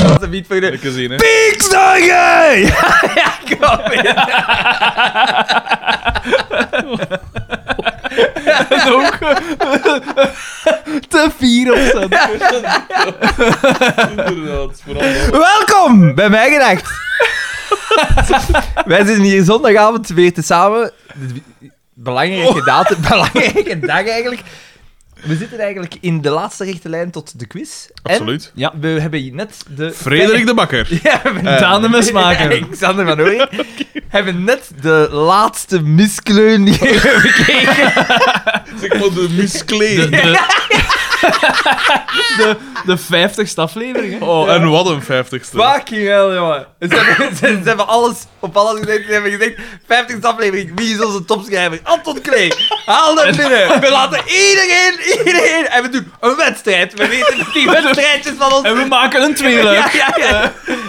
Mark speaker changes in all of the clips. Speaker 1: gooide...
Speaker 2: Lekker zien, hè?
Speaker 1: Piekstangen! Ja, ja, kom in.
Speaker 3: En ook te fier op zijn.
Speaker 2: Inderdaad, vooral dat.
Speaker 1: Welkom bij Mij Gedacht. Wij zijn hier zondagavond weer te samen.
Speaker 2: Oh.
Speaker 1: Belangrijke datum, belangrijke dag eigenlijk. We zitten eigenlijk in de laatste rechte lijn tot de quiz. En
Speaker 2: Absoluut.
Speaker 3: Ja,
Speaker 1: we hebben net de...
Speaker 2: Frederik de Bakker.
Speaker 1: Eh, Ja, we hebben
Speaker 3: Daan de mesmaker.
Speaker 1: Alexander van Ooyen. Hebben net de laatste miskleun die we hebben gekeken.
Speaker 2: Zeg maar de
Speaker 3: De,
Speaker 2: misklee.
Speaker 3: de, de, de 50ste aflevering, hè?
Speaker 2: Oh, en wat een vijftigste.
Speaker 1: Fucking hell, jongen. Ze hebben, ze, ze hebben alles op alles gezegd. Ze hebben gezegd, 50 aflevering, wie is onze topschrijver? Anton Klee. Haal dat binnen. We laten iedereen, iedereen... En we doen een wedstrijd. We weten dat die wedstrijdjes van ons...
Speaker 3: En we maken een tweeler.
Speaker 1: Ja, ja, ja.
Speaker 2: Eh.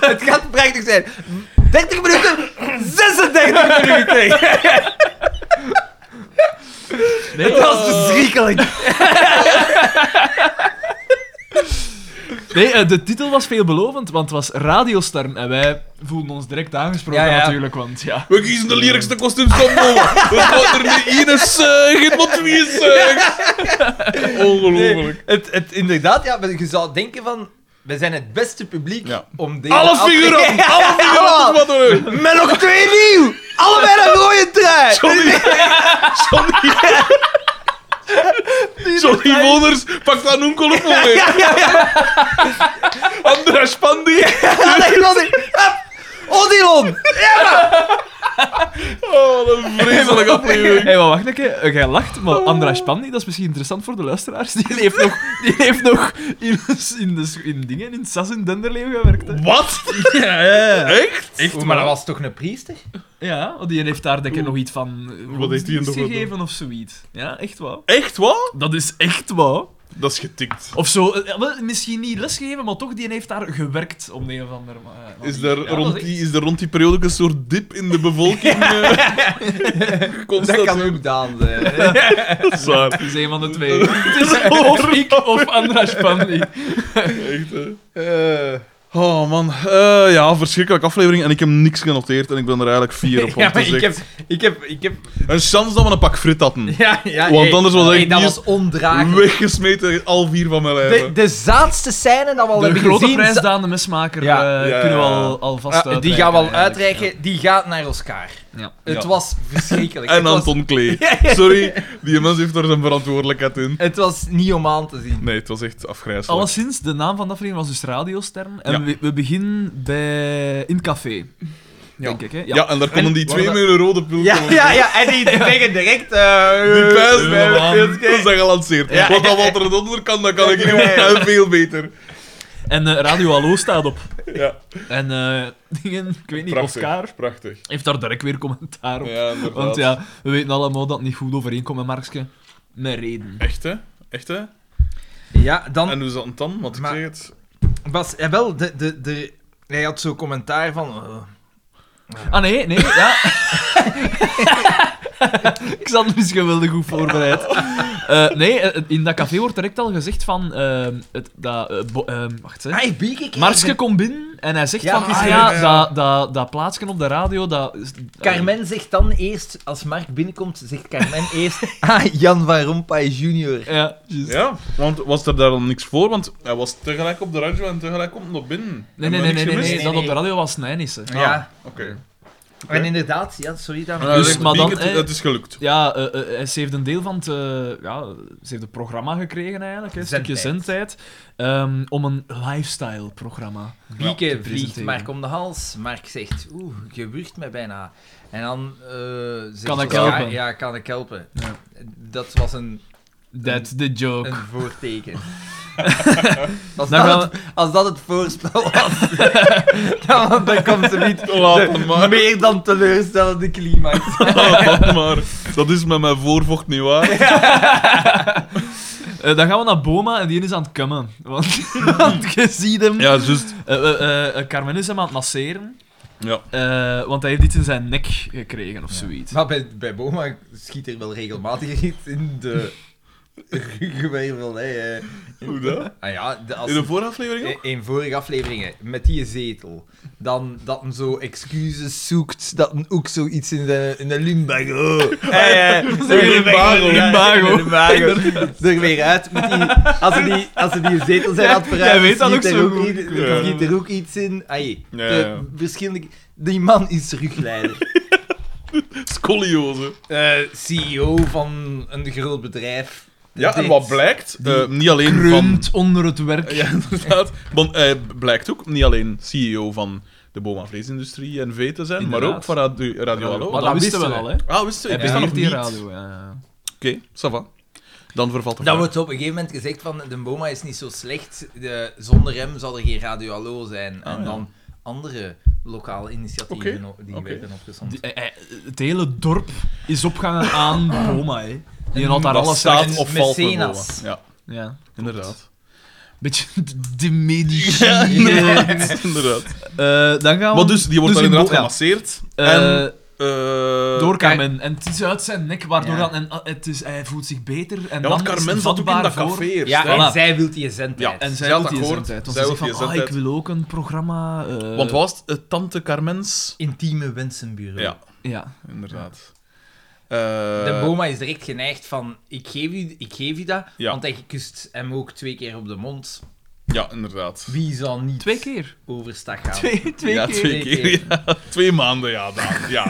Speaker 1: Het gaat prachtig zijn. 30 minuten, 36 minuten. Het was verschrikkelijk.
Speaker 3: Nee, eh, de titel was veelbelovend, want het was Radiostern. En wij voelden ons direct aangesproken,
Speaker 1: Ja, ja.
Speaker 3: natuurlijk. Want ja.
Speaker 2: We kiezen de lelijkste kostuums van Boba. We gaan er niet in een zuig, wat wie zuigt. Ongelooflijk.
Speaker 1: Het, het, inderdaad, ja, maar je zou denken van... We zijn het beste publiek
Speaker 2: Ja.
Speaker 1: om deze...
Speaker 2: Alle
Speaker 1: af-
Speaker 2: figuranten, alle figuranten wat er
Speaker 1: Met nog twee nieuw! Allebei een rode trui!
Speaker 2: Johnny, Johnny, Johnny Woners, pak dat onkel op mee.
Speaker 1: Ja, ja, ja.
Speaker 2: Andras Pandy.
Speaker 1: Allee, Lonnie. Hup. Odilon!
Speaker 2: Oh, wat een vreselijke aflevering.
Speaker 3: Hé, maar wacht een keer. Eh, Jij lacht, maar Andras Pandy, dat is misschien interessant voor de luisteraars. Die heeft nog, die heeft nog in, in, de, s- in dingen, in het Sas in Denderleeuw gewerkt. Hè.
Speaker 2: Wat?
Speaker 3: Ja, ja.
Speaker 2: Echt?
Speaker 1: Echt? Maar dat was toch een priester?
Speaker 3: Ja, want die heeft daar denk ik nog iets van eh,
Speaker 2: Wat heeft die
Speaker 3: godsdienst
Speaker 2: nog gedaan?
Speaker 3: gegeven of zoiets. Ja, echt waar.
Speaker 2: Echt wat?
Speaker 3: Dat is echt waar.
Speaker 2: Dat is getikt.
Speaker 3: Of zo, eh, wel, misschien niet lesgegeven, maar toch, die heeft daar gewerkt om de een of andere ma- eh, manier.
Speaker 2: Is er,
Speaker 3: Ja, dat
Speaker 2: rond
Speaker 3: is
Speaker 2: die, is er rond die periode ook een soort dip in de bevolking? eh,
Speaker 1: Dat
Speaker 2: geconstateerd?
Speaker 1: kan ook Daan zijn. hè.
Speaker 2: Dat is waar.
Speaker 3: Het is een van de twee. Het is of ik of Andras Pandy.
Speaker 2: Echt, hè? Oh man, Eh, ja, verschrikkelijke aflevering en ik heb niks genoteerd en ik ben er eigenlijk fier op.
Speaker 1: Ja,
Speaker 2: want
Speaker 1: maar
Speaker 2: het is
Speaker 1: ik heb...
Speaker 2: echt
Speaker 1: Ik heb... Ik heb...
Speaker 2: Een chance dat we een pak frit hadden.
Speaker 1: Ja, ja.
Speaker 2: Want
Speaker 1: hey,
Speaker 2: anders was
Speaker 1: hey,
Speaker 2: echt
Speaker 1: dat
Speaker 2: niet-
Speaker 1: was ondraaglijk.
Speaker 2: Weggesmeten, al vier van mijn lijf.
Speaker 1: De, de zaadste scène dat we al
Speaker 3: De
Speaker 1: hebben
Speaker 3: grote
Speaker 1: gezien...
Speaker 3: prijs
Speaker 1: za-
Speaker 3: Daan de Mesmaker
Speaker 1: Ja.
Speaker 3: eh,
Speaker 2: Ja, ja,
Speaker 3: kunnen we
Speaker 2: ja.
Speaker 3: al, al vast
Speaker 1: Ah, die gaan we al
Speaker 3: eigenlijk.
Speaker 1: uitreiken. Die gaat naar Oscar.
Speaker 3: Ja.
Speaker 1: Het
Speaker 2: Ja.
Speaker 1: was verschrikkelijk.
Speaker 2: En
Speaker 1: Het was-
Speaker 2: Anton Klee. Sorry, die mens heeft er zijn verantwoordelijkheid in.
Speaker 1: Het was niet om aan te zien.
Speaker 2: Nee, het was echt afgrijzelijk.
Speaker 3: Alleszins, de naam van de aflevering was dus Radiostern. En
Speaker 2: Ja.
Speaker 3: we, we beginnen bij... in het café. Denk ik, hè?
Speaker 2: Ja, en daar konden die
Speaker 1: En-
Speaker 2: twee
Speaker 1: waar-
Speaker 2: met een rode pil
Speaker 1: Ja,
Speaker 2: komen.
Speaker 1: ja, ja. En die zeggen direct... eh,
Speaker 2: Die pijs,
Speaker 1: eh, eh,
Speaker 2: man,
Speaker 1: eh,
Speaker 2: dat is dan gelanceerd.
Speaker 1: Ja.
Speaker 2: Wat dan wat er aan de onderkant, dat kan ik niet meer veel beter.
Speaker 3: En eh, Radio Hallo staat op.
Speaker 2: Ja,
Speaker 3: En eh, dingen, ik weet niet,
Speaker 2: prachtig.
Speaker 3: Oscar
Speaker 2: Prachtig.
Speaker 3: heeft daar direct weer commentaar op.
Speaker 2: Ja, inderdaad.
Speaker 3: Want ja, we weten allemaal dat het niet goed overeenkomt met Markske. Met reden.
Speaker 2: Echt, hè? Echt, hè?
Speaker 1: Ja, dan...
Speaker 2: En hoe zat het dan? Want ik
Speaker 1: Maar-
Speaker 2: zeg het...
Speaker 1: Was, ja, wel, de, de, de, hij had zo'n commentaar van... eh,
Speaker 3: Ah nee, nee, ja. ik zat me dus geweldig goed voorbereid. Eh, nee, eh, in dat café wordt direct al gezegd van... ehm, het, dat, eh, bo- ehm, wacht, hè.
Speaker 1: hij heeft bier gekregen.
Speaker 3: Marske komt binnen en hij zegt
Speaker 1: Ja,
Speaker 3: van... Ah
Speaker 1: ah,
Speaker 3: ja,
Speaker 2: ja, ja.
Speaker 3: Dat, dat, dat plaatsje op de radio, dat... is-
Speaker 1: Carmen zegt dan eerst, als Mark binnenkomt, zegt Carmen eerst... Ah, Jan van Rompuy junior.
Speaker 3: Eh, ja, juist.
Speaker 2: Ja, want was er daar dan niks voor? Want hij was tegelijk op de radio en tegelijk komt hij nog binnen.
Speaker 3: Nee, nee,
Speaker 2: Hebben
Speaker 3: nee,
Speaker 2: we
Speaker 3: nee, nee,
Speaker 2: niks
Speaker 3: nee,
Speaker 2: gemist?
Speaker 3: dat op de radio was Nijnissen.
Speaker 1: nee. Ja.
Speaker 2: Ah, Oké.
Speaker 1: En inderdaad, ja, sorry
Speaker 2: En
Speaker 1: daarvoor.
Speaker 2: hij
Speaker 3: Dus,
Speaker 2: zegt,
Speaker 3: maar dan,
Speaker 2: Bieke,
Speaker 3: eh,
Speaker 2: het is gelukt.
Speaker 3: Ja, eh, eh, eh, ze heeft een deel van het... eh, ja, ze heeft het programma gekregen eigenlijk, hè, een stukje zendtijd. ehm, om een lifestyle-programma.
Speaker 1: Bieke
Speaker 3: te
Speaker 1: vliegt
Speaker 3: presenteren.
Speaker 1: Mark om de hals. Mark zegt, oeh, je wurgt mij bijna. En dan eh, zegt
Speaker 3: Kan ik
Speaker 1: Oscar,
Speaker 3: helpen?
Speaker 1: Ja, kan ik helpen.
Speaker 3: Ja.
Speaker 1: Dat was een,
Speaker 3: That's the joke.
Speaker 1: een voorteken. als,
Speaker 3: Dan
Speaker 1: dat het, als dat het voorspel was, dan, dan komt ze niet
Speaker 2: Laat hem maar.
Speaker 1: meer dan teleurstellende climax.
Speaker 2: Laat hem maar. Dat is met mijn voorvocht niet waar.
Speaker 3: Eh, dan gaan we naar Boma en die is aan het kummen. Want, want je ziet hem.
Speaker 2: Ja, juist.
Speaker 3: Eh, eh, eh, eh, Carmen is hem aan het masseren.
Speaker 2: Ja.
Speaker 3: eh, want hij heeft iets in zijn nek gekregen of zoiets.
Speaker 1: Maar bij, bij Boma schiet er wel regelmatig iets in de Gewerveld, hè. eh.
Speaker 2: Hoe dat?
Speaker 1: Ah ja, de- als...
Speaker 2: In de vooraflevering ook?
Speaker 1: In- In vorige afleveringen, met die zetel. Dan dat een zo excuses zoekt, dat een ook zoiets in de, in de limbago. Eh, eh,
Speaker 3: Zo in de
Speaker 1: ja,
Speaker 3: limbago. Limbago.
Speaker 1: in de limbago. Er weer uit. Met die, als, ze die, als ze die zetel zijn aan het
Speaker 3: Jij- jij
Speaker 1: verruimen,
Speaker 3: weet dat
Speaker 1: schiet
Speaker 3: ook
Speaker 1: er
Speaker 3: zo
Speaker 1: ook
Speaker 3: goed.
Speaker 1: iets-
Speaker 2: Ja.
Speaker 1: er schiet er ook iets in. Ai,
Speaker 2: Ja,
Speaker 1: de
Speaker 2: ja.
Speaker 1: verschillende... Die man is rugleider.
Speaker 2: Scoliose.
Speaker 1: Eh, CEO van een groot bedrijf.
Speaker 2: Ja, en
Speaker 1: Dit-
Speaker 2: wat blijkt?
Speaker 3: Die
Speaker 2: eh, niet alleen van...
Speaker 3: Grunt onder het werk.
Speaker 2: Ja, inderdaad. Want hij blijkt ook niet alleen CEO van de boom- en vleesindustrie en vee te zijn, maar
Speaker 3: Inderdaad.
Speaker 2: ook van Radio, radio Hallo.
Speaker 3: maar
Speaker 1: dat
Speaker 3: dat wisten we
Speaker 1: wisten
Speaker 3: al,
Speaker 1: we.
Speaker 3: hè?
Speaker 2: Ah, wist je?
Speaker 3: Hij
Speaker 2: Ik wist dat nog
Speaker 3: beheert die
Speaker 2: niet.
Speaker 3: radio. ja, ja.
Speaker 2: Oké, ça va. Dan vervalt de
Speaker 1: Dan
Speaker 2: vraag.
Speaker 1: wordt op een gegeven moment gezegd van de Boma is niet zo slecht. De, zonder hem zal er geen Radio Hallo zijn.
Speaker 2: Ah,
Speaker 1: en
Speaker 2: ja.
Speaker 1: dan andere lokale initiatieven
Speaker 2: Oké,
Speaker 1: o- die
Speaker 2: oké.
Speaker 1: werden opgezond.
Speaker 3: Die- eh, eh, het hele dorp is opgehangen aan Boma, hè? Die had daar
Speaker 2: Dat
Speaker 3: alles
Speaker 2: staat
Speaker 1: met
Speaker 2: of valt met
Speaker 1: mecenas.
Speaker 2: Boa. Ja,
Speaker 3: Ja.
Speaker 2: inderdaad.
Speaker 3: Beetje de- de medici.
Speaker 2: Ja,
Speaker 3: eh,
Speaker 2: inderdaad.
Speaker 3: eh, dan gaan we...
Speaker 2: Maar dus, die wordt
Speaker 3: dus
Speaker 2: dan
Speaker 3: in
Speaker 2: inderdaad
Speaker 3: Bo- ja.
Speaker 2: gemasseerd.
Speaker 3: Eh,
Speaker 2: en... eh,
Speaker 3: door
Speaker 1: kijk.
Speaker 3: Carmen. En het is uit zijn nek, waardoor
Speaker 1: Ja.
Speaker 3: dat... En, ah, het is, hij voelt zich beter. En
Speaker 2: Ja,
Speaker 3: dan
Speaker 2: want
Speaker 3: is hij
Speaker 2: Carmen zat ook in
Speaker 3: vatbaar
Speaker 2: dat
Speaker 3: voor-
Speaker 2: café eerst.
Speaker 1: Ja, eh,
Speaker 2: hè?
Speaker 1: en
Speaker 3: Voilà.
Speaker 1: zij wil die zendtijd.
Speaker 2: Ja,
Speaker 3: En zij
Speaker 2: Zij
Speaker 3: had
Speaker 2: had
Speaker 3: die
Speaker 2: akkoord.
Speaker 3: zendtijd. Want
Speaker 2: Zij
Speaker 3: ze
Speaker 2: had
Speaker 3: zegt van,
Speaker 2: die
Speaker 3: ah, ik
Speaker 2: zendtijd.
Speaker 3: wil ook een programma... eh,
Speaker 2: Want wat was het? Eh, Tante Carmens.
Speaker 1: Intieme wensenbureau.
Speaker 2: Ja,
Speaker 3: Ja.
Speaker 2: inderdaad.
Speaker 1: De
Speaker 2: Eh,
Speaker 1: Boma is direct geneigd van, ik geef u, ik geef u dat,
Speaker 2: Ja.
Speaker 1: want hij kust hem ook twee keer op de mond.
Speaker 2: Ja, inderdaad.
Speaker 1: Wie zal niet
Speaker 3: Twee keer.
Speaker 1: overstag gaan?
Speaker 3: Twee, twee
Speaker 2: ja,
Speaker 3: keer.
Speaker 2: twee
Speaker 1: Twee
Speaker 2: keer. Ja. Twee maanden, ja, Daan. Ja.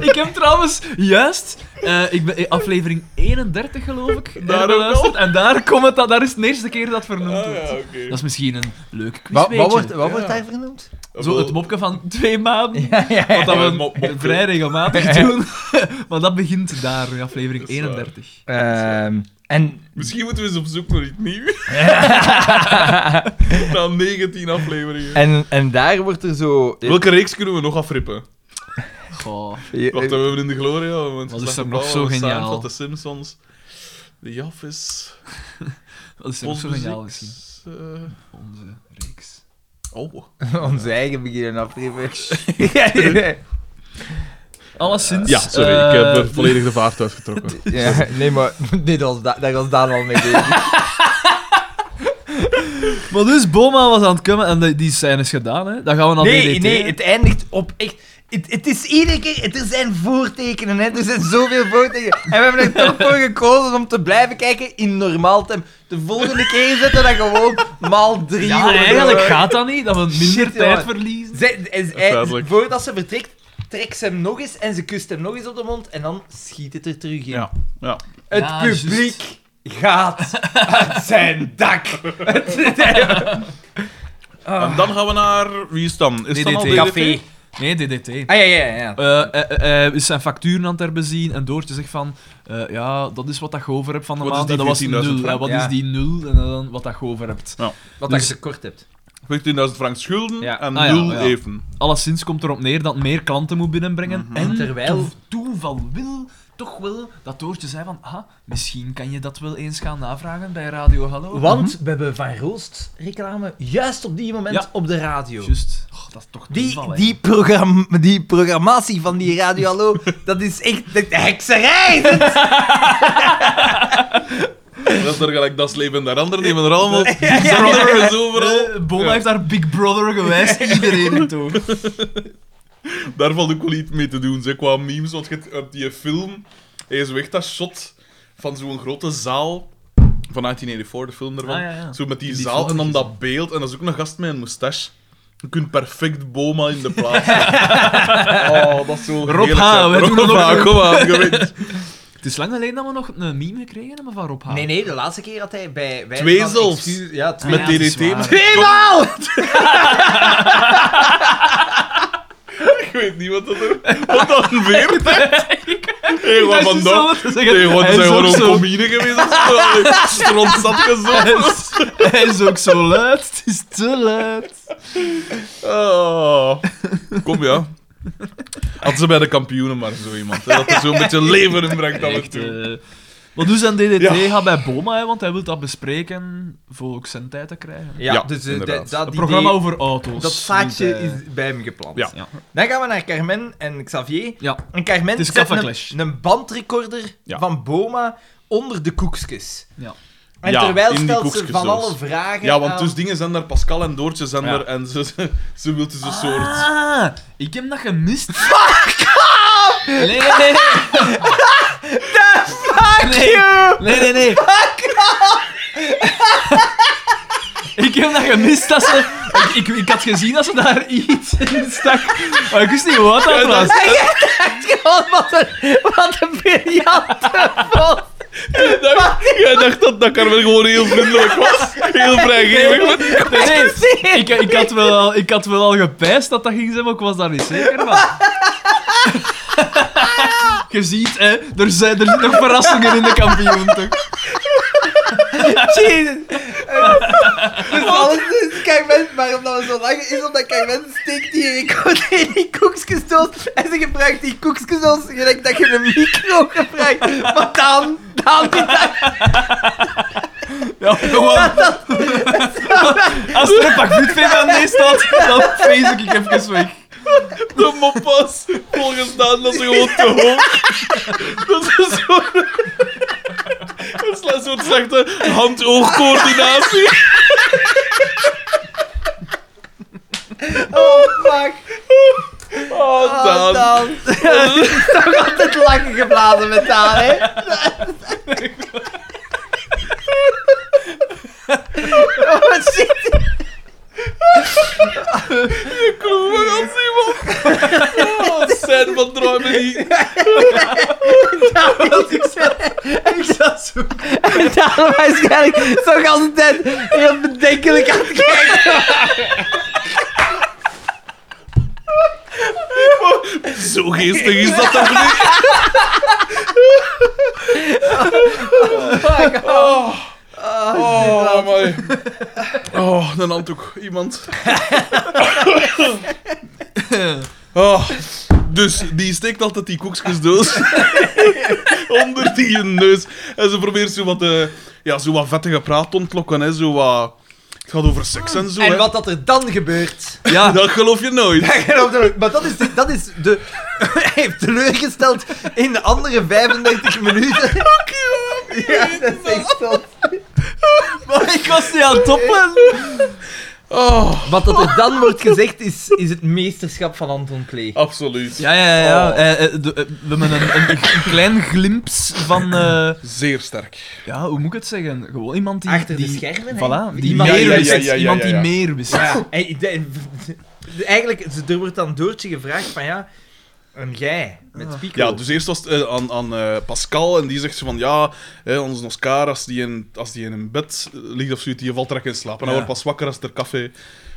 Speaker 3: Ik heb trouwens juist, eh, ik ben, eh, aflevering 31 geloof ik,
Speaker 2: Daar
Speaker 3: daar
Speaker 2: ook
Speaker 3: beluisterd. En daar, komt het, dat- daar is de eerste keer dat vernoemd wordt.
Speaker 2: Ah, ja, oké.
Speaker 3: Dat is misschien een leuk
Speaker 1: Wat,
Speaker 3: quizweetje.
Speaker 1: wat, wordt, wat wordt
Speaker 2: Ja.
Speaker 1: daar vernoemd?
Speaker 2: Oh,
Speaker 3: Zo het mopje van twee maanden.
Speaker 1: Ja, ja, ja.
Speaker 3: Wat dat
Speaker 2: Ja,
Speaker 3: we
Speaker 2: het mop- mopje.
Speaker 3: vrij regelmatig doen. maar dat begint daar, in aflevering
Speaker 2: Dat is waar.
Speaker 3: 31.
Speaker 1: Ehm, en
Speaker 2: Misschien moeten we eens op zoek naar iets nieuws. Na 19 afleveringen.
Speaker 1: En, en daar wordt er zo.
Speaker 2: Welke reeks kunnen we nog afrippen?
Speaker 3: Goh.
Speaker 2: Wacht, we hebben in de Gloria. we hebben het
Speaker 3: Wat
Speaker 2: Geslacht
Speaker 3: Eh, is er
Speaker 2: op
Speaker 3: nog
Speaker 2: Blauw,
Speaker 3: zo
Speaker 2: we hebben
Speaker 3: geniaal?
Speaker 2: Seinfeld, de Simpsons. De Jaffis.
Speaker 3: Dat is ook zo geniaal gezien. Onze
Speaker 2: eh,
Speaker 3: reeks.
Speaker 2: Oh.
Speaker 1: Onze eigen beginnen afgeven.
Speaker 3: Alleszins...
Speaker 2: Ja, sorry,
Speaker 3: eh,
Speaker 2: ik heb eh, volledig de vaart uitgetrokken.
Speaker 1: ja, nee, maar dit was da daar was Daan al mee bezig.
Speaker 3: Maar dus, Boma was aan het komen en die- die scène is gedaan, hè. Dan gaan we naar
Speaker 1: Nee,
Speaker 3: DDT.
Speaker 1: nee, het eindigt op echt. Het, het is iedere keer, het, er zijn voortekenen, hè. er zijn zoveel voortekenen. En we hebben er toch voor gekozen om te blijven kijken in normaal tempo. De volgende keer zetten we dat gewoon maal drie.
Speaker 3: Ja,
Speaker 1: worden.
Speaker 3: eigenlijk gaat dat niet, dat we minder
Speaker 1: Shit,
Speaker 3: tijd
Speaker 1: jongen.
Speaker 3: verliezen.
Speaker 1: Zij, en- en-
Speaker 2: Duidelijk.
Speaker 1: voordat ze vertrekt, trekt ze hem nog eens en ze kust hem nog eens op de mond en dan schiet het er terug in.
Speaker 2: Ja. ja.
Speaker 1: Het
Speaker 3: Ja,
Speaker 1: publiek gaat uit zijn dak. Het is-
Speaker 2: ah. En dan gaan we naar... Wie is dan? Is dan al
Speaker 3: DDT.
Speaker 2: DDT?
Speaker 1: Café.
Speaker 3: Nee, DDT.
Speaker 1: Ah ja, ja, ja.
Speaker 3: Eh, eh, eh, Hij is zijn facturen aan het herbezien en Doortje zegt van eh, ja, dat is wat dat je over hebt van de
Speaker 2: Wat is
Speaker 3: maand.
Speaker 2: die
Speaker 3: En dat was
Speaker 2: 14.000
Speaker 3: nul.
Speaker 2: frank?
Speaker 3: En wat
Speaker 1: Ja.
Speaker 3: is die nul? En dan wat dat je over hebt.
Speaker 1: Wat
Speaker 3: Dus-
Speaker 1: als je tekort hebt.
Speaker 2: 15.000 frank schulden
Speaker 1: Ja.
Speaker 2: en
Speaker 3: Ah, ja,
Speaker 2: nul
Speaker 3: ja.
Speaker 2: even.
Speaker 3: Alleszins komt erop neer dat meer klanten moet binnenbrengen. En
Speaker 1: Mhm. Terwijl-
Speaker 3: terwijl toeval wil toch wel dat Doortje zei van ah, misschien kan je dat wel eens gaan navragen bij Radio Hallo.
Speaker 1: Want we hebben Van Roost reclame juist op die moment
Speaker 3: mhm. Ja.
Speaker 1: op de radio.
Speaker 3: Mhm. Juist. Oh, dat is toch
Speaker 1: Die,
Speaker 3: toeval, hè.
Speaker 1: die, programma die programmatie van die Radio Hallo, dat is echt de hekserij! Dat-
Speaker 2: Dat is er gelijk Das Leven en der Ander. Die hebben er allemaal
Speaker 1: ja, ja.
Speaker 2: zanders overal.
Speaker 3: Eh, Boma heeft daar Big Brother gewijs iedereen in toog.
Speaker 2: Daar valt ook wel iets mee te doen. Ze qua memes, want je hebt- hebt die film. Hij is weg dat shot van zo'n grote zaal. Van 1984, E de film ervan.
Speaker 3: Ah, ja, ja.
Speaker 2: Zo met die,
Speaker 3: Die
Speaker 2: zaal en dan
Speaker 3: foto's.
Speaker 2: dat beeld. En dat is ook een gast met een moustache. Je kunt perfect Boma in de plaats. oh, dat is zo
Speaker 3: Rob
Speaker 2: heerlijk,
Speaker 3: H,
Speaker 2: hè.
Speaker 3: wij
Speaker 2: Rob
Speaker 3: doen het
Speaker 2: H,
Speaker 3: ook.
Speaker 2: kom aan, je weet.
Speaker 3: Het is lang geleden dat we nog een meme gekregen hebben van Rob H.
Speaker 1: Nee, nee, de laatste keer had hij bij... bij
Speaker 2: Twee
Speaker 1: van
Speaker 2: zelfs.
Speaker 1: excuus- Ja, twee.
Speaker 2: Met
Speaker 3: ja, dat is
Speaker 2: DDT.
Speaker 3: waar.
Speaker 1: Tweemaal!
Speaker 2: Ik weet niet wat dat er... Wat dat een veer Hey, wat
Speaker 3: Dat is
Speaker 2: van
Speaker 3: dus
Speaker 2: dat?
Speaker 3: zo te zeggen.
Speaker 2: Hey, wat
Speaker 3: Hij
Speaker 2: zijn
Speaker 3: is ook
Speaker 2: gewoon een
Speaker 3: zo-
Speaker 2: comine geweest of zo? Allee, Strontzat gezocht.
Speaker 3: Hij is ook zo luid. Het is te luid.
Speaker 2: Oh. Kom ja. Had ze bij de kampioenen maar zo iemand. Hè, dat er zo'n beetje leven in brengt aan het
Speaker 3: Echt,
Speaker 2: toe.
Speaker 3: eh, Maar dus zijn DDT
Speaker 2: Ja.
Speaker 3: gaat bij Boma, hè, want hij wil dat bespreken voor ook zijn tijd te krijgen.
Speaker 1: Ja,
Speaker 2: Ja,
Speaker 1: dus eh,
Speaker 2: inderdaad.
Speaker 1: dat- dat
Speaker 3: Een
Speaker 1: idee-
Speaker 3: programma over auto's.
Speaker 1: Dat zaadje
Speaker 3: moet hij-
Speaker 1: is bij hem geplant.
Speaker 2: eh, Ja.
Speaker 3: Ja.
Speaker 1: Dan gaan we naar Carmen en Xavier.
Speaker 3: Ja.
Speaker 1: En Carmen
Speaker 3: Het is
Speaker 1: zet
Speaker 3: Kappa Clash.
Speaker 1: een, een bandrecorder
Speaker 2: Ja.
Speaker 1: van Boma onder de koekjes.
Speaker 3: Ja.
Speaker 1: En
Speaker 2: Ja,
Speaker 1: terwijl
Speaker 2: in die
Speaker 1: stelt ze
Speaker 2: koekjes
Speaker 1: van
Speaker 2: dus.
Speaker 1: alle vragen
Speaker 2: Ja, want
Speaker 1: aan-
Speaker 2: dus dingen zijn daar, Pascal en Doortje zijn
Speaker 3: eh, Ja.
Speaker 2: daar, en ze, ze, ze wil dus een soort...
Speaker 3: Ah, ik heb dat gemist. Fuck Nee, nee, nee. nee.
Speaker 1: Fuck
Speaker 3: Nee.
Speaker 1: you!
Speaker 3: Nee, nee, nee. ik heb dat gemist dat ze... Ik, ik, ik had gezien dat ze daar iets in stak. Maar ik wist niet wat dat
Speaker 2: Ja, dat-
Speaker 3: was.
Speaker 1: En jij dacht gewoon, wat een, wat een briljante vos.
Speaker 2: Jij dacht dat, dat Carmen gewoon heel vriendelijk was. Heel vrijgevig.
Speaker 3: Nee, nee. Ik, ik, had wel al, ik had wel al gepijst dat dat ging zijn, maar ik was daar niet zeker van. Je ziet, hè, er, zijn, er zitten nog verrassingen in de kampioen, toch?
Speaker 1: Jezus. Dus alles is Carmen, maar omdat we zo lang is, omdat Carmen steekt die record in die koekjesdoos en ze gebruikt die koekjesdoos gelijk dat je een micro gebruikt. Maar dan, dan die dag,
Speaker 3: Ja, gewoon. Als er een pak voetvee aan deze staat, dan feest ik even weg.
Speaker 2: De mop was volgens Daan dat ze gewoon te hoog. Dat is een soort... Dat is een soort slechte hand-oogcoördinatie.
Speaker 1: oh fuck,
Speaker 2: Oh,
Speaker 1: oh,
Speaker 2: Daan.
Speaker 1: dan. Het is toch altijd lachen geblazen met Daan, hè? Oh shit.
Speaker 2: Kloemen als iemand. Oh, Zijn van dromen die...
Speaker 3: Ik zat zo.
Speaker 1: En daarom waarschijnlijk zo de hele tijd heel bedenkelijk aan het kijken.
Speaker 2: Zo geestig is dat toch niet?
Speaker 1: Oh my god.
Speaker 2: Oh, oh mooi. Oh, een handdoek. Iemand. Oh. Dus die steekt altijd die koekjesdoos onder die hun neus. En ze probeert zo wat, eh, ja, zo wat vettige praat te ontlokken. Hè. Zo wat... Het gaat over seks en zo.
Speaker 1: En
Speaker 2: hè.
Speaker 1: wat dat er dan gebeurt.
Speaker 3: Ja,
Speaker 2: Dat geloof je nooit.
Speaker 1: Maar dat is, dat is de. Hij heeft teleurgesteld in de andere 35 minuten. Ja, dat is echt zo.
Speaker 3: maar ik was niet aan het toppen.
Speaker 2: Oh,
Speaker 1: Wat dat er dan wordt gezegd is, is het meesterschap van Anton Klee.
Speaker 2: absoluut.
Speaker 3: Ja, ja, ja. ja.
Speaker 2: Oh.
Speaker 3: Eh, eh, de- eh, we hebben een, een, een klein glimps van. eh,
Speaker 2: Zeer sterk.
Speaker 3: ja, hoe moet ik het zeggen? Gewoon iemand die.
Speaker 1: Achter de
Speaker 3: die-
Speaker 1: schermen, hè?
Speaker 3: Voilà, die
Speaker 1: Iemand-
Speaker 3: meer
Speaker 1: Ja, ja, ja,
Speaker 3: wist.
Speaker 2: ja, ja,
Speaker 3: iemand
Speaker 2: ja, ja.
Speaker 3: die meer wist.
Speaker 1: Ja, en de- de- eigenlijk, ze- er wordt dan Doortje gevraagd van ja. En jij, met Pico.
Speaker 2: Ja, dus eerst was het eh, aan, aan eh, Pascal en die zegt zo van ja, hè, onze Oscar, als die, in, als die in een bed eh, ligt of zoiets, die valt direct in slaap. En hij
Speaker 3: Ja.
Speaker 2: wordt pas wakker als er café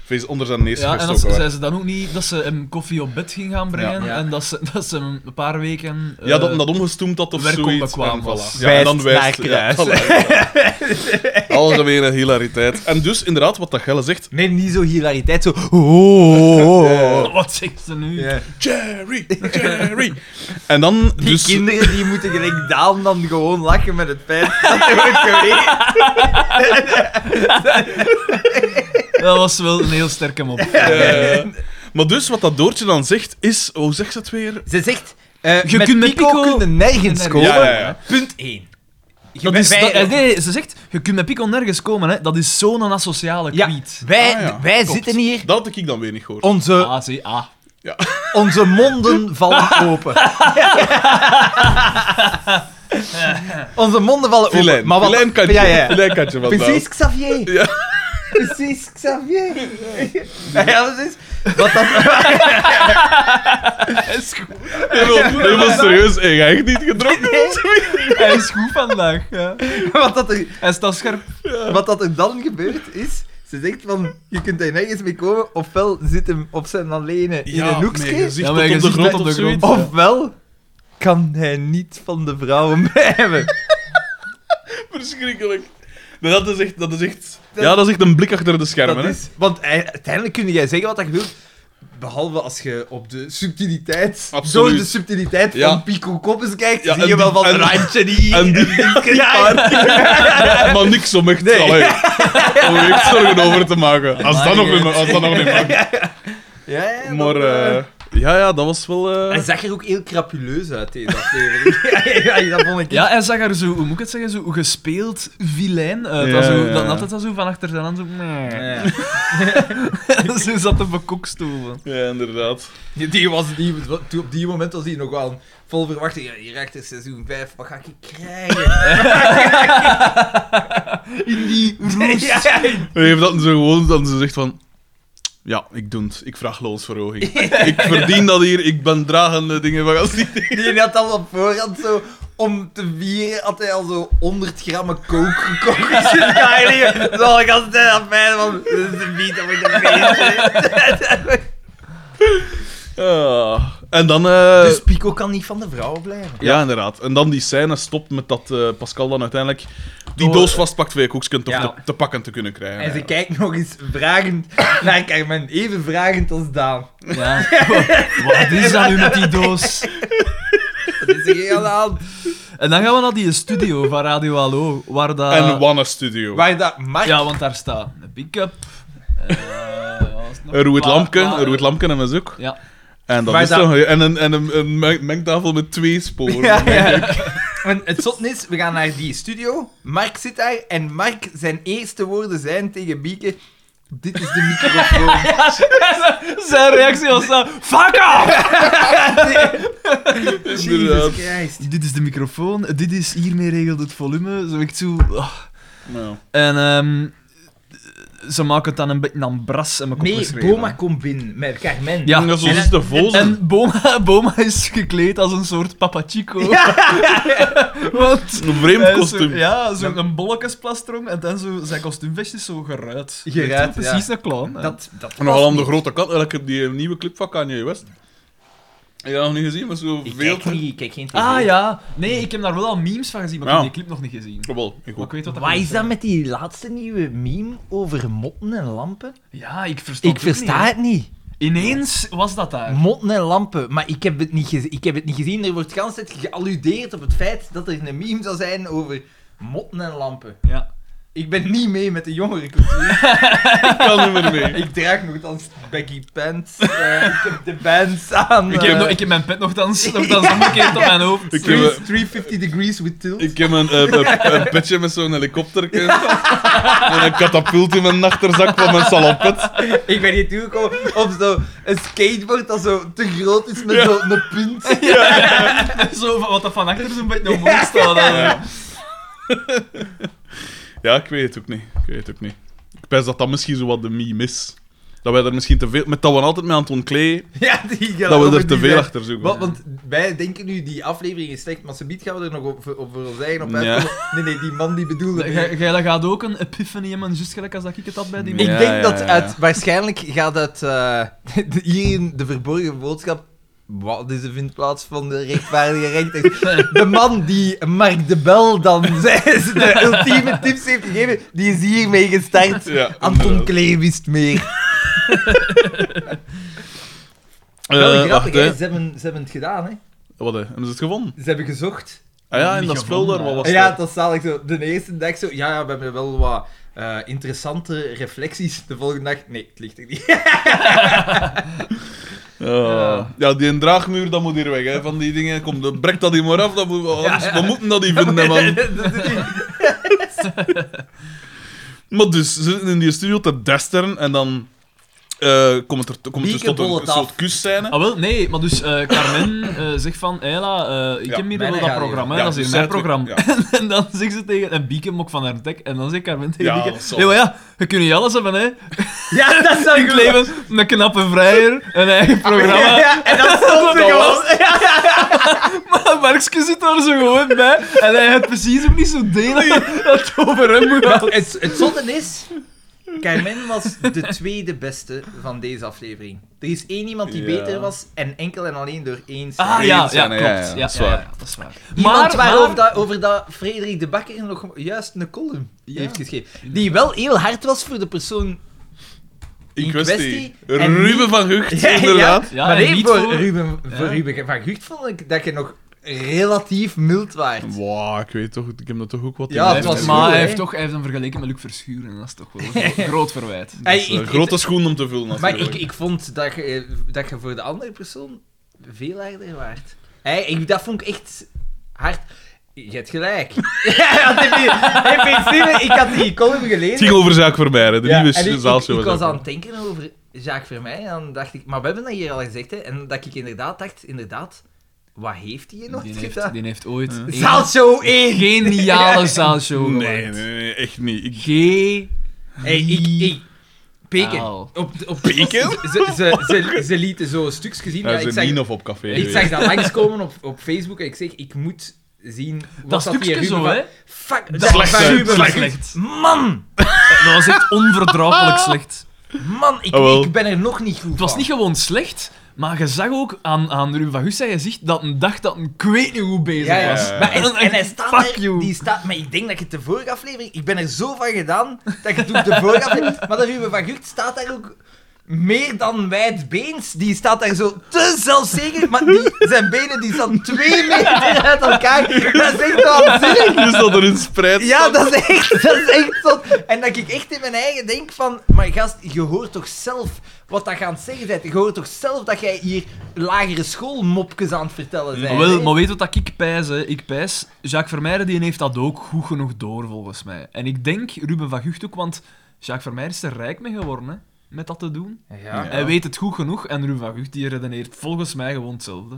Speaker 2: feest onder zijn neus
Speaker 3: Ja, en dan
Speaker 2: gestoken werd.
Speaker 3: zei ze dan ook niet dat ze hem koffie op bed ging gaan brengen
Speaker 2: Ja.
Speaker 1: Ja.
Speaker 3: en dat ze, dat ze hem een paar weken... eh,
Speaker 2: Ja, dat hem dat omgestoomd had of
Speaker 3: werk
Speaker 2: zoiets.
Speaker 3: onbekwaam
Speaker 2: en,
Speaker 3: was.
Speaker 2: voilà. Ja, en dan
Speaker 1: Wijst
Speaker 2: wijst
Speaker 1: naar
Speaker 2: ja,
Speaker 1: kruis.
Speaker 2: voilà, voilà. Algemene hilariteit. En dus inderdaad, wat dat Gelle zegt,
Speaker 1: Nee, niet zo hilariteit, zo. Oh, oh, oh, oh.
Speaker 3: Wat zegt ze nu?
Speaker 1: Ja.
Speaker 2: Jerry, Jerry. En dan
Speaker 1: Die
Speaker 2: dus...
Speaker 1: kinderen die moeten gelijk Daan dan gewoon lachen met het feit dat er wordt geweest.
Speaker 3: Dat was wel een heel sterke mop.
Speaker 2: eh, maar dus, wat dat Doortje dan zegt, is... Hoe zegt ze het weer?
Speaker 1: Ze zegt, eh
Speaker 3: Je
Speaker 1: met
Speaker 3: kunt met
Speaker 1: Pico,
Speaker 3: Pico
Speaker 1: kunnen nergens
Speaker 3: nergens-
Speaker 1: komen.
Speaker 2: Ja, ja, ja.
Speaker 1: Punt 1.
Speaker 3: Dat is, dat- eh, nee, ze zegt, je kunt met Pico nergens komen, hè. dat is zo'n asociale
Speaker 1: Ja,
Speaker 3: kwiet. Ah,
Speaker 1: wij,
Speaker 2: Ah, ja.
Speaker 1: wij
Speaker 2: Klopt.
Speaker 1: zitten hier,
Speaker 2: Dat had ik dan weer niet gehoord.
Speaker 1: onze,
Speaker 3: A, C, A.
Speaker 1: onze monden vallen open. onze monden vallen open.
Speaker 2: Filijn.
Speaker 1: maar wat,
Speaker 2: Filijn kantje.
Speaker 1: Ja, ja.
Speaker 2: Filijn kantje van
Speaker 1: Precies, Xavier.
Speaker 2: Ja.
Speaker 1: Precies, Xavier. Ja, dat is... Wat dat...
Speaker 3: Hij is goed,
Speaker 2: Helemaal, helemaal serieus. Hey, ga ik niet gedronken?
Speaker 3: Hij is goed vandaag. Ja.
Speaker 1: Wat dat er...
Speaker 3: Hij staat scherp.
Speaker 1: Wat dat er dan gebeurt is, ze zegt van, je kunt daar nergens mee komen, ofwel zit hem op zijn alleen in een
Speaker 2: met je
Speaker 1: hoekje,
Speaker 2: gezicht
Speaker 3: Ja,
Speaker 2: tot
Speaker 3: met je
Speaker 2: op de
Speaker 3: gezicht
Speaker 2: grond of
Speaker 3: tot op de
Speaker 2: zoiets.
Speaker 3: grond.
Speaker 1: ofwel kan hij niet van de vrouwen blijven.
Speaker 2: Verschrikkelijk. Nee, dat is echt... Dat is echt
Speaker 1: Dat-
Speaker 2: ja, dat is echt een blik achter de schermen.
Speaker 1: Dat
Speaker 2: hè.
Speaker 1: is, want hij- uiteindelijk kun jij zeggen wat dat je wilt, Behalve als je op de subtiliteit,
Speaker 2: Absoluut.
Speaker 1: zo de subtiliteit
Speaker 2: Ja.
Speaker 1: van Pico Koppes kijkt,
Speaker 2: Ja,
Speaker 1: zie
Speaker 2: en
Speaker 1: je wel
Speaker 2: die-
Speaker 1: van een
Speaker 2: en-
Speaker 1: randje die...
Speaker 2: en die-
Speaker 1: ja,
Speaker 2: Maar niks om echt
Speaker 1: Nee.
Speaker 2: allee, om er echt zorgen over te maken. Als dat nog niet, ma- als dat nog niet mag.
Speaker 1: ja, ja,
Speaker 2: Maar
Speaker 1: dat,
Speaker 2: eh, ja, ja, dat was wel... eh,
Speaker 1: Hij zag er ook heel crapuleus uit, deze aflevering. ja, ja, dat vond ik...
Speaker 3: Ja, hij zag er zo, hoe moet ik het zeggen, zo gespeeld vilijn uit.
Speaker 2: Ja,
Speaker 3: dat zo,
Speaker 2: ja,
Speaker 3: dat,
Speaker 2: ja.
Speaker 3: dat het dan zo van achter zijn hand zo...
Speaker 1: Ja.
Speaker 3: zo zat te bekokstoven.
Speaker 2: Ja, inderdaad.
Speaker 1: Die, die was, die, toen- op die moment was hij nog wel vol verwachting. Ja, hier achter seizoen 5, wat ga ik krijgen?
Speaker 3: In die roes.
Speaker 1: Ja,
Speaker 2: Heeft dat ze gewoon dat ze zegt van... Ja, ik doe het. Ik vraag loonsverhoging. Ik verdien dat hier. Ik ben dragende dingen van als die...
Speaker 1: die had al op voorhand zo... Om te vieren had hij al zo 100 gram coke gekocht. Dus ga hij liggen, Zo, ik had het tijd aan mij, want dit is een beat, dat moet je een beetje.
Speaker 2: Ah. En dan... eh,
Speaker 1: Dus Pico kan niet van de vrouwen blijven.
Speaker 2: Ja, inderdaad. En dan die scène stopt met dat eh, Pascal dan uiteindelijk die
Speaker 3: Oh.
Speaker 2: doos vastpakt voor je koeksken toch
Speaker 1: Ja.
Speaker 2: te, te pakken te kunnen krijgen.
Speaker 1: En ze
Speaker 2: Ja.
Speaker 1: kijkt nog eens vragend naar Carmen. Even vragend als Daan.
Speaker 3: Ja. Wat is dat nu met die doos?
Speaker 1: Wat is er hier aan de hand?
Speaker 3: En dan gaan we naar die studio van Radio Hallo, waar dat...
Speaker 2: En Wanne Studio.
Speaker 1: Waar dat Mark...
Speaker 3: Ja, want daar staat een pick-up. eh, wat was het nog?
Speaker 2: Een rood
Speaker 3: Pla-
Speaker 2: lampje,
Speaker 3: pla-
Speaker 2: een rood lampje en een zoek.
Speaker 3: Ja.
Speaker 2: En dat
Speaker 1: Maar
Speaker 2: is
Speaker 1: dat-
Speaker 2: toch- En een, en een, een meng- mengtafel met twee sporen.
Speaker 1: Ja, ja. En het zot is, we gaan naar die studio. Mark zit daar en Mark, zijn eerste woorden zijn tegen Bieke: Dit is de microfoon.
Speaker 3: Zijn reactie was dan... Fuck off!
Speaker 2: Inderdaad.
Speaker 1: Jesus Christ.
Speaker 3: Dit is de microfoon, dit is... Hiermee regelt het volume. Zo, ik zo... ah.
Speaker 2: Nou.
Speaker 3: En ehm, ze maken het dan een beetje aan bras en mijn kop
Speaker 1: Nee,
Speaker 3: geschreven.
Speaker 1: Boma komt binnen met Carmen.
Speaker 3: Ja.
Speaker 2: Dat
Speaker 1: En-
Speaker 2: is de volgende.
Speaker 3: En Boma, Boma is gekleed als een soort papachico. Want...
Speaker 2: Een vreemd
Speaker 3: hij is
Speaker 2: kostuum.
Speaker 3: Zo, ja, zo'n bolletjesplastron en dan zo, zijn kostuumvest is zo geruit.
Speaker 1: Geruit,
Speaker 3: Zo Precies
Speaker 1: ja.
Speaker 3: een clown. hè.
Speaker 1: Dat, dat
Speaker 2: En nogal
Speaker 1: past
Speaker 2: aan de
Speaker 1: niet.
Speaker 2: grote kat. Ik heb die nieuwe clip van Kanye West. Heb je dat nog niet gezien? Maar zo
Speaker 1: Ik
Speaker 2: veel...
Speaker 1: kijk, niet, ik kijk geen tv.
Speaker 3: Ah ja, nee, ik heb daar wel al memes van gezien, maar
Speaker 2: Ja.
Speaker 3: ik heb die clip nog niet gezien.
Speaker 2: Jawel, ik
Speaker 3: Maar
Speaker 2: ook.
Speaker 3: ik weet wat dat
Speaker 1: Wat is
Speaker 3: bedoelt,
Speaker 1: dat
Speaker 3: hè.
Speaker 1: met die laatste nieuwe meme over motten en lampen?
Speaker 3: Ja, ik versta
Speaker 1: Ik versta het Mm. niet.
Speaker 3: Ineens was dat daar.
Speaker 1: Eh, Motten en lampen, maar ik heb het niet, geze- ik heb het niet gezien. Er wordt de hele tijd gealludeerd op het feit dat er een meme zou zijn over motten en lampen.
Speaker 3: Ja.
Speaker 1: Ik ben niet mee met de jongere cultuur.
Speaker 2: Ik kan niet meer mee.
Speaker 1: ik draag nogthans baggy pants. eh, ik heb de bands aan.
Speaker 3: Ik heb,
Speaker 1: eh,
Speaker 3: nog- ik heb mijn pet nog dans, nog dans omgekeerd op mijn hoofd.
Speaker 2: Ik heb,
Speaker 1: three-
Speaker 2: eh,
Speaker 1: 350 degrees with tilt.
Speaker 2: Ik heb een, eh, een, een petje met zo'n helikopter. En een katapult in mijn achterzak van mijn salopet.
Speaker 1: Ik ben hier toegekomen op zo'n skateboard dat zo te groot is met zo'n punt.
Speaker 3: Zo, van wat dat van achter zo'n beetje omhoog staat. hè.
Speaker 2: Ja, ik weet het ook niet. Ik weet het ook niet. Ik pijs dat dat misschien zo wat de meme is. Dat wij er misschien te veel... Met dat we altijd met Anton Klee...
Speaker 1: Ja, die
Speaker 2: dat we
Speaker 1: geloven
Speaker 2: er te
Speaker 1: die
Speaker 2: veel
Speaker 1: zijn-
Speaker 2: achter zoeken.
Speaker 1: Wat, want wij denken nu, die aflevering is slecht, maar subiet gaan we er nog op, op voor ons eigen op
Speaker 2: Ja.
Speaker 1: uitkomen. Nee, nee, die man die bedoelde...
Speaker 3: Jij jij gaat ook een epiphany hebben, juist gelijk als dat ik het had bij die
Speaker 2: Ja,
Speaker 3: man.
Speaker 1: ik denk dat
Speaker 2: ja, ja.
Speaker 1: uit, waarschijnlijk gaat uit eh, de- hierin de verborgen boodschap. Wat is de vindplaats van de rechtvaardige rechter? De man die Mark de Bel dan zes, de ultieme tips heeft gegeven, die is hiermee gestart.
Speaker 2: Ja,
Speaker 1: Anton
Speaker 2: inderdaad.
Speaker 1: Klee wist meer.
Speaker 2: Eh,
Speaker 1: Wel grappig,
Speaker 2: wacht, hè.
Speaker 1: hè. Ze, hebben, ze hebben het gedaan, hè?
Speaker 2: Wat, hè? Hebben ze het gevonden?
Speaker 1: Ze hebben gezocht.
Speaker 2: Ah ja, en
Speaker 3: Niet
Speaker 2: dat spul
Speaker 3: gevonden,
Speaker 2: daar, wat was
Speaker 1: En ja,
Speaker 2: dat?
Speaker 1: het was zalig zo. De eerste dag zo. Ja, ja we hebben wel wat eh, interessante reflecties. De volgende dag. Nee, het ligt er niet.
Speaker 2: Ja. Ja, die draagmuur, dat moet hier weg, hè. Van die dingen. Kom, dan brek dat hier maar af. Dat moet, anders- We moeten dat hier vinden, man.
Speaker 1: Dat is niet-
Speaker 2: Maar dus, ze zitten in die studio te desteren en dan eh komt het er, komt het dus
Speaker 1: Bieke
Speaker 2: tot een
Speaker 1: bollet af.
Speaker 2: soort kusscène.
Speaker 3: Ah, wel, nee, maar dus eh, Carmen eh, zegt van, Eila, eh ik
Speaker 2: Ja,
Speaker 3: heb hier
Speaker 1: mijn
Speaker 3: wel dat
Speaker 1: radio.
Speaker 3: programma,
Speaker 2: Ja,
Speaker 3: dat is
Speaker 2: dus zij
Speaker 3: hier mijn
Speaker 2: twee-
Speaker 3: programma.
Speaker 2: ja.
Speaker 3: en dan zegt ze tegen, en Bieke mok van haar dek, en dan zegt Carmen tegen
Speaker 2: Ja, dat is
Speaker 3: Bieke,
Speaker 2: zo.
Speaker 3: nee, maar ja, je kunt niet alles hebben, hè.
Speaker 1: Ja, dat zou
Speaker 3: Ik leven een knappe vrijer, een
Speaker 2: Ah,
Speaker 3: eigen programma.
Speaker 1: Ja, en dan stond ze
Speaker 3: Dat
Speaker 1: gewoon.
Speaker 3: Maar Markske zit daar zo gewoon bij, en hij gaat precies ook niet zo delen dat het over hem
Speaker 1: Maar
Speaker 3: gaat.
Speaker 1: het, het zonde is, Carmen was de tweede beste van deze aflevering. Er is één iemand die
Speaker 2: Ja.
Speaker 1: beter was en enkel en alleen door één stem.
Speaker 3: Ah, ja, ja,
Speaker 2: Ja,
Speaker 3: klopt.
Speaker 2: ja, ja,
Speaker 3: Ja,
Speaker 2: dat is
Speaker 3: ja, ja,
Speaker 2: waar.
Speaker 3: dat is waar.
Speaker 1: Iemand
Speaker 3: maar,
Speaker 1: waarover
Speaker 3: maar,
Speaker 1: dat, over dat Frederik de Bakker nog juist een column
Speaker 3: Ja.
Speaker 1: heeft geschreven. Die wel heel hard was voor de persoon
Speaker 2: in
Speaker 1: in
Speaker 2: kwestie.
Speaker 1: kwestie en
Speaker 2: Ruben
Speaker 1: niet-
Speaker 2: van Gucht,
Speaker 1: Ja, ja.
Speaker 2: inderdaad.
Speaker 3: Ja,
Speaker 1: maar
Speaker 3: en
Speaker 1: nee,
Speaker 3: niet
Speaker 1: voor,
Speaker 3: voor-
Speaker 1: Ruben, voor
Speaker 3: Ja.
Speaker 1: Ruben van Gucht vond ik dat je nog relatief mild waart.
Speaker 2: Wauw, ik weet toch, ik heb dat toch ook wat
Speaker 1: Ja,
Speaker 2: in
Speaker 1: het
Speaker 2: mijn
Speaker 1: was
Speaker 2: hoofd.
Speaker 3: maar
Speaker 1: goed,
Speaker 3: hij
Speaker 1: hè?
Speaker 3: heeft, toch, hij heeft hem vergeleken met Luc Verschuren. en Dat is toch wel een groot verwijt.
Speaker 1: Hey,
Speaker 2: Dat is,
Speaker 1: ik-
Speaker 2: eh,
Speaker 1: ik-
Speaker 2: grote schoen om te vullen,
Speaker 1: Maar
Speaker 2: natuurlijk.
Speaker 1: ik, ik vond dat je, eh, dat je voor de andere persoon veel harder waart. Hey, ik, dat vond ik echt hard. Je hebt gelijk. ja, want in prin- in principe, ik had die column
Speaker 2: Het
Speaker 1: gelezen.
Speaker 2: ging over Zaak Vermeijden, de
Speaker 1: Ja,
Speaker 2: nieuwe
Speaker 1: en ik,
Speaker 2: zaal.
Speaker 1: ik, ik was aan het denken over Jacques Vermeij en dan dacht ik, maar we hebben dat hier al gezegd, hè, en dat ik inderdaad dacht, inderdaad, wat heeft hij nooit
Speaker 3: Die
Speaker 1: gedaan?
Speaker 3: heeft, die heeft ooit
Speaker 2: Ja.
Speaker 3: een
Speaker 1: Zaalshow 1!
Speaker 3: geniale zaalshow
Speaker 2: Nee, nee,
Speaker 3: gemaakt.
Speaker 2: nee, echt niet. Ik,
Speaker 3: Ge-
Speaker 1: Hey, ik, ik, Peken.
Speaker 3: Au.
Speaker 1: Op, de- op
Speaker 2: Peken?
Speaker 1: Ze, ze, ze, ze, ze lieten zo stukjes zien.
Speaker 2: daar
Speaker 1: Ja,
Speaker 2: is
Speaker 1: ik
Speaker 2: een
Speaker 1: zag,
Speaker 2: Nien of op café.
Speaker 1: ik zag dat langskomen op, op Facebook en ik zeg, ik moet zien wat
Speaker 3: Dat
Speaker 1: hier
Speaker 3: stukje
Speaker 1: Ruben
Speaker 3: zo,
Speaker 1: van-
Speaker 3: hè?
Speaker 1: Fuck, dat,
Speaker 2: Slecht,
Speaker 1: van
Speaker 2: hè?
Speaker 1: Ruben
Speaker 2: Slecht.
Speaker 1: van Gucht. Man,
Speaker 3: Dat was echt
Speaker 1: Ah.
Speaker 3: onverdraaglijk slecht.
Speaker 1: man, ik,
Speaker 2: Ah, wel.
Speaker 1: ik ben er nog niet goed
Speaker 3: Het was
Speaker 1: van.
Speaker 3: niet gewoon slecht, maar je zag ook aan, aan Ruben van Gusta, je ziet dat een dag dat een ik weet niet hoe bezig
Speaker 1: Ja, ja.
Speaker 3: was.
Speaker 2: Ja.
Speaker 1: Maar en, en hij staat
Speaker 3: Fuck
Speaker 1: er,
Speaker 3: you.
Speaker 1: die staat, maar ik denk dat je de vorige aflevering, ik ben er zo van gedaan dat je toen de vorige aflevering, maar de Ruben van Gucht staat daar ook meer dan wijdbeens, die staat daar zo te zelfzeker, maar die, zijn benen die staan twee meter uit elkaar, dat is echt waanzinnig.
Speaker 2: Dus dat er een spreid
Speaker 1: Ja,
Speaker 2: stond.
Speaker 1: dat is echt, dat is echt zot. En dat ik echt in mijn eigen denk van, maar gast, je hoort toch zelf wat dat je aan het zeggen bent, je hoort toch zelf dat jij hier lagere schoolmopjes aan het vertellen bent.
Speaker 3: Maar, wel,
Speaker 1: hè?
Speaker 3: maar weet wat dat ik pijs? Hè? Ik pijs, Jacques Vermeijden die heeft dat ook goed genoeg door, volgens mij. En ik denk Ruben van Gucht ook, want Jacques Vermeijden is er rijk mee geworden, hè, met dat te doen.
Speaker 1: Ja.
Speaker 2: Ja.
Speaker 3: Hij weet het goed genoeg en Ruben van Gucht die redeneert volgens mij gewoon hetzelfde.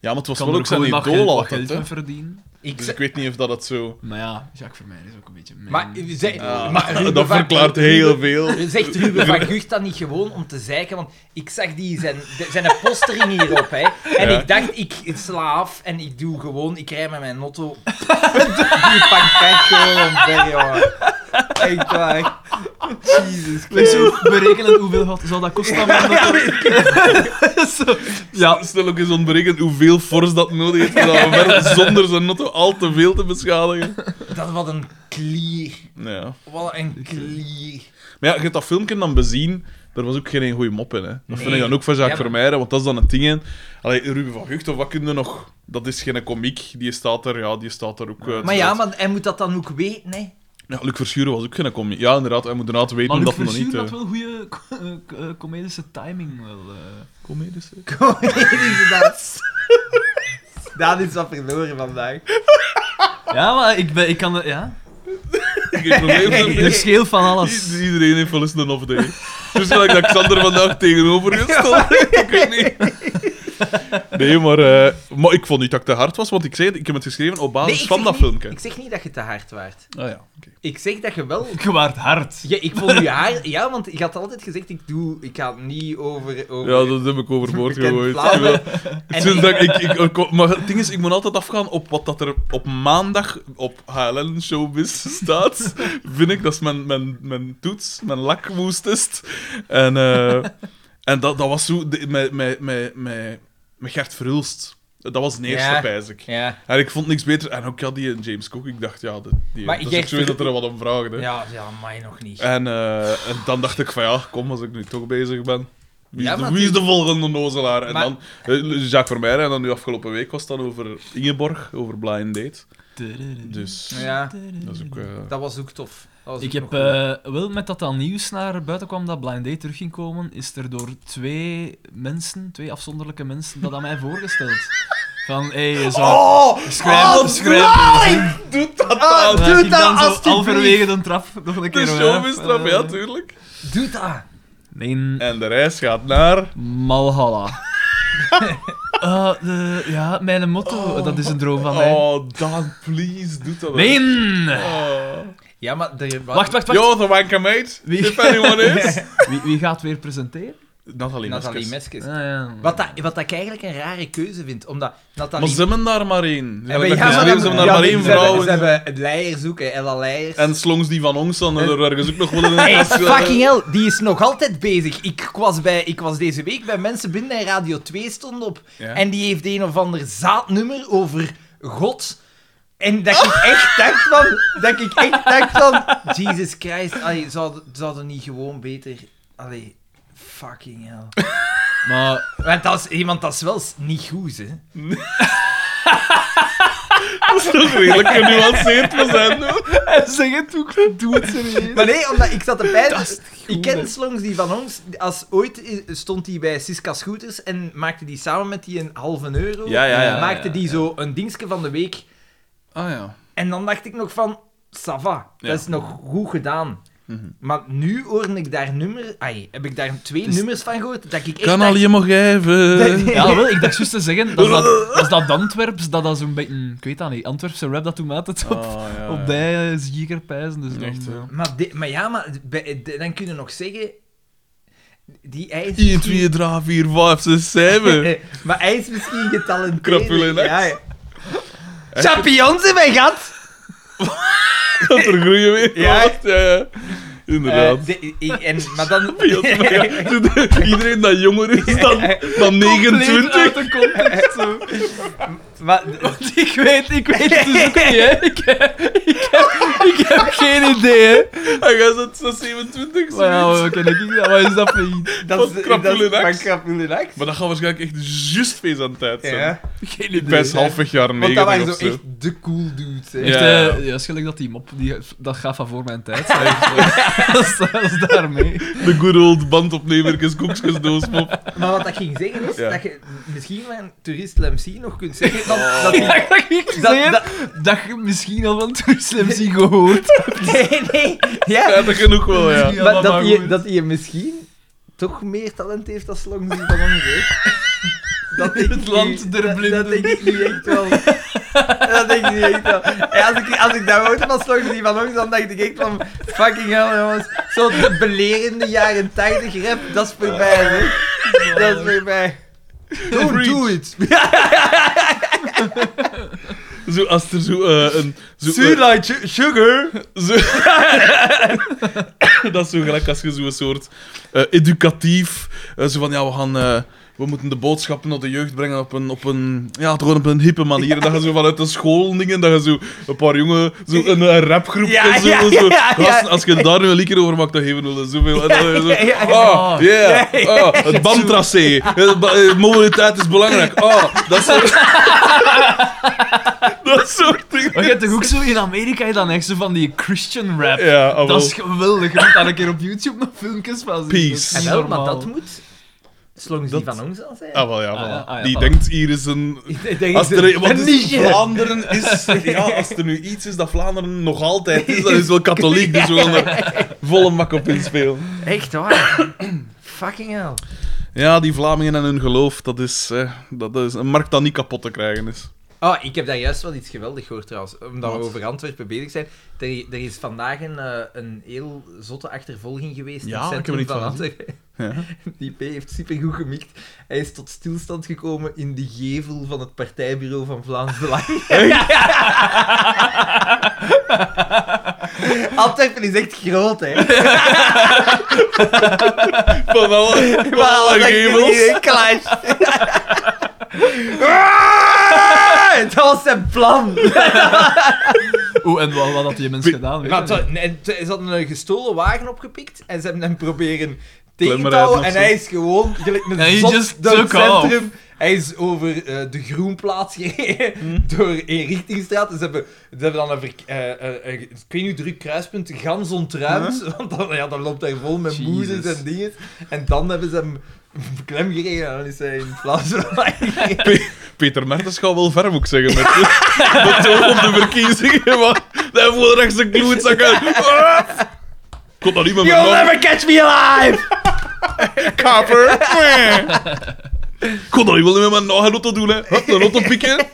Speaker 2: Ja, maar het was
Speaker 3: Kan
Speaker 2: wel
Speaker 3: er
Speaker 2: ook zijn
Speaker 3: gewoon wat
Speaker 2: idool
Speaker 3: geld- wat
Speaker 2: altijd,
Speaker 3: geld
Speaker 2: hè.
Speaker 3: mee verdienen.
Speaker 1: Ik
Speaker 2: Dus
Speaker 1: ze-
Speaker 2: ik weet niet of dat het zo...
Speaker 3: Maar ja, Jacques Vermeijden is ook een beetje...
Speaker 1: Maar,
Speaker 3: mijn-
Speaker 1: u zei-
Speaker 2: Ja,
Speaker 1: maar Ruben
Speaker 2: Ah. dat
Speaker 1: van-
Speaker 2: verklaart
Speaker 1: Ruben-
Speaker 2: heel veel.
Speaker 1: Zegt Ruben van Gucht dat niet gewoon om te zeiken? Want ik zag die zijn, de- zijn postering hierop, hè. En
Speaker 2: Ja.
Speaker 1: ik dacht, ik sla af en ik doe gewoon... Ik rij met mijn notto... die pak kijk gewoon omver, jongen. Echt waar. Jesus
Speaker 3: Leg
Speaker 1: Christus.
Speaker 3: zo berekenen hoeveel gaat, zal dat kosten? maar dat- Zo, ja,
Speaker 2: Stel ook eens ontbreken hoeveel fors dat nodig heeft om dat werk zonder zijn notto al te veel te beschadigen.
Speaker 1: Dat wat een klier.
Speaker 2: Ja.
Speaker 1: Wat een klier.
Speaker 2: Maar ja, je hebt dat filmpje dan bezien, daar was ook geen goede mop in. Hè. Dat vind
Speaker 1: Nee.
Speaker 2: ik dan ook van Jacques
Speaker 1: Ja, maar-
Speaker 2: Vermeijden, want dat is dan het ding. hè. Allee, Ruben van Gucht, of wat kun je nog? Dat is geen komiek, die staat er, ja, die staat er ook... eh,
Speaker 1: Maar ja,
Speaker 2: uit.
Speaker 1: maar hij moet dat dan ook weten, hè.
Speaker 2: ja, Luc Verschuren was ook geen komiek. Ja, inderdaad, hij moet inderdaad weten
Speaker 3: maar
Speaker 2: dat
Speaker 3: Luc
Speaker 2: hij nog niet...
Speaker 3: Verschuren had
Speaker 2: eh,
Speaker 3: wel goede co- eh, co- eh, comedische timing. Wel, eh.
Speaker 2: Comedische.
Speaker 1: Kom, hier is dat. Daan is wat verloren vandaag.
Speaker 3: Ja, maar ik, ben, ik kan... er- Ja.
Speaker 2: Geen probleem. Dus
Speaker 3: Er scheelt van alles.
Speaker 2: I- Iedereen heeft wel eens een off day. Dus gelijk dat Xander vandaag tegenover je stond. ik weet niet. Nee, maar, eh, maar ik vond niet dat ik te hard was, want ik zei het, ik heb het geschreven op basis
Speaker 1: ik
Speaker 2: van
Speaker 1: zeg
Speaker 2: dat
Speaker 1: niet-
Speaker 2: filmpje.
Speaker 1: Ik zeg niet dat je te hard waart.
Speaker 2: Ah ja, oké.
Speaker 1: Ik zeg dat je wel...
Speaker 3: Je waart hard.
Speaker 1: Ja, ik vond je haar... Ja, want je had altijd gezegd, ik, doe, ik ga niet over... over...
Speaker 2: Ja, dat heb ik overboord
Speaker 1: Bekend
Speaker 2: gegooid.
Speaker 1: Vlaanderen.
Speaker 2: Ja. Sinds dat ik, ik, ik- ik- maar het ding is, ik moet altijd afgaan op wat dat er op maandag op HLN Showbiz staat. Vind ik, dat is mijn, mijn, mijn toets, mijn lakmoestest. En, eh, en dat, dat was zo, de- met, met, met, met, met Gert Verhulst. Dat was de eerste,
Speaker 1: Ja.
Speaker 2: pijs ik.
Speaker 1: Ja.
Speaker 2: En ik vond niks beter. En ook ja, die en James Cook, ik dacht, ja, die, die,
Speaker 1: Maar
Speaker 2: dat is
Speaker 1: Gert
Speaker 2: ook zo dat er wat om vragen. hè.
Speaker 1: Ja, ja, mij nog niet.
Speaker 2: En, eh, en dan dacht ik van ja, kom, als ik nu toch bezig ben. Wie is,
Speaker 1: Ja,
Speaker 2: de,
Speaker 1: maar
Speaker 2: wie is
Speaker 1: het
Speaker 2: de volgende nozelaar? En
Speaker 1: Maar-
Speaker 2: dan eh, Jacques Vermeijden. En dan nu afgelopen week was het dan over Ingeborg, over Blind Date. Dus
Speaker 1: Ja,
Speaker 2: dat is ook... eh,
Speaker 1: dat was ook tof. Dat was
Speaker 3: Ik
Speaker 1: ook
Speaker 3: heb
Speaker 1: nog goed.
Speaker 3: eh, wel met dat al nieuws naar buiten kwam dat Blind Date terug ging komen, is er door twee mensen, twee afzonderlijke mensen, dat aan mij voorgesteld. Van, hé, hey, zou...
Speaker 1: Oh!
Speaker 3: schrijf-
Speaker 1: oh,
Speaker 3: schrijf-
Speaker 1: Dalai!
Speaker 2: Doet ah, dat
Speaker 1: Ah,
Speaker 2: dan?
Speaker 3: Dan
Speaker 1: doe
Speaker 3: heb ik
Speaker 1: dat
Speaker 3: dan zo
Speaker 1: alstublieft.
Speaker 3: halverwege de trap nog een
Speaker 2: De
Speaker 3: keer...
Speaker 2: show
Speaker 3: eh,
Speaker 2: is eraf, ja,
Speaker 3: eh,
Speaker 2: tuurlijk.
Speaker 1: Doe dat!
Speaker 3: Nee,
Speaker 2: En de reis gaat naar...
Speaker 3: Malhalla. Eh, de- ja, mijn motto, dat is een droom van mij.
Speaker 2: Oh, Dan, please, doet dat
Speaker 3: Nee!
Speaker 2: Oh.
Speaker 1: Ja, maar... Er,
Speaker 3: Wacht, wacht, wacht.
Speaker 2: Yo, the wanker mate,
Speaker 3: Wie-
Speaker 2: if anyone is.
Speaker 3: Wie, wie gaat weer presenteren?
Speaker 2: Nathalie
Speaker 1: Nathalie
Speaker 2: Meskes.
Speaker 1: Meskes.
Speaker 3: Ah, ja.
Speaker 1: Wat, dat, wat dat ik eigenlijk een rare keuze vind, omdat
Speaker 2: Maar
Speaker 1: Nathalie...
Speaker 2: ze hebben daar maar één. Ze
Speaker 1: Ja, maar
Speaker 2: hebben
Speaker 1: ja, maar
Speaker 2: daar
Speaker 1: dan-
Speaker 2: geschreven, ze hebben daar
Speaker 1: ja,
Speaker 2: maar één
Speaker 1: ze hebben-
Speaker 2: vrouw.
Speaker 1: Ze hebben Leijers zoeken, Ella Leijers.
Speaker 2: En slongs die van ons dan er ergens ook nog wel in.
Speaker 1: Hey, fucking hell, die is nog altijd bezig. Ik was, bij, ik was deze week bij mensen binnen en Radio 2 stond op.
Speaker 2: Ja.
Speaker 1: En die heeft een of ander zaadnummer over God. En dat ik echt dacht van... Dat ik echt dacht van... Jesus Christ, allee, zouden zou niet gewoon beter Allee, fucking hell.
Speaker 3: Maar
Speaker 1: Want dat is iemand, dat is wel s- niet goed, hè.
Speaker 2: Dat is toch redelijk genuanceerd we zijn. hoor.
Speaker 3: zeg het ook, doe het serieus.
Speaker 1: Maar nee, omdat ik zat te pijn.
Speaker 3: goed,
Speaker 1: Ik ken
Speaker 3: hè.
Speaker 1: Slongs die van ons. Als ooit i- stond hij bij Siska Scooters en maakte die samen met die een halve euro.
Speaker 2: Ja, ja,
Speaker 1: En
Speaker 2: ja,
Speaker 1: maakte
Speaker 3: ja,
Speaker 1: die
Speaker 3: ja.
Speaker 1: zo een dingetje van de week.
Speaker 2: Ah ja.
Speaker 1: En dan dacht ik nog van, Sava,
Speaker 2: Ja.
Speaker 1: dat is nog goed gedaan.
Speaker 2: Mhm.
Speaker 1: Maar nu hoorde ik daar nummer, ai, heb ik daar twee
Speaker 2: Dus-
Speaker 1: nummers van gehoord dat ik echt
Speaker 2: Kan al
Speaker 1: dacht-
Speaker 2: je mag even.
Speaker 1: Nee.
Speaker 3: Ja, wel, ik dacht juist te zeggen, dat is dat, dat, is dat Antwerps, dat dat zo'n beetje, ik weet dat niet, Antwerpse rap dat toen altijd op,
Speaker 2: Ah, ja,
Speaker 3: op
Speaker 2: ja.
Speaker 3: die eh, zieker pijzen. Dus dan,
Speaker 2: Echt,
Speaker 3: eh,
Speaker 2: hè.
Speaker 1: Maar, di- maar ja, maar bij- de- dan kun je nog zeggen, die hij is
Speaker 2: 1,
Speaker 1: misschien- Eh,
Speaker 2: 2, 3, 4, 5, 6, 7.
Speaker 1: maar hij is misschien getalenteerd.
Speaker 2: Krapul in, hè?
Speaker 1: ja, ja. Champions in mijn gat!
Speaker 2: Dat er groeien weer.
Speaker 1: Ja.
Speaker 2: Ja, ja. Inderdaad.
Speaker 1: Eh, de- ik- en, maar dan...
Speaker 2: Iedereen dat jonger is dan, dan
Speaker 3: compleet
Speaker 2: 29.
Speaker 3: uit de context, zo.
Speaker 1: maar,
Speaker 3: Want ik weet, ik weet het dus ook niet, hè. Ik, heb- ik, heb, ik heb geen idee, hè.
Speaker 2: Hij gaat het zo 27
Speaker 3: Maar ja,
Speaker 2: zijn.
Speaker 3: wat ken ik dat? Wat is dat voor iets?
Speaker 1: dat
Speaker 2: Van
Speaker 1: is,
Speaker 2: Krapul
Speaker 1: dat is
Speaker 2: in Ax.
Speaker 1: van Krapul in Ax.
Speaker 2: Maar dat gaat waarschijnlijk echt juist feest aan tijd zijn.
Speaker 1: Ja.
Speaker 3: Geen
Speaker 2: Ik ben
Speaker 3: idee.
Speaker 2: halfweg jaar
Speaker 1: Want dat
Speaker 2: 90
Speaker 1: waren
Speaker 2: of
Speaker 1: zo
Speaker 2: zo.
Speaker 1: echt de cool dudes. hè.
Speaker 3: Echt,
Speaker 2: Ja.
Speaker 3: eh, ja, is gelijk dat die mop, die, dat gaat van voor mijn tijd. zijn. dat, is, dat is daarmee.
Speaker 2: De good old bandopnemerkes, koekjes, doosmop.
Speaker 1: Maar wat dat ging zeggen is
Speaker 2: Ja.
Speaker 1: dat je misschien van een toerist LMC nog kunt zeggen dat...
Speaker 2: Oh.
Speaker 1: dat die-
Speaker 3: Ja, dat, ik
Speaker 1: dat,
Speaker 3: zeggen
Speaker 1: dat-
Speaker 3: dat je misschien al van Toerislim zie gehoord.
Speaker 1: nee, nee. Ja,
Speaker 2: Prettig genoeg wel, ja.
Speaker 3: Ja,
Speaker 1: maar
Speaker 3: maar
Speaker 1: dat,
Speaker 3: maar
Speaker 1: je,
Speaker 3: goed.
Speaker 1: dat je misschien toch meer talent heeft als Long dan ons, hè. Dat denk
Speaker 3: Het
Speaker 1: ik
Speaker 3: land
Speaker 1: nu-
Speaker 3: der
Speaker 1: dat-
Speaker 3: blinden.
Speaker 1: Dat denk ik nu echt wel. Dat denk ik nu echt wel. En als ik, als ik dat hoorde van Slong die van ons, dan dacht ik echt van... Fucking hell, jongens. Zo'n belerende jaren 80 rap, dat is voorbij, hè. Dat is voorbij. Don't do it.
Speaker 2: Zo, als er zo eh, een... Zo, eh,
Speaker 1: like sugar.
Speaker 2: zo, dat is zo gelijk als je zo'n soort eh, educatief... eh, zo van, ja, we gaan... eh, we moeten de boodschappen naar de jeugd brengen op een, op een, ja, gewoon op een hippe manier. En dat je zo vanuit de school dingen, dat je zo een paar jongen, zo een eh, rapgroep
Speaker 1: Ja,
Speaker 2: en zo.
Speaker 1: ja,
Speaker 2: en zo.
Speaker 1: ja, ja.
Speaker 2: Gasten, als je daar nu een liedje over maakt, dan geven we er zoveel. En dan je zo,
Speaker 1: Ja, ja, Oh. ja.
Speaker 2: ah, yeah, ah, het bandtracé. Eh, ba- eh, Mobiliteit is belangrijk. Ah, dat soort... dat soort dingen.
Speaker 3: Maar je hebt toch ook zo in Amerika dan echt zo van die Christian rap.
Speaker 2: Ja, ah, wel.
Speaker 3: dat is geweldig. Je moet daar een keer op YouTube nog filmpjes van zien.
Speaker 2: Peace.
Speaker 3: Dat is
Speaker 1: En
Speaker 3: niet
Speaker 1: wel, maar
Speaker 3: normaal.
Speaker 1: dat moet Slong die
Speaker 2: Dat-
Speaker 1: van ons al zijn.
Speaker 2: Ah, wel, ja,
Speaker 3: Ah,
Speaker 2: voilà.
Speaker 3: ja, ah, ja,
Speaker 2: Die
Speaker 3: voilà.
Speaker 2: denkt, hier is een...
Speaker 1: Ik denk
Speaker 2: Als
Speaker 1: dat-
Speaker 2: er, want
Speaker 1: een
Speaker 2: is-
Speaker 1: niche.
Speaker 2: Vlaanderen is... Ja, als er nu iets is dat Vlaanderen nog altijd is, dat is wel katholiek, dus we gaan er volle mak op inspelen.
Speaker 1: Echt waar. Fucking hell.
Speaker 2: Ja, die Vlamingen en hun geloof, dat is, eh, dat is een markt dat niet kapot te krijgen is.
Speaker 1: Oh, ik heb daar juist wel iets geweldig gehoord trouwens, omdat we
Speaker 2: Wat?
Speaker 1: over Antwerpen bezig zijn. Er, er is vandaag een, eh, een heel zotte achtervolging geweest
Speaker 2: Ja,
Speaker 1: in het
Speaker 2: ik heb er
Speaker 1: centrum
Speaker 2: niet
Speaker 1: van
Speaker 2: van
Speaker 1: Antwerpen.
Speaker 2: Ja.
Speaker 1: Die P heeft supergoed gemikt. Hij is tot stilstand gekomen in de gevel van het partijbureau van Vlaams Belang. Antwerpen is echt groot, hè.
Speaker 2: Van alle, van
Speaker 1: Maar
Speaker 2: alle
Speaker 1: alles
Speaker 2: gevels.
Speaker 1: in clash. Ah, Dat was zijn plan.
Speaker 3: Oeh, Oh, en wat, wat had die mens gedaan? Weet
Speaker 1: Maar
Speaker 3: je
Speaker 1: ze, nee, ze ze hadden een gestolen wagen opgepikt en ze hebben hem proberen tegen te
Speaker 2: Klemmen
Speaker 1: houden. En
Speaker 2: rijden of zo.
Speaker 1: hij is gewoon gelijk
Speaker 3: And he
Speaker 1: een zot
Speaker 3: just
Speaker 1: door het
Speaker 3: took off.
Speaker 1: centrum. Hij is over eh, de Groenplaats gereden,
Speaker 3: Hm.
Speaker 1: door een richtingstraat. En ze hebben, ze hebben dan een, verk- eh, eh, eh, ik weet niet hoe druk kruispunt, gans ontruimd. Want dan, ja, dan loopt hij vol met
Speaker 3: Jesus.
Speaker 1: moeders en dingen. En dan hebben ze hem klem gereden en dan is hij in Vlaanderen gereden.
Speaker 2: Pe- Peter Mertens gaat wel ver, moet ik zeggen, met, met zo op de verkiezingen. Maar daar voelde rechts een kloetzak uit. Ah! Komt dan iemand met
Speaker 1: You'll
Speaker 2: een
Speaker 1: never catch me alive!
Speaker 2: kapper? Kon dat niet wel met mijn nog een auto doen, hè? Hup, een auto pikken.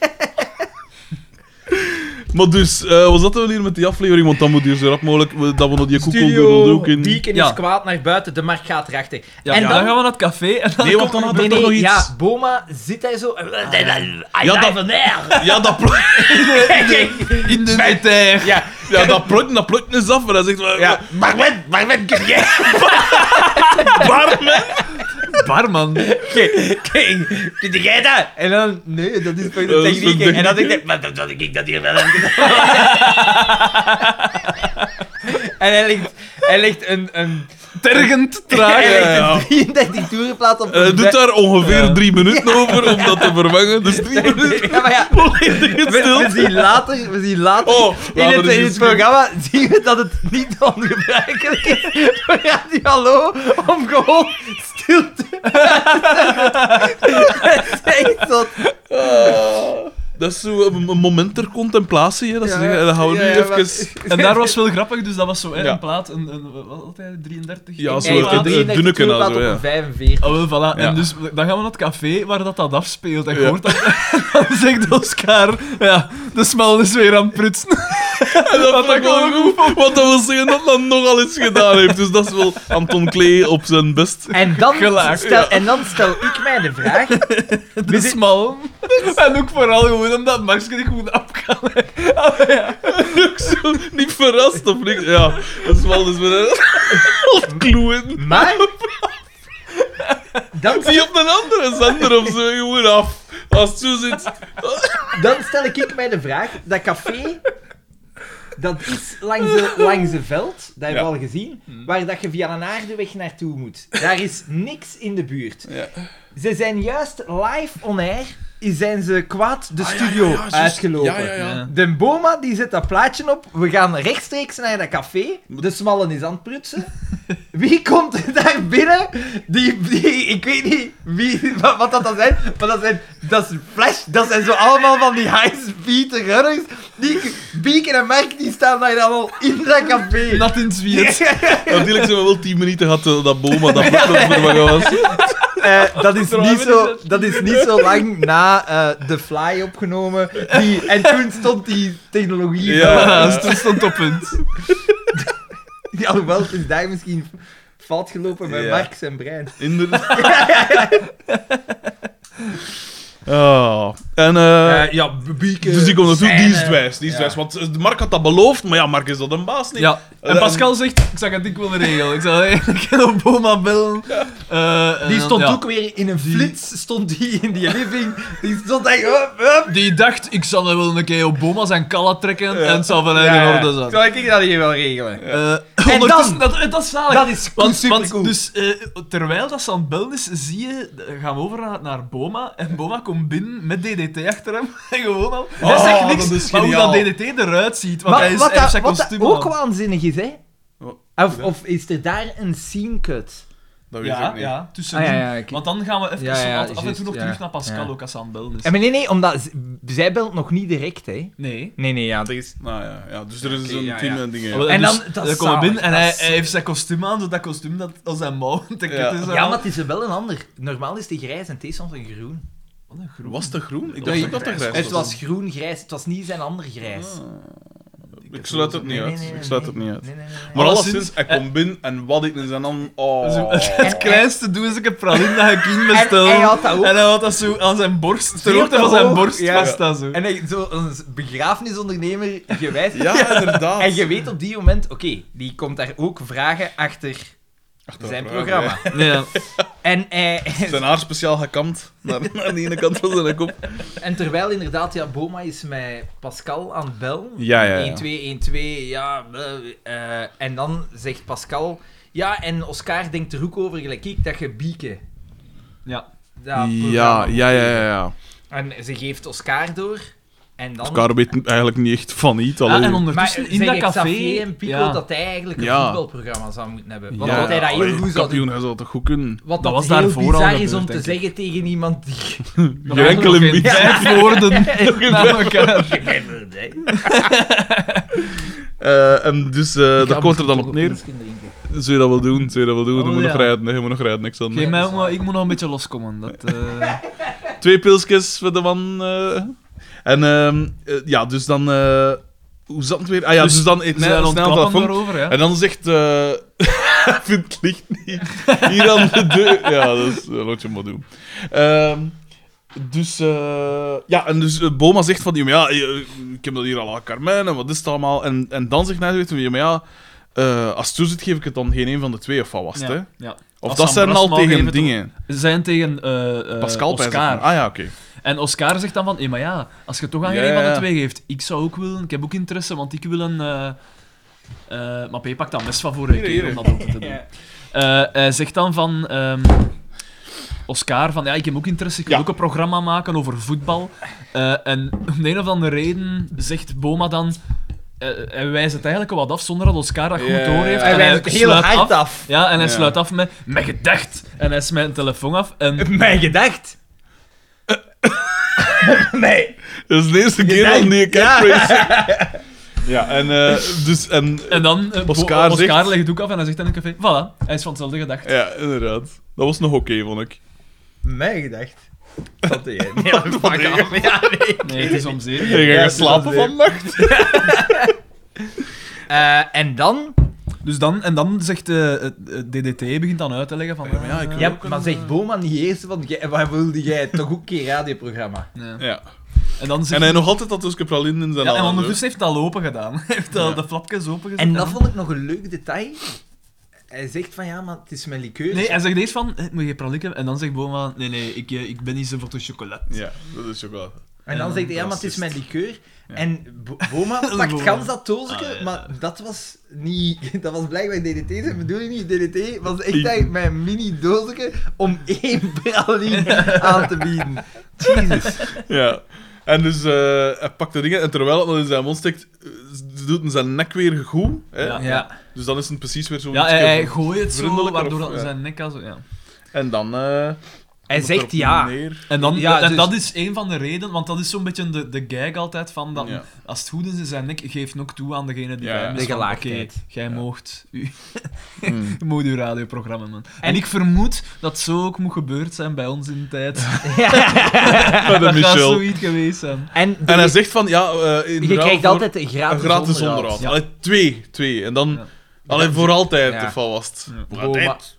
Speaker 2: Maar dus, eh, wat zaten we hier met die aflevering? Want dan moet hier zo rap mogelijk we- dat we nog die koekeldoedel ook in.
Speaker 1: Beacon
Speaker 3: Ja.
Speaker 1: is kwaad naar buiten, de markt gaat erachter.
Speaker 3: Ja,
Speaker 1: en
Speaker 3: ja, dan,
Speaker 1: dan
Speaker 3: gaan we naar het café en dan
Speaker 2: Nee, want
Speaker 3: komt
Speaker 2: dan
Speaker 3: er-
Speaker 2: had
Speaker 1: Nee,
Speaker 2: er toch
Speaker 1: nee,
Speaker 2: nog iets.
Speaker 1: ja, Boma zit daar zo.
Speaker 2: Ja, dat- Ja, dat plot,
Speaker 3: in de detail.
Speaker 1: Ja,
Speaker 2: ja, dat plot, dat plot is af. En hij zegt, eh,
Speaker 1: ja.
Speaker 2: ja.
Speaker 1: Barman, barman, kun jij?
Speaker 2: barman?
Speaker 3: Barman.
Speaker 1: Kun jij dat? En dan, nee, dat is voor de
Speaker 2: Dat is
Speaker 1: techniek.
Speaker 2: voor de-
Speaker 1: En dan denk ik, maar dat dat ik dat hier wel aan En hij legt, hij legt een, een
Speaker 3: tergend traag.
Speaker 1: Hij
Speaker 2: ja, ja.
Speaker 1: heeft 33 toeren geplaatst op...
Speaker 2: Eh, Het doet daar ongeveer
Speaker 3: Ja.
Speaker 2: drie minuten over om dat te vervangen. Dus drie minuten
Speaker 1: Ja, maar ja,
Speaker 2: volledig
Speaker 1: we,
Speaker 2: stil.
Speaker 1: we zien later, we zien later,
Speaker 2: Oh,
Speaker 1: in,
Speaker 2: later
Speaker 1: het,
Speaker 2: is
Speaker 1: in
Speaker 2: het
Speaker 1: het
Speaker 2: slim.
Speaker 1: programma zien we dat het niet ongebruikelijk is voor Radio Hallo om gewoon stil te Dat is echt zo.
Speaker 2: Dat is zo een, een moment ter contemplatie. Hè, dat ze
Speaker 1: Ja,
Speaker 2: zeggen, dan gaan we nu
Speaker 1: ja, ja, maar-
Speaker 2: even...
Speaker 3: En daar was wel grappig, dus dat was zo hè,
Speaker 2: Ja.
Speaker 3: een plaat, een, een, wat had hij, 33?
Speaker 2: Ja,
Speaker 3: Een
Speaker 2: zo
Speaker 1: Hij heeft
Speaker 2: het
Speaker 3: plaat.
Speaker 2: een- eh, een dunneke
Speaker 1: toeren
Speaker 2: nou zo,
Speaker 1: geplaatst
Speaker 2: ja.
Speaker 1: op 45.
Speaker 3: Ah, wel, voilà.
Speaker 2: Ja.
Speaker 3: En dus, dan gaan we naar het café waar dat, dat afspeelt. En je
Speaker 2: Ja.
Speaker 3: hoort dat. dan zegt Oscar, ja, de smal is weer aan het prutsen.
Speaker 2: En dat vond ik wel
Speaker 3: vond ik
Speaker 2: goed. Want dat wil zeggen dat dat nogal eens gedaan heeft. Dus dat is wel Anton Klee op zijn best.
Speaker 1: En dan,
Speaker 3: Gelaagd,
Speaker 1: stel, en dan stel ik mij de vraag...
Speaker 2: Dus-
Speaker 3: De smal. en ook vooral gewoon omdat Max niet goed af kan. Ah, ja.
Speaker 2: Ook zo niet verrast of niks. Ja, dat is wel dus weer een kloen.
Speaker 1: Maar... Dan,
Speaker 2: Die op een andere zender of zo gewoon af. Als het zo zit.
Speaker 1: dan stel ik mij de vraag, dat café... Dat is langs de, langs de veld, dat hebben we
Speaker 2: Ja. Mm.
Speaker 1: al gezien, waar dat je via een aardeweg naartoe moet. Daar is niks in de buurt.
Speaker 2: Ja.
Speaker 1: Ze zijn juist live on air, zijn ze kwaad
Speaker 2: Ah,
Speaker 1: de studio uitgelopen.
Speaker 2: Ja, ja, ja.
Speaker 1: De Boma die zet dat plaatje op. We gaan rechtstreeks naar dat café. De smallen is aan het prutsen. Wie komt er daar binnen? Die, die, ik weet niet wie, wat, wat dat dan zijn, maar dat zijn, dat is flash, dat zijn zo allemaal van die high-speed runners. Die, Beacon en Mark, die staan daar dan al in dat café.
Speaker 3: Nat in het
Speaker 1: Ja,
Speaker 3: Zweeds.
Speaker 2: Natuurlijk zijn we wel 10 minuten gehad eh, dat Boma dat boek dat vervangen was.
Speaker 1: Eh, dat, is niet zo, dat is niet zo lang na eh, The Fly opgenomen. Die, en toen stond die technologie
Speaker 2: Ja.
Speaker 3: Ja, dus toen stond op punt.
Speaker 1: Ja, alhoewel, het is daar misschien fout gelopen met
Speaker 2: Ja.
Speaker 1: Mark zijn brein.
Speaker 2: Inderdaad. Ah. En eh
Speaker 1: ja, bieken.
Speaker 2: dus die komt naartoe,
Speaker 1: scène.
Speaker 2: die is dwijs, die is dwijs. Want eh, Mark had dat beloofd, maar ja, Mark is dat een baas niet.
Speaker 3: Ja. En Pascal zegt, ik zag het ik willen regelen. Ik zou eigenlijk op Boma bellen. Eh, en
Speaker 1: Die
Speaker 3: dan-
Speaker 1: stond
Speaker 3: ja.
Speaker 1: ook weer in een flits, stond die in die living. Die stond daar, hup, hup.
Speaker 3: Die dacht, ik zal wel een keer op Boma zijn kallen trekken en het zal van
Speaker 1: Ja,
Speaker 3: eigen
Speaker 1: ja.
Speaker 3: orde zijn.
Speaker 1: Zal ik dat hier wel regelen?
Speaker 3: Eh,
Speaker 1: En
Speaker 3: ondertussen-
Speaker 1: dan-
Speaker 3: dat, dat is zalig.
Speaker 1: Dat is
Speaker 3: want,
Speaker 1: supercool.
Speaker 3: want Dus eh, terwijl dat ze aan het bellen is, zie je, eh, gaan we over naar, naar Boma. En Boma komt binnen met DDT achter hem. En gewoon al. hij
Speaker 2: Oh,
Speaker 3: zegt niks,
Speaker 2: dat is
Speaker 3: maar hoe dat
Speaker 2: geniaal.
Speaker 3: DDT eruit ziet. Want hij
Speaker 1: Maar
Speaker 3: is,
Speaker 1: wat,
Speaker 3: hij heeft
Speaker 1: dat,
Speaker 3: zijn
Speaker 1: wat dat
Speaker 3: kostuum
Speaker 1: ook
Speaker 3: aan.
Speaker 1: waanzinnig is, hè?
Speaker 2: Wat?
Speaker 1: Of, of is er daar een scene cut?
Speaker 2: Dat weet
Speaker 3: Ja,
Speaker 2: ik niet.
Speaker 3: ja, tussenin.
Speaker 1: Ah, ja, ja, ik-
Speaker 3: Want dan gaan we even
Speaker 1: Ja, ja,
Speaker 3: af en
Speaker 1: juist,
Speaker 3: toe nog
Speaker 1: ja.
Speaker 3: terug naar Pascal
Speaker 1: Ja.
Speaker 3: ook als ze aan het bellen is.
Speaker 1: En maar nee, nee, omdat z- zij belt nog niet direct, hè?
Speaker 3: Nee.
Speaker 1: Nee, nee, ja, er is...
Speaker 2: Nou ja, ja, dus er is
Speaker 1: Oké,
Speaker 2: een
Speaker 1: ja,
Speaker 2: team
Speaker 1: ja.
Speaker 2: en dingen.
Speaker 3: En,
Speaker 1: En
Speaker 3: dan,
Speaker 1: dan- dat is
Speaker 3: dus dan komen we binnen en
Speaker 1: zalig,
Speaker 3: hij,
Speaker 1: dat is-
Speaker 3: hij heeft zijn kostuum aan, zo dat kostuum dat als zijn mouw een ticket
Speaker 2: Ja.
Speaker 3: is. en
Speaker 1: Ja,
Speaker 3: al.
Speaker 1: maar het is er wel een ander. Normaal is die grijs en het is soms een groen.
Speaker 3: Wat een groen.
Speaker 2: Was dat groen? Ik
Speaker 3: Ja,
Speaker 2: dacht
Speaker 3: ja,
Speaker 2: ook dat dat
Speaker 3: grijs
Speaker 2: grijs
Speaker 1: Het
Speaker 2: was.
Speaker 1: was groen-grijs, het was niet zijn ander grijs.
Speaker 2: Ik sluit het niet
Speaker 1: Nee,
Speaker 2: uit.
Speaker 1: nee, nee,
Speaker 2: Ik sluit
Speaker 1: nee.
Speaker 2: het niet uit.
Speaker 1: Nee, nee, nee, nee.
Speaker 2: Maar
Speaker 3: Alleszins,
Speaker 2: alleszins, hij
Speaker 3: eh,
Speaker 2: komt binnen en wat ik in zijn hand...
Speaker 3: Zo,
Speaker 2: Oh.
Speaker 3: het kleinste doe is ik een praline dat je kind
Speaker 1: En
Speaker 3: bestelt.
Speaker 1: hij had dat ook.
Speaker 3: En hij had dat zo aan zijn borst. Ter
Speaker 1: Zeer
Speaker 3: hoogte
Speaker 1: te
Speaker 3: van zijn
Speaker 1: hoog,
Speaker 3: borst
Speaker 1: ja.
Speaker 3: was dat zo.
Speaker 1: En hij, zo een begrafenisondernemer gewijzigd.
Speaker 2: Ja, inderdaad.
Speaker 1: En je weet op die moment, oké, die komt daar ook vragen achter
Speaker 2: Achteraf
Speaker 1: zijn
Speaker 2: vragen,
Speaker 1: programma.
Speaker 3: Ja.
Speaker 1: En, eh,
Speaker 2: Zijn haar speciaal gekamd naar, naar de ene kant van zijn kop.
Speaker 1: en terwijl inderdaad, ja, Boma is met Pascal aan het bellen.
Speaker 2: Ja, ja, ja.
Speaker 1: 1, 2, 1, 2, ja. eh, eh, en dan zegt Pascal, ja, en Oscar denkt er ook over, gelijk ik, dat je bieken.
Speaker 3: ja.
Speaker 1: dat
Speaker 2: ja,
Speaker 1: programma moet
Speaker 2: ja, ja,
Speaker 1: geven.
Speaker 2: ja. ja.
Speaker 1: En ze geeft Oscar door. En dan...
Speaker 2: Oscar weet eigenlijk niet echt van niet. Alleen.
Speaker 3: en
Speaker 1: Maar
Speaker 3: ondertussen in
Speaker 1: zeg
Speaker 3: dat
Speaker 1: ik
Speaker 3: café...
Speaker 1: Xavier en Pico
Speaker 3: ja.
Speaker 1: dat hij eigenlijk een
Speaker 2: Ja.
Speaker 1: voetbalprogramma zou moeten hebben. Want
Speaker 2: ja,
Speaker 1: dat hij dat heel
Speaker 2: allee,
Speaker 1: goed zou doen.
Speaker 2: kampioen, hij zou toch goed kunnen?
Speaker 1: Wat
Speaker 3: Dat
Speaker 1: dat,
Speaker 3: was
Speaker 1: heel
Speaker 3: daarvoor al
Speaker 1: bizar is
Speaker 3: gebeurd,
Speaker 1: om
Speaker 3: denk
Speaker 1: te
Speaker 3: ik.
Speaker 1: zeggen tegen iemand die...
Speaker 2: Geen enkele
Speaker 3: Geen
Speaker 2: minuut.
Speaker 3: vijf woorden na elkaar.
Speaker 2: Eh, en dus, eh dat komt er dan op neer.
Speaker 1: Oké,
Speaker 2: Zou je dat wel doen? Zou je dat wel doen?
Speaker 3: Oh,
Speaker 2: je moet
Speaker 3: ja.
Speaker 2: nog rijden, hè. je moet nog rijden, niks anders.
Speaker 3: Geen mij, jongen, ik moet nog een beetje loskomen. Dat, eh,
Speaker 2: Twee pilsjes voor de man. eh. En ehm, eh, ja, dus dan... eh, hoe zat het weer? Ah ja, dus,
Speaker 3: Dus
Speaker 2: dan... eet
Speaker 3: ze
Speaker 2: mij snel
Speaker 3: ontklappen
Speaker 2: telefoon.
Speaker 3: daarover, ja.
Speaker 2: En dan zegt... eh Hij vindt het licht niet. Hier aan de deur. Ja, dat is... eh, laat je maar doen. Ehm, dus, eh, ja, en dus eh, Boma zegt van, ja, maar ja, eh, ik heb dat hier al aan Carmen en wat is het allemaal? En, en dan zegt hij, zoiets van, ja, maar ja, eh, als het toe zit, geef ik het dan geen een van de twee, of wat was het, hè?
Speaker 3: ja. ja.
Speaker 2: Of
Speaker 3: Als
Speaker 2: dat
Speaker 3: Sam
Speaker 2: zijn al
Speaker 3: Brasma geeft
Speaker 2: tegen
Speaker 3: het
Speaker 2: dingen.
Speaker 3: Ze zijn tegen eh, eh,
Speaker 2: Pascal, pijs ik
Speaker 3: Oscar.
Speaker 2: maar. Ah ja, oké.
Speaker 3: En Oscar zegt dan van, "Eh, maar ja, als je toch aan
Speaker 2: Ja,
Speaker 3: geen een van
Speaker 2: ja,
Speaker 3: de
Speaker 2: ja.
Speaker 3: twee geeft, ik zou ook willen, ik heb ook interesse, want ik wil een, eh, Eh, maar P pakt dan best van voor een
Speaker 2: Hier,
Speaker 3: keer
Speaker 2: hier.
Speaker 3: om dat open te doen. Eh, hij zegt dan van ehm, Oscar van ja, ik heb ook interesse, ik wil
Speaker 2: Ja.
Speaker 3: ook een programma maken over voetbal. Eh, en om de een of andere reden zegt Boma dan, eh, hij wijst het eigenlijk al wat af zonder dat Oscar dat goed
Speaker 2: Ja,
Speaker 3: doorheeft.
Speaker 2: hij
Speaker 3: En
Speaker 1: wijst het heel
Speaker 3: sluit
Speaker 1: hard
Speaker 3: af.
Speaker 1: af.
Speaker 3: Ja, en hij
Speaker 2: Ja.
Speaker 3: sluit af met mijn gedacht. En hij smijt een telefoon af en
Speaker 1: Mijn gedacht. nee.
Speaker 2: Dat is de eerste keer
Speaker 1: denkt-
Speaker 2: dan die ik catchphrase. Ja, en, eh, dus, en
Speaker 3: En dan, eh, Bo-
Speaker 2: Oscar
Speaker 3: Oscar,
Speaker 2: zegt-
Speaker 3: legt het ook af en hij zegt in een café, voilà, hij is van hetzelfde gedacht.
Speaker 2: ja, inderdaad. Dat was nog oké, vond ik.
Speaker 1: Mijn gedacht. Wat deed jij? Nee, fuck af. Ja, nee.
Speaker 3: Nee, het is om zeer.
Speaker 2: Hey, ga
Speaker 1: Ja,
Speaker 2: je
Speaker 1: dat is
Speaker 2: slapen
Speaker 1: weer-
Speaker 2: vannacht?
Speaker 1: Eh, en dan?
Speaker 3: Dus dan, en dan zegt eh, het- het DDT, begint dan uit te leggen van...
Speaker 2: Ja, maar ja, ik
Speaker 3: eh,
Speaker 2: wil
Speaker 1: Ja,
Speaker 2: ook een,
Speaker 1: maar zegt Boma niet eerst, want jij- waar wilde jij toch ook geen radioprogramma?
Speaker 3: nee.
Speaker 2: Ja.
Speaker 3: En dan
Speaker 2: En
Speaker 3: zegt...
Speaker 2: hij nog altijd dat dus pralin in zijn
Speaker 3: ja, en
Speaker 2: handen.
Speaker 3: ondertussen heeft hij het al open gedaan. Hij heeft al
Speaker 2: Ja.
Speaker 3: de flapjes open gezet.
Speaker 1: En dat vond ik nog een leuk detail. Hij zegt van ja, maar het is mijn liqueur.
Speaker 3: Nee, hij zegt eerst van, eh, moet je pralikken? En dan zegt Boma, nee, nee, ik, eh, ik ben niet zo voor de chocolade.
Speaker 2: Ja, dat is ook wel.
Speaker 1: en dan
Speaker 3: Ja,
Speaker 1: zegt hij ja, maar het is
Speaker 2: racist.
Speaker 1: mijn liqueur.
Speaker 2: Ja.
Speaker 1: En Bo- Boma
Speaker 3: Dat is
Speaker 1: pakt
Speaker 3: Boma.
Speaker 1: gans dat doosje,
Speaker 3: Ah, ja.
Speaker 1: maar dat was niet... Dat was blijkbaar DDT zijn bedoeling niet. DDT was echt
Speaker 2: Die-
Speaker 1: eigenlijk mijn mini doosje om één praline aan te bieden. Jesus.
Speaker 2: Ja. En dus eh, hij pakt de dingen en terwijl het nog in zijn mond steekt, eh, doet hij zijn nek weer goed. Hè?
Speaker 3: Ja.
Speaker 1: Ja.
Speaker 2: Dus dan is het precies weer zo.
Speaker 3: Ja, hij, hij gooit het zo,
Speaker 2: vriendelijker
Speaker 3: waardoor
Speaker 2: of-
Speaker 3: dat
Speaker 2: ja.
Speaker 3: zijn nek al zo... Ja.
Speaker 2: En dan. eh,
Speaker 1: Hij
Speaker 2: komt
Speaker 1: zegt
Speaker 2: erop
Speaker 1: ja.
Speaker 2: neer.
Speaker 3: En, dan,
Speaker 1: Ja,
Speaker 3: en
Speaker 1: dus-
Speaker 3: dat is een van de redenen, want dat is zo'n beetje de, de gag altijd van, dan,
Speaker 2: Ja.
Speaker 3: als het goed is in zijn nek, geef nog toe aan degene die
Speaker 2: Ja,
Speaker 3: bij
Speaker 2: ja.
Speaker 3: hem
Speaker 1: De
Speaker 3: is. van,
Speaker 1: gelaagdheid.
Speaker 3: oké, jij
Speaker 2: Ja.
Speaker 3: moogt u
Speaker 2: Hmm.
Speaker 3: Je moet uw radioprogramma, man. En,
Speaker 1: En-
Speaker 3: ik vermoed dat zo ook moet gebeurd zijn bij ons in de tijd.
Speaker 2: Bij de
Speaker 3: dat gaat
Speaker 2: Michel.
Speaker 3: zoiets geweest zijn.
Speaker 1: En, de-
Speaker 2: En hij zegt van ja, eh, in
Speaker 1: je
Speaker 2: ruil
Speaker 1: krijgt
Speaker 2: voor
Speaker 1: altijd een
Speaker 2: een
Speaker 1: gratis,
Speaker 2: gratis
Speaker 1: onderhoud.
Speaker 2: onderhoud.
Speaker 3: Ja.
Speaker 2: Allee, twee, twee. En dan.
Speaker 3: Ja.
Speaker 2: Alleen voor altijd
Speaker 1: Ja.
Speaker 2: de val was.
Speaker 3: Ja.
Speaker 2: Voor
Speaker 1: Boma-
Speaker 2: altijd.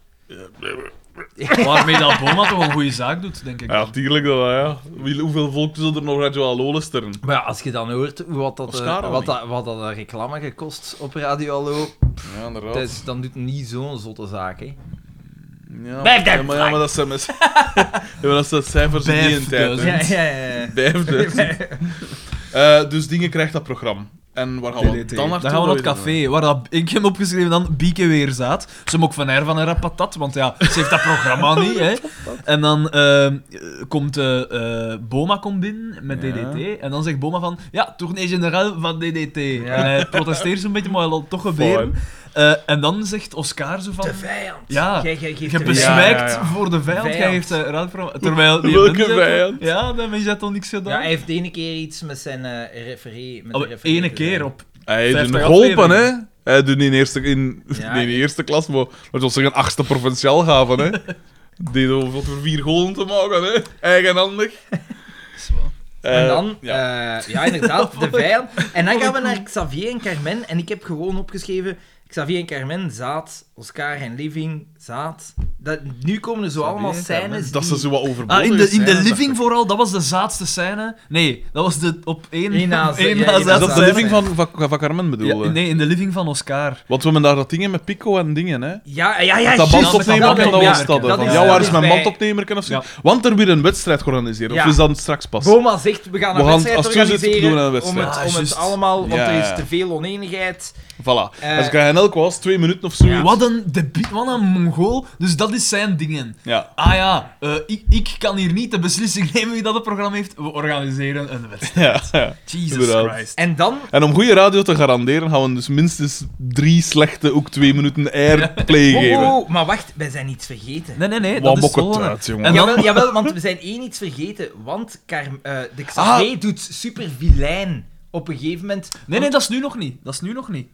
Speaker 3: Waarmee dat Boma toch een goede zaak doet, denk ik.
Speaker 2: Ja, tuurlijk dat, ja. Wie- Hoeveel volk zullen er nog Radio Allo luisteren?
Speaker 1: Maar ja, als je dan hoort wat dat, eh,
Speaker 2: Oscar al
Speaker 1: wat
Speaker 2: niet.
Speaker 1: dat, wat dat een reclame gekost op Radio Allo,
Speaker 2: Ja, inderdaad.
Speaker 1: dus dan doet het niet zo'n zotte zaak, hè.
Speaker 2: Ja,
Speaker 1: Vijfduizend
Speaker 2: ja, maar, ja, maar dat zijn mis... ja, maar dat zijn cijfers in die tijd.
Speaker 3: Vijfduizend.
Speaker 2: hè.
Speaker 3: dus, Ja,
Speaker 1: ja.
Speaker 2: Vijfduizend. Eh, dus dingen krijgt dat programma. En waar gaan we
Speaker 3: DDT.
Speaker 2: Ah, dan naartoe?
Speaker 3: gaan we naar het
Speaker 2: Dat weet ik
Speaker 3: café, waar dat, ik heb opgeschreven dan Bieke weer zaad. Ze mocht van haar van haar patat, want ja, ze heeft dat programma niet. Hè. En dan ehm, eh, komt eh, eh, Boma komt binnen met
Speaker 2: Ja.
Speaker 3: DDT. En dan zegt Boma van, ja, tournee generaal van DDT.
Speaker 1: Ja.
Speaker 3: En hij protesteert zo'n beetje, maar hij laat toch
Speaker 2: niet.
Speaker 3: gebeuren. Eh, en dan zegt Oscar zo van...
Speaker 1: De vijand.
Speaker 3: Ja.
Speaker 1: Jij, jij geeft
Speaker 3: Je
Speaker 1: de
Speaker 2: besmijt-
Speaker 1: vijand.
Speaker 3: bezwijkt
Speaker 2: ja, ja.
Speaker 3: voor de vijand. Jij
Speaker 1: Vijand.
Speaker 3: heeft eh, raad voor- terwijl die
Speaker 2: Welke
Speaker 3: mensen-
Speaker 2: vijand?
Speaker 3: Ja, dat mens had toch niks
Speaker 1: Ja,
Speaker 3: gedaan.
Speaker 1: hij heeft de ene keer iets met zijn eh referee... Met de
Speaker 3: Op
Speaker 1: referee
Speaker 3: ene
Speaker 1: gedaan.
Speaker 3: keer op.
Speaker 2: Hij heeft
Speaker 3: 50
Speaker 2: geholpen, hè?
Speaker 3: afleveringen.
Speaker 2: Hij doet niet in eerste, in,
Speaker 1: Ja.
Speaker 2: nee, in de eerste klas, maar dat was zeggen, achtste provinciaal gaven, hè? Deed over wat voor vier golen te maken, hè? Eigenhandig.
Speaker 3: Zwaar.
Speaker 1: En
Speaker 2: Eh,
Speaker 1: dan,
Speaker 2: ja.
Speaker 1: ja, ja inderdaad, de vijand. En dan gaan we naar Xavier en Carmen. En ik heb gewoon opgeschreven: Xavier en Carmen, zaad. Oscar en Living, zaad. Dat, nu komen er zo
Speaker 3: Xavier
Speaker 1: allemaal
Speaker 3: en Carmen.
Speaker 1: scènes.
Speaker 2: Dat
Speaker 1: die...
Speaker 2: ze zo wat overbodig
Speaker 3: eh, Ah, in de, in
Speaker 2: zijn,
Speaker 3: de
Speaker 2: dacht
Speaker 3: living
Speaker 2: ik.
Speaker 3: vooral, dat was de zaadste scène. Nee, dat was de op één,
Speaker 1: Eén na-
Speaker 3: één
Speaker 1: ja, één na
Speaker 3: na
Speaker 2: Is
Speaker 3: zaadste
Speaker 2: dat de
Speaker 1: zijn-
Speaker 2: living van, van, van Carmen
Speaker 3: scène.
Speaker 2: bedoel?
Speaker 3: Ja,
Speaker 2: hè?
Speaker 3: nee, in de living van Oscar.
Speaker 2: Want we hebben daar dat dingen met Pico en dingen, hè?
Speaker 1: Ja, ja, ja.
Speaker 2: dat
Speaker 1: juist,
Speaker 2: band
Speaker 3: met dat
Speaker 2: opnemen, dat was
Speaker 3: bandopnemer.
Speaker 2: dat. hè,
Speaker 1: Dat
Speaker 2: van,
Speaker 1: is-
Speaker 2: ja,
Speaker 1: dat
Speaker 2: waar is
Speaker 1: is
Speaker 2: mijn
Speaker 1: bij-
Speaker 2: bandopnemer? Kan of zo.
Speaker 3: Ja.
Speaker 2: Want er weer een wedstrijd georganiseerd.
Speaker 1: Ja.
Speaker 2: Of is dat straks pas?
Speaker 1: Boma zegt: we gaan een
Speaker 2: We gaan-
Speaker 1: wedstrijd
Speaker 2: als het goed is,
Speaker 1: organiseren.
Speaker 2: doen we een wedstrijd.
Speaker 1: Om
Speaker 3: Ah,
Speaker 1: het, om
Speaker 3: juist.
Speaker 1: het allemaal, want
Speaker 2: Ja,
Speaker 1: er
Speaker 2: ja.
Speaker 1: is te veel oneenigheid.
Speaker 2: Voilà. Dus
Speaker 1: Eh,
Speaker 2: en ze krijgen elk was twee minuten of zoiets.
Speaker 3: Wat een debiet, wat een mongool. Dus dat is zijn dingen.
Speaker 2: Ja.
Speaker 3: Ah ja, eh, ik, ik kan hier niet de beslissing nemen wie dat het programma heeft. We organiseren een wedstrijd.
Speaker 2: Ja, ja.
Speaker 3: Jesus
Speaker 2: Inderdaad.
Speaker 3: Christ.
Speaker 1: En dan
Speaker 2: En om goede radio te garanderen, gaan we dus minstens drie slechte, ook twee minuten airplay
Speaker 1: Oh,
Speaker 2: geven.
Speaker 1: oh, oh, maar wacht, wij zijn iets vergeten.
Speaker 3: Nee, nee, nee.
Speaker 2: Wat
Speaker 3: Dat is
Speaker 2: maakt het
Speaker 3: gewoon-
Speaker 2: uit, jongen?
Speaker 3: En dan,
Speaker 1: Jawel, jawel, want we zijn één iets vergeten. Want Carm, eh,
Speaker 3: Ah.
Speaker 1: de Xavier doet super vilijn op een gegeven moment.
Speaker 3: nee, nee, dat is nu nog niet. Dat is nu nog niet.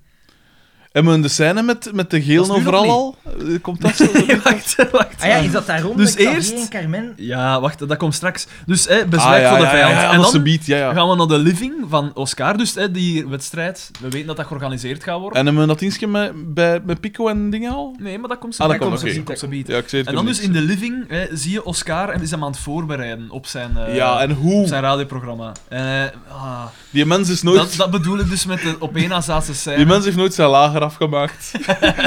Speaker 2: Hebben we de scène met, met de geel
Speaker 3: Dat is nu
Speaker 2: overal al?
Speaker 3: nog
Speaker 2: Eh, Komt dat zo?
Speaker 3: wacht, wacht.
Speaker 1: Ah ja, is dat daarom
Speaker 3: Dus
Speaker 1: dat Xavier
Speaker 3: eerst-
Speaker 1: en Carmen...
Speaker 3: Ja, wacht, dat komt straks. Dus hè, bezwijk voor de
Speaker 2: Ah, ja,
Speaker 3: vijand.
Speaker 2: Ja, ja,
Speaker 3: en
Speaker 2: dat ze
Speaker 3: dan
Speaker 2: biedt, ja, ja.
Speaker 3: gaan we naar de living van Oscar. Dus hè, die wedstrijd, we weten dat dat georganiseerd gaat worden.
Speaker 2: En hebben we dat dienstje met, bij, met Pico en dingen al?
Speaker 3: Nee, maar dat komt zo
Speaker 2: Ah, dat
Speaker 3: bij-
Speaker 2: komt,
Speaker 3: zo
Speaker 2: oké.
Speaker 3: bij- komt zo bij.
Speaker 2: Ja, ik zei het
Speaker 3: En dan
Speaker 2: hem
Speaker 3: dus
Speaker 2: niet.
Speaker 3: in de living hè, zie je Oscar en is hem aan het voorbereiden op zijn, eh,
Speaker 2: Ja, en
Speaker 3: op
Speaker 2: hoe?
Speaker 3: zijn radioprogramma. En, eh, ah,
Speaker 2: Die mens is nooit...
Speaker 3: dat, dat bedoel ik dus met de op één na zaadse scène.
Speaker 2: Die mens heeft nooit zijn lager afgemaakt.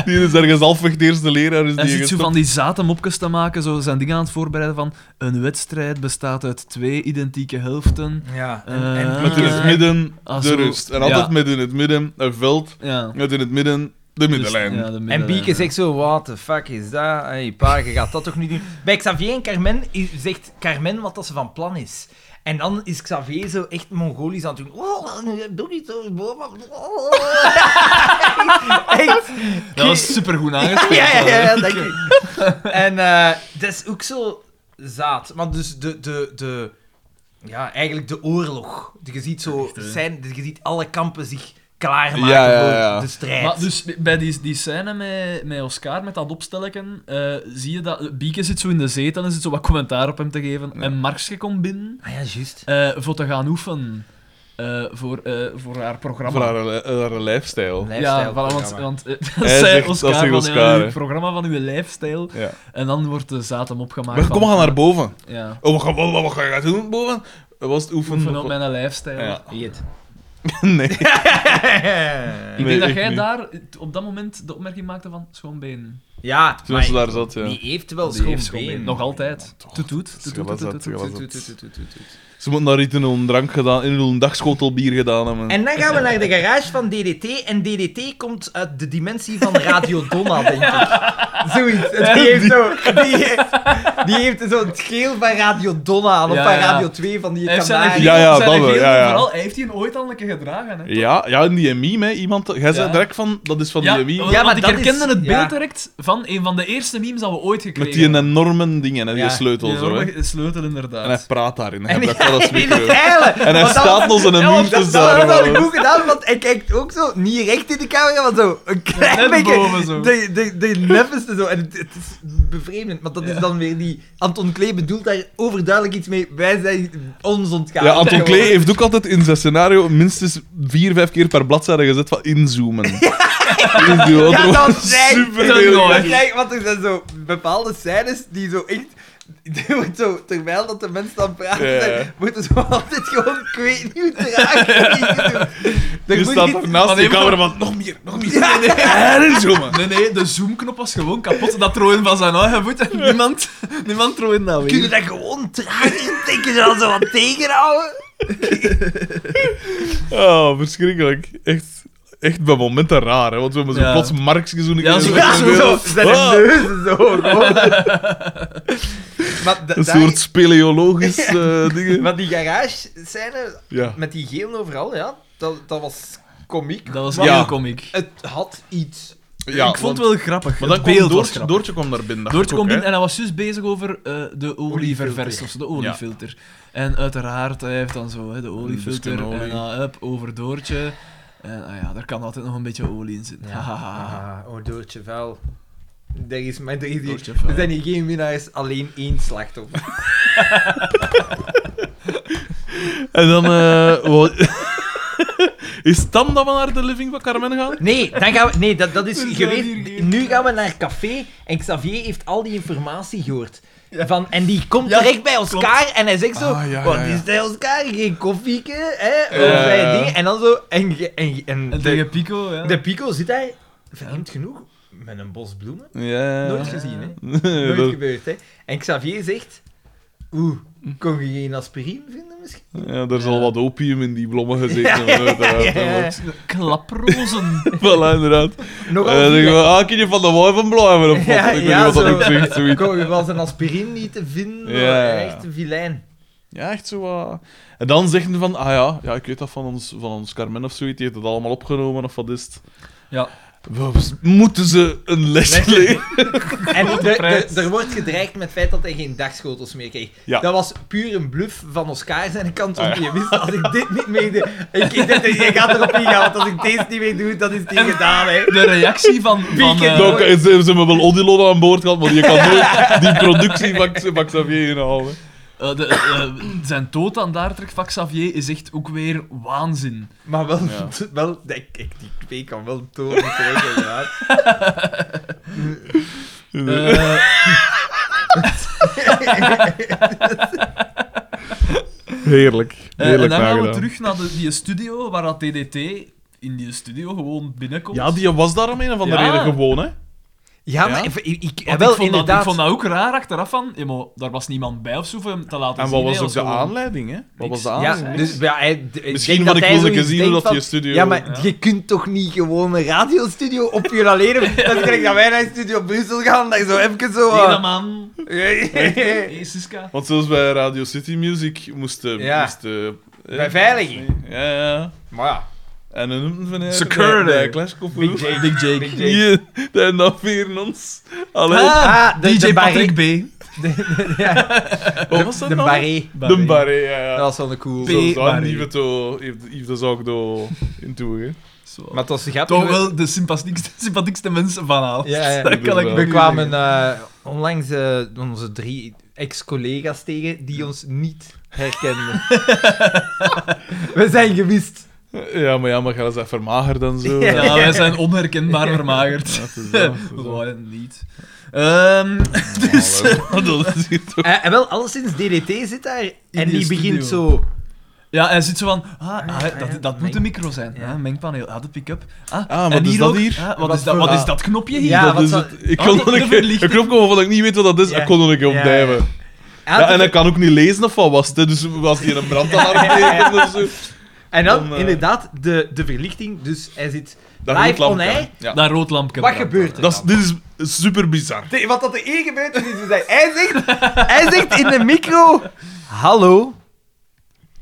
Speaker 2: die is ergens halfweg de eerste leraar. Is
Speaker 3: Hij
Speaker 2: die
Speaker 3: zit zo
Speaker 2: gestopt.
Speaker 3: van die zate mopjes te maken, zo zijn dingen aan het voorbereiden van een wedstrijd bestaat uit twee identieke helften.
Speaker 1: Ja.
Speaker 3: Eh,
Speaker 2: Met in het
Speaker 3: Ah.
Speaker 2: midden
Speaker 3: Ah,
Speaker 2: de
Speaker 3: zo.
Speaker 2: rust. En
Speaker 3: Ja.
Speaker 2: altijd met in het midden een veld.
Speaker 3: Ja.
Speaker 2: Met in het midden de middenlijn.
Speaker 3: Dus- ja, de
Speaker 1: En
Speaker 3: middenlijn,
Speaker 1: Bieke
Speaker 3: ja.
Speaker 1: zegt zo, what the fuck is dat? Hey, pa, je gaat dat toch niet doen? Bij Xavier en Carmen i- zegt Carmen wat dat ze van plan is. En dan is Xavier zo echt Mongolisch aan het doen. Oh, doe niet zo, boom. Oh. echt.
Speaker 3: Dat was supergoed aangespeeld.
Speaker 1: Ja, ja, ja, ja, dank u. En eh, dat is ook zo zaad. Maar dus de, de, de... Ja, eigenlijk de oorlog. Je ziet, zo,
Speaker 3: hè.
Speaker 1: zijn, je ziet alle kampen zich klaarmaken
Speaker 2: Ja, ja, ja.
Speaker 1: voor de strijd.
Speaker 3: Maar dus bij die, die scène met, met Oscar, met dat opstelleken, eh, zie je dat Bieke zit zo in de zetel en zit zo wat commentaar op hem te geven. En Marksje komt binnen
Speaker 1: Ah ja, juist.
Speaker 3: eh, voor te gaan oefenen eh, voor, eh, voor haar programma.
Speaker 2: Voor haar, eh, haar lifestyle.
Speaker 3: ja, voilà, want,
Speaker 1: Lifestyle-programma.
Speaker 3: want eh, dat
Speaker 2: Hij
Speaker 3: zei
Speaker 2: zegt-
Speaker 3: Oscar,
Speaker 2: dat zegt
Speaker 3: van,
Speaker 2: Oscar,
Speaker 3: ja,
Speaker 2: hè.
Speaker 3: het programma van uw lifestyle.
Speaker 2: Ja.
Speaker 3: En dan wordt de zatem opgemaakt.
Speaker 2: Maar
Speaker 3: van-
Speaker 2: kom, we gaan naar boven.
Speaker 3: Ja.
Speaker 2: Oh, wat, ga- wat, wat, wat ga je doen boven? Dat was het oefenen.
Speaker 3: Oefenen op mijn lifestyle.
Speaker 2: Ja.
Speaker 1: Jeet.
Speaker 2: Nee.
Speaker 3: Ik
Speaker 2: Nee,
Speaker 3: denk dat
Speaker 2: ik
Speaker 3: jij
Speaker 2: niet.
Speaker 3: daar op dat moment de opmerking maakte van schoonbeen.
Speaker 1: Ja,
Speaker 2: Toen ze
Speaker 1: maar
Speaker 2: daar zat, ja.
Speaker 1: eh, die heeft wel
Speaker 3: Die
Speaker 1: schoon
Speaker 3: heeft schoon
Speaker 1: been.
Speaker 3: been. Nog altijd. Toet toet,
Speaker 2: Zeg,
Speaker 3: toet,
Speaker 2: wat is
Speaker 3: toet,
Speaker 2: dat?
Speaker 3: toet,
Speaker 2: Zeg, wat
Speaker 3: toet.
Speaker 2: is
Speaker 1: Toet, toet, toet, toet, toet.
Speaker 2: Ze moeten daar iets in hun drank gedaan, in hun dagschotel bier gedaan hebben.
Speaker 1: En dan gaan we naar de garage van DDT. En DDT komt uit de dimensie van Radio Donna, denk ik. Zoiets. Het- Die heeft, zo, die heeft, die heeft zo het geel van Radio Donna aan. Of
Speaker 3: Ja,
Speaker 1: van
Speaker 3: ja.
Speaker 1: Radio 2 van die
Speaker 3: Hij heeft zijn
Speaker 1: kanaal.
Speaker 3: eigen-
Speaker 2: Ja, ja,
Speaker 3: zijn
Speaker 2: dat
Speaker 3: eigen
Speaker 2: wel, ja,
Speaker 3: heel-
Speaker 2: ja.
Speaker 3: Vooral, hij heeft die ooit al een keer gedragen. Hè.
Speaker 2: Ja, ja, in die meme, hè. Iemand, jij zei
Speaker 3: Ja. Oh,
Speaker 2: direct van, dat is van die meme.
Speaker 3: want
Speaker 1: maar
Speaker 3: ik
Speaker 1: dat
Speaker 3: herkende
Speaker 1: is-
Speaker 3: het beeld
Speaker 1: ja.
Speaker 3: direct van een van de eerste memes dat we ooit
Speaker 2: Met
Speaker 3: gekregen
Speaker 2: die enorme dingen en die
Speaker 1: Ja,
Speaker 2: sleutel
Speaker 3: Die
Speaker 2: zo, hè.
Speaker 3: enorme sleutel, inderdaad.
Speaker 2: En hij praat daarin. Hij
Speaker 1: En
Speaker 2: gebruikt dat als
Speaker 1: in het
Speaker 2: micro.
Speaker 1: heilen.
Speaker 2: En hij
Speaker 1: Want dat
Speaker 2: staat
Speaker 1: was-
Speaker 2: nog in een
Speaker 1: ja, want
Speaker 2: meme te
Speaker 1: dat- Dat was wel
Speaker 2: zagen.
Speaker 1: goed gedaan, want hij kijkt ook zo niet recht in de camera, maar zo een klein
Speaker 3: Net
Speaker 1: beetje.
Speaker 3: boven zo.
Speaker 1: De, de, de neffenste zo. En het, het is bevreemdend, want dat is dan weer die... Anton Klee bedoelt daar overduidelijk iets mee. Wij zijn ons ontgaan.
Speaker 2: Ja, Anton Klee heeft ook altijd in zijn scenario minstens vier, vijf keer per bladzijde gezet van inzoomen. Inzoomen.
Speaker 1: Ja, dat zijn-
Speaker 2: superveel.
Speaker 1: Ja, kijk, want er zijn zo bepaalde scènes die zo echt... die wordt zo, terwijl dat de mensen dan praten,
Speaker 2: Ja.
Speaker 1: zijn, worden ze altijd gewoon, ik weet niet hoe traag.
Speaker 2: Je staat daar
Speaker 3: Maar
Speaker 2: naast
Speaker 3: nee,
Speaker 2: de
Speaker 3: maar-
Speaker 2: camera van, nog meer, nog meer.
Speaker 1: Ja.
Speaker 2: En inzoomen.
Speaker 3: Nee, nee, de zoomknop was gewoon kapot. Dat trooien van zijn eigen voet. en Niemand, niemand trooien dat
Speaker 1: Kun je
Speaker 3: weer.
Speaker 1: dat gewoon traag intikken, zodat ze wat tegenhouden?
Speaker 2: Oh, verschrikkelijk. Echt, echt bij momenten raar, hè? want we hebben zo
Speaker 3: Ja.
Speaker 2: plots Marksje zo'n
Speaker 3: Ja,
Speaker 2: keer
Speaker 3: zo-
Speaker 2: in
Speaker 1: Ja,
Speaker 2: de
Speaker 1: zo,
Speaker 2: wereld.
Speaker 1: zo, zijn
Speaker 2: Ah,
Speaker 1: neuzen zo. gewoon. maar, da-
Speaker 2: Een
Speaker 1: daar-
Speaker 2: soort speleologisch eh, dingen.
Speaker 1: maar die garage scène
Speaker 2: Ja.
Speaker 1: met die geel overal, ja, dat, dat was komiek.
Speaker 3: Dat was
Speaker 2: Ja.
Speaker 3: heel komiek.
Speaker 1: Het had iets.
Speaker 2: ja
Speaker 3: ik vond
Speaker 2: want-
Speaker 3: het wel grappig.
Speaker 2: Maar
Speaker 3: het
Speaker 2: dan kwam
Speaker 3: beeld was
Speaker 2: Doortje,
Speaker 3: grappig.
Speaker 2: Doortje kwam daar binnen. dacht
Speaker 3: Doortje
Speaker 2: ik ook,
Speaker 3: komt binnen
Speaker 2: hè.
Speaker 3: en hij was juist bezig over eh, de olieververs,
Speaker 1: Oliefilter.
Speaker 3: of zo, de oliefilter. En uiteraard, hij heeft dan zo hè, de oliefilter
Speaker 2: busken olie.
Speaker 3: en dan up over Doortje. En ah ja, daar kan altijd nog een beetje olie in zitten. Hahaha.
Speaker 1: Ah, oh, Doortje Vuil. Er, is, maar er, is hier-
Speaker 3: Doortje Vuil.
Speaker 1: er zijn hier geen winnaars, alleen één slachtoffer.
Speaker 2: En dan... eh, wat- Is Tam dat we naar de living van Carmen gaan?
Speaker 1: Nee, dan gaan we, nee dat, dat is
Speaker 3: We zijn hier
Speaker 1: geweest.
Speaker 3: geen-
Speaker 1: Nu gaan we naar café en Xavier heeft al die informatie gehoord. Van, en die komt
Speaker 3: Ja,
Speaker 1: terecht bij Oscar en hij zegt zo:
Speaker 2: Ah, ja, ja,
Speaker 1: Wat
Speaker 2: ja.
Speaker 1: is dat, Oscar? Geen koffieke? Hè? Of
Speaker 2: Ja.
Speaker 1: zijn dingen?" En dan zo. En, ge- en, ge- en,
Speaker 3: En
Speaker 1: de,
Speaker 3: tegen Pico, ja.
Speaker 1: de Pico zit hij, vreemd genoeg, met een bos bloemen.
Speaker 2: Ja.
Speaker 1: Nooit gezien, hè?
Speaker 2: Nee,
Speaker 1: Nooit
Speaker 2: dat-
Speaker 1: gebeurd, hè? En Xavier zegt: Oeh, kon je geen aspirine vinden misschien?
Speaker 2: ja, er zal wat opium in die blommen gezeten hebben, uiteraard.
Speaker 1: ja, ja.
Speaker 3: Klaprozen.
Speaker 2: Voilà, inderdaad.
Speaker 1: Nogal.
Speaker 2: En dan
Speaker 1: zielig.
Speaker 2: denk ik, ah, kun je van de wal van blijven? Of wat?
Speaker 1: Ja,
Speaker 2: ik weet
Speaker 1: ja,
Speaker 2: niet wat dat
Speaker 1: zo.
Speaker 2: ook zegt, zoiets.
Speaker 1: Kon je wel zijn aspirine niet te vinden?
Speaker 2: Ja, ja, ja.
Speaker 1: Echt een vilijn.
Speaker 2: Ja, echt zo wat. En dan zeggen ze van, ah ja, ja ik weet dat van ons, van ons Carmen of zoiets, die heeft het allemaal opgenomen of wat is het.
Speaker 3: Ja.
Speaker 2: We moeten ze een les
Speaker 1: Les
Speaker 2: leren.
Speaker 1: En de- de-
Speaker 3: prijs.
Speaker 1: er wordt gedreigd met het feit dat hij geen dagschotels meer kreeg.
Speaker 2: Ja. Ah,
Speaker 1: Dat was puur een bluff van Oscar zijn kant, want je wist als ik dit niet meer doe... Ik, ik dacht, je gaat erop ingaan, want als ik deze niet meer doe, dan is het hier gedaan, hè.
Speaker 3: De reactie van... van
Speaker 1: Pico.
Speaker 3: eh,
Speaker 2: Nou, ze, ze hebben wel Odilon aan boord gehad, maar je kan nooit die productie van, van Xavier inhalen.
Speaker 3: eh, de, eh, zijn dood aan Daartrek van Xavier is echt ook weer waanzin.
Speaker 1: Maar wel,
Speaker 2: Ja.
Speaker 1: wel ik, ik, die twee kan wel toren krijgen, ja.
Speaker 2: Dus,
Speaker 3: Eh,
Speaker 2: Heerlijk.
Speaker 3: Eh, en
Speaker 2: Heerlijk
Speaker 3: dan gaan we
Speaker 1: eh,
Speaker 2: nagedaan.
Speaker 3: terug naar de, die studio waar dat DDT in die studio gewoon binnenkomt.
Speaker 2: Ja, die was daar om een of andere
Speaker 3: Ja.
Speaker 2: reden gewoon, hè.
Speaker 1: Ja,
Speaker 2: Ja?
Speaker 1: maar ik, ik, ik-
Speaker 3: Want
Speaker 1: wel,
Speaker 3: ik, vond dat, ik
Speaker 1: inderdaad.
Speaker 3: vond dat ook raar achteraf van, ja, maar daar was niemand bij of zo voor hem te laten
Speaker 2: En
Speaker 3: zien.
Speaker 2: wat was
Speaker 3: hè,
Speaker 2: ook de
Speaker 3: gewoon-
Speaker 2: aanleiding, hè? Wat was
Speaker 3: Niks.
Speaker 2: de
Speaker 1: ja,
Speaker 3: Ah,
Speaker 2: aanleiding?
Speaker 1: dus, ja, hij, ik
Speaker 2: Misschien
Speaker 1: denk
Speaker 2: wat
Speaker 1: dat
Speaker 2: ik
Speaker 1: hij
Speaker 2: wilde
Speaker 1: zoiets
Speaker 2: zien,
Speaker 1: denkt
Speaker 2: dat
Speaker 1: van,
Speaker 2: die studio-
Speaker 1: Ja, maar
Speaker 3: Ja.
Speaker 1: je kunt toch niet gewoon een radiostudio op je alleen. Dat is gelijk dat wij naar Studio Brussel gaan, dat je zo even zo...
Speaker 3: Nee, dat
Speaker 1: eh,
Speaker 3: man. Hey, Siska.
Speaker 2: Want zelfs bij Radio City Music moesten...
Speaker 1: Ja.
Speaker 2: moesten eh,
Speaker 1: Bij veiliging.
Speaker 2: Ja, ja.
Speaker 1: Maar ja,
Speaker 2: En dan noemden van
Speaker 3: Security.
Speaker 2: Clash
Speaker 1: Big Jake.
Speaker 3: Big Jake.
Speaker 1: Big Jake.
Speaker 2: Ja, en dan weer ons. Allee,
Speaker 3: Ah,
Speaker 1: Ah, de-
Speaker 3: DJ
Speaker 1: de
Speaker 3: Patrick B.
Speaker 2: wat was dat
Speaker 1: De
Speaker 2: nou?
Speaker 1: barré.
Speaker 2: De barré, ja, ja.
Speaker 1: Dat was wel een cool.
Speaker 3: P-
Speaker 2: Zoals daar
Speaker 3: barré.
Speaker 2: niet met de- heeft- heeft de zaak door in toe, hè.
Speaker 3: Zo.
Speaker 1: Maar het was grappig.
Speaker 3: Toch wel de sympathiekste, sympathiekste mensen van alles.
Speaker 1: Ja, ja.
Speaker 3: Dat kan ik
Speaker 1: We
Speaker 3: niet
Speaker 1: kwamen
Speaker 3: zeggen.
Speaker 1: eh, onlangs eh, onze drie ex-collega's tegen die ons niet herkenden. We zijn gewist.
Speaker 2: Ja, maar ja, maar jij bent vermagerd en zo.
Speaker 1: eh, Ja.
Speaker 3: Ja, wij zijn onherkenbaar vermagerd.
Speaker 2: Dat is wel, dat is wel.
Speaker 3: Gewoon niet. Ehm, dus...
Speaker 2: Dat is hier toch...
Speaker 1: Eh, en wel, alleszins DDT zit daar en
Speaker 3: die
Speaker 1: die begint
Speaker 3: studio.
Speaker 1: zo...
Speaker 3: Ja, hij zit zo van, ah, ah,
Speaker 1: ja,
Speaker 3: dat,
Speaker 1: ja,
Speaker 3: dat moet de
Speaker 1: meng-
Speaker 3: micro zijn.
Speaker 1: ja.
Speaker 3: Ja. mengpaneel, ah, de pick-up. Ah,
Speaker 2: maar
Speaker 3: en
Speaker 2: is
Speaker 3: hier
Speaker 2: dat
Speaker 3: ook,
Speaker 2: hier?
Speaker 3: ah, wat,
Speaker 1: Wat
Speaker 3: is dat,
Speaker 1: voor-
Speaker 3: wat is
Speaker 2: ah.
Speaker 3: dat knopje hier?
Speaker 1: Ja,
Speaker 2: dat
Speaker 1: wat
Speaker 2: is
Speaker 1: zou-
Speaker 2: Dus het. Ik
Speaker 3: Oh,
Speaker 2: kon
Speaker 3: de-
Speaker 2: er
Speaker 3: de
Speaker 2: een keer... Ik
Speaker 3: verlichting.
Speaker 2: klop gewoon van dat ik niet weet wat dat is.
Speaker 1: Ja.
Speaker 2: Ik kon er een keer op
Speaker 1: Ja,
Speaker 2: dijven.
Speaker 1: Ah,
Speaker 2: Ja, en ik kan ook niet lezen of wat was het, dus was hier een brandalarm tegen of zo.
Speaker 1: en dan,
Speaker 2: dan, eh,
Speaker 1: inderdaad, de, de verlichting. Dus hij zit
Speaker 2: Dat
Speaker 1: live
Speaker 2: rood
Speaker 1: on
Speaker 2: lampje.
Speaker 1: air.
Speaker 2: Ja.
Speaker 3: Dat rood lampje.
Speaker 1: Wat
Speaker 3: brandt.
Speaker 1: gebeurt er
Speaker 2: Dat is, dit is super bizar.
Speaker 1: De- wat dat er hier gebeurt, is iets bizar. Hij zegt, hij zegt in de micro... Hallo,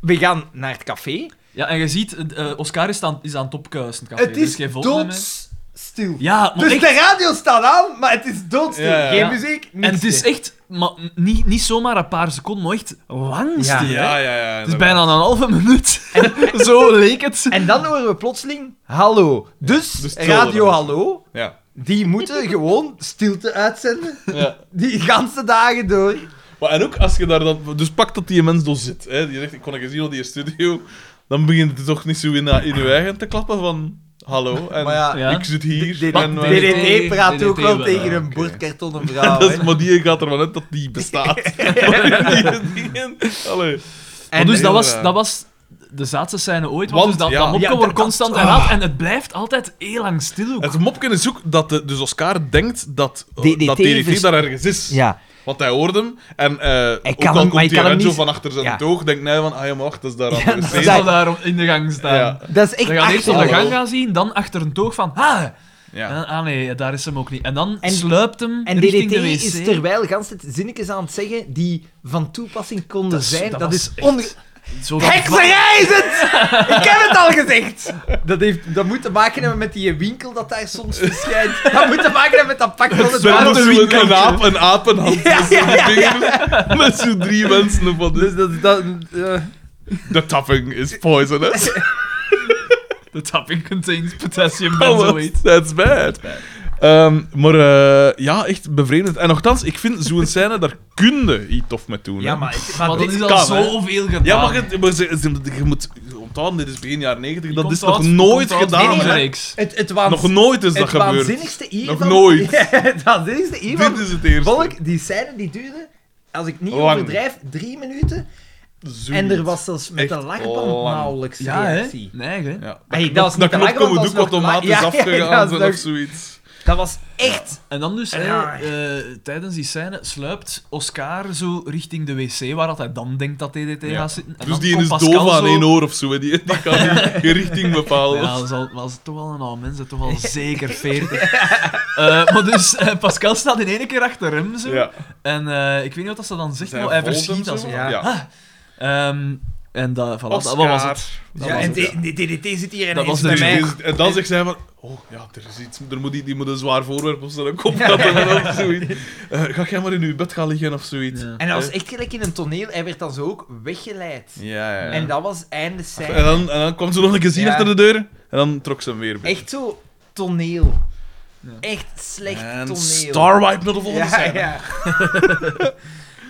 Speaker 1: we gaan naar het café.
Speaker 3: Ja, en je ziet, eh, eh, Oscar is aan, is aan het opkuisen. café.
Speaker 1: Het
Speaker 3: Er
Speaker 1: is
Speaker 3: dus geen volk meer, hè.
Speaker 1: doodstil.
Speaker 3: Ja, maar
Speaker 1: Dus
Speaker 3: echt.
Speaker 1: de radio staat aan, maar het is doodstil.
Speaker 2: Ja, ja.
Speaker 1: Geen
Speaker 3: Ja.
Speaker 1: muziek, niks
Speaker 3: En het is
Speaker 1: meer.
Speaker 3: echt, maar niet, niet zomaar een paar seconden, maar echt lang
Speaker 1: Ja.
Speaker 3: stil. hè.
Speaker 2: Ja, ja, ja.
Speaker 3: Het is bijna een halve minuut. Zo leek het.
Speaker 1: En dan horen we plotseling hallo. Dus,
Speaker 2: dus het
Speaker 1: radio
Speaker 2: zal wel.
Speaker 1: hallo,
Speaker 2: Ja.
Speaker 1: die moeten gewoon stilte uitzenden.
Speaker 2: ja.
Speaker 1: Die ganse dagen door.
Speaker 2: Maar en ook als je daar dan... Dus pak dat die mens door zit. Hè. Die zegt, ik kon een keer zien op die studio. Dan begint het toch niet zo in, in je eigen te klappen van... Hallo, en
Speaker 1: Maar ja,
Speaker 3: Ja.
Speaker 2: ik zit hier.
Speaker 1: D- D-
Speaker 2: en, wij-
Speaker 3: dit-
Speaker 1: DDT praat
Speaker 3: DDT
Speaker 1: ook wel
Speaker 3: wel,
Speaker 1: tegen een
Speaker 2: oké.
Speaker 1: bordkartonnen vrouw.
Speaker 2: dat is,
Speaker 1: Ah, hè.
Speaker 2: maar die gaat ervan uit dat die bestaat. Maar die- die- Allee.
Speaker 3: Maar
Speaker 1: En
Speaker 3: dus dat
Speaker 2: heel
Speaker 3: was,
Speaker 2: raar.
Speaker 3: dat was de zaadste scène ooit. Want,
Speaker 2: Want,
Speaker 3: dus dat,
Speaker 2: ja.
Speaker 3: dat mopje
Speaker 1: Ja, dat-
Speaker 3: wordt
Speaker 1: dat-
Speaker 3: constant herhaald en het blijft altijd heel lang stil. ook.
Speaker 2: Het mopje is ook dat de, dus Oscar denkt dat eh,
Speaker 1: DDT
Speaker 2: dat DDT
Speaker 1: vers-
Speaker 2: daar ergens is.
Speaker 1: Ja,
Speaker 2: Want hij hoorde hem. En eh ook
Speaker 1: kan hem-
Speaker 2: al
Speaker 1: maar
Speaker 2: komt
Speaker 1: hij
Speaker 2: die
Speaker 1: kan hem
Speaker 2: Renzo
Speaker 1: niet-
Speaker 2: van achter zijn
Speaker 1: Ja.
Speaker 2: toog, denkt hij van, ah ja, maar wacht, dat is daar aan de
Speaker 3: Hij
Speaker 2: wc.
Speaker 1: dat-
Speaker 3: zal daar om- in de gang staan.
Speaker 2: Ja.
Speaker 1: dat is echt
Speaker 3: Dan gaan eerst op
Speaker 1: achterlijk.
Speaker 3: de
Speaker 2: achterlijk.
Speaker 3: gang gaan zien, dan achter een toog van... Ah,
Speaker 2: Ja.
Speaker 3: En- ah nee, daar is hem ook niet. En dan
Speaker 1: En-
Speaker 3: sluipt hem
Speaker 1: En
Speaker 3: richting
Speaker 1: DDT
Speaker 3: de wc.
Speaker 1: is terwijl gans het zinnetjes aan het zeggen die van toepassing konden
Speaker 3: Dat is-
Speaker 1: zijn. Dat,
Speaker 3: dat was
Speaker 1: is
Speaker 3: echt-
Speaker 1: onge...
Speaker 3: Zo dat-
Speaker 1: Hekserij is het! Ik heb het al gezegd! Dat, heeft, dat moet te maken hebben met die winkel dat daar soms verschijnt. Dat moet te maken hebben met dat pak van het
Speaker 2: Met
Speaker 1: water.
Speaker 2: zo'n- een aap, een apenhand
Speaker 1: Ja,
Speaker 2: met zo'n vingers, met zo'n drie mensen ervan.
Speaker 1: Dus
Speaker 2: Dus
Speaker 1: dat is dat... eh,
Speaker 2: de tapping is poisonous.
Speaker 3: The topping contains potassium benzoate.
Speaker 2: That's bad. Ehm, maar eh, ja, echt bevreemdend. En nogthans, ik vind zo'n scène, daar kun je iets tof mee doen. hè.
Speaker 1: ja, maar, het- maar
Speaker 3: Maar dat
Speaker 1: dit
Speaker 3: is al
Speaker 2: kan, hè.
Speaker 3: zoveel gedaan.
Speaker 2: Ja, maar, je, maar ze- ze- je moet onthouden, dit is begin jaren 90, dat is nog
Speaker 3: Contact-
Speaker 2: nooit
Speaker 3: contact-
Speaker 2: gedaan.
Speaker 1: Nee,
Speaker 3: deze
Speaker 1: maar-
Speaker 2: hè.
Speaker 3: reeks.
Speaker 1: Het, het, waans-
Speaker 2: Nog nooit is dat
Speaker 1: het
Speaker 2: gebeurd.
Speaker 1: waanzinnigste hiervan...
Speaker 2: Nog nooit.
Speaker 1: het waanzinnigste hiervan...
Speaker 2: Dit is het eerste.
Speaker 1: Volk, die scène die duurde, als ik niet
Speaker 2: Lang.
Speaker 1: overdrijf, drie minuten.
Speaker 2: Zoiets.
Speaker 1: En er was zelfs met
Speaker 2: Echt
Speaker 1: de lachband
Speaker 2: lang.
Speaker 1: nauwelijks
Speaker 3: Ja, hè?
Speaker 1: reactie.
Speaker 3: Nee, hè?
Speaker 2: Ja.
Speaker 1: Hey, dat was niet
Speaker 2: dat
Speaker 1: te
Speaker 2: knopje
Speaker 1: lang, want
Speaker 2: moet
Speaker 1: dat
Speaker 2: ook
Speaker 1: was nog
Speaker 2: automatisch
Speaker 1: lang. Ja, ja,
Speaker 2: afgegaan
Speaker 1: dat
Speaker 2: zijn
Speaker 1: is
Speaker 2: of
Speaker 1: nog-
Speaker 2: zoiets.
Speaker 1: Dat was echt...
Speaker 3: En dan dus, hè,
Speaker 1: Raar.
Speaker 3: eh, tijdens die scène sluipt Oscar zo richting de wc, waar dat hij dan denkt dat DDT
Speaker 2: Ja.
Speaker 3: gaat zitten. En
Speaker 2: Dus
Speaker 3: dan
Speaker 2: die
Speaker 3: komt
Speaker 2: is
Speaker 3: Pascal
Speaker 2: doof aan
Speaker 3: zo-
Speaker 2: één oor of zo, hè. die, die kan die- die richting bepalen.
Speaker 3: Ja, dat zal- was toch wel een oude mens, hè, toch al zeker 40. Eh, maar dus, eh, Pascal staat in één keer achter hem zo.
Speaker 2: Ja.
Speaker 3: En eh, ik weet niet wat dat ze dan zegt,
Speaker 2: Zij
Speaker 3: maar hij
Speaker 2: volgt
Speaker 3: verschiet
Speaker 2: hem
Speaker 3: als
Speaker 2: zo.
Speaker 3: zo.
Speaker 1: ja.
Speaker 3: Ah. Ehm, en dat, voilà, dat,
Speaker 2: Oscar.
Speaker 3: wat was het? Dat
Speaker 1: Ja,
Speaker 3: was
Speaker 1: en
Speaker 3: het.
Speaker 1: de- de DDT zit hier en
Speaker 3: Dat
Speaker 1: hij
Speaker 3: was
Speaker 1: zit
Speaker 3: de
Speaker 1: bij mij.
Speaker 2: Dus- En dan zegt zij van... Oh, ja, er is iets... Er moet, i- die moet een zwaar voorwerp op zijn kop hebben of zoiets. Eh, ga jij maar in uw bed gaan liggen of zoiets.
Speaker 3: Ja.
Speaker 1: En dat was echt gelijk in een toneel. Hij werd dan zo ook weggeleid.
Speaker 2: Ja, ja. ja.
Speaker 1: En dat was einde scène.
Speaker 2: En dan, en dan kwam ze nog een keer zien
Speaker 1: Ja.
Speaker 2: achter de deur. En dan trok ze hem weer binnen.
Speaker 1: Echt zo toneel.
Speaker 3: Ja.
Speaker 1: Echt slecht
Speaker 2: En
Speaker 1: toneel.
Speaker 2: Starwipe naar de volgende
Speaker 1: Ja,
Speaker 2: scène.
Speaker 1: ja.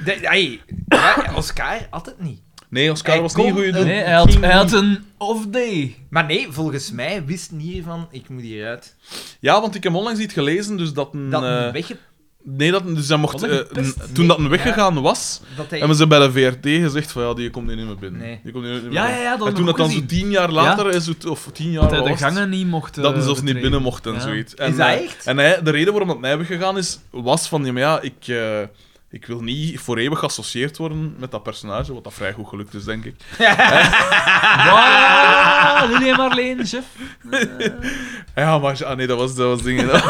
Speaker 1: De- hey, ja, Oscar had het niet.
Speaker 2: Nee, Oscar
Speaker 1: Hij
Speaker 2: was niet
Speaker 1: kon
Speaker 2: goed
Speaker 1: een-
Speaker 2: doen.
Speaker 3: Nee, hij had,
Speaker 1: Ging
Speaker 3: hij had
Speaker 1: niet.
Speaker 3: een off-day.
Speaker 1: Maar nee, volgens mij wist niet van ik moet hieruit.
Speaker 2: Ja, want ik heb onlangs iets gelezen, dus dat een...
Speaker 1: Dat
Speaker 2: eh,
Speaker 1: wegge...
Speaker 2: Nee, dat, dus hij mocht,
Speaker 3: Was dat
Speaker 2: eh,
Speaker 3: gepest?
Speaker 2: n- toen dat hem weggegaan was,
Speaker 1: Dat hij...
Speaker 2: hebben ze bij de VRT gezegd van ja, die komt hier niet meer binnen.
Speaker 1: Nee.
Speaker 2: Die komt hier niet meer
Speaker 3: Ja, ja,
Speaker 2: binnen.
Speaker 3: ja, dat
Speaker 2: en
Speaker 3: heb
Speaker 2: toen
Speaker 3: ik
Speaker 2: dat
Speaker 3: ook
Speaker 2: dan zo
Speaker 3: gezien.
Speaker 2: tien jaar later is, het, of tien jaar
Speaker 3: Dat hij de
Speaker 2: was het,
Speaker 3: gangen niet mocht... eh,
Speaker 2: dat hij zelfs niet
Speaker 3: betreden.
Speaker 2: binnen mocht en
Speaker 3: Ja.
Speaker 2: zoiets. En,
Speaker 1: Is dat
Speaker 2: eh,
Speaker 1: echt?
Speaker 2: En hij, de reden waarom dat mij weggegaan is, was van ja, maar ja, ik, eh, ik wil niet voor eeuwig geassocieerd worden met dat personage, wat dat vrij goed gelukt is, denk ik.
Speaker 3: Wow, Lili en Marleen, chef.
Speaker 2: Ja, maar ah, nee, dat was, dat was dingen. dat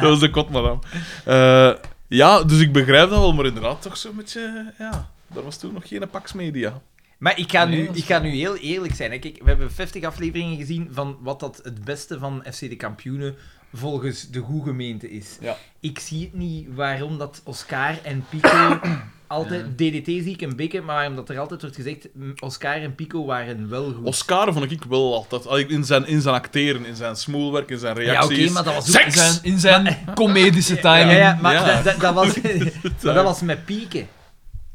Speaker 2: was de kot, madame. Eh, ja, dus ik begrijp dat wel, maar inderdaad toch zo'n beetje... eh, Ja, er was toen nog geen Pax Media.
Speaker 1: Maar ik ga,
Speaker 3: Nee,
Speaker 1: nu,
Speaker 3: dat is
Speaker 1: ik ga nu heel eerlijk zijn. Hè. Kijk, we hebben 50 afleveringen gezien van wat dat het beste van FC de Kampioenen volgens de goede gemeente is.
Speaker 2: Ja.
Speaker 1: Ik zie het niet waarom dat Oscar en Pico altijd... DDT zie ik een bikke, maar waarom dat er altijd wordt gezegd mm, Oscar en Pico waren wel goed.
Speaker 2: Oscar vond ik wel altijd... ah, In zijn, in zijn acteren, in zijn smoelwerk, in zijn
Speaker 1: ja, oké,
Speaker 2: reacties.
Speaker 1: maar dat was ook...
Speaker 3: In zijn, in zijn comedische timing.
Speaker 1: Ja, ja, maar
Speaker 2: Ja.
Speaker 1: Dat, dat, dat was, maar dat was met pieken.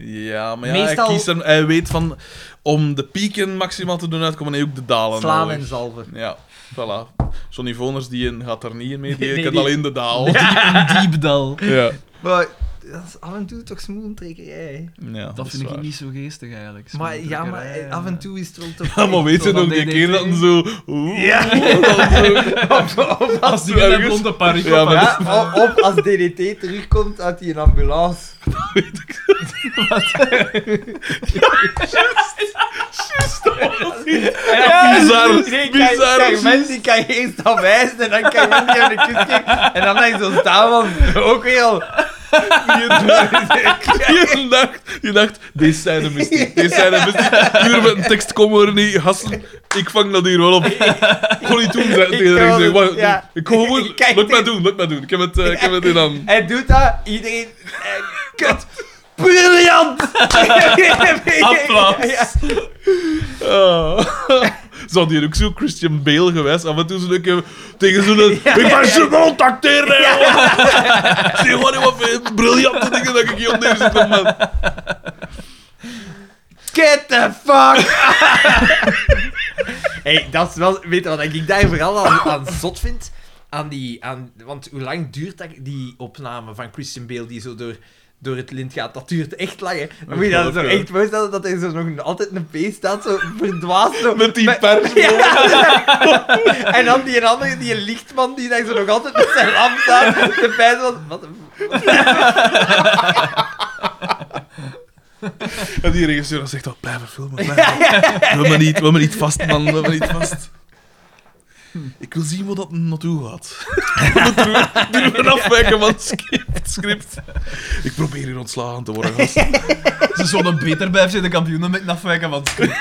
Speaker 2: Ja, maar ja,
Speaker 1: Meestal-
Speaker 2: hij, kiest hem, hij weet van... Om de pieken maximaal te doen uitkomen, en ook de dalen.
Speaker 1: Slaan
Speaker 2: nodig.
Speaker 1: en zalven.
Speaker 2: Ja, voilà. Johnny Voners die in, gaat er niet in mee, die
Speaker 1: Nee, nee,
Speaker 2: kent
Speaker 1: die-
Speaker 2: alleen de daal.
Speaker 3: Een diepdal.
Speaker 2: Ja.
Speaker 1: Maar dat is af en toe toch smoelentrekkerij.
Speaker 2: Ja,
Speaker 3: Dat
Speaker 2: is
Speaker 3: vind ik
Speaker 2: waar.
Speaker 3: niet zo geestig eigenlijk. eh,
Speaker 1: Maar ja, maar eh, af en toe is het wel toch...
Speaker 2: Ja, maar weet je
Speaker 3: Zo van
Speaker 2: nog die
Speaker 3: DDT?
Speaker 2: keer dat hij zo... Oeh,
Speaker 1: Ja.
Speaker 2: dat zo-
Speaker 3: Als die
Speaker 2: die
Speaker 3: met een
Speaker 2: ergens-
Speaker 3: blonde parik
Speaker 2: Ja,
Speaker 3: op
Speaker 2: maar
Speaker 3: had.
Speaker 1: Ja, of, of als DDT terugkomt uit die ambulance. Ja,
Speaker 2: bizar,
Speaker 1: iedereen kan-
Speaker 2: bizar.
Speaker 1: Kijk, mensen die kan je eerst dan wijzen en dan kan je niet aan de kus kijken. En dan ben je zo staan van, ook weer al.
Speaker 2: Je dacht, je dacht, je dacht, deze zijn de mystiek, deze zijn de mystiek. Hier met een tekst komen er niet, hassen. Ik vang dat hier wel op. Gewoon niet doen, zei tegen
Speaker 1: kan
Speaker 2: haar. Ik zeg,
Speaker 1: het,
Speaker 2: wacht,
Speaker 1: ja.
Speaker 2: ik kom gewoon,
Speaker 1: Ik kijk
Speaker 2: laat mij
Speaker 1: tegen-
Speaker 2: doen, laat mij doen. Ik heb het, eh, ik heb het in handen.
Speaker 1: Hij doet dat, iedereen... eh, Kut. Briljant!
Speaker 3: Applaus.
Speaker 1: Ja.
Speaker 2: Ah. Zou die ook zo Christian Bale geweest? Af en toe zo'n keer tegen zo'n... ik ben zo wel tacteren, Zie wat ik wat vind. Briljante dingen dat ik hier op deze zit, man.
Speaker 1: Get the fuck! hey, dat is wel... Weet je wat ik daar vooral aan, aan zot vind? Aan die, aan, want hoe lang duurt dat, die opname van Christian Bale die zo door, door het lint gaat? Dat duurt echt lang, hè? Dan moet je dat zo
Speaker 2: Ja.
Speaker 1: echt voorstellen dat hij zo nog altijd een P staat, zo verdwaasd. Zo,
Speaker 2: Met die pers.
Speaker 1: Ja. en dan die andere, die lichtman, die daar zo nog altijd met zijn lamp staat, de pijs van... Wat,
Speaker 2: En die regisseur dan zegt, dat blijven filmen, blijven. We hebben niet, we hebben niet vast, man. We hebben niet vast. Ik wil zien wat dat naartoe gaat. We durven afwijken van het script, het script. Ik probeer hier ontslagen te worden, gast.
Speaker 3: Ze zouden beter bij FC de kampioenen met afwijken van het script.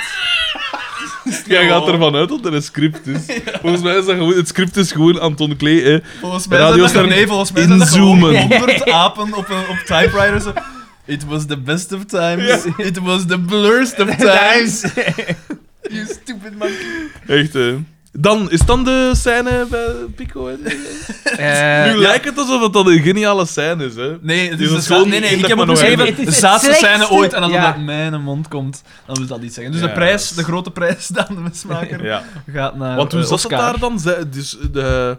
Speaker 2: Jij gaat ervan uit dat er een script is. Volgens mij is dat gewoon... Het script is gewoon Anton Klee, hè.
Speaker 3: Volgens mij
Speaker 2: Radio
Speaker 3: zijn dat,
Speaker 2: Ster-
Speaker 3: nee, volgens mij zijn dat gewoon
Speaker 2: inzoomen.
Speaker 3: 100 apen op, een- op typewriters. It was the best of times. It was the blurst of times. you stupid man.
Speaker 2: Echt, hè. Dan, is dan de scène bij Pico? Hè?
Speaker 1: Eh,
Speaker 2: nu lijkt het alsof het dan een geniale scène is, hè.
Speaker 3: Nee, het
Speaker 2: Die
Speaker 3: is
Speaker 2: was
Speaker 3: een scha-
Speaker 2: gewoon-
Speaker 3: Nee, nee,
Speaker 2: dat
Speaker 3: ik heb
Speaker 2: maar
Speaker 3: het
Speaker 2: nooit.
Speaker 3: geschreven.
Speaker 1: Het is
Speaker 3: De
Speaker 1: het
Speaker 3: zaadste scène
Speaker 1: slechtste-
Speaker 3: ooit en als
Speaker 1: Ja.
Speaker 3: het uit mijn mond komt, dan wil dat iets zeggen. Dus
Speaker 2: Ja,
Speaker 3: de prijs,
Speaker 2: dat is-
Speaker 3: de grote prijs dan de mesmaker,
Speaker 2: Ja.
Speaker 3: gaat naar
Speaker 2: Want hoe
Speaker 3: eh,
Speaker 2: zat het
Speaker 3: Oscar.
Speaker 2: daar dan? Zij- Dus de...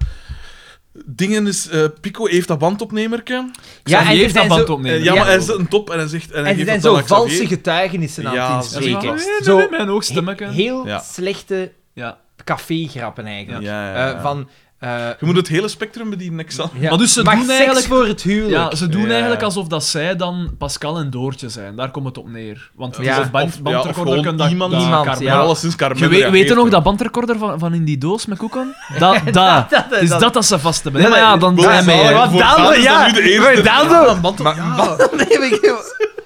Speaker 2: Dingen is... eh, Pico heeft dat bandopnemerke.
Speaker 3: Ja, en
Speaker 1: er
Speaker 3: heeft dat
Speaker 1: zijn
Speaker 3: band
Speaker 1: zo-
Speaker 3: opnemen.
Speaker 2: Eh, ja, maar hij
Speaker 3: en
Speaker 2: zit een top en hij zegt... En hij
Speaker 1: En er
Speaker 2: geeft
Speaker 1: zijn
Speaker 2: dat dan
Speaker 1: zo
Speaker 2: aan Xavier.
Speaker 1: valse getuigenissen aan
Speaker 2: Ja,
Speaker 1: het
Speaker 2: zeker.
Speaker 1: inspreken.
Speaker 2: Nee,
Speaker 1: Zo
Speaker 3: mijn
Speaker 1: He-
Speaker 3: oogstemmen.
Speaker 1: Heel
Speaker 2: Ja.
Speaker 1: slechte
Speaker 3: Ja.
Speaker 1: café-grappen eigenlijk.
Speaker 2: Ja, ja, ja.
Speaker 1: Eh, van, eh,
Speaker 2: Je moet het hele spectrum bedienen, niks aan.
Speaker 1: ja,
Speaker 3: Maar dus ze
Speaker 1: mag
Speaker 3: doen
Speaker 1: seks
Speaker 3: eigenlijk-
Speaker 1: voor het huwelijk.
Speaker 3: Ja, ze doen
Speaker 2: Ja.
Speaker 3: eigenlijk alsof dat zij dan Pascal en Doortje zijn. Daar komt het op neer. Want
Speaker 1: Ja.
Speaker 3: ja. band,
Speaker 2: Of- ja, of
Speaker 3: bandrecorder
Speaker 2: gewoon
Speaker 3: kan dat...
Speaker 2: iemand-
Speaker 3: dat
Speaker 1: Iemand,
Speaker 3: Carmen-
Speaker 1: ja.
Speaker 2: Maar alleszins Carmen
Speaker 3: Je weet, weet je
Speaker 2: reageert
Speaker 3: nog
Speaker 2: er.
Speaker 3: dat bandrecorder van, van in die doos met koeken? Dat, dat.
Speaker 1: dat-
Speaker 3: Het is
Speaker 1: dat-
Speaker 3: dat dat ze vast hebben. Nee, maar ja, dan
Speaker 2: Wel,
Speaker 3: zijn we
Speaker 2: zalig,
Speaker 3: hier.
Speaker 2: want
Speaker 1: Wat
Speaker 2: voor
Speaker 1: dan?
Speaker 2: Daan is
Speaker 1: Ja,
Speaker 2: dat nu de eerste.
Speaker 1: maar Daan zo-
Speaker 2: Ja, een band- ja.
Speaker 1: bandopneming.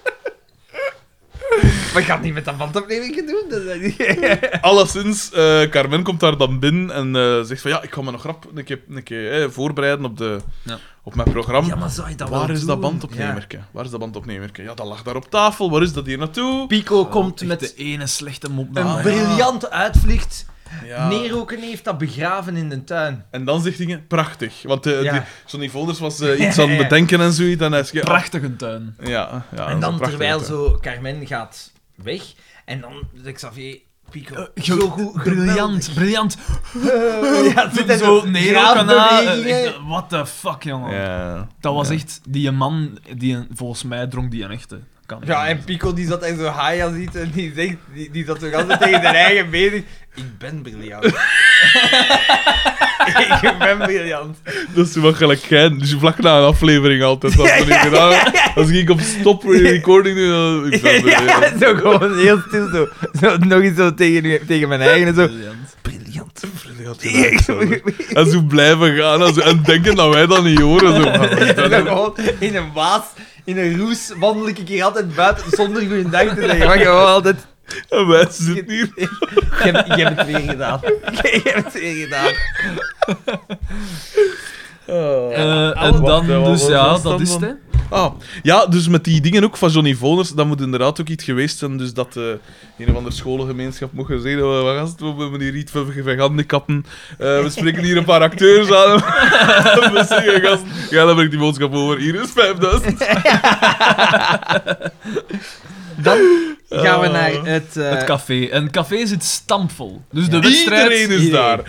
Speaker 1: Maar ik ga het niet met dat bandopneming doen. Dat is-
Speaker 2: Alleszins, eh, Carmen komt daar dan binnen en eh, zegt van ja, ik ga me nog rap een keer, een keer eh, voorbereiden op, de,
Speaker 3: Ja.
Speaker 2: op mijn programma.
Speaker 1: Ja, maar zou je dat
Speaker 2: Waar
Speaker 1: wel
Speaker 2: is dat
Speaker 1: doen?
Speaker 2: bandopnemerke? Waar is dat bandopnemerke? Ja, dat lag daar op tafel. Waar is dat hier naartoe?
Speaker 1: Ja. Pico komt
Speaker 3: Oh, Echt de Ah,
Speaker 1: met
Speaker 3: ene slechte mop. na
Speaker 1: een
Speaker 3: de andere.
Speaker 1: briljante uitvlucht.
Speaker 2: Ja. Ah,
Speaker 1: Neerroken heeft dat begraven in de tuin.
Speaker 2: En dan zegt hij, prachtig. Want eh,
Speaker 1: Ja.
Speaker 2: die- Johnny Volders was eh, iets aan het bedenken en zoiets. En hij zegt, ja,
Speaker 3: Prachtige tuin.
Speaker 2: Ja, ja, dat is
Speaker 1: en dan
Speaker 2: een prachtige
Speaker 1: terwijl
Speaker 2: tuin.
Speaker 1: zo Carmen gaat weg. En dan de Xavier Pico.
Speaker 3: Eh, Ge- briljant, briljant. Eh,
Speaker 1: ja, zit hij
Speaker 3: zo neer ook aan haar.
Speaker 1: graafbewegingen.
Speaker 3: Echt, What the fuck, jongen.
Speaker 2: Ja.
Speaker 3: Dat was
Speaker 2: Ja.
Speaker 3: echt... Die man, die, een- volgens mij dronk die een echte. Kan niet
Speaker 1: Ja,
Speaker 3: anders.
Speaker 1: en Pico die zat echt zo high als iets en die, zegt, die, die zat zo altijd tegen zijn eigen bezig. Ik ben briljant. ik ben briljant.
Speaker 2: Dat is wel gelijk gein. Dus vlak na een aflevering altijd. Dat ben ik gedaan. Als ik op stop recording doe, dan... Ik ben
Speaker 1: ja,
Speaker 2: beneden.
Speaker 1: zo gewoon heel stil zo. zo nog eens zo tegen, tegen mijn eigen en zo.
Speaker 3: Briljant.
Speaker 1: Briljant.
Speaker 2: Briljant gedaan, Xander. En zo blijven gaan. En, zo- en denken dat wij dat niet horen. Zo.
Speaker 1: En dan gewoon in een waas, in een roes wandel ik hier altijd buiten zonder goeiedag te zeggen. Maar gewoon altijd...
Speaker 2: En wij zitten hier.
Speaker 1: Je hebt, je hebt het weer gedaan. Je hebt het weer gedaan.
Speaker 3: Eh, en
Speaker 2: Wat- wat
Speaker 3: dan, dus
Speaker 2: was
Speaker 3: ja,
Speaker 2: dat
Speaker 3: dat
Speaker 2: dan?
Speaker 3: is het. hè.
Speaker 2: Ah, ja, dus met die dingen ook van Johnny Voners, dat moet inderdaad ook iets geweest zijn. Dus dat eh een of andere scholengemeenschap mocht gaan zeggen: "Oh, wat gast, we hebben meneer Riet van van handikappen. Eh, we spreken hier een paar acteurs aan. we zeggen: gast, ja, dan breng ik die boodschap over. Hier is 5000.
Speaker 1: Dan gaan we naar het... eh,
Speaker 3: Oh. Het café. En het café zit stampvol. Dus de wedstrijd...
Speaker 2: Iedereen is
Speaker 1: Iedereen.
Speaker 2: daar.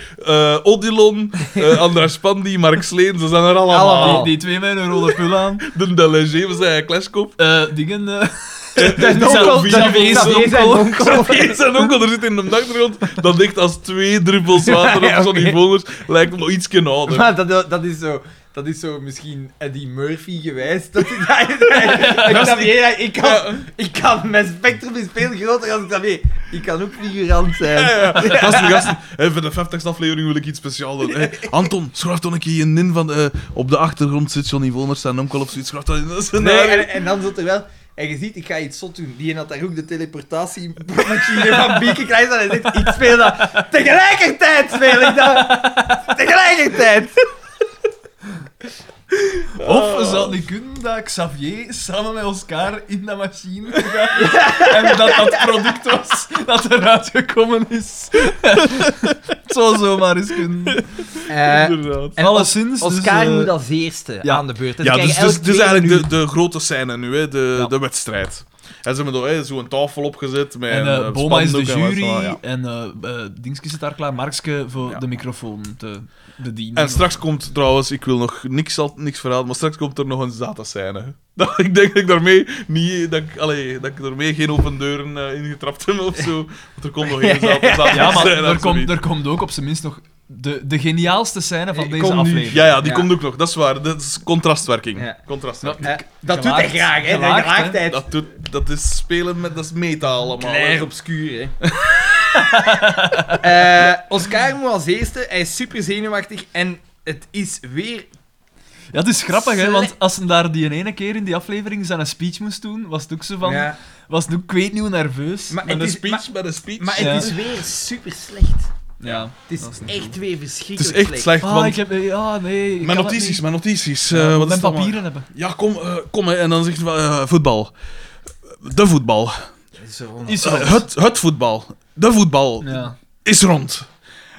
Speaker 2: Eh, Odilon, eh Andras Pandy, Mark Sleen, ze zijn er allemaal.
Speaker 1: Allemaal.
Speaker 3: Ah, Die, die twee met een rode pul aan.
Speaker 2: De Delege, we zijn Kleskop.
Speaker 3: Eh, dingen... eh,
Speaker 1: Zijn
Speaker 3: Xavier-
Speaker 1: onkel,
Speaker 3: Xavier is
Speaker 1: Xavier zijn
Speaker 3: onkel.
Speaker 1: onkel.
Speaker 2: Xavier zijn onkel, er zit in de achtergrond, dat ligt als twee druppels water
Speaker 1: Ja, ja,
Speaker 2: op Johnny
Speaker 1: oké.
Speaker 2: Voners. Lijkt hem nog iets ouder.
Speaker 1: Maar dat, dat is zo... Dat is zo misschien Eddie Murphy geweest. Dat is, dat is- ik, Xavier, ik, kan, ik kan... Mijn spectrum is veel groter dan Xavier. Ik kan ook figurant zijn.
Speaker 2: Ja, ja. Gasten, gasten. Hey, voor de 50ste aflevering wil ik iets speciaals doen. Hey, Anton, schrijf dan een keer je in van... eh, op de achtergrond zit Johnny Voners zijn onkel of zoiets. Schrijf dat in. Dat is een-
Speaker 1: Nee, en, en dan zit er wel... En je ziet, ik ga iets zot doen. Die had daar ook de teleportatiemachine van Bieke krijgt. En hij zegt, ik speel dat. Tegelijkertijd speel ik dat. Tegelijkertijd.
Speaker 2: Ah.
Speaker 3: Of zou het niet kunnen dat Xavier samen met Oscar in de machine gaat en dat dat product was dat eruit gekomen is? Het zou zomaar eens kunnen.
Speaker 1: Eh,
Speaker 2: Inderdaad.
Speaker 1: en
Speaker 3: Alleszins. dus,
Speaker 1: Oscar
Speaker 3: eh,
Speaker 1: moet als eerste
Speaker 3: ja.
Speaker 1: aan de beurt.
Speaker 2: ja,
Speaker 1: ze
Speaker 2: dus,
Speaker 1: krijgen
Speaker 2: dus,
Speaker 1: elk
Speaker 2: dus
Speaker 1: twee
Speaker 2: eigenlijk
Speaker 1: minuten.
Speaker 2: de, de grote scène nu, hè, de,
Speaker 3: Ja.
Speaker 2: de wedstrijd. En ze hebben er, hè, zo'n tafel opgezet met...
Speaker 3: En eh,
Speaker 2: eh,
Speaker 3: Boma is de
Speaker 2: spandoek en wat
Speaker 3: jury
Speaker 2: zo, ja.
Speaker 3: en eh eh, Dingske zit daar klaar, Markske, voor
Speaker 2: Ja.
Speaker 3: de microfoon te bedienen.
Speaker 2: En straks komt trouwens, ik wil nog niks, al- niks verhalen, maar straks komt er nog een Zata-scène. Dat, ik denk dat ik daarmee, niet, dat ik, allee, dat ik daarmee geen open deuren eh, ingetrapt heb of zo. Want er komt nog geen Zata- Zata-scène.
Speaker 3: ja, maar er
Speaker 2: absoluut.
Speaker 3: komt, er komt ook op zijn minst nog de, de geniaalste scène van
Speaker 1: Ik
Speaker 3: deze
Speaker 1: kom nu.
Speaker 3: aflevering.
Speaker 2: Ja, ja, die
Speaker 1: Ja.
Speaker 2: komt ook nog. Dat is waar. Dat is contrastwerking.
Speaker 1: Ja.
Speaker 2: Contrastwerking.
Speaker 1: Eh, dat doet hij
Speaker 3: Gewaagd.
Speaker 1: graag, hè?
Speaker 3: Gewaagd,
Speaker 1: Gewaagd, gewaagdheid.
Speaker 2: Dat, doet, dat is spelen met... Dat is meta allemaal.
Speaker 1: Clair
Speaker 2: hè.
Speaker 1: obscuur, hè? Eh, Oscar moet als eerste, hij is super zenuwachtig en het is weer.
Speaker 3: Ja, het is grappig, hè,
Speaker 1: Sle-
Speaker 3: want als ze daar die ene keer in die aflevering zijn een speech moest doen, was het ook zo van...
Speaker 1: Ja.
Speaker 3: Was het ook, ik weet niet hoe nerveus.
Speaker 1: Maar
Speaker 2: Met
Speaker 1: het
Speaker 2: een
Speaker 1: is-
Speaker 2: speech, met een speech.
Speaker 1: Maar
Speaker 3: Ja.
Speaker 1: het is weer super slecht.
Speaker 3: ja.
Speaker 1: Het
Speaker 3: Dat
Speaker 1: is
Speaker 3: is niet
Speaker 1: echt weer
Speaker 2: het is
Speaker 1: verschrikkelijk
Speaker 2: echt slecht,
Speaker 3: Ah,
Speaker 2: want...
Speaker 3: ik heb... Ja, nee. ik
Speaker 2: Mijn
Speaker 3: kan het
Speaker 2: notities,
Speaker 3: niet.
Speaker 2: mijn notities.
Speaker 3: Ja,
Speaker 2: eh,
Speaker 3: ik
Speaker 2: wat
Speaker 3: moet
Speaker 2: is dat maar?
Speaker 3: papieren hebben.
Speaker 2: Ja, kom, eh, kom hè. En dan zegt hij van, eh, voetbal. De voetbal.
Speaker 1: Zo.
Speaker 3: Is
Speaker 2: Eh,
Speaker 3: er ook.
Speaker 2: het, het voetbal. De voetbal
Speaker 3: Ja.
Speaker 2: is rond.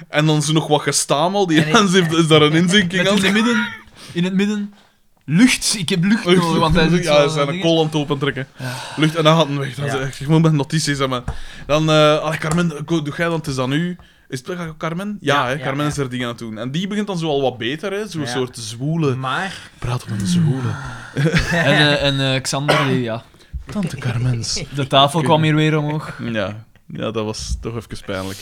Speaker 2: En dan is er nog wat gestamel. Die
Speaker 1: En ik-
Speaker 2: Hans heeft, is daar een
Speaker 3: Met
Speaker 2: inzinking
Speaker 3: in het
Speaker 2: aan.
Speaker 3: midden... In het midden... Lucht. Ik heb lucht
Speaker 2: Lucht,
Speaker 3: nodig, want hij zit zo
Speaker 2: ja,
Speaker 3: aan
Speaker 2: ze zijn een
Speaker 3: dingen.
Speaker 2: kol aan het opentrekken. Lucht en dan gaat hij weg. Dan
Speaker 1: Ja.
Speaker 2: zeg ik, ik moet mijn notities hebben. Dan, eh allee, Carmen, go- doe jij dan, het is aan u. Is het eh, Carmen? Ja,
Speaker 1: Ja,
Speaker 2: hè,
Speaker 1: ja,
Speaker 2: Carmen
Speaker 1: ja.
Speaker 2: is er dingen aan het doen. En die begint dan zo al wat beter, hè. Zo'n
Speaker 1: Ja.
Speaker 2: soort zwoele...
Speaker 3: Mm.
Speaker 1: Maar.
Speaker 2: Praat met een zwoele.
Speaker 3: Ah, En, eh, en eh, Xander, die, ja.
Speaker 2: Tante Carmens.
Speaker 3: De tafel kwam hier weer omhoog.
Speaker 2: Ja. ja, dat was toch even pijnlijk.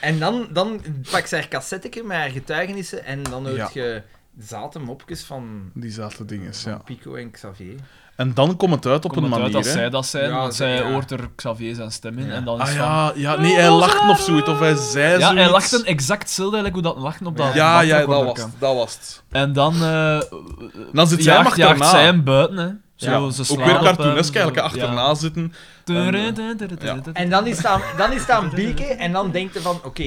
Speaker 1: En dan, dan pakt ze haar cassetteke met haar getuigenissen en dan hoort
Speaker 2: Ja.
Speaker 1: je zaten mopjes dus van
Speaker 2: Die zaten dinges, ja.
Speaker 1: Pico en Xavier.
Speaker 2: En dan komt het uit op
Speaker 3: Komt
Speaker 2: een
Speaker 3: het
Speaker 2: manier,
Speaker 3: uit dat
Speaker 2: hè.
Speaker 3: zij dat zijn,
Speaker 1: Ja,
Speaker 3: want
Speaker 1: ze-
Speaker 3: zij
Speaker 1: ja.
Speaker 3: hoort er Xavier zijn stem in.
Speaker 1: Ja.
Speaker 3: En dan
Speaker 2: Ah
Speaker 3: is van-
Speaker 2: ja, ja, nee, hij lacht of zoiets, of hij zei
Speaker 3: Ja, hij
Speaker 2: zoiets.
Speaker 3: lacht een exact hetzelfde eigenlijk hoe dat lachen op dat...
Speaker 2: Ja, ja,
Speaker 3: bakrecorder
Speaker 2: dat was,
Speaker 3: kan.
Speaker 2: het, dat was het.
Speaker 3: En dan... eh,
Speaker 2: Dan zit zij hem
Speaker 3: jaagt, jaagt
Speaker 2: achterna.
Speaker 3: zij hem buiten, hè. Zo,
Speaker 2: Ja,
Speaker 3: ze
Speaker 2: ook
Speaker 3: slaan
Speaker 2: weer
Speaker 3: op
Speaker 2: cartoonesk
Speaker 3: hem, zo,
Speaker 2: eigenlijk, hè, achterna eh, zitten.
Speaker 3: Ja.
Speaker 1: En dan is het aan, dan is het aan Bieke en dan denkt ze van: oké,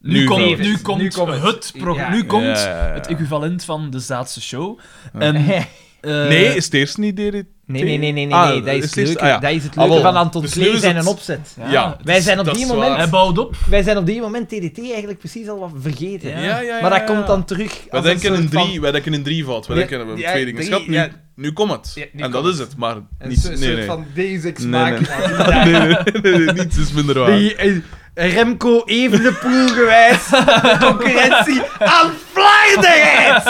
Speaker 3: Nu,
Speaker 2: Nu
Speaker 3: komt-
Speaker 1: komt het.
Speaker 3: nu komt
Speaker 1: Nu komt het.
Speaker 3: het programma.
Speaker 1: Ja.
Speaker 3: Nu komt
Speaker 2: Ja, ja, ja.
Speaker 3: het equivalent van de Zaadse show. En, eh,
Speaker 2: Nee, is het eerst niet DDT?
Speaker 1: Nee, nee, nee, nee, nee,
Speaker 2: Ah,
Speaker 1: nee, dat is
Speaker 2: is
Speaker 1: het
Speaker 2: dit-
Speaker 1: leuke.
Speaker 2: ah, ja.
Speaker 1: Dat is het
Speaker 2: Ah,
Speaker 1: leuke
Speaker 2: wel.
Speaker 1: van Anton
Speaker 2: Dus
Speaker 1: Klee
Speaker 2: nu is
Speaker 1: zijn
Speaker 2: het-
Speaker 1: een opzet.
Speaker 3: Ja,
Speaker 2: Ja,
Speaker 1: Wij zijn op
Speaker 2: dat
Speaker 1: die
Speaker 2: is
Speaker 1: moment-
Speaker 2: waar.
Speaker 3: Hij bouwt op.
Speaker 1: Wij zijn op dit moment TDT eigenlijk precies al wat vergeten.
Speaker 3: Ja.
Speaker 2: Ja, ja,
Speaker 1: Maar dat
Speaker 2: ja, ja.
Speaker 1: komt dan terug.
Speaker 2: Wij
Speaker 1: als
Speaker 2: denken,
Speaker 1: een
Speaker 2: in
Speaker 1: soort van-
Speaker 2: drie, wij denken in drie valt. Wij
Speaker 1: Ja,
Speaker 2: denken, we hebben
Speaker 1: ja,
Speaker 2: twee dingen
Speaker 1: drie,
Speaker 2: gehad, nu,
Speaker 1: ja.
Speaker 2: nu komt het.
Speaker 1: Ja, nu
Speaker 2: en dat
Speaker 1: komt
Speaker 2: is
Speaker 1: het.
Speaker 2: het, maar
Speaker 1: Een
Speaker 2: niet...
Speaker 1: so-
Speaker 2: Nee,
Speaker 1: soort
Speaker 2: nee.
Speaker 1: van Deus Ex
Speaker 2: Nee, nee.
Speaker 1: Machina.
Speaker 2: nee, nee, nee, niets is minder waar.
Speaker 1: Die- eh, Remco Evenepoel gewijs de concurrentie aan Vlaardingen.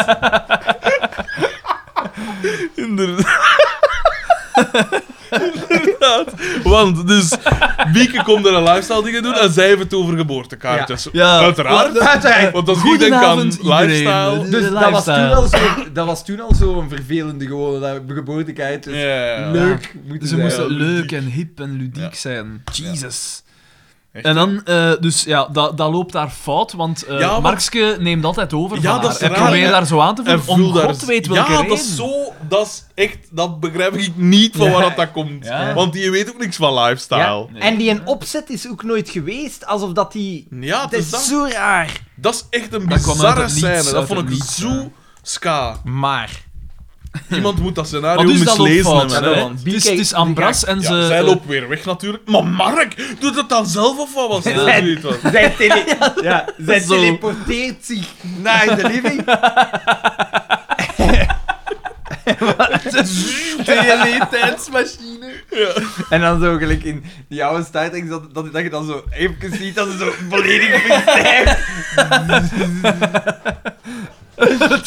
Speaker 2: Inderdaad. Inderdaad. Want dus Bieke komt er een lifestyle dingen doen en zij heeft het over geboortekaartjes.
Speaker 3: Ja.
Speaker 2: Uiteraard.
Speaker 1: Uiteraard.
Speaker 2: Want als ik denk aan
Speaker 3: Goedenavond, iedereen.
Speaker 2: lifestyle...
Speaker 1: Dus
Speaker 3: De
Speaker 1: dat was, toen
Speaker 3: lifestyle.
Speaker 1: al zo, dat was toen al zo'n vervelende gewone dat geboortekaart. Dus
Speaker 2: Ja.
Speaker 1: Leuk moeten
Speaker 3: Dus Ze
Speaker 1: zijn.
Speaker 3: moesten
Speaker 2: ludiek.
Speaker 3: leuk en hip en ludiek
Speaker 2: Ja.
Speaker 3: zijn. Jesus.
Speaker 2: Echt,
Speaker 3: En dan, eh, dus ja, dat, dat loopt daar fout, want eh
Speaker 2: Ja, want-
Speaker 3: Markske neemt altijd over.
Speaker 2: Ja, dat
Speaker 3: van haar.
Speaker 2: is
Speaker 3: En
Speaker 2: raar,
Speaker 3: probeer
Speaker 2: hè.
Speaker 3: daar zo aan te
Speaker 2: En
Speaker 3: voelen.
Speaker 2: voel
Speaker 3: Om
Speaker 2: daar...
Speaker 3: God weet
Speaker 2: ja,
Speaker 3: welke reden.
Speaker 2: dat is zo... Dat is echt... Dat begrijp ik niet van waar
Speaker 3: Ja.
Speaker 2: dat, dat komt.
Speaker 3: Ja.
Speaker 2: Want die weet ook niks van lifestyle.
Speaker 1: Ja. En die een opzet is ook nooit geweest, alsof dat die...
Speaker 2: Ja,
Speaker 1: Dat
Speaker 2: dus
Speaker 1: is
Speaker 2: dat,
Speaker 1: zo raar.
Speaker 2: dat is echt een
Speaker 3: Dat kwam uit
Speaker 2: bizarre
Speaker 3: het niets,
Speaker 2: scène. Dat
Speaker 3: uit
Speaker 2: vond
Speaker 3: het
Speaker 2: ik
Speaker 3: niets, ja.
Speaker 2: zo ska.
Speaker 1: Maar...
Speaker 2: Iemand moet dat scenario
Speaker 3: Wat is dat ook
Speaker 2: mislezen
Speaker 3: fout?
Speaker 2: hebben. hè.
Speaker 1: Ja,
Speaker 3: hè? Dus het is Ambras en
Speaker 2: Ja,
Speaker 3: ze...
Speaker 2: zij loopt weer weg natuurlijk. Maar Mark, doet dat dan zelf of wat was het?
Speaker 3: Ja.
Speaker 2: Dat weet ik wel.
Speaker 1: Zij, tele ja, zij
Speaker 3: Zo.
Speaker 1: teleporteert zich naar de living.
Speaker 3: Teletijdsmachine.
Speaker 1: En dan zo gelijk in die oude Star Trek, dat, dat, dat je dan zo even ziet dat ze zo volledig verstijft.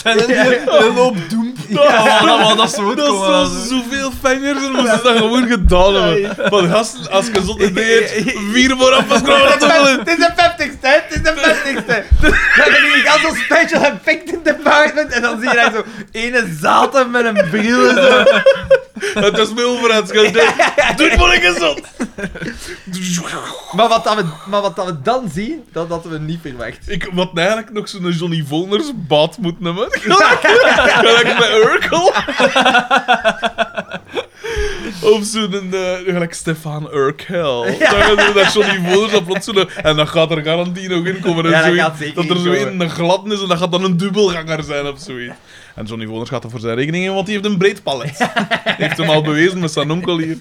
Speaker 3: En die die loopt doemp. Ja, maar dat was dat soort
Speaker 2: Oh, Dat
Speaker 3: komen, dat
Speaker 2: is zo, zoveel fijner, dan moesten ze dat gewoon gedaan hebben. Want gasten, als je zonder deed, vier vooraf was gewoon Oh, dat wel in.
Speaker 1: Het is de 50ste, hè, het is de 50ste. Dan heb je al zo'n special effect department en dan zie je daar zo ene zaten met een bril en zo.
Speaker 2: Het is mijn overheidsgeld. Doe het maar ik eens op.
Speaker 1: Maar wat, dat we, maar wat dat we dan zien, dat hadden we niet verwacht.
Speaker 2: Ik wat eigenlijk nog zo'n Johnny Volners baat moet nemen. Gelijk met Urkel. Of zo'n, eh, gelijk Stefan Urkel. Dan gaat er dat Johnny Volners dat plots zo'n... En dat gaat er garantie nog in komen. En
Speaker 1: Ja, dat
Speaker 2: zoiets.
Speaker 1: gaat zeker
Speaker 2: dat er
Speaker 1: in
Speaker 2: zo
Speaker 1: komen.
Speaker 2: in een glad is en dat gaat dan een dubbelganger zijn of zoiets. En Johnny Volners gaat er voor zijn rekening in, want die heeft een breed palet. heeft hem al bewezen met zijn onkel hier.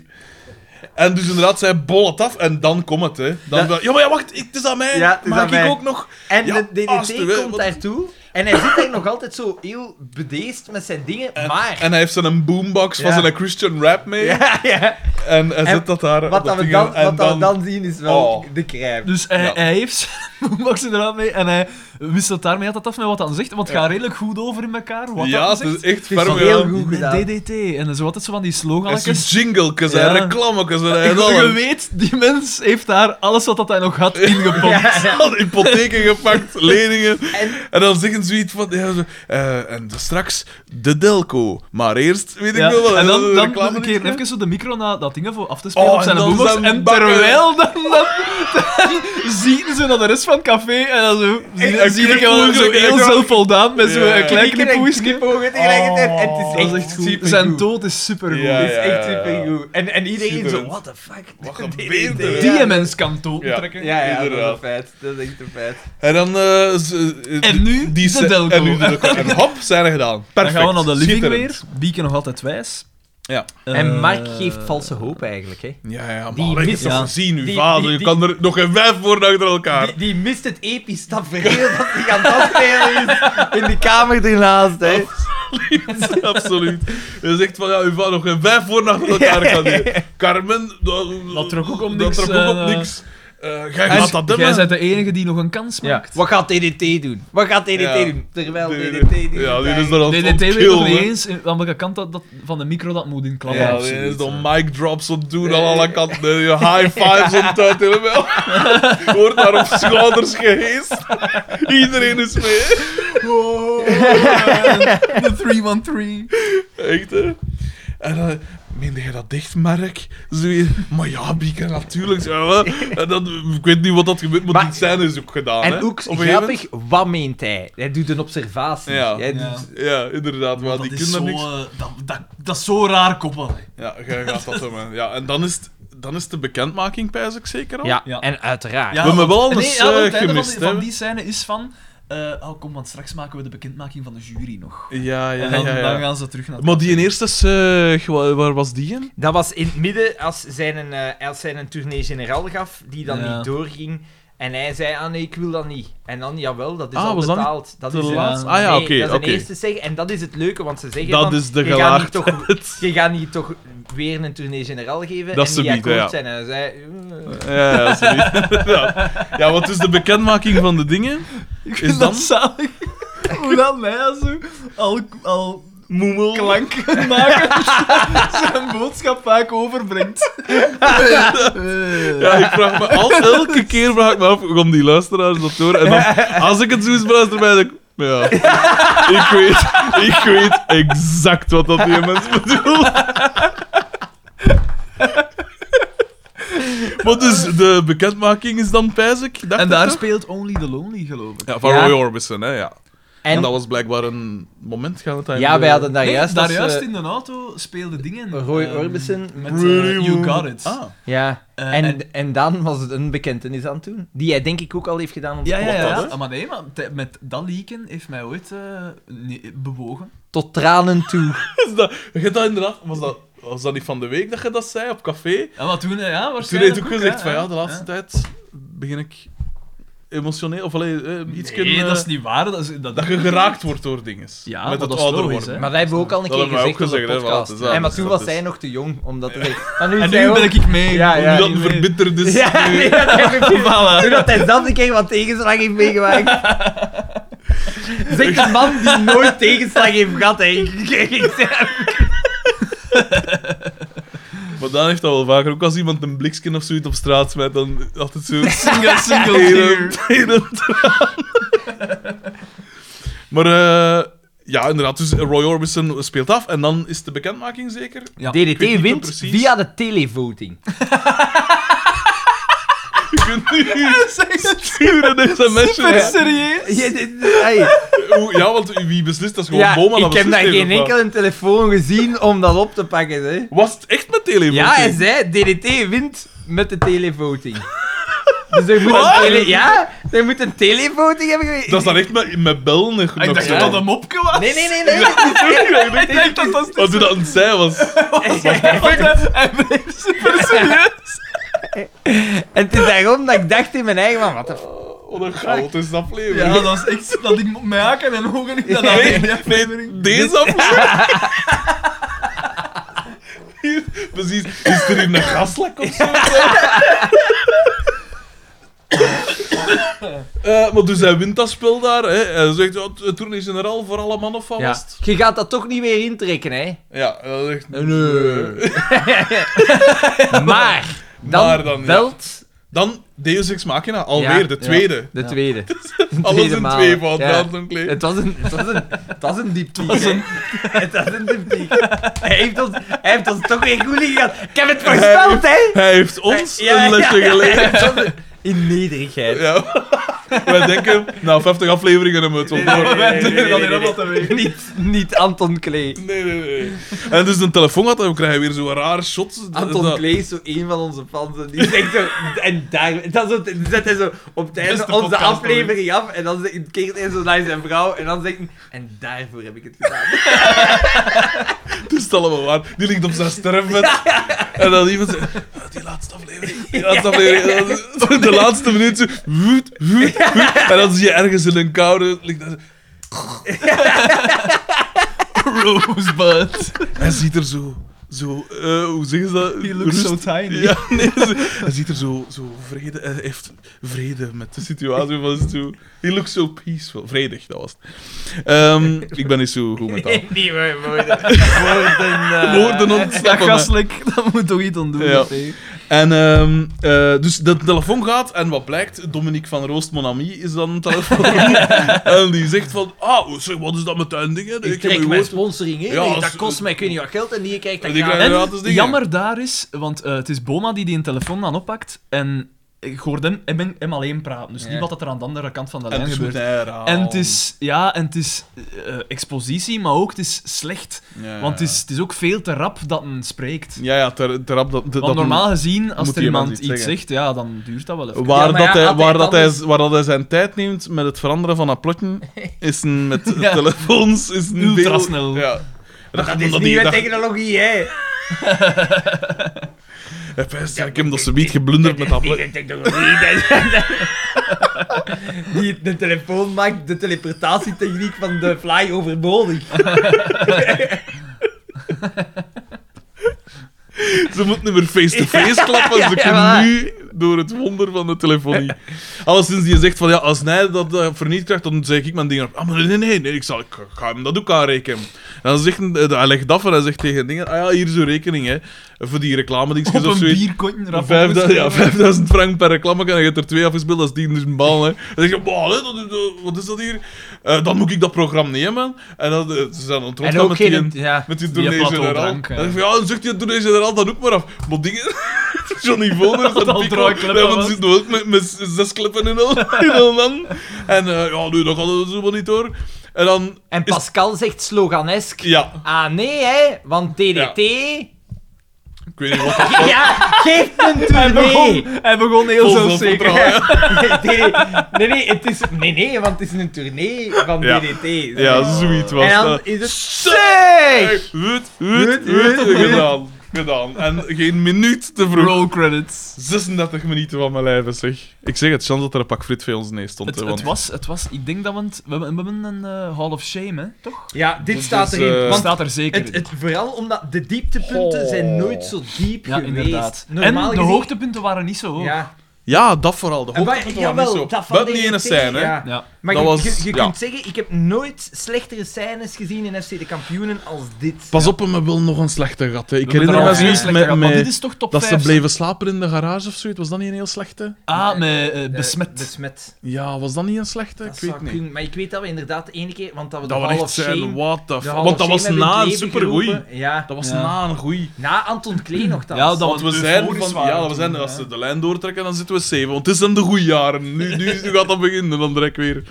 Speaker 2: En dus inderdaad, zij bol het af en dan komt het, hè. Dan, ja, maar ja, wacht, ik- het is aan mij.
Speaker 1: Ja, het is
Speaker 2: Maak
Speaker 1: aan
Speaker 2: ik
Speaker 1: mij.
Speaker 2: ook nog...
Speaker 1: En
Speaker 2: Ja,
Speaker 1: de DDT
Speaker 2: alstublieft,
Speaker 1: komt
Speaker 2: wat-
Speaker 1: daartoe en hij zit daar nog altijd zo heel bedeesd met zijn dingen,
Speaker 2: Eh,
Speaker 1: maar...
Speaker 2: En hij heeft zijn boombox
Speaker 1: Ja.
Speaker 2: van zijn Christian rap mee.
Speaker 1: ja, ja.
Speaker 2: En hij
Speaker 1: En
Speaker 2: zet dat daar. op
Speaker 1: Wat,
Speaker 2: dat
Speaker 1: dat we,
Speaker 2: ding
Speaker 1: dan,
Speaker 2: en
Speaker 1: wat dat we dan zien is wel
Speaker 2: Oh.
Speaker 1: de crème.
Speaker 3: Dus hij,
Speaker 2: Ja.
Speaker 3: hij heeft zijn boombox inderdaad mee en hij wisselt daarmee altijd af met wat dan zegt, want het gaat redelijk goed over in elkaar. Wat
Speaker 2: ja, het
Speaker 3: dat zegt.
Speaker 2: is echt
Speaker 1: Het is
Speaker 2: ferm.
Speaker 1: heel
Speaker 2: ja.
Speaker 1: goed gedaan.
Speaker 3: DDT. En zo altijd zo van die
Speaker 2: En zijn
Speaker 3: sloganetjes.
Speaker 2: jingletjes
Speaker 3: Ja.
Speaker 2: en reclametjes en
Speaker 3: Ik
Speaker 2: hij
Speaker 3: wil-
Speaker 2: had
Speaker 3: Je
Speaker 2: al
Speaker 3: weet, die mens heeft daar alles wat dat hij nog had ingepompt.
Speaker 2: al hypotheken gepakt, leningen.
Speaker 1: En-
Speaker 2: En, dan zeggen ze iets van... Ja, zo, eh, en straks de Delco. Maar eerst weet ik
Speaker 3: Ja,
Speaker 2: wel wat.
Speaker 3: En dan,
Speaker 2: de eh,
Speaker 3: dan
Speaker 2: reclame
Speaker 3: een keer
Speaker 2: niet-
Speaker 3: even zo de micro naar dat ding voor af te spelen
Speaker 2: Oh,
Speaker 3: op zijn
Speaker 2: en dan
Speaker 3: boombox.
Speaker 2: zijn
Speaker 3: En
Speaker 2: bakken.
Speaker 3: terwijl dan, dan, dan zien ze naar de rest van het café en dan zo,
Speaker 2: een
Speaker 3: zie, zie ik
Speaker 2: knipoog,
Speaker 3: hem zo
Speaker 2: zo-
Speaker 3: heel
Speaker 2: ja.
Speaker 3: zelfvoldaan met zo'n
Speaker 2: Ja.
Speaker 3: klein
Speaker 1: Knikken en
Speaker 3: knipoogje.
Speaker 1: knipogen tegelijkertijd. En
Speaker 2: Oh,
Speaker 1: het is echt,
Speaker 3: Dat is echt goed.
Speaker 1: supergoed.
Speaker 3: Zijn dood is supergoed.
Speaker 2: Ja,
Speaker 1: Het is echt
Speaker 2: ja, ja.
Speaker 1: supergoed. En, en iedereen zo,
Speaker 2: Schitterend.
Speaker 1: what the fuck?
Speaker 2: Wat
Speaker 1: DDT.
Speaker 2: gebeurt er?
Speaker 3: Die
Speaker 1: Ja.
Speaker 3: mens kan dood
Speaker 2: Ja.
Speaker 3: trekken.
Speaker 1: Ja, ja, dat is een
Speaker 2: Inderdaad.
Speaker 1: feit. Dat is echt een feit.
Speaker 2: En dan... eh, ze- eh,
Speaker 3: En nu de
Speaker 2: se-
Speaker 3: Delco.
Speaker 2: En nu de Delco. En hop, zijn er gedaan. Perfect.
Speaker 3: Dan gaan we naar de living
Speaker 2: Schitterend.
Speaker 3: weer. Bieke nog altijd wijs.
Speaker 2: Ja.
Speaker 1: en
Speaker 3: Eh,
Speaker 1: Mark geeft valse hoop eigenlijk, hè.
Speaker 2: Ja, ja,
Speaker 1: Die
Speaker 2: maar ik heb
Speaker 1: mist-
Speaker 2: dat
Speaker 1: ja.
Speaker 2: gezien, uw
Speaker 1: Die-
Speaker 2: vader.
Speaker 1: die- die-
Speaker 2: je kan er nog geen vijf voor achter elkaar.
Speaker 1: Die, die mist het episch tafereel dat hij aan het afspelen is in de kamer ernaast, hè.
Speaker 2: Absoluut, absoluut. Je zegt van, ja, uw vader nog geen vijf voor achter elkaar kan hier. Carmen, dat,
Speaker 3: Dat trok ook op
Speaker 2: dat
Speaker 3: niks,
Speaker 2: trok ook op
Speaker 3: eh,
Speaker 2: niks. Eh, jij
Speaker 3: En
Speaker 2: gaat dat doen,
Speaker 3: jij
Speaker 2: hè?
Speaker 3: bent de enige die nog een kans
Speaker 1: Ja.
Speaker 3: maakt.
Speaker 1: Wat gaat DDT doen? Wat gaat DDT
Speaker 2: Ja.
Speaker 1: doen? Terwijl E
Speaker 2: Die-
Speaker 1: DDT... doet
Speaker 2: Ja, die is
Speaker 1: eigenlijk-
Speaker 2: er al
Speaker 3: DDT weet nog niet
Speaker 2: killen.
Speaker 3: eens in- aan welke kant dat, dat van de micro dat moet inklammen.
Speaker 2: Ja,
Speaker 3: of
Speaker 2: die
Speaker 3: zoiets,
Speaker 2: is dan
Speaker 3: hè.
Speaker 2: mic drops op doen aan alle kanten. Je high fives op tijd helemaal. Je Wordt daar op schouders geheest. Iedereen is mee.
Speaker 3: De 313.
Speaker 2: Echt, hè? En dan meende jij dat dicht, Mark? Zo je, maar ja, Bieke, natuurlijk. Zo, hè. En dat, ik weet niet wat dat gebeurt, maar,
Speaker 1: Maar-
Speaker 2: die scène is ook gedaan.
Speaker 1: En
Speaker 2: hè?
Speaker 1: ook
Speaker 2: Op een gegeven moment.
Speaker 1: grappig, wat meent hij? Hij doet een observatie.
Speaker 2: Ja.
Speaker 1: Hij
Speaker 3: Ja.
Speaker 1: doet-
Speaker 2: Ja, inderdaad, maar die kunnen niks.
Speaker 3: eh, dat, dat, dat is zo raar koppel.
Speaker 2: Ja, jij gaat dat doen, hè. Ja, en dan is, het, dan is het de bekendmaking, pijs ik zeker al.
Speaker 1: Ja,
Speaker 3: Ja.
Speaker 1: en uiteraard.
Speaker 2: We hebben wel
Speaker 3: want-
Speaker 2: alles,
Speaker 3: nee, ja, want het
Speaker 2: eh,
Speaker 3: einde
Speaker 2: gemist,
Speaker 3: van, die-
Speaker 2: hè.
Speaker 3: van die scène is van... eh, oh, kom, want straks maken we de bekendmaking van de jury nog.
Speaker 2: ja, ja,
Speaker 3: en dan,
Speaker 2: ja, ja.
Speaker 3: dan gaan ze terug naar...
Speaker 2: Maar die in eerste, is, eh, wa- waar was die in?
Speaker 1: Dat was in het midden als zij een, eh, als zij een tournee generaal gaf, die dan
Speaker 3: Ja.
Speaker 1: niet doorging. En hij zei, ah nee, ik wil dat niet. En dan, jawel, dat is
Speaker 2: Ah,
Speaker 1: al
Speaker 2: was dat niet
Speaker 1: betaald. Dat,
Speaker 2: de
Speaker 1: is
Speaker 2: laatste? Ah ja,
Speaker 1: nee,
Speaker 2: oké,
Speaker 1: dat is
Speaker 2: oké.
Speaker 1: een eerste zeggen. En dat is het leuke, want ze zeggen
Speaker 2: Dat
Speaker 1: van,
Speaker 2: is de
Speaker 1: je gaat niet toch
Speaker 2: gelaagdheid.
Speaker 1: je gaat niet toch weer een tournee generaal geven
Speaker 2: Dat
Speaker 1: en
Speaker 2: ze
Speaker 1: die
Speaker 2: niet,
Speaker 1: akkoord
Speaker 2: ja.
Speaker 1: zijn. En hij zei... eh,
Speaker 2: Ja, ja, sorry. ja. ja, wat is de bekendmaking van de dingen?
Speaker 3: Ik
Speaker 2: Is
Speaker 3: vind dat
Speaker 2: dan-
Speaker 3: zalig. Hoe dat mij zo al, al
Speaker 2: Moemel.
Speaker 3: klanken maken zijn boodschap vaak overbrengt.
Speaker 2: Ja, ik vraag me al, elke keer vraag ik me af, om die luisteraars dat door? En dan, als ik het zo eens beluister, ben ik... Ja, ik weet, ik weet exact wat dat die mens bedoelt. Maar dus, de bekendmaking is dan Pijzik, dacht
Speaker 3: En
Speaker 2: ik
Speaker 3: daar
Speaker 2: toch?
Speaker 3: speelt Only the Lonely, geloof ik.
Speaker 2: Ja, van
Speaker 1: Ja.
Speaker 2: Roy Orbison, hè, ja. En,
Speaker 1: En,
Speaker 2: dat was blijkbaar een moment gaan het
Speaker 1: ja, wij hadden daar
Speaker 3: Nee,
Speaker 1: juist...
Speaker 3: daar
Speaker 1: als,
Speaker 3: juist
Speaker 1: eh,
Speaker 3: in de auto speelde dingen.
Speaker 1: Roy
Speaker 3: ehm,
Speaker 1: Orbison
Speaker 3: met
Speaker 2: eh,
Speaker 3: eh, You Got It.
Speaker 2: Ah.
Speaker 1: Ja,
Speaker 3: Eh,
Speaker 1: en,
Speaker 3: en-
Speaker 1: en, dan was het een bekentenis aan toen. Die hij denk ik ook al heeft gedaan op de
Speaker 3: Ja, ja, ja.
Speaker 1: podcast.
Speaker 3: ja. Ah, Maar nee, maar te- met dat leaken heeft mij ooit eh, nee, bewogen.
Speaker 1: Tot tranen toe.
Speaker 2: Is dat, je hebt dat inderdaad... Was dat, was dat niet van de week dat je dat zei, op café?
Speaker 3: Ja, maar toen, eh,
Speaker 2: Toen
Speaker 3: ja,
Speaker 2: heeft
Speaker 3: waarschijnlijk
Speaker 2: ook gezegd van ja, de
Speaker 3: hè,
Speaker 2: laatste
Speaker 3: hè.
Speaker 2: tijd begin ik emotioneel of alleen iets kunnen eh,
Speaker 3: Nee, dat
Speaker 1: eh,
Speaker 3: is niet waar. Dat is, dat,
Speaker 2: dat je geraakt wordt door dingen.
Speaker 3: Ja,
Speaker 2: met
Speaker 3: maar
Speaker 2: het
Speaker 3: dat is
Speaker 2: ouder
Speaker 3: logisch,
Speaker 2: worden.
Speaker 1: Maar wij hebben ook al een
Speaker 2: Dat
Speaker 1: keer
Speaker 2: hebben wij ook
Speaker 1: gezegd op de
Speaker 2: gezegd, hè, want
Speaker 1: podcast.
Speaker 2: het is
Speaker 1: Ja, maar
Speaker 2: anders,
Speaker 1: toen
Speaker 2: dat
Speaker 1: was
Speaker 2: is-
Speaker 1: hij nog te jong om dat te zeggen. Maar nu
Speaker 3: en
Speaker 1: is
Speaker 3: nu
Speaker 1: hij
Speaker 3: ben
Speaker 1: ook-
Speaker 3: ik mee.
Speaker 1: Ja, ja.
Speaker 2: dat
Speaker 3: nu mee.
Speaker 2: verbitterd is.
Speaker 1: Ja, nee, dat heb ik niet. Toen dat hij zelf een keer wat tegenslag heeft meegemaakt. Zeg een man die nooit tegenslag heeft gehad. hè. Ik- ik- ik zeg-
Speaker 2: Maar dan heeft dat wel vaker. Ook als iemand een blikskin of zoiets op straat smijt, dan altijd zo...
Speaker 3: Single, single
Speaker 2: Tenen,
Speaker 3: tear.
Speaker 2: tenen, traan. Maar eh, ja, inderdaad. Dus Roy Orbison speelt af en dan is de bekendmaking zeker.
Speaker 3: Ja.
Speaker 2: weet niet
Speaker 1: DDT
Speaker 2: meer
Speaker 1: wint
Speaker 2: precies.
Speaker 1: via de televoting.
Speaker 2: Je kunt nu
Speaker 3: Zeg,
Speaker 2: sturen een
Speaker 3: Super
Speaker 2: sms'je.
Speaker 3: serieus.
Speaker 1: Ja, dit- hey.
Speaker 2: Oeh, Ja, want wie beslist, dat is gewoon
Speaker 1: Ja,
Speaker 2: Boma. dat
Speaker 1: ik heb
Speaker 2: beslist
Speaker 1: daar
Speaker 2: heeft,
Speaker 1: geen
Speaker 2: of wat?
Speaker 1: enkele telefoon gezien om dat op te pakken. Hè.
Speaker 2: Was het echt met telefoon?
Speaker 1: Ja, hij zei, DDT wint met de televoting. Dus er moet, een tele ja, er moet een televoting hebben geweest.
Speaker 2: Dat is dan echt met, met bellen en
Speaker 3: Ah, Ik dacht
Speaker 1: Ja.
Speaker 3: dat dat een mopje was.
Speaker 1: Nee, nee, nee, nee. nee, nee.
Speaker 3: Ik dacht dat dat...
Speaker 2: Als dat een zij was.
Speaker 3: Hij bleef super serieus.
Speaker 1: En het is daarom dat ik dacht in mijn eigen van, wat de f-
Speaker 2: Wat een chaotische
Speaker 3: Ja,
Speaker 2: aflevering.
Speaker 3: dat was echt... Dat ik mijn haken en ogen niet... Dat
Speaker 1: Ja.
Speaker 3: nee, nee,
Speaker 2: Nee, deze aflevering. Hier, Precies. Is er in een gaslek of zo? Eh, maar dus hij wint dat spel daar. Hè. Hij zegt, ja, t- toen is generaal voor alle mannen van
Speaker 1: Ja.
Speaker 2: was het?
Speaker 1: Je gaat dat toch niet weer intrekken, hè?
Speaker 2: Ja, dat is echt...
Speaker 1: Nee. Maar, dan,
Speaker 2: Maar dan, ja.
Speaker 1: belt
Speaker 2: Dan Deus Ex Machina, alweer,
Speaker 1: Ja,
Speaker 2: de
Speaker 1: ja.
Speaker 2: tweede.
Speaker 1: de tweede. De
Speaker 2: Alles
Speaker 1: tweede
Speaker 2: in
Speaker 1: maal.
Speaker 2: twee van
Speaker 1: Ja.
Speaker 2: ja. zo'n kleed.
Speaker 1: Het was een, het was een, het was een dieptiek. Het was een, het was een dieptiek. Hij heeft, ons, hij heeft ons toch weer goed liggen gehad. Ik heb het voorspeld, hè?
Speaker 2: Hij heeft ons
Speaker 1: Ja,
Speaker 2: een lesje
Speaker 1: ja, ja,
Speaker 2: geleerd. Ja,
Speaker 1: het was een- In nederigheid.
Speaker 2: Wij denken, nou, 50 afleveringen hebben we het wel door.
Speaker 3: Wij doen
Speaker 1: nee, nee,
Speaker 3: dat hier allemaal te weten.
Speaker 1: Niet, niet Anton Klee.
Speaker 2: Nee, nee, nee. En dus een telefoon had, dan krijg je weer zo'n raar shot.
Speaker 1: Anton
Speaker 2: Dat-
Speaker 1: Klee is zo een van onze fans. en Die zegt zo... En daar... Dat is zo, dan zet hij zo op het einde
Speaker 3: Beste
Speaker 1: onze
Speaker 3: podcast
Speaker 1: aflevering af. En dan zegt- keert hij zo naar zijn vrouw. En dan zegt hij... En daarvoor heb ik het gedaan.
Speaker 2: Het is allemaal waar. Die ligt op zijn sterfbed. En dan iemand zegt, "Ah, die laatste aflevering. Die laatste aflevering. En dan- De laatste minuut zo, woed, woed, woed. En dan zie je ergens in een koude... Ligt daar zo-
Speaker 3: Rosebud.
Speaker 2: hij ziet er zo... Zo, eh, hoe zeggen ze dat?
Speaker 3: He looks so
Speaker 2: Rust-
Speaker 3: tiny.
Speaker 2: Ja, nee, ze- hij ziet er zo, zo vrede... Hij heeft vrede met de situatie van zijn toe. He looks so peaceful. Vredig, dat was het. Ehm, ik ben niet zo goed met dat.
Speaker 1: Nee, niet meer woorden. Woorden... eh,
Speaker 2: Woorden
Speaker 3: Dat
Speaker 2: ontsnappen. me.
Speaker 3: gaslik, dat moet toch iets aan doen.
Speaker 2: Ja.
Speaker 3: dat, hè.
Speaker 2: En ehm, eh, dus de telefoon gaat en wat blijkt, Dominique van Roost Monami is dan een telefoon. en die zegt van, ah, zeg, wat is dat met tuin dingen?
Speaker 1: Ik trek
Speaker 2: je
Speaker 1: mijn
Speaker 2: woord-
Speaker 1: sponsoring in.
Speaker 2: Ja,
Speaker 1: Nee,
Speaker 2: als-
Speaker 1: dat kost mij ik weet niet wat geld en die krijgt dat
Speaker 2: Die
Speaker 1: gratis.
Speaker 2: krijgen- gratis
Speaker 3: En
Speaker 2: dingen.
Speaker 3: jammer daar is, want eh, het is Boma die die een telefoon dan oppakt en ik hoorde hem, hem, hem alleen praten, dus
Speaker 1: Ja.
Speaker 3: niet wat dat er aan de andere kant van de
Speaker 2: En
Speaker 3: lijn
Speaker 2: het is
Speaker 3: gebeurt.
Speaker 2: goed, hè, raam.
Speaker 3: En het is, ja, en het is eh, expositie, maar ook het is slecht.
Speaker 2: Ja, ja,
Speaker 3: Want het is, het is ook veel te rap dat men spreekt.
Speaker 2: Ja, ja, ter, ter rap dat... dat-
Speaker 3: Want
Speaker 2: dat-
Speaker 3: normaal gezien, als
Speaker 2: moet
Speaker 3: er
Speaker 2: iemand
Speaker 3: iemand
Speaker 2: iets
Speaker 3: iets
Speaker 2: zeggen.
Speaker 3: zegt, ja, dan duurt dat wel even.
Speaker 2: Waar,
Speaker 1: Ja, maar
Speaker 2: dat
Speaker 1: ja,
Speaker 2: hij,
Speaker 1: had
Speaker 2: waar,
Speaker 1: hij
Speaker 2: dat
Speaker 1: dan
Speaker 2: hij,
Speaker 1: eens-
Speaker 2: waar dat hij zijn tijd neemt met het veranderen van applotten, is een, met
Speaker 3: Ja.
Speaker 2: telefoons... Is een
Speaker 3: Ultrasnel.
Speaker 2: veel- Ja.
Speaker 1: Dat
Speaker 2: omdat
Speaker 1: is
Speaker 2: die-
Speaker 1: nieuwe
Speaker 2: dat-
Speaker 1: technologie, hè.
Speaker 2: En vijst, ik heb dat ze niet geblunderd met dat pla-
Speaker 1: Die, de telefoon maakt de teleportatietechniek van de fly overbodig.
Speaker 2: Ze moeten niet meer face-to-face klappen.
Speaker 1: ja,
Speaker 2: ze
Speaker 1: ja,
Speaker 2: kunnen
Speaker 1: voilà.
Speaker 2: nu door het wonder van de telefonie. Alleszins die zegt van ja, als hij dat eh verniet krijgt, dan zeg ik mijn dingen op. Ah, maar nee, nee, nee, ik, zal, ik ga hem dat ook aanrekenen. En dan zegt hij, eh, hij legt af en hij zegt tegen dingen: ah ja, hier is uw rekening, hè, voor die reclame
Speaker 3: Op
Speaker 2: dingetjes of
Speaker 3: een
Speaker 2: zoiets.
Speaker 3: bierkotje eraf
Speaker 2: Vijfda- ja,
Speaker 3: opgeschreven.
Speaker 2: 5000 frank per reclame en je hebt er twee afgespeeld, dat is die dus een bal. Hè. Dan zeg je, "Bah, hè, dat is- dat- wat is dat hier? Eh, dan moet ik dat programma nemen. En dan, eh, ze zijn
Speaker 3: En
Speaker 2: ontworpen
Speaker 3: ook
Speaker 2: met
Speaker 3: geen...
Speaker 2: die,
Speaker 3: ja,
Speaker 2: met die
Speaker 3: die
Speaker 2: tournee-generaal.
Speaker 3: plateaudrank,
Speaker 2: Dan
Speaker 3: hè.
Speaker 2: zeg je, ja, dan zegt die tournee-generaal dan ook maar af. Maar dingen... Johnny Voners
Speaker 3: Wat
Speaker 2: en
Speaker 3: al
Speaker 2: Pico,
Speaker 3: draai kleppen
Speaker 2: ja, want
Speaker 3: was.
Speaker 2: ze zitten ook met, met zes kleppen in al, in al man. En eh, ja, nu, dat gaat het zo wel niet door. En dan...
Speaker 1: En
Speaker 2: is-
Speaker 1: Pascal zegt sloganesk.
Speaker 2: Ja,
Speaker 1: Ah nee, hè, want TDT.
Speaker 2: ik weet niet wat...
Speaker 1: Ja, geef een
Speaker 3: Hij
Speaker 1: tournee.
Speaker 3: begon, hij begon heel
Speaker 2: Vol
Speaker 3: zo
Speaker 2: zoveel
Speaker 3: zeker.
Speaker 2: verhaal, hè.
Speaker 1: Nee, nee, nee, het is, nee, nee, want het is een tournee van
Speaker 2: Ja.
Speaker 1: DDT.
Speaker 2: Ja, zoiets was
Speaker 1: en
Speaker 2: dat.
Speaker 1: dan is het...
Speaker 2: Hey,
Speaker 1: Zeg!
Speaker 2: Wut, wut,
Speaker 1: Wut,
Speaker 2: wut,
Speaker 1: wut, wut.
Speaker 2: gedaan. Gedaan. En geen minuut te vroeg.
Speaker 3: Roll credits.
Speaker 2: 36 minuten van mijn lijf, zeg. Ik zeg het, chance dat er een pak frit voor ons nee stond.
Speaker 3: Het,
Speaker 2: hè,
Speaker 3: het,
Speaker 2: want-
Speaker 3: was, het was, ik denk dat we, het- we, hebben, we hebben een eh, Hall of Shame, hè? toch?
Speaker 1: Ja, dit
Speaker 2: Dus,
Speaker 1: staat erin.
Speaker 2: eh,
Speaker 1: want
Speaker 3: staat er zeker
Speaker 1: het,
Speaker 3: in.
Speaker 1: het, vooral omdat de dieptepunten
Speaker 2: Goh.
Speaker 1: zijn nooit zo diep
Speaker 3: ja,
Speaker 1: geweest.
Speaker 3: inderdaad. en
Speaker 1: Normaal
Speaker 3: de
Speaker 1: gezien-
Speaker 3: hoogtepunten waren niet zo hoog.
Speaker 1: Ja.
Speaker 2: Ja, dat vooral. De
Speaker 1: En wa-
Speaker 2: hoogtepunt waren niet
Speaker 1: jawel,
Speaker 2: zo.
Speaker 1: dat van
Speaker 2: Buiten die ene
Speaker 1: DDT,
Speaker 2: scène, hè.
Speaker 1: ja.
Speaker 3: Ja.
Speaker 1: Maar
Speaker 2: Dat
Speaker 1: je,
Speaker 2: was-
Speaker 1: je, je
Speaker 2: ja.
Speaker 1: kunt zeggen, ik heb nooit slechtere scènes gezien in FC De Kampioenen als dit.
Speaker 2: Pas op, hè, we willen nog een slechte gat. hè. Ik
Speaker 3: We hebben
Speaker 2: herinner
Speaker 3: er
Speaker 2: me
Speaker 3: al veel
Speaker 2: zoiets
Speaker 3: slechter
Speaker 2: met,
Speaker 3: gehad, maar dit
Speaker 2: met
Speaker 3: is toch top
Speaker 2: dat ze
Speaker 3: 5.
Speaker 2: bleven slapen in de garage of zoiets. Was dat niet een heel slechte?
Speaker 3: Ah, met eh,
Speaker 1: Eh,
Speaker 3: besmet.
Speaker 1: besmet.
Speaker 2: Ja, was dat niet een slechte?
Speaker 1: Dat
Speaker 2: ik
Speaker 1: zou
Speaker 2: weet niet.
Speaker 1: kunnen, Maar ik weet dat we inderdaad de ene keer... Want dat we de
Speaker 2: Dat we
Speaker 1: Hall
Speaker 2: echt
Speaker 1: of Shame...
Speaker 2: zijn, what the
Speaker 1: de
Speaker 2: fuck.
Speaker 1: Hall
Speaker 2: Want
Speaker 1: of
Speaker 2: dat
Speaker 1: Shame
Speaker 2: was
Speaker 1: hebben we in
Speaker 2: na
Speaker 1: het
Speaker 2: een
Speaker 1: leven
Speaker 2: supergoeie.
Speaker 1: geroepen. Ja.
Speaker 2: Dat was
Speaker 3: Ja.
Speaker 2: na een goeie.
Speaker 1: Na Anton Klee nogthans.
Speaker 3: Ja, dat
Speaker 2: Want we
Speaker 3: Want
Speaker 2: zijn
Speaker 3: euforisch
Speaker 2: van,
Speaker 3: waren
Speaker 2: ja, we
Speaker 3: toen,
Speaker 2: zijn,
Speaker 3: hè.
Speaker 2: als ze de lijn doortrekken, dan zitten we zeven. Want het zijn de goede jaren. Nu, nu, nu gaat dat beginnen en dan direct weer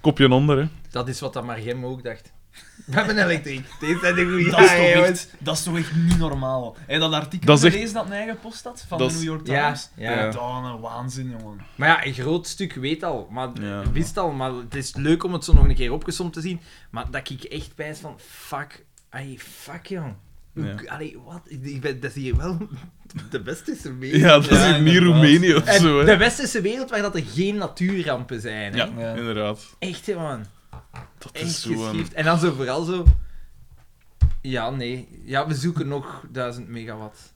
Speaker 2: kopje onder. Hè.
Speaker 1: Dat is wat dat Margem ook dacht. We hebben elektriek. Dit zijn de goede
Speaker 3: Dat is,
Speaker 1: jaren,
Speaker 3: toch
Speaker 1: jongens.
Speaker 3: echt, dat is toch echt niet normaal. Heb je dat artikel
Speaker 2: Dat is echt-
Speaker 3: gelezen dat mijn eigen post had? Van
Speaker 2: Dat
Speaker 3: de
Speaker 2: is-
Speaker 3: New York
Speaker 1: Ja,
Speaker 3: Times?
Speaker 1: ja.
Speaker 3: Dat is een waanzin, jongen.
Speaker 1: Maar ja, een groot stuk weet al. Maar,
Speaker 2: Ja.
Speaker 1: wist al, maar het is leuk om het zo nog een keer opgesomd te zien. Maar dat ik echt bij is van... Fuck. Ay, fuck, jong. Hoe-
Speaker 2: Ja.
Speaker 1: Allee, wat? Ik- ik ben- Dat is hier wel de westerse wereld.
Speaker 2: Ja, dat is
Speaker 3: Ja,
Speaker 2: hier niet
Speaker 3: inderdaad.
Speaker 2: Roemenië of
Speaker 1: En
Speaker 2: zo. Hè.
Speaker 1: de westerse wereld waar dat er geen natuurrampen zijn. Hè?
Speaker 2: Ja,
Speaker 3: Ja.
Speaker 2: inderdaad.
Speaker 1: Echt, hè, man.
Speaker 2: Dat is
Speaker 1: Echt
Speaker 2: zo. ehm, een-
Speaker 1: geschift. En dan zo vooral zo... Ja, nee. Ja, we zoeken nog 1000 megawatt.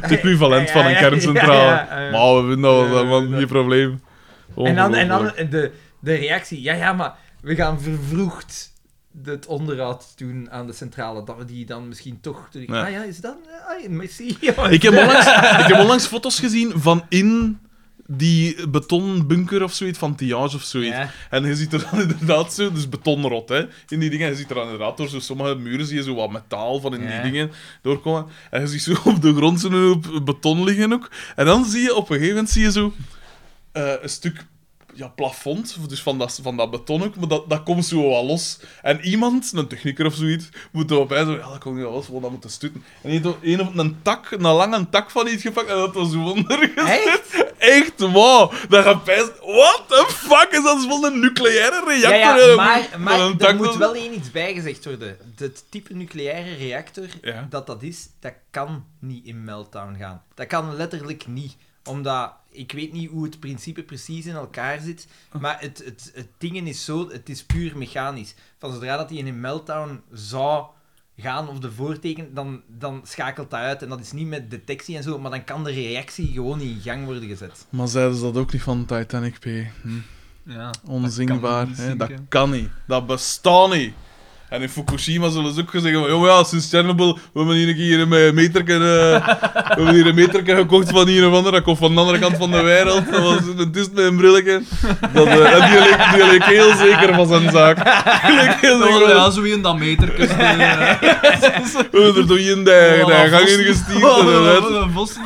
Speaker 2: Het equivalent van een
Speaker 1: Ja, ja, ja,
Speaker 2: kerncentrale.
Speaker 1: ja, ja, ja.
Speaker 2: Maar we vinden dat wel,
Speaker 1: Ja,
Speaker 2: man.
Speaker 1: ja.
Speaker 2: Geen probleem.
Speaker 1: En dan, en dan
Speaker 2: Ongelooflijk.
Speaker 1: de, de reactie. Ja, ja, maar we gaan vervroegd het onderhoud doen aan de centrale. Dat we die dan misschien toch... terug-
Speaker 2: Ja.
Speaker 1: Ah ja, is dat... Ah, merci.
Speaker 2: Ik heb, onlangs, ik heb onlangs foto's gezien van in die betonbunker of zoiets, van Tiage of zoiets.
Speaker 1: Ja.
Speaker 2: En je ziet er dan inderdaad zo, dus betonrot, hè. In die dingen, je ziet er dan inderdaad door zo sommige muren zie je zo wat metaal van in
Speaker 1: Ja.
Speaker 2: die dingen doorkomen. En je ziet zo op de grond zo'n hoop beton liggen ook. En dan zie je op een gegeven moment zie je zo eh, een stuk ja, plafond, dus van dat, van dat beton ook, maar dat, dat komt zo wel los. En iemand, een technieker of zoiets, moet erop bij zo, ja, dat komt niet wel los, want dat moet stutten. En die heeft een, een, een tak, een lange tak van iets gepakt en dat was wonder.
Speaker 1: Echt?
Speaker 2: Echt, wow. Dat gaat best. What the fuck is dat? Dat is wel een nucleaire
Speaker 1: Ja,
Speaker 2: reactor.
Speaker 1: ja,
Speaker 2: hè.
Speaker 1: maar, maar
Speaker 2: Met een
Speaker 1: er
Speaker 2: tak
Speaker 1: moet
Speaker 2: dan-
Speaker 1: wel één iets bijgezegd worden. Het type nucleaire reactor
Speaker 2: Ja.
Speaker 1: dat dat is, dat kan niet in meltdown gaan. Dat kan letterlijk niet. Omdat, ik weet niet hoe het principe precies in elkaar zit, maar het, het, het ding is zo, het is puur mechanisch. Van zodra dat hij in een meltdown zou gaan of de voorteken, dan, dan schakelt dat uit. En dat is niet met detectie en zo, maar dan kan de reactie gewoon niet in gang worden gezet.
Speaker 2: Maar zeiden ze dat ook niet van Titanic, P? Hm.
Speaker 3: Ja.
Speaker 2: Onzingbaar.
Speaker 3: Dat kan
Speaker 2: hè?
Speaker 3: niet
Speaker 2: Dat
Speaker 3: zinken.
Speaker 2: kan niet. Dat bestaat niet. En in Fukushima zullen ze ook gezegd hebben: "Joh, "Oh ja, sinds Chernobyl we hebben hier een keer een meterke, eh, we hebben hier een meterke gekocht van hier of ander. Dat komt van de andere kant van de wereld. Dat was een tist met een brilletje. Dat, eh, en die leek, die leek heel zeker van zijn zaak. Die leek heel zeker van zijn
Speaker 3: Oh, Ja, zo in dat meter.
Speaker 2: We hebben er toen in de, de gang in gestuurd.
Speaker 3: Oh,
Speaker 2: En eruit.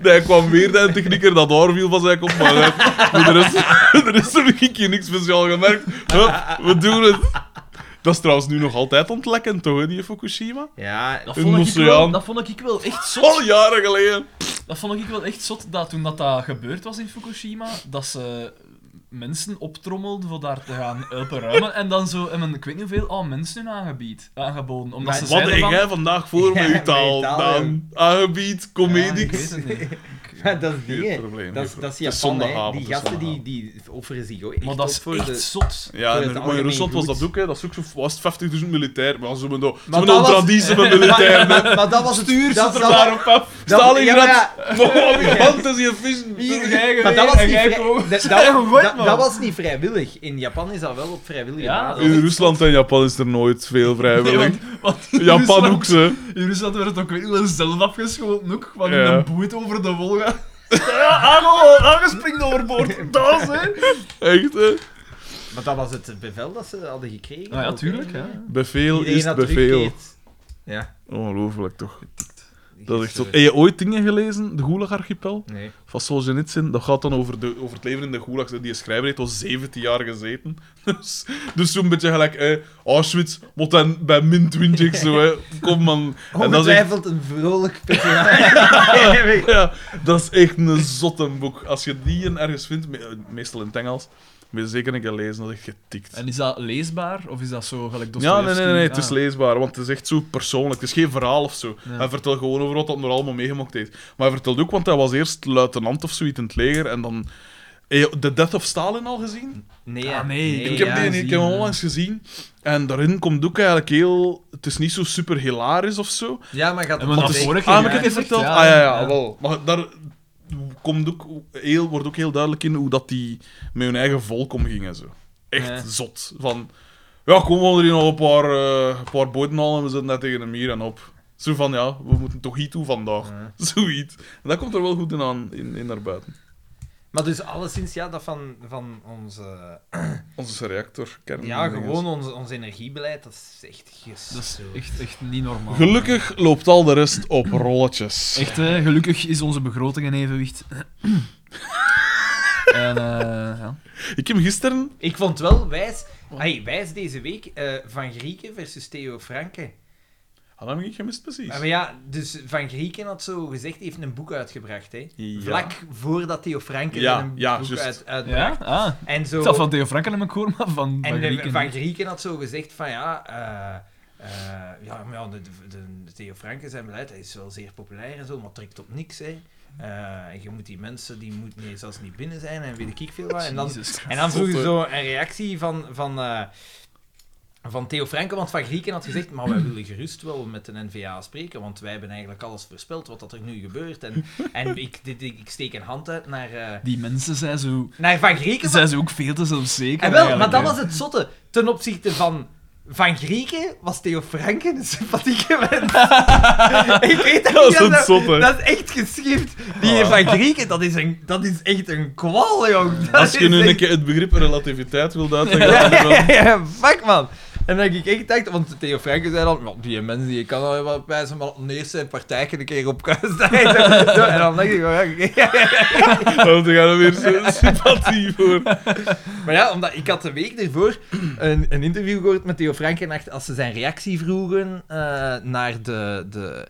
Speaker 2: Hij kwam weer, de technieker, dat haar viel van zijn kop. Maar eh, hè, voor de rest, voor de rest heb ik hier niks speciaal gemerkt. Hup, we doen het. Dat is trouwens nu nog altijd ontlekkend, toch, hè, die Fukushima?
Speaker 1: Ja,
Speaker 3: Dat
Speaker 2: Een
Speaker 3: vond, ik wel,
Speaker 2: oceaan.
Speaker 3: dat vond ik wel echt zot.
Speaker 2: Al jaren geleden.
Speaker 3: Dat vond ik wel echt zot dat toen dat, dat gebeurd was in Fukushima, dat ze mensen optrommelde voor daar te gaan helpen ruimen. En dan zo, en men, ik weet niet hoeveel, oh, mensen hun aangebied, aangeboden. Omdat
Speaker 1: Maar
Speaker 3: ze
Speaker 2: Wat
Speaker 3: zeiden
Speaker 2: heb
Speaker 3: van...
Speaker 2: jij vandaag voor
Speaker 1: Ja,
Speaker 2: met uw taal,
Speaker 1: met je taal,
Speaker 2: Daan? Aangebied,
Speaker 3: Ja, ik weet
Speaker 2: comedics.
Speaker 3: het niet. Ik-
Speaker 1: Maar dat is
Speaker 2: Geen
Speaker 1: dingen.
Speaker 2: probleem,
Speaker 1: dat, is,
Speaker 2: geen
Speaker 1: dat is
Speaker 2: probleem. Het is
Speaker 1: Japan, hè.
Speaker 2: zondagavond,
Speaker 1: Die
Speaker 2: het is
Speaker 1: gasten die,
Speaker 2: zondagavond.
Speaker 1: die offeren zich ook echt
Speaker 3: Maar dat
Speaker 1: op
Speaker 3: is
Speaker 1: voor
Speaker 3: echt
Speaker 1: de...
Speaker 3: zot.
Speaker 2: Ja,
Speaker 1: Voor
Speaker 2: en
Speaker 1: het
Speaker 2: maar in Rusland was
Speaker 1: algemeen
Speaker 2: dat ook, hè. Dat is ook zo, was het 50.000 militair. Maar ze hebben dan- ze
Speaker 1: Maar
Speaker 2: hebben dan
Speaker 1: dat was-
Speaker 2: traditie van militair.
Speaker 1: maar, maar dat was het
Speaker 3: Stuur ze
Speaker 1: dat,
Speaker 3: er
Speaker 1: dat-
Speaker 3: maar
Speaker 2: Daarop af.
Speaker 1: dat-
Speaker 2: Stalingrad.
Speaker 1: ja,
Speaker 2: Mooi, man, tussen je vissen.
Speaker 3: Hier, jij
Speaker 1: Maar dat
Speaker 3: geweest,
Speaker 1: was,
Speaker 3: en
Speaker 1: niet
Speaker 3: jij
Speaker 1: vrij-
Speaker 3: komen.
Speaker 1: dat,
Speaker 3: Zeg,
Speaker 1: dat-
Speaker 3: wat,
Speaker 1: dat-
Speaker 3: man?
Speaker 1: dat was niet vrijwillig. In Japan is dat wel op vrijwillige
Speaker 3: Ja,
Speaker 1: basis.
Speaker 2: In Rusland en Japan is er nooit veel
Speaker 3: Nee,
Speaker 2: vrijwillig.
Speaker 3: want- want in
Speaker 2: Japan
Speaker 3: Rusland-
Speaker 2: ook, ze.
Speaker 3: In Rusland werd het ook weet ik wel zelf afgeschoten ook, van
Speaker 2: Ja.
Speaker 3: een boeit over de Wolga. Aange- Aangespringt overboord, dat is hè.
Speaker 2: Echt, hè.
Speaker 1: Maar dat was het bevel dat ze hadden gekregen.
Speaker 3: Nou ja,
Speaker 1: Ook,
Speaker 3: tuurlijk,
Speaker 1: hè.
Speaker 3: ja.
Speaker 2: Beveel
Speaker 1: Iedereen
Speaker 2: is
Speaker 1: had
Speaker 2: beveel.
Speaker 1: teruggekeerd. Ja.
Speaker 2: Ongelooflijk, toch? Dat is echt zo.
Speaker 1: Gisteren.
Speaker 2: Heb je ooit dingen gelezen? De Gulag-archipel?
Speaker 1: Nee.
Speaker 2: van Solzhenitsyn, dat gaat dan over, de, over het leven in de gulags. En Die schrijver heeft al 17 jaar gezeten. Dus, dus zo'n beetje gelijk eh, Auschwitz, wat dan bij min 20 zo, hè. Kom man.
Speaker 3: Oh,
Speaker 2: En dat is echt,
Speaker 1: Ongetwijfeld een vrolijk personage.
Speaker 2: ja, dat is echt een zotte boek. Als je die een ergens vindt, me- eh, meestal in het Engels, ben je zeker een keer lezen, dat is echt getikt.
Speaker 3: En is dat leesbaar, of is dat zo gelijk
Speaker 2: Ja, nee,
Speaker 3: Dostoevsky?
Speaker 2: nee, nee, het is
Speaker 3: Ah.
Speaker 2: leesbaar, want het is echt zo persoonlijk. Het is geen verhaal of zo.
Speaker 3: Ja.
Speaker 2: Hij vertelt gewoon over wat hij er allemaal meegemaakt heeft. Maar hij vertelt ook, want hij was eerst luitenant of zoiets in het leger en dan... Heb je The Death of Stalin al gezien?
Speaker 1: Nee, ja.
Speaker 3: Ah, nee,
Speaker 1: nee,
Speaker 2: Ik heb,
Speaker 1: ja.
Speaker 2: die,
Speaker 3: zie
Speaker 2: ik heb hem
Speaker 3: je.
Speaker 2: onlangs gezien. En daarin komt ook eigenlijk heel... Het is niet zo super hilarisch of zo.
Speaker 1: Ja, maar gaat
Speaker 3: En
Speaker 2: Maar
Speaker 3: we hadden
Speaker 2: het is,
Speaker 3: vorige
Speaker 2: ah, heb
Speaker 3: keer
Speaker 2: ik het eens
Speaker 3: gezegd,
Speaker 2: verteld?
Speaker 3: ja,
Speaker 2: ah, ja, ja,
Speaker 3: ja.
Speaker 2: wel. Maar daar komt ook heel, wordt ook heel duidelijk in hoe dat die met hun eigen volk omgingen. Zo. Echt
Speaker 1: Ja.
Speaker 2: zot. Van, ja, kom, we gaan er hier nog een paar, eh, een paar boten halen en we zetten net tegen een muur en op. Zo van, ja, we moeten toch iets toe vandaag.
Speaker 1: Ja.
Speaker 2: Zoiets. En dat komt er wel goed in aan, in, in naar buiten.
Speaker 1: Maar dus alleszins, ja, dat van, van onze...
Speaker 2: Onze reactor. kern-
Speaker 1: Ja,
Speaker 2: dinges.
Speaker 1: gewoon ons, ons energiebeleid, dat is echt ges...
Speaker 3: Dat is echt, echt niet normaal.
Speaker 2: Gelukkig loopt al de rest op rolletjes.
Speaker 3: Echt, hè, gelukkig is onze begroting in evenwicht. en, eh, ja.
Speaker 2: Ik heb gisteren.
Speaker 1: Ik vond wel wijs...
Speaker 2: Oh.
Speaker 1: Ai, wijs deze week eh, Van Grieken versus Theo Franken.
Speaker 2: Had hem ik gemist, precies.
Speaker 1: Maar ja, dus Van Grieken had zo gezegd, heeft een boek uitgebracht, hè.
Speaker 2: Ja.
Speaker 1: Vlak voordat Theo Franken
Speaker 2: Ja,
Speaker 1: een
Speaker 2: ja,
Speaker 1: boek
Speaker 2: juist.
Speaker 1: uit, uitbracht.
Speaker 3: ja? Ah.
Speaker 1: En zo...
Speaker 3: Ik zat van Theo Franken in mijn koor, maar van,
Speaker 1: En
Speaker 3: van
Speaker 1: de-
Speaker 3: Grieken.
Speaker 1: Van Grieken had zo gezegd van ja, eh, eh, ja, maar ja de, de, de Theo Franken zijn beleid, hij is wel zeer populair en zo, maar trekt op niks. Hè. Eh, en je moet die mensen, die moeten niet, zelfs niet binnen zijn en weet ik veel wat. En dan,
Speaker 3: Jezus Christus.
Speaker 1: en dan vroeg je
Speaker 2: Zot, hè.
Speaker 1: zo een reactie van, van, eh, van Theo Franken, want Van Grieken had gezegd, maar wij willen gerust wel met de NVA spreken, want wij hebben eigenlijk alles voorspeld wat dat er nu gebeurt. En, en ik, dit, ik, ik steek een hand uit naar, eh,
Speaker 3: Die mensen zijn zo,
Speaker 1: naar Van Grieken.
Speaker 3: zijn zo ook veel te zelfzeker.
Speaker 1: En wel, maar
Speaker 3: eigenlijk,
Speaker 1: dat
Speaker 3: hè.
Speaker 1: was het zotte. Ten opzichte van Van Grieken was Theo Franken een sympathieke mens. Ik weet dat,
Speaker 2: Dat
Speaker 1: niet,
Speaker 2: is een zotte.
Speaker 1: Dat is echt geschift. Die
Speaker 2: Ah.
Speaker 1: Van Grieken, dat is, een, dat is echt een kwal, jong. Dat
Speaker 2: Als je
Speaker 1: is
Speaker 2: nu
Speaker 1: echt-
Speaker 2: een keer het begrip relativiteit wilt uitleggen.
Speaker 1: Ja,
Speaker 2: dan-
Speaker 1: ja, ja, fuck man. En dan denk ik echt dacht, want Theo Franken zei dan, "Nou, die mensen die kan al wel bij zijn, maar neer zijn partijken een keer op kan staan. En dan dacht ik, "Oh, oké."
Speaker 2: Want we gaan er weer zo sympathie voor.
Speaker 1: Maar ja, omdat ik had de week ervoor een, een interview gehoord met Theo Frankenacht als ze zijn reactie vroegen eh, naar de, de,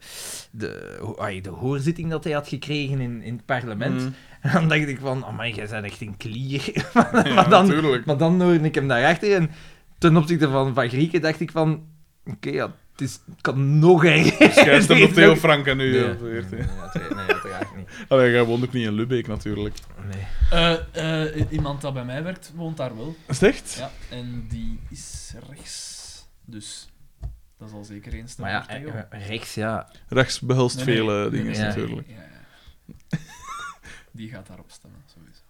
Speaker 1: de, ho- ai, de hoorzitting dat hij had gekregen in, in het parlement.
Speaker 2: Mm.
Speaker 1: En dan dacht ik van, oh man, jij bent echt een klier.
Speaker 2: Ja,
Speaker 1: maar, dan,
Speaker 2: natuurlijk.
Speaker 1: maar dan hoorde ik hem daarachter en ten opzichte van, van Grieken dacht ik van, oké ja, het, is, het kan nog erger.
Speaker 2: Dus jij stemt op Theo
Speaker 1: Nog-
Speaker 2: Franken nu.
Speaker 1: Nee,
Speaker 2: ja,
Speaker 1: nee,
Speaker 2: weer, hè.
Speaker 1: nee, uiteraard- nee, uiteraard niet.
Speaker 2: Allee, jij woont ook niet in Lubeek natuurlijk.
Speaker 1: Nee.
Speaker 3: Eh, eh, iemand dat bij mij werkt, woont daar wel.
Speaker 2: Is het echt?
Speaker 3: Ja, en die is rechts. Dus dat is al zeker eens.
Speaker 1: Maar ja, eh, eh, rechts, ja.
Speaker 2: Rechts behelst
Speaker 3: Nee, nee,
Speaker 2: vele
Speaker 3: nee,
Speaker 2: dingen
Speaker 1: nee, nee.
Speaker 2: natuurlijk.
Speaker 3: Ja, ja. Die gaat daarop stemmen, sowieso.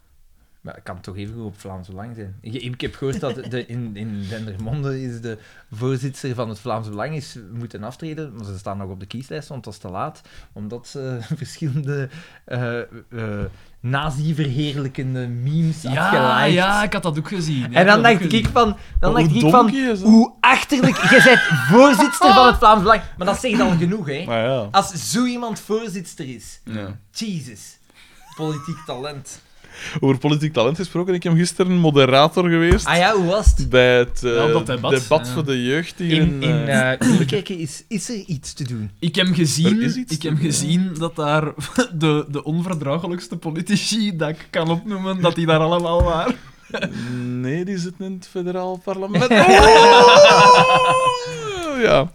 Speaker 1: Maar het kan toch even goed op Vlaams Belang zijn. Ik, ik heb gehoord dat de, in, in Dendermonde is de voorzitter van het Vlaams Belang is moeten aftreden. Maar ze staan nog op de kieslijst, want dat is te laat. Omdat ze verschillende eh, eh, nazi-verheerlijkende memes had
Speaker 3: Ja,
Speaker 1: geliked.
Speaker 3: ja, ik had dat ook gezien.
Speaker 1: en dan dacht ik van... Dan
Speaker 2: Maar
Speaker 1: dacht
Speaker 2: hoe
Speaker 1: ik van
Speaker 2: donkie is dat?
Speaker 1: hoe achterlijk... Je bent voorzitter van het Vlaams Belang. Maar dat zegt al genoeg, hè.
Speaker 2: Maar ja.
Speaker 1: Als zo iemand voorzitter is.
Speaker 2: ja.
Speaker 1: Jesus. Politiek talent.
Speaker 2: Over politiek talent gesproken, ik heb gisteren moderator geweest.
Speaker 1: Ah ja, hoe was het?
Speaker 2: Bij het eh,
Speaker 3: Ja, op dat debat. Ja.
Speaker 2: voor de jeugd hier
Speaker 1: In,
Speaker 2: in...
Speaker 1: in
Speaker 2: eh,
Speaker 1: eh, Nieuwkerken is, is er iets te doen.
Speaker 3: Ik heb gezien,
Speaker 2: Er is iets
Speaker 3: ik
Speaker 2: te
Speaker 3: heb
Speaker 2: doen,
Speaker 3: gezien dat daar de, de onverdraaglijkste politici dat ik kan opnoemen, dat die daar allemaal waren.
Speaker 2: Nee, die zit in het federaal parlement. Oh! ja.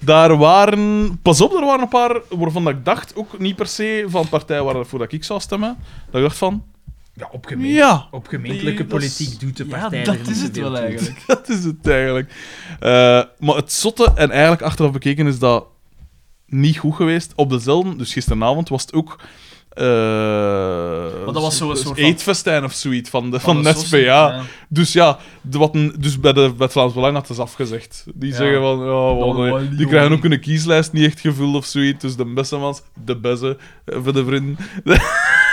Speaker 2: Daar waren... Pas op, er waren een paar waarvan dat ik dacht, ook niet per se van partij waarvoor dat ik zou stemmen, dat ik dacht van,
Speaker 4: Ja, op, gemeen,
Speaker 2: ja,
Speaker 4: op gemeentelijke
Speaker 2: Nee, dat is-
Speaker 4: politiek doet de
Speaker 3: Ja,
Speaker 4: partij...
Speaker 3: dat
Speaker 4: er niet
Speaker 3: is het
Speaker 4: zoveel
Speaker 3: wel
Speaker 4: toe.
Speaker 3: eigenlijk.
Speaker 2: dat is het eigenlijk. Eh, maar het zotte, en eigenlijk achteraf bekeken, is dat niet goed geweest. Op dezelfde, dus gisteravond, was het ook... eh,
Speaker 3: dat was zo'n soort van-
Speaker 2: Eetfestijn of zoiets van de, van,
Speaker 3: de
Speaker 2: de
Speaker 3: sossen,
Speaker 2: SPA. Dus ja, de, wat een, dus bij de Wet Vlaams Belang hadden ze afgezegd. Die
Speaker 3: Ja.
Speaker 2: zeggen van, ja, wat
Speaker 3: Dan
Speaker 2: een-
Speaker 3: wel,
Speaker 2: die
Speaker 3: joh.
Speaker 2: krijgen ook een kieslijst niet echt gevuld of zoiets. Dus de beste mans, de beste eh, voor de vrienden.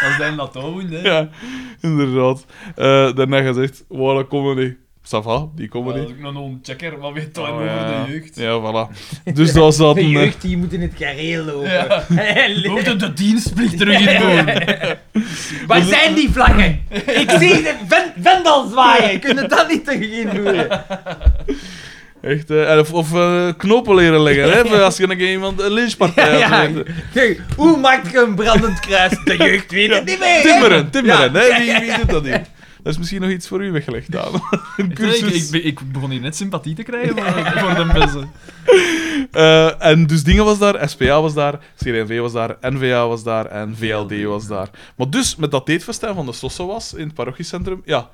Speaker 3: Als hij dat doen, hè.
Speaker 2: ja, inderdaad. Eh, daarna gezegd, waar dat komen die? Sava, die komen
Speaker 3: Dat is
Speaker 2: niet.
Speaker 3: ook nog een checker, wat weet hij
Speaker 2: Oh,
Speaker 3: over
Speaker 2: ja.
Speaker 3: de jeugd?
Speaker 2: Ja, voilà. Dus dat was dat.
Speaker 4: De
Speaker 2: een, eh,
Speaker 4: jeugd die moet in het gareel lopen.
Speaker 3: Ja. We moeten de dienstplicht terug in doen.
Speaker 4: Waar zijn die vlaggen? Ik zie de ven vendel zwaaien. Kunnen dat niet tegenin doen?
Speaker 2: Echt, eh, of, of eh, knopen leren leggen, hè, voor als je een keer iemand een lynchpartij hebt.
Speaker 4: Ja, Kijk, hoe maak je een brandend kruis? De jeugd weet het niet meer. hè?
Speaker 2: Timmeren, timmeren, hè? Wie, wie doet dat niet? Dat is misschien nog iets voor u weggelegd, Daan. Een cursus.
Speaker 3: Ik, ik, ik begon hier net sympathie te krijgen voor, voor de mensen.
Speaker 2: Eh, en dus dingen was daar, SPA was daar, CD&V was daar, NVA was daar en VLD was daar. Maar dus, met dat eetfestijn van de Sosso was in het parochiecentrum, ja,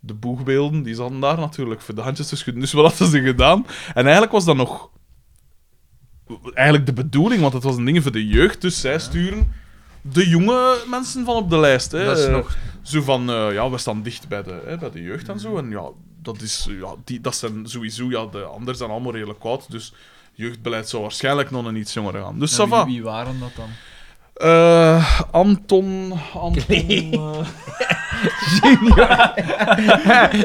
Speaker 2: de boegbeelden, die zaten daar natuurlijk voor de handjes te schudden. Dus wat hadden ze gedaan? En eigenlijk was dat nog... Eigenlijk de bedoeling, want het was een ding voor de jeugd, dus zij sturen de jonge mensen van op de lijst. Hè.
Speaker 1: Dat is
Speaker 2: Eh,
Speaker 1: nog- Mm.
Speaker 2: Zo van, eh, ja, we staan dicht bij de, hè, bij de jeugd en zo. En ja, dat, is, ja die, dat zijn sowieso, ja, de anderen zijn allemaal redelijk koud, dus jeugdbeleid zou waarschijnlijk nog een iets jonger gaan. Dus ça
Speaker 3: wie,
Speaker 2: va.
Speaker 3: wie waren dat dan?
Speaker 2: Eh, Anton... Anton... eh,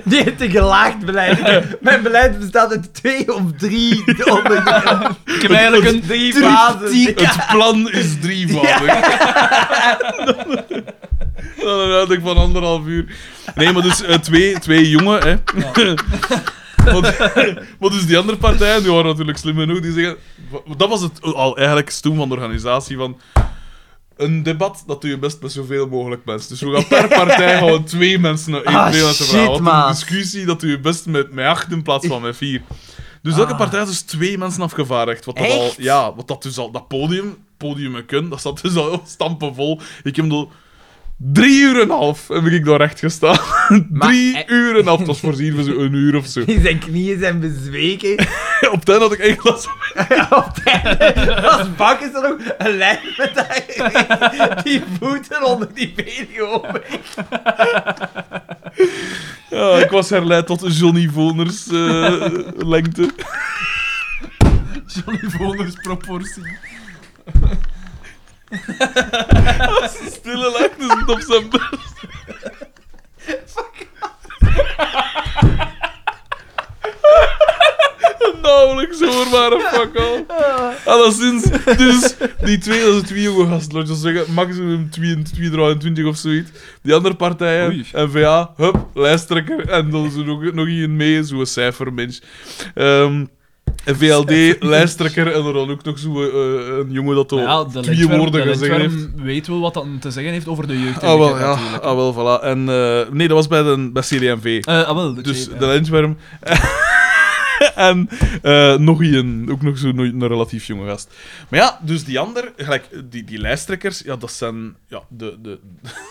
Speaker 4: Die heeft een gelaagd beleid. Mijn beleid bestaat uit twee of drie onderdelen.
Speaker 3: Ik heb eigenlijk een
Speaker 4: Drie fases.
Speaker 2: Het plan is drievoudig. Dan een uitleg van anderhalf uur. Nee, maar dus eh, twee, twee jongen, hè. Want, want dus die andere partijen, die waren natuurlijk slim genoeg, die zeggen... Dat was het al eigenlijk stoem van de organisatie, van... Een debat, dat doe je best met zoveel mogelijk mensen. Dus we gaan per partij gewoon twee mensen naar één
Speaker 4: Ah,
Speaker 2: twee mensen vragen.
Speaker 4: shit,
Speaker 2: Want
Speaker 4: maat.
Speaker 2: Een discussie, dat doe je best met, met acht in plaats van met vier. Dus elke partij had dus twee mensen afgevaardigd. Wat dat al,
Speaker 4: Echt?
Speaker 2: ja, wat dat dus al, dat podium, podium kunnen, dat zat dus al stampen vol. Ik heb door drie uur en een half heb ik daar recht gestaan. drie
Speaker 4: eh-
Speaker 2: uur en een half, dat was voorzien voor zo'n uur of zo.
Speaker 4: Zijn knieën zijn bezweken.
Speaker 2: Op het einde had ik echt last van-
Speaker 4: Op het einde was bak is er ook een lijn met haar- die voeten onder die benen open.
Speaker 2: Ja, ik was herleid tot Johnny Voners eh, lengte.
Speaker 3: Johnny Voners proportie.
Speaker 2: Stille lengte zit op zijn best. Nauwelijks hoorbare fuck al. Alleszins, dus die twee, dat is het wie jonge gasten, laat je zeggen, maximum 22, 23 of zoiets. Die andere partijen,
Speaker 3: Oei.
Speaker 2: NVA, hup, lijsttrekker, en dan is er nog, nog iemand mee, zo'n cijfermens. Ehm VLD, lijsttrekker, en er dan ook nog zo'n eh, een jongen dat al
Speaker 3: Ja, de
Speaker 2: twee
Speaker 3: Lentwerm-
Speaker 2: woorden
Speaker 3: de
Speaker 2: gezegd heeft.
Speaker 3: Lentwerm weet wel wat dat te zeggen heeft over de jeugd.
Speaker 2: Ah, wel, ja.
Speaker 3: natuurlijk.
Speaker 2: Ah, wel, voilà. En, eh, nee, dat was bij, de, bij CDMV.
Speaker 3: Eh, ah, wel, de
Speaker 2: dus
Speaker 3: shape,
Speaker 2: de
Speaker 3: ja.
Speaker 2: lenswerm. en eh, nog een, ook nog zo'n een relatief jonge gast. Maar ja, dus die ander, gelijk, die, die lijsttrekkers, ja, dat zijn ja, de, de,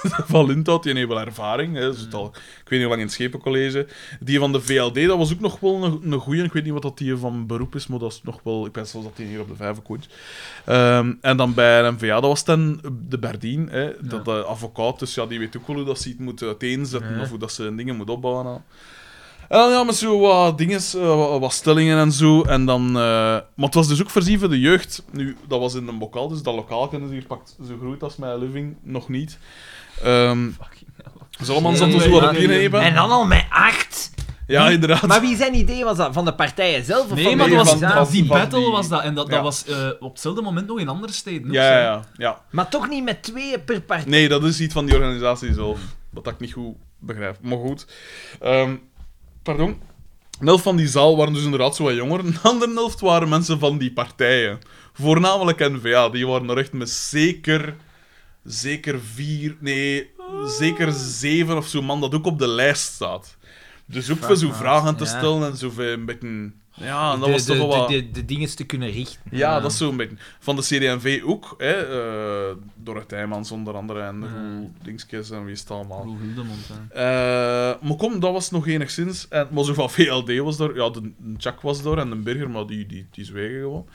Speaker 2: van Lindhout, die heeft wel ervaring. Hè,
Speaker 3: Mm.
Speaker 2: zit al, ik weet niet hoe lang in het Schepencollege. Die van de VLD, dat was ook nog wel een, een goeie. Ik weet niet wat dat die van beroep is, maar dat is nog wel... Ik ben zelfs dat die hier op de vijven coach. Ehm, en dan bij een NVA, dat was dan de Berdien, hè, dat de advocaat, dus ja, die weet ook wel hoe dat ze het moet uiteenzetten of hoe dat ze dingen moet opbouwen. En, al. en dan ja, met zo wat dingen, eh, wat, wat stellingen en zo. En dan, eh, maar het was dus ook voorzien voor de jeugd. Nu, dat was in een bokaal, dus dat lokaal kunnen ze hier pakt zo groot als mijn living nog niet. Ehm dus allemaal zaten zo wat op
Speaker 4: En
Speaker 2: inheven.
Speaker 4: dan al met acht.
Speaker 2: Ja, inderdaad.
Speaker 4: Maar wie zijn idee was dat? Van de partijen zelf of
Speaker 3: Nee,
Speaker 4: van
Speaker 3: maar
Speaker 4: de
Speaker 3: dat was,
Speaker 2: van-
Speaker 4: organisatie?
Speaker 3: dat- die
Speaker 2: van
Speaker 3: battle
Speaker 2: die-
Speaker 3: was dat. En dat,
Speaker 2: ja.
Speaker 3: dat was eh, op hetzelfde moment nog in andere steden. ook,
Speaker 2: Ja,
Speaker 3: zo.
Speaker 2: ja, ja, ja.
Speaker 4: Maar toch niet met tweeën per partij.
Speaker 2: Nee, dat is iets van die organisatie zelf. Dat ik niet goed begrijp. Maar goed. Ehm, pardon. Een helft van die zaal waren dus inderdaad zo wat jonger. Een andere helft waren mensen van die partijen. Voornamelijk N-VA. Die waren er echt met zeker... Zeker vier... Nee, zeker zeven of zo man dat ook op de lijst staat. Dus ook voor zo vragen te
Speaker 1: ja.
Speaker 2: stellen en zo voor een beetje... Ja, en dat
Speaker 1: de,
Speaker 2: was toch
Speaker 1: de,
Speaker 2: wel wat...
Speaker 1: de, de, de dingen te kunnen richten.
Speaker 2: Ja, dat is zo'n beetje. Van de CD&V ook, hè. eh Dorrit Heijmans onder andere en Roel Dingskes en wie is het allemaal.
Speaker 3: Roel Hildemond, hè.
Speaker 2: Eh, maar kom, dat was nog enigszins. En, maar zo van VLD was er, ja, de, de Jack was er en de Burger, maar die, die, die zwegen gewoon.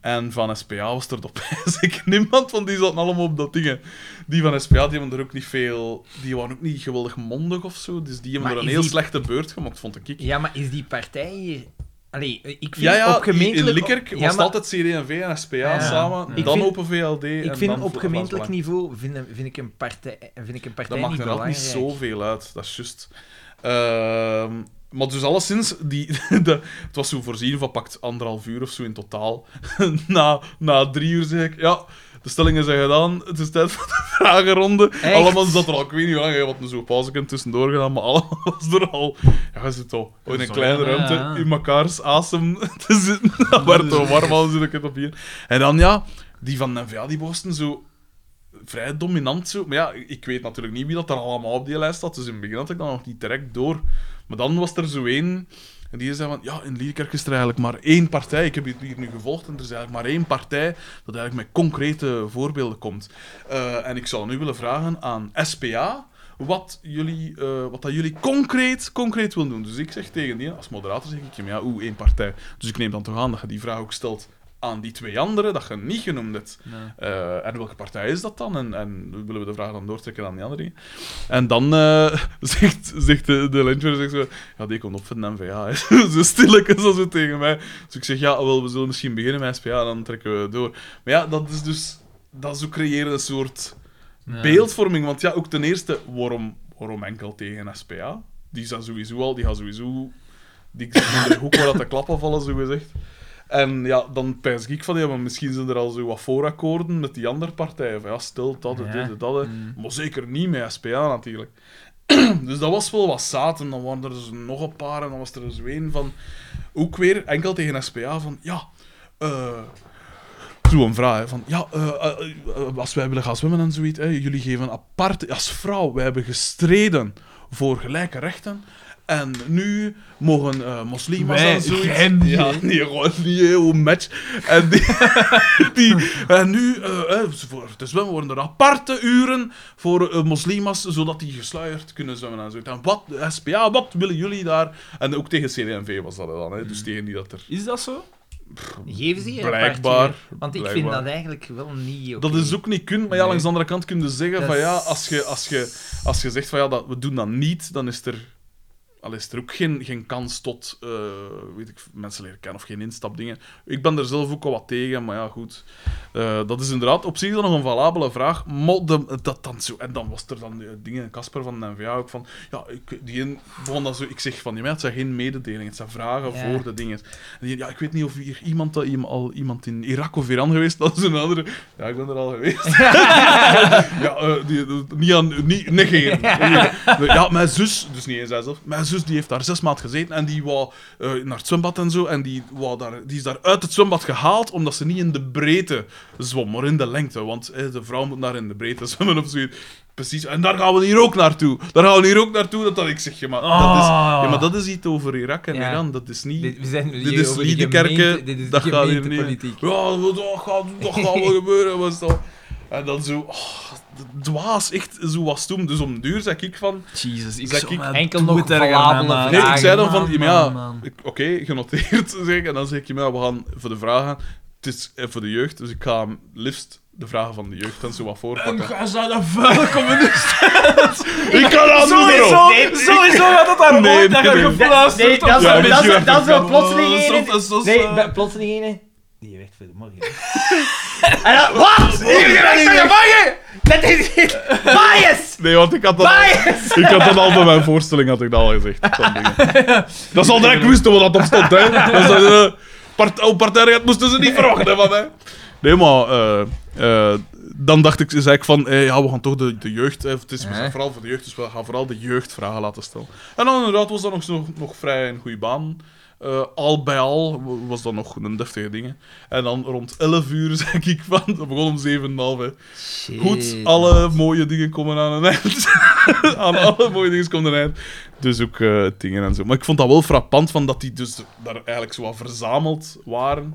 Speaker 2: En van SPA was er op zeker niemand, want die zaten allemaal op dat ding. Die van SPA, die hebben er ook niet veel... Die waren ook niet geweldig mondig of zo, dus die hebben
Speaker 1: Maar
Speaker 2: er een
Speaker 1: is
Speaker 2: heel
Speaker 1: die-
Speaker 2: slechte beurt gemaakt, vond ik.
Speaker 1: Ja, maar is die partij hier... Allee, ik vind
Speaker 2: Ja, ja,
Speaker 1: op
Speaker 2: in
Speaker 1: gemeentelijk...
Speaker 2: Likkerk was
Speaker 1: Ja,
Speaker 2: het
Speaker 1: maar
Speaker 2: altijd CD&V en SPA
Speaker 3: Ja.
Speaker 2: samen,
Speaker 1: Ik
Speaker 2: dan
Speaker 1: vind-
Speaker 2: Open VLD en
Speaker 1: Ik vind
Speaker 2: dan
Speaker 1: op
Speaker 2: Vlaams
Speaker 1: gemeenlijk
Speaker 2: Belang.
Speaker 1: niveau vind, een- vind ik een partij, vind ik een partij
Speaker 2: Dat maakt
Speaker 1: niet
Speaker 2: inderdaad
Speaker 1: belangrijk.
Speaker 2: niet zoveel uit, dat is juist. Ehm, maar dus alleszins, die, de, het was zo voorzien van pakt anderhalf uur of zo in totaal. na, na drie uur zeg ik, ja, de stellingen zijn gedaan, het is tijd voor de vragenronde.
Speaker 1: Echt?
Speaker 2: Allemaal zat er al, ik weet niet hoe lang, je had nu zo'n pauze kunt tussendoor gedaan, maar allemaal was er al, ja, we zitten al in een
Speaker 3: Zo,
Speaker 2: kleine
Speaker 3: ja,
Speaker 2: ruimte,
Speaker 3: ja.
Speaker 2: in mekaars asem te zitten, dat werd het al warm, al zit ik het op hier. En dan, ja, die van NVA, die boosten zo vrij dominant zo. Maar ja, ik weet natuurlijk niet wie dat er allemaal op die lijst staat. Dus in het begin had ik dan nog niet direct door. Maar dan was er zo één. En die zei van, ja, in Liedekerk is er eigenlijk maar één partij. Ik heb het hier nu gevolgd en er is eigenlijk maar één partij dat eigenlijk met concrete voorbeelden komt. Eh, en ik zou nu willen vragen aan SPA wat, jullie, eh, wat dat jullie concreet, concreet willen doen. Dus ik zeg tegen die, als moderator zeg ik hem, ja, oeh, één partij. Dus ik neem dan toch aan dat je die vraag ook stelt aan die twee anderen, dat je niet genoemd hebt.
Speaker 3: Nee.
Speaker 2: Eh, en welke partij is dat dan? En, en willen we de vraag dan doortrekken aan die andere? En dan eh, zegt, zegt de, de luncher, zegt zo, ja, die komt op van de NVA. hè." zo stilletjes als het tegen mij. Dus ik zeg, ja, wel, we zullen misschien beginnen met SPA en dan trekken we door. Maar ja, dat is dus... Dat is ook creëren een soort
Speaker 3: Ja.
Speaker 2: beeldvorming. Want ja, ook ten eerste, waarom, waarom enkel tegen SPA? Die zijn sowieso al, die gaan sowieso... Die zitten in de hoek waar dat de klappen vallen, zogezegd. En ja, dan pijs ik van, ja, maar misschien zijn er al zo wat voorakkoorden met die andere partijen. Van ja, stil, dat,
Speaker 3: Ja. Mm.
Speaker 2: dit, dat, dat. Maar zeker niet met SPA natuurlijk. dus dat was wel wat zaad. En dan waren er dus nog een paar en dan was er zo één van... Ook weer enkel tegen SPA van, ja... eh Zo'n vraag, hè, van ja, eh, eh, eh, als wij willen gaan zwemmen en zoiets, hè, jullie geven apart, als vrouw, wij hebben gestreden voor gelijke rechten. En nu mogen eh moslims
Speaker 3: Wij,
Speaker 2: en zoiets.
Speaker 3: jij niet,
Speaker 2: ja,
Speaker 3: hè?
Speaker 2: nee, gewoon niet, hè, hoe match. En, die, die, en nu, eh, eh, voor te zwemmen worden er aparte uren voor eh, moslims, zodat die gesluierd kunnen zwemmen en zoiets. En wat, SPA, wat willen jullie daar? En ook tegen CD&V was dat dan, hè,
Speaker 1: Hmm.
Speaker 2: dus tegen die dat er.
Speaker 3: Is dat zo?
Speaker 1: Geven ze hier
Speaker 2: Blijkbaar,
Speaker 1: een partij? Want ik vind
Speaker 2: blijkbaar.
Speaker 1: dat eigenlijk wel niet oké.
Speaker 2: Dat is ook niet kun, maar ja,
Speaker 1: Hmm. Nee.
Speaker 2: langs de andere kant kun je zeggen
Speaker 1: Dat
Speaker 2: van ja,
Speaker 1: is-
Speaker 2: als je, als je, als je zegt van ja, dat, we doen dat niet, dan is er, al is er ook geen, geen kans tot eh, weet ik, mensen leren kennen of geen instapdingen. Ik ben er zelf ook al wat tegen, maar ja, goed. Eh, dat is inderdaad op zich dan nog een valabele vraag. Maar de- dat dan zo, en dan was er dan eh, dingen, Casper van de NVA ook van, ja, ik, die een begon dan zo, ik zeg van, ja, maar het zijn geen mededelingen, het zijn vragen
Speaker 1: Ja.
Speaker 2: voor de dingen. En die, ja, ik weet niet of hier iemand, dat- iem- al iemand in Irak of Iran geweest, dat is een andere. Ja, ik ben er al geweest. Ja, eh, die, die- niet aan, niet negeren. Ja, mijn zus, dus niet eens zelf, mijn zus die heeft daar zes maanden gezeten en die wou eh, naar het zwembad en zo. En die, wou daar, die is daar uit het zwembad gehaald omdat ze niet in de breedte zwom, maar in de lengte. Want eh, de vrouw moet daar in de breedte zwemmen of zoiets. Precies, en daar gaan we hier ook naartoe. Daar gaan we hier ook naartoe. Dat, dat ik zeg, ja, maar, dat is, ja, maar dat is iets over Irak en
Speaker 1: Ah. Ja.
Speaker 2: Iran. Dat is niet.
Speaker 1: Dit, we zijn
Speaker 2: Dit is
Speaker 1: over de
Speaker 2: Liedekerken,
Speaker 1: gemeente- dit is
Speaker 2: dat gaat hier niet.
Speaker 1: gemeentepolitiek.
Speaker 2: Ja, dat gaat, dat gaat wel gebeuren. Was dat. En dan zo, oh, d- dwaas, echt zo was toen. Dus om duur zei ik van.
Speaker 3: Jezus, ik
Speaker 2: Zeg
Speaker 3: zou
Speaker 2: ik
Speaker 3: maar
Speaker 1: enkel
Speaker 3: doe
Speaker 1: nog
Speaker 3: het erger,
Speaker 1: valabele
Speaker 3: man, man.
Speaker 2: Nee, ik
Speaker 1: vragen,
Speaker 2: zei dan van,
Speaker 3: Man,
Speaker 2: ja, maar
Speaker 3: man,
Speaker 2: ja,
Speaker 3: man.
Speaker 2: ik- oké, genoteerd. Zeg ik. En dan zeg ik, ja, we gaan voor de vragen. Het is eh, voor de jeugd, dus ik ga hem liefst de vragen van de jeugd en zo wat
Speaker 3: Een
Speaker 2: voorpakken.
Speaker 3: gazaal vuile communist.
Speaker 2: Ik kan dat
Speaker 3: Sowieso,
Speaker 2: doen,
Speaker 1: Nee,
Speaker 3: sowieso had dat daar
Speaker 2: Nee,
Speaker 3: nooit naar
Speaker 2: nee, nee.
Speaker 3: gefluisterd.
Speaker 1: Nee, dat is-
Speaker 2: Ja, dat is-
Speaker 1: dat is wel plotseling een- Nee,
Speaker 3: Nee,
Speaker 1: maar plotseling ene. Die werkt voor de morgen. En dan, wat? Die werkt voor de morgen? Dat is niet... Bias!
Speaker 2: Nee, want ik had dat al,
Speaker 1: Bias!
Speaker 2: ik had dat al bij mijn voorstelling had ik dat al gezegd. Dat, ding. dat zal direct wisten wat dat op stond, hè. Dat is, eh, part oh, partijdigheid moesten ze niet verwachten van mij. Nee, maar eh, eh, dan dacht ik, zei ik van, eh, ja, we gaan toch de, de jeugd, eh, het is
Speaker 1: Hè?
Speaker 2: vooral voor de jeugd, dus we gaan vooral de jeugd vragen laten stellen. En dan inderdaad was dat nog, zo- nog vrij een goede baan. Eh, al bij al wa- was dat nog een deftige ding. hè. En dan rond 11 uur zeg ik van, dat begon om 7,5. hè. Goed, alle mooie dingen komen aan een eind. aan alle mooie dingen komt een eind. Dus ook eh, dingen en zo. Maar ik vond dat wel frappant van dat die dus daar eigenlijk zo wat verzameld waren.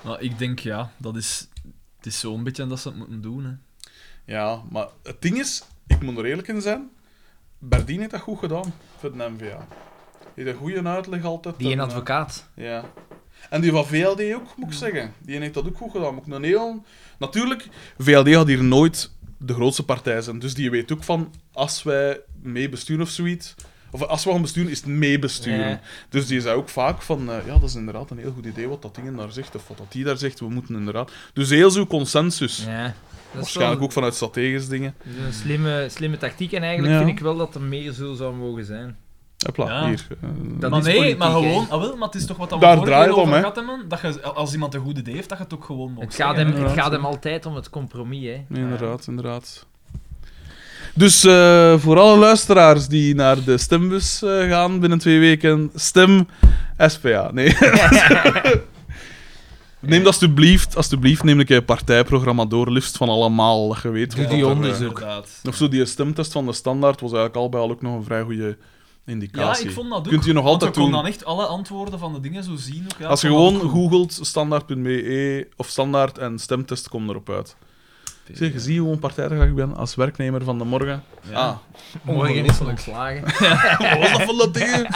Speaker 3: Maar ik denk, ja, dat is... Het is zo'n beetje dat ze het moeten doen, hè.
Speaker 2: Ja, maar het ding is, ik moet er eerlijk in zijn, Berdien heeft dat goed gedaan voor de NVA. Die heeft een goede uitleg altijd.
Speaker 1: Die
Speaker 2: en,
Speaker 1: een
Speaker 2: eh,
Speaker 1: advocaat.
Speaker 2: Ja. En die van VLD ook, moet ik zeggen. Die heeft dat ook goed gedaan. Moet ik een heel... Natuurlijk, VLD had hier nooit de grootste partij zijn. Dus die weet ook van, als wij mee besturen of zoiets... Of als we gaan besturen, is het mee besturen.
Speaker 1: Ja.
Speaker 2: Dus die zei ook vaak van, eh, ja, dat is inderdaad een heel goed idee wat dat ding daar zegt. Of wat dat die daar zegt, we moeten inderdaad... Dus heel zo'n consensus.
Speaker 1: Ja. Dat is
Speaker 2: Waarschijnlijk ook vanuit strategische dingen.
Speaker 1: wel een slimme, slimme tactiek. En eigenlijk
Speaker 2: Ja.
Speaker 1: vind ik wel dat er meer zo zou mogen zijn.
Speaker 2: Hopla,
Speaker 3: Ja.
Speaker 2: hier. eh,
Speaker 1: Dat
Speaker 3: maar
Speaker 1: is
Speaker 3: nee,
Speaker 1: politiek,
Speaker 3: maar
Speaker 1: hè.
Speaker 3: gewoon... Ah, wel, maar het is toch wat dat we
Speaker 2: Daar
Speaker 3: vorige
Speaker 2: draait
Speaker 3: keer
Speaker 2: het om,
Speaker 3: over
Speaker 2: hè.
Speaker 3: gehad hebben, dat je, als iemand een goed idee heeft, dat je het ook gewoon mag
Speaker 1: Het gaat hem, het gaat hem altijd om het compromis, hè.
Speaker 2: Nee, inderdaad, inderdaad. Dus eh, voor alle luisteraars die naar de stembus eh, gaan binnen twee weken, stem SPA. Nee. neem dat alsjeblieft, alsjeblieft, neem een keer een partijprogramma door, liefst van allemaal, dat je weet.
Speaker 1: Doe
Speaker 2: wat
Speaker 1: die
Speaker 2: dat er,
Speaker 1: onderzoek.
Speaker 2: eh, Of zo, die stemtest van de standaard was eigenlijk al bij al ook nog een vrij goede
Speaker 3: Ja,
Speaker 2: indicatie.
Speaker 3: ik vond dat ook.
Speaker 2: Kunt u nog
Speaker 3: want
Speaker 2: altijd
Speaker 3: je kon
Speaker 2: doen.
Speaker 3: dan echt alle antwoorden van de dingen zo zien. Ook, ja,
Speaker 2: Als je
Speaker 3: ik vond dat
Speaker 2: gewoon
Speaker 3: ook goed.
Speaker 2: googelt standaard.be E of standaard en stemtest, komt erop uit. Zeg, je ziet hoe partijdig ik ben als werknemer van de morgen.
Speaker 3: Ja.
Speaker 2: Ah,
Speaker 1: Morgen is
Speaker 3: Ongelooflijk.
Speaker 1: hem ontslagen.
Speaker 2: Wat was dat van dat ding?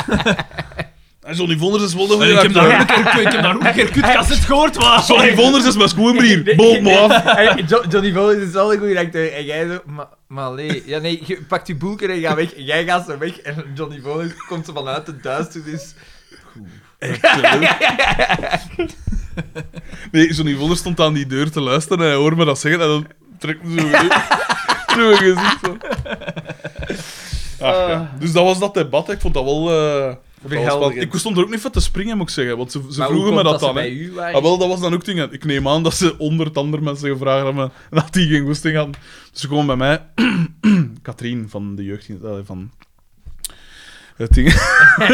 Speaker 2: En Johnny Vonders is wel de
Speaker 3: Nee, ik, heb
Speaker 2: redacteur.
Speaker 3: daar ook een keer, ik heb daar ook een keer kutkassend gehoord, maar...
Speaker 2: Johnny Vonders is mijn schoenbrier. Boom, me af.
Speaker 1: Hey, Jo- Johnny Volley is wel een goede acteur. En jij zo, maar, maar nee. Ja, nee, je pakt je boeken en je gaat weg. En jij gaat zo weg. En Johnny Volley komt er vanuit de duisternis.
Speaker 2: Nee, Johnny Vonders stond aan die deur te luisteren en hij hoorde me dat zeggen en dan trekt me zo weer zo mijn gezicht. Zo.
Speaker 1: Ah.
Speaker 2: Ach, ja. Dus dat was dat debat. hè. Ik vond dat wel... eh, ik vond dat wel
Speaker 1: Verhelderend.
Speaker 2: spannend. ik stond er ook niet van te springen, moet ik zeggen. Want ze, ze
Speaker 1: Maar hoe
Speaker 2: vroegen me
Speaker 1: komt
Speaker 2: dat,
Speaker 1: ze
Speaker 2: dan.
Speaker 1: bij
Speaker 2: hè.
Speaker 1: u waren?
Speaker 2: Ah, wel, dat was dan ook dingen. Ik neem aan dat ze onder het andere mensen gevraagd hebben dat die geen goesting hadden. Dus ze komen bij mij. Katrien van de jeugd... eh, van het ding.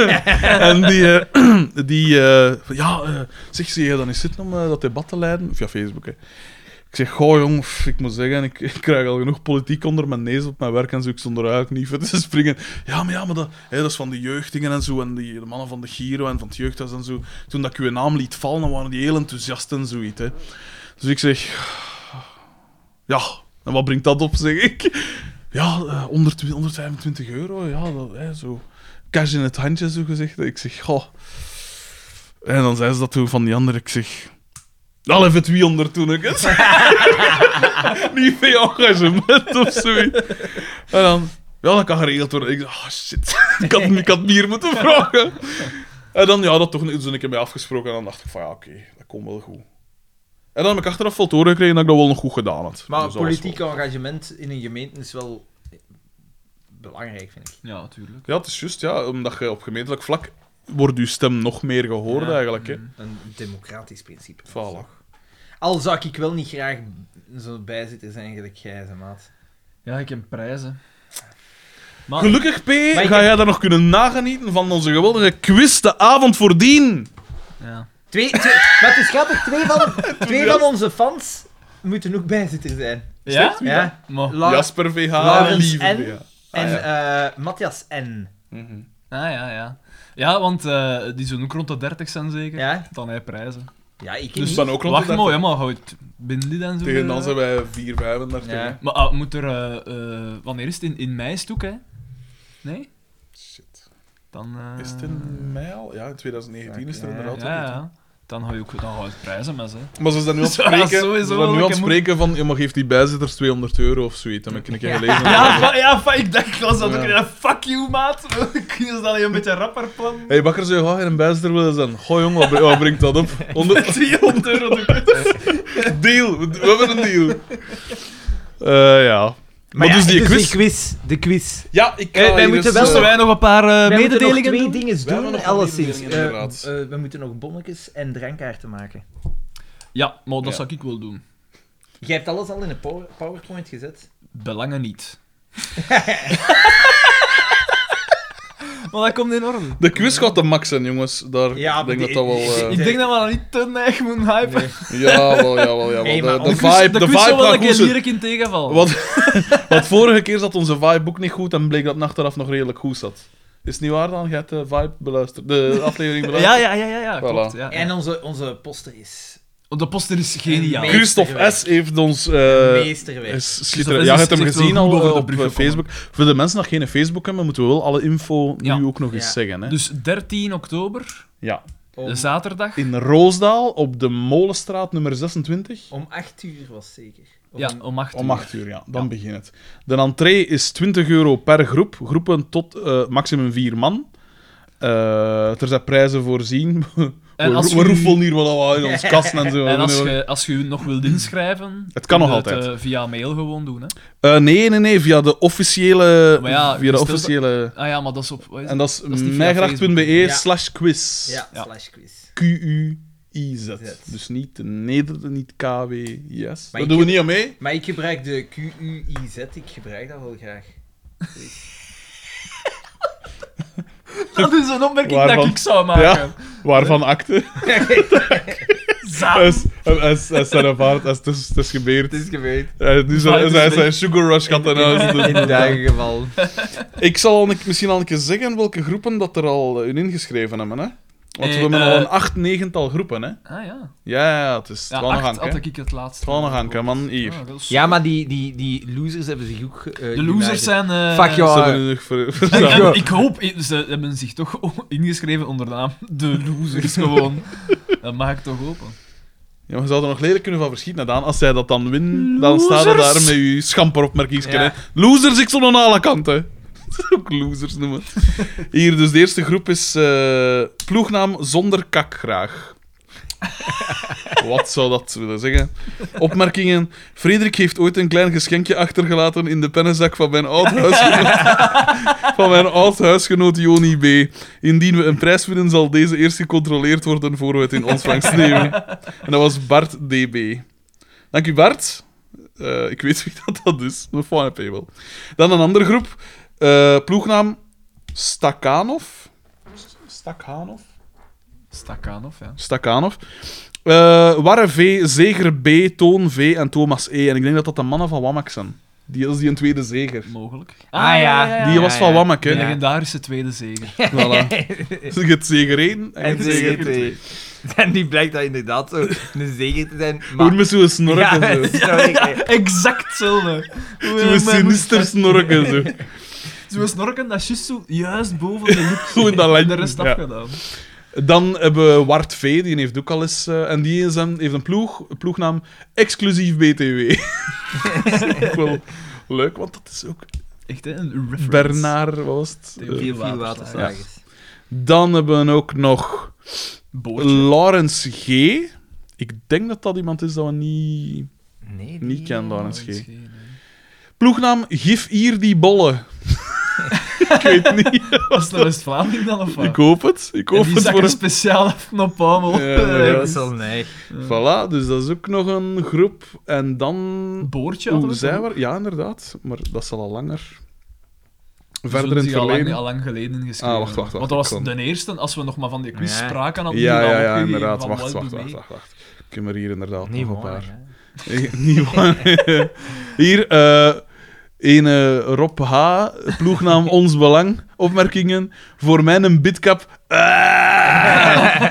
Speaker 2: en die... eh, die eh, van, ja, eh, zeg, zie je dan eens zitten om eh, dat debat te leiden? Via Facebook, hè. Ik zeg, goh jong, pff, ik moet zeggen, ik, ik krijg al genoeg politiek onder mijn neus op mijn werk en zo. Ik stond er eigenlijk niet voor te springen. Ja, maar ja, maar dat, hè, dat is van de jeugdingen en zo. En die, de mannen van de Giro en van het jeugdhuis en zo. Toen dat ik uw naam liet vallen, dan waren die heel enthousiast en zoiets. Hè. Dus ik zeg, ja, en wat brengt dat op, zeg ik. Ja, eh, 100 125 euro, ja, dat, hè, zo. Cash in het handje, zo gezegd. Ik zeg, goh. En dan zei ze dat toen van die ander, ik zeg... Al even 200 toen ik het. Niet veel engagement of zoiets. En dan... Ja, dat kan geregeld worden. Ik dacht, ah shit. ik, had, ik had meer moeten vragen. En dan, ja, dat toch eens een keer mee afgesproken. En dan dacht ik van, ja, oké, dat komt wel goed. En dan heb ik achteraf vol toren gekregen dat ik dat wel nog goed gedaan had.
Speaker 1: Maar
Speaker 2: Dus dat was
Speaker 1: politiek engagement in een gemeente is wel belangrijk, vind ik.
Speaker 3: Ja, natuurlijk.
Speaker 2: Ja, het is juist, ja. Omdat je op gemeentelijk vlak wordt je stem nog meer gehoord
Speaker 1: Ja. Mm.
Speaker 2: eigenlijk. Hè.
Speaker 1: Een democratisch principe.
Speaker 2: Voilà.
Speaker 1: Al zou ik wel niet graag zo bijzitter zijn gelijk jij, ze, maat.
Speaker 3: Ja, ik heb prijzen. Ah. Maar...
Speaker 2: Gelukkig, P,
Speaker 1: ik
Speaker 2: ga
Speaker 1: heb-
Speaker 2: jij dan nog kunnen nagenieten van onze geweldige quiz de avond voordien.
Speaker 3: Ja.
Speaker 1: Twee, twee, maar het is grappig, twee van, twee van onze fans moeten ook bijzitter zijn.
Speaker 3: Ja?
Speaker 1: Ja?
Speaker 3: Maar...
Speaker 1: La-
Speaker 2: Jasper VH,
Speaker 1: Laurens
Speaker 2: lieve
Speaker 1: en-
Speaker 2: VH.
Speaker 1: en
Speaker 2: Oh, ah, ja.
Speaker 1: eh, Matthias N.
Speaker 2: Mhm.
Speaker 3: Ah, ja, ja. Ja, want eh, die zullen ook rond de 30 zijn zeker.
Speaker 1: Ja?
Speaker 3: Dan hij prijzen.
Speaker 1: Ja, ik
Speaker 2: Dus
Speaker 1: niet.
Speaker 2: dan ook rond de
Speaker 3: Wacht mooi,
Speaker 2: 30.
Speaker 3: hè, maar houdt binnen die dan zo.
Speaker 2: Tegen dan
Speaker 3: eh,
Speaker 2: zijn wij 4, 35.
Speaker 1: Ja.
Speaker 2: hè.
Speaker 3: Maar ah, moet er. eh, eh, wanneer is het in, in mei stuk, hè? Nee?
Speaker 2: Shit.
Speaker 3: Dan. eh,
Speaker 2: Is het in mei al? Ja, in 2019 is er
Speaker 1: Ja,
Speaker 2: inderdaad ook
Speaker 3: Ja,
Speaker 2: niet, hè.
Speaker 3: ja. Dan hou je ook dan hou je het prijzen met ze.
Speaker 1: Ah,
Speaker 2: Maar ze zijn nu aan het
Speaker 3: Zo, ja,
Speaker 2: spreken, ze
Speaker 3: sowieso
Speaker 2: zijn nu aan
Speaker 3: wel,
Speaker 2: het
Speaker 3: ik moet-
Speaker 2: spreken van, je mag geeft die bijzitters 200 euro of zoiets. Dat heb ik een keer gelezen.
Speaker 3: Ja, ja, fa- ik dacht, ik was dat ook.
Speaker 2: Ja.
Speaker 3: Ja. Fuck you, maat. Kun je dat niet een beetje rapper plan?
Speaker 2: Hé, hey, Bakker zou graag in een bijster willen zijn. Goh, jong, wat, br- wat brengt dat op? 100
Speaker 3: 300 euro. doe
Speaker 2: Eh,
Speaker 3: ik.
Speaker 2: Deal, we, we hebben een deal. Eh, ja. Maar,
Speaker 1: ja,
Speaker 2: dus die quiz...
Speaker 1: quiz. De quiz.
Speaker 2: Ja, ik
Speaker 1: Eh, wij moeten wel-
Speaker 3: Moesten wij nog een paar eh,
Speaker 1: We moeten nog
Speaker 3: mededelingen
Speaker 1: twee
Speaker 3: doen?
Speaker 1: dingen
Speaker 2: hebben
Speaker 1: doen,
Speaker 2: nog
Speaker 1: alleszins.
Speaker 2: mededelingen,
Speaker 1: Eh,
Speaker 2: inderdaad.
Speaker 1: eh, we moeten nog bonnetjes en drankkaarten maken.
Speaker 3: Ja, maar dat
Speaker 2: Ja.
Speaker 3: zou ik wel doen.
Speaker 1: Jij hebt alles al in een power- PowerPoint gezet.
Speaker 3: Belangen niet. Maar dat komt in orde.
Speaker 2: De quiz gaat de max zijn, jongens. Daar
Speaker 1: Ja,
Speaker 2: ik denk
Speaker 1: maar
Speaker 2: dat dat wel... eh,
Speaker 3: Ik denk dat we dat niet te neig moeten hypen.
Speaker 2: Ja, wel, ja, wel, ja. wel.
Speaker 1: Hey, maar
Speaker 2: de, de
Speaker 1: ons-
Speaker 2: vibe, de
Speaker 3: quiz zal
Speaker 2: vibe
Speaker 3: wel
Speaker 2: gaat
Speaker 3: een
Speaker 2: goed
Speaker 3: keer
Speaker 2: zijn.
Speaker 3: lyric in tegenval.
Speaker 2: Want, want vorige keer zat onze vibe ook niet goed en bleek dat het achteraf nog redelijk goed zat. Is het niet waar dan? Je hebt de vibe beluisterd, de aflevering
Speaker 3: Ja,
Speaker 2: beluisterd.
Speaker 3: ja, ja, ja, ja
Speaker 2: Voilà.
Speaker 3: klopt. Ja.
Speaker 4: En onze, onze poster is
Speaker 3: Want de poster is geniaal.
Speaker 4: Meester
Speaker 2: Christophe
Speaker 4: geweest.
Speaker 2: S. heeft ons... eh
Speaker 4: meesterwerk.
Speaker 2: is
Speaker 3: Christophe
Speaker 2: schitterend.
Speaker 3: S.
Speaker 2: Ja, je
Speaker 3: is
Speaker 2: hebt hem
Speaker 3: echt
Speaker 2: gezien
Speaker 3: wel
Speaker 2: al
Speaker 3: goed
Speaker 2: eh,
Speaker 3: boven de
Speaker 2: op
Speaker 3: brug
Speaker 2: eh,
Speaker 3: gekomen.
Speaker 2: Facebook. Voor de mensen die geen Facebook hebben, moeten we wel alle info
Speaker 3: Ja.
Speaker 2: nu ook nog eens
Speaker 4: Ja.
Speaker 2: zeggen. Hè.
Speaker 3: Dus 13 oktober,
Speaker 2: Ja.
Speaker 3: Dus
Speaker 4: Om,
Speaker 3: zaterdag.
Speaker 2: In Roosdaal, op de Molenstraat nummer 26,
Speaker 4: om acht uur was het zeker. Om-
Speaker 3: Ja, om 8 uur.
Speaker 2: om 8 uur. Ja, dan begint het. De entree is 20 euro per groep. Groepen tot eh, maximum 4 man. Eh, er zijn prijzen voorzien. we
Speaker 3: als
Speaker 2: ro- we
Speaker 3: u-
Speaker 2: roefelen hier wel wat in ons kasten en zo.
Speaker 3: En als je, als je u nog wilt inschrijven...
Speaker 2: Het kan
Speaker 3: kun je
Speaker 2: nog altijd.
Speaker 3: eh, via mail gewoon doen, hè.
Speaker 2: Eh, nee, nee, nee. Via de officiële...
Speaker 3: Maar
Speaker 2: via
Speaker 3: ja,
Speaker 2: de
Speaker 3: gesteld-
Speaker 2: officiële...
Speaker 3: Ah ja, maar dat is op... wat is
Speaker 2: En
Speaker 3: het?
Speaker 2: dat is,
Speaker 3: is niet via
Speaker 2: mijgracht.be
Speaker 4: Facebook.
Speaker 2: slash quiz.
Speaker 4: Ja,
Speaker 3: Ja.
Speaker 4: slash quiz.
Speaker 2: Q-U-I-Z. Dus niet Neder, niet KW, yes. Dat doen we niet aan mee.
Speaker 4: Maar ik gebruik de QUIZ, ik gebruik dat wel graag.
Speaker 3: Dat is een opmerking dat
Speaker 2: Waarvan?
Speaker 3: ik zou maken.
Speaker 2: Waarvan acte?
Speaker 3: Zaterdag.
Speaker 2: Hij is- hij is- hij is zijn ervaard, hij is- Het is- het is gebeurd.
Speaker 1: Het is gebeurd.
Speaker 2: Eh, Nu
Speaker 3: Maar het
Speaker 2: zijn
Speaker 3: is
Speaker 2: zijn-
Speaker 3: weg.
Speaker 2: zijn sugar rush gaat naar huis doen.
Speaker 1: In de dagen geval.
Speaker 2: Ik zal al een- misschien al een keer zeggen welke groepen dat er al eh, in ingeschreven hebben. Hè? Want we
Speaker 3: Eh,
Speaker 2: hebben
Speaker 3: eh,
Speaker 2: al een acht, negental groepen. Hè?
Speaker 3: Ah ja.
Speaker 2: Ja, ja, het is
Speaker 3: Ja,
Speaker 2: twaalf
Speaker 3: 8
Speaker 2: hank.
Speaker 3: had
Speaker 2: hè.
Speaker 3: ik het laatste.
Speaker 2: Twaalf hank, hè, man. Hier.
Speaker 3: Ah, dat is-
Speaker 1: Ja, maar die, die, die losers hebben zich ook... eh,
Speaker 3: De losers
Speaker 1: geweigerd.
Speaker 3: zijn... eh,
Speaker 1: Fuck jou.
Speaker 2: Ze
Speaker 1: Ja.
Speaker 2: hebben nu nog ver-
Speaker 3: En, en
Speaker 2: verzameld.
Speaker 3: ik hoop, eh, ze hebben zich toch ingeschreven onder de naam De Losers gewoon. Dat mag ik toch hopen.
Speaker 2: Ja, maar ze zouden er nog lelijk kunnen van verschieten, Daan. Als zij dat dan winnen, dan staat er daar
Speaker 3: Losers.
Speaker 2: met je schamperopmerkingsken.
Speaker 4: Ja.
Speaker 2: hè. Losers, ik stond aan alle kanten. Ook losers noemen. Hier, dus de eerste groep is eh, ploegnaam zonder kak graag. Wat zou dat willen zeggen? Opmerkingen. Frederik heeft ooit een klein geschenkje achtergelaten in de pennenzak van mijn oud huisgenoot, van mijn oud huisgenoot Joni B. Indien we een prijs winnen, zal deze eerst gecontroleerd worden voor we het in ontvangst nemen. En dat was Bart DB. Dank u, Bart. Eh, ik weet wie dat, dat is. Een fijne pebel. Dan een andere groep. Eh, ploegnaam Stakhanov. Stakhanov?
Speaker 3: Stakhanov, ja.
Speaker 2: Stakhanov. Eh Warre V, Zeger B, Toon V en Thomas E. En ik denk dat dat de mannen van Wamak zijn. Die dat is die een tweede zeger.
Speaker 3: Mogelijk.
Speaker 1: Ah, ja.
Speaker 2: Die was van Wamak, hè?
Speaker 3: De legendarische tweede zege.
Speaker 2: Voilà. Dus je hebt zeger 1 en je
Speaker 1: En
Speaker 2: hebt zeger
Speaker 1: zeker
Speaker 2: 2.
Speaker 1: twee. En die blijkt dat inderdaad zo een zeker te zijn.
Speaker 2: Hoe
Speaker 1: Maar...
Speaker 2: met zo'n snork
Speaker 1: Ja,
Speaker 2: en zo.
Speaker 1: sorry.
Speaker 3: Exact hetzelfde.
Speaker 2: Zo'n sinister snork en zo.
Speaker 3: Zo'n snorken, dat is juist zo juist boven de lip.
Speaker 2: Zo in dat
Speaker 3: En
Speaker 2: lijntje,
Speaker 3: de rest
Speaker 2: ja.
Speaker 3: afgedaan.
Speaker 2: Dan hebben we Wart V, die heeft ook al eens... eh, en die is een, heeft een ploeg, ploegnaam Exclusief BTW. ook wel leuk, want dat is ook
Speaker 3: Echt, hè? Een reference.
Speaker 2: Bernard, wat was het?
Speaker 3: Theo.
Speaker 2: Eh,
Speaker 1: Veel, veel
Speaker 3: waterslagers.
Speaker 1: waterslagers.
Speaker 2: dan hebben we ook nog
Speaker 3: Boortje.
Speaker 2: Lawrence G. Ik denk dat dat iemand is dat we niet,
Speaker 1: Nee, die-
Speaker 2: niet kennen, Lawrence
Speaker 3: Lawrence
Speaker 2: G.
Speaker 3: G, nee.
Speaker 2: Ploegnaam Gif hier die bollen. ik weet niet.
Speaker 3: Was dat West-Vlaanderen dan of wat?
Speaker 2: Ik hoop het. Ik hoop
Speaker 3: En die
Speaker 2: het
Speaker 3: zakken
Speaker 2: voor hem.
Speaker 3: speciaal af naar Pamel.
Speaker 2: Ja, ja,
Speaker 1: Ja,
Speaker 2: ja.
Speaker 1: Oh, dat is wel neig.
Speaker 2: Voilà, dus dat is ook nog een groep. En dan
Speaker 3: Boortje hadden
Speaker 2: Hoe
Speaker 3: we
Speaker 2: zij
Speaker 3: toch?
Speaker 2: we? Ja, inderdaad. Maar dat zal al langer.
Speaker 3: Zullen
Speaker 2: Verder in het
Speaker 3: die al lang-
Speaker 2: verleden.
Speaker 3: Al lang geleden geschreven.
Speaker 2: Ah, wacht, wacht, wacht,
Speaker 3: Want dat was
Speaker 2: ik kon-
Speaker 3: de eerste, als we nog maar van die quiz
Speaker 1: Ja.
Speaker 3: spraken. Hadden
Speaker 2: Ja,
Speaker 3: die al
Speaker 2: ja, ja,
Speaker 3: opgegeven
Speaker 2: inderdaad.
Speaker 3: van
Speaker 2: Wacht,
Speaker 3: Wild
Speaker 2: wacht,
Speaker 3: Doe
Speaker 2: wacht,
Speaker 3: Mee.
Speaker 2: wacht, wacht. Ik heb er hier inderdaad
Speaker 1: Niet
Speaker 2: nog een
Speaker 1: waar,
Speaker 2: paar. Niet waar. hier, eh een eh, Rob H., ploegnaam Ons Belang. Opmerkingen. Voor mij een bidkap. Ah!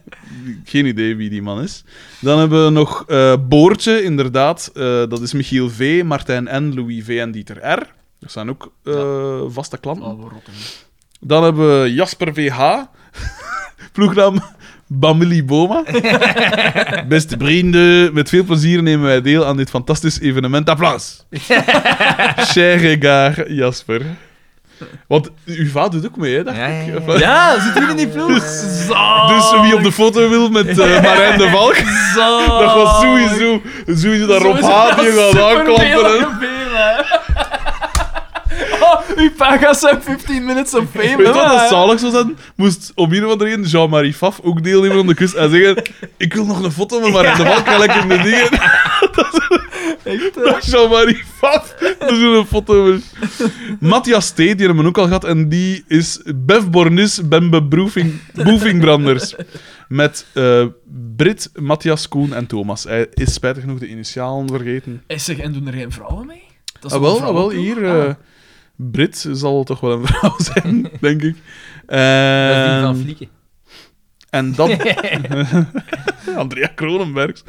Speaker 2: Geen idee wie die man is. Dan hebben we nog eh, Boortje, inderdaad. Eh, dat is Michiel V., Martijn N., Louis V. en Dieter R. Dat zijn ook eh, vaste klanten.
Speaker 3: Oh, we rotten.
Speaker 2: Dan hebben we Jasper VH, ploegnaam Bamili Boma. Beste vrienden, met veel plezier nemen wij deel aan dit fantastisch evenement. Applaus! Cher regard, Jasper. Want uw vader doet ook mee, hè, dacht
Speaker 1: Ja, ja,
Speaker 2: ik.
Speaker 1: ja.
Speaker 2: Enfin,
Speaker 3: Ja, zit jullie in die vloer? Zalig.
Speaker 2: Dus wie op de foto wil met eh, Marijn de Valk,
Speaker 3: Oh. Zalig.
Speaker 2: dat was sowieso, sowieso dat Rob H. die gaat aanklampen. hè.
Speaker 3: Oh, uw pagas zijn 15 minutes of fame.
Speaker 2: Weet je
Speaker 3: hè,
Speaker 2: wat dat
Speaker 3: maar-
Speaker 2: zalig zou zijn? Moest om een of andere reden Jean-Marie Faf ook deelnemen aan de kus en zeggen ik wil nog een foto met Marijn de Valk, ga lekker in de dingen.
Speaker 3: Echt, eh, hè?
Speaker 2: Dat Jean-Marie Wat? Er is een foto van. Matthias T, die hebben we ook al gehad. En die is Bev Bornis Bembe Broefing, Boefingbranders. Met eh, Brit, Matthias, Koen en Thomas. Hij is spijtig genoeg de initialen vergeten.
Speaker 3: Eh, Zeg, en doen er geen vrouwen mee? Dat is
Speaker 2: Ah,
Speaker 3: een
Speaker 2: wel, ah, wel
Speaker 3: vrouwenploeg.
Speaker 2: hier.
Speaker 3: Ah.
Speaker 2: eh, Brit zal toch wel een vrouw zijn, denk ik.
Speaker 4: Dat is die
Speaker 2: Ehm,
Speaker 4: van Flieken.
Speaker 2: en dat... Andrea Kronenbergs.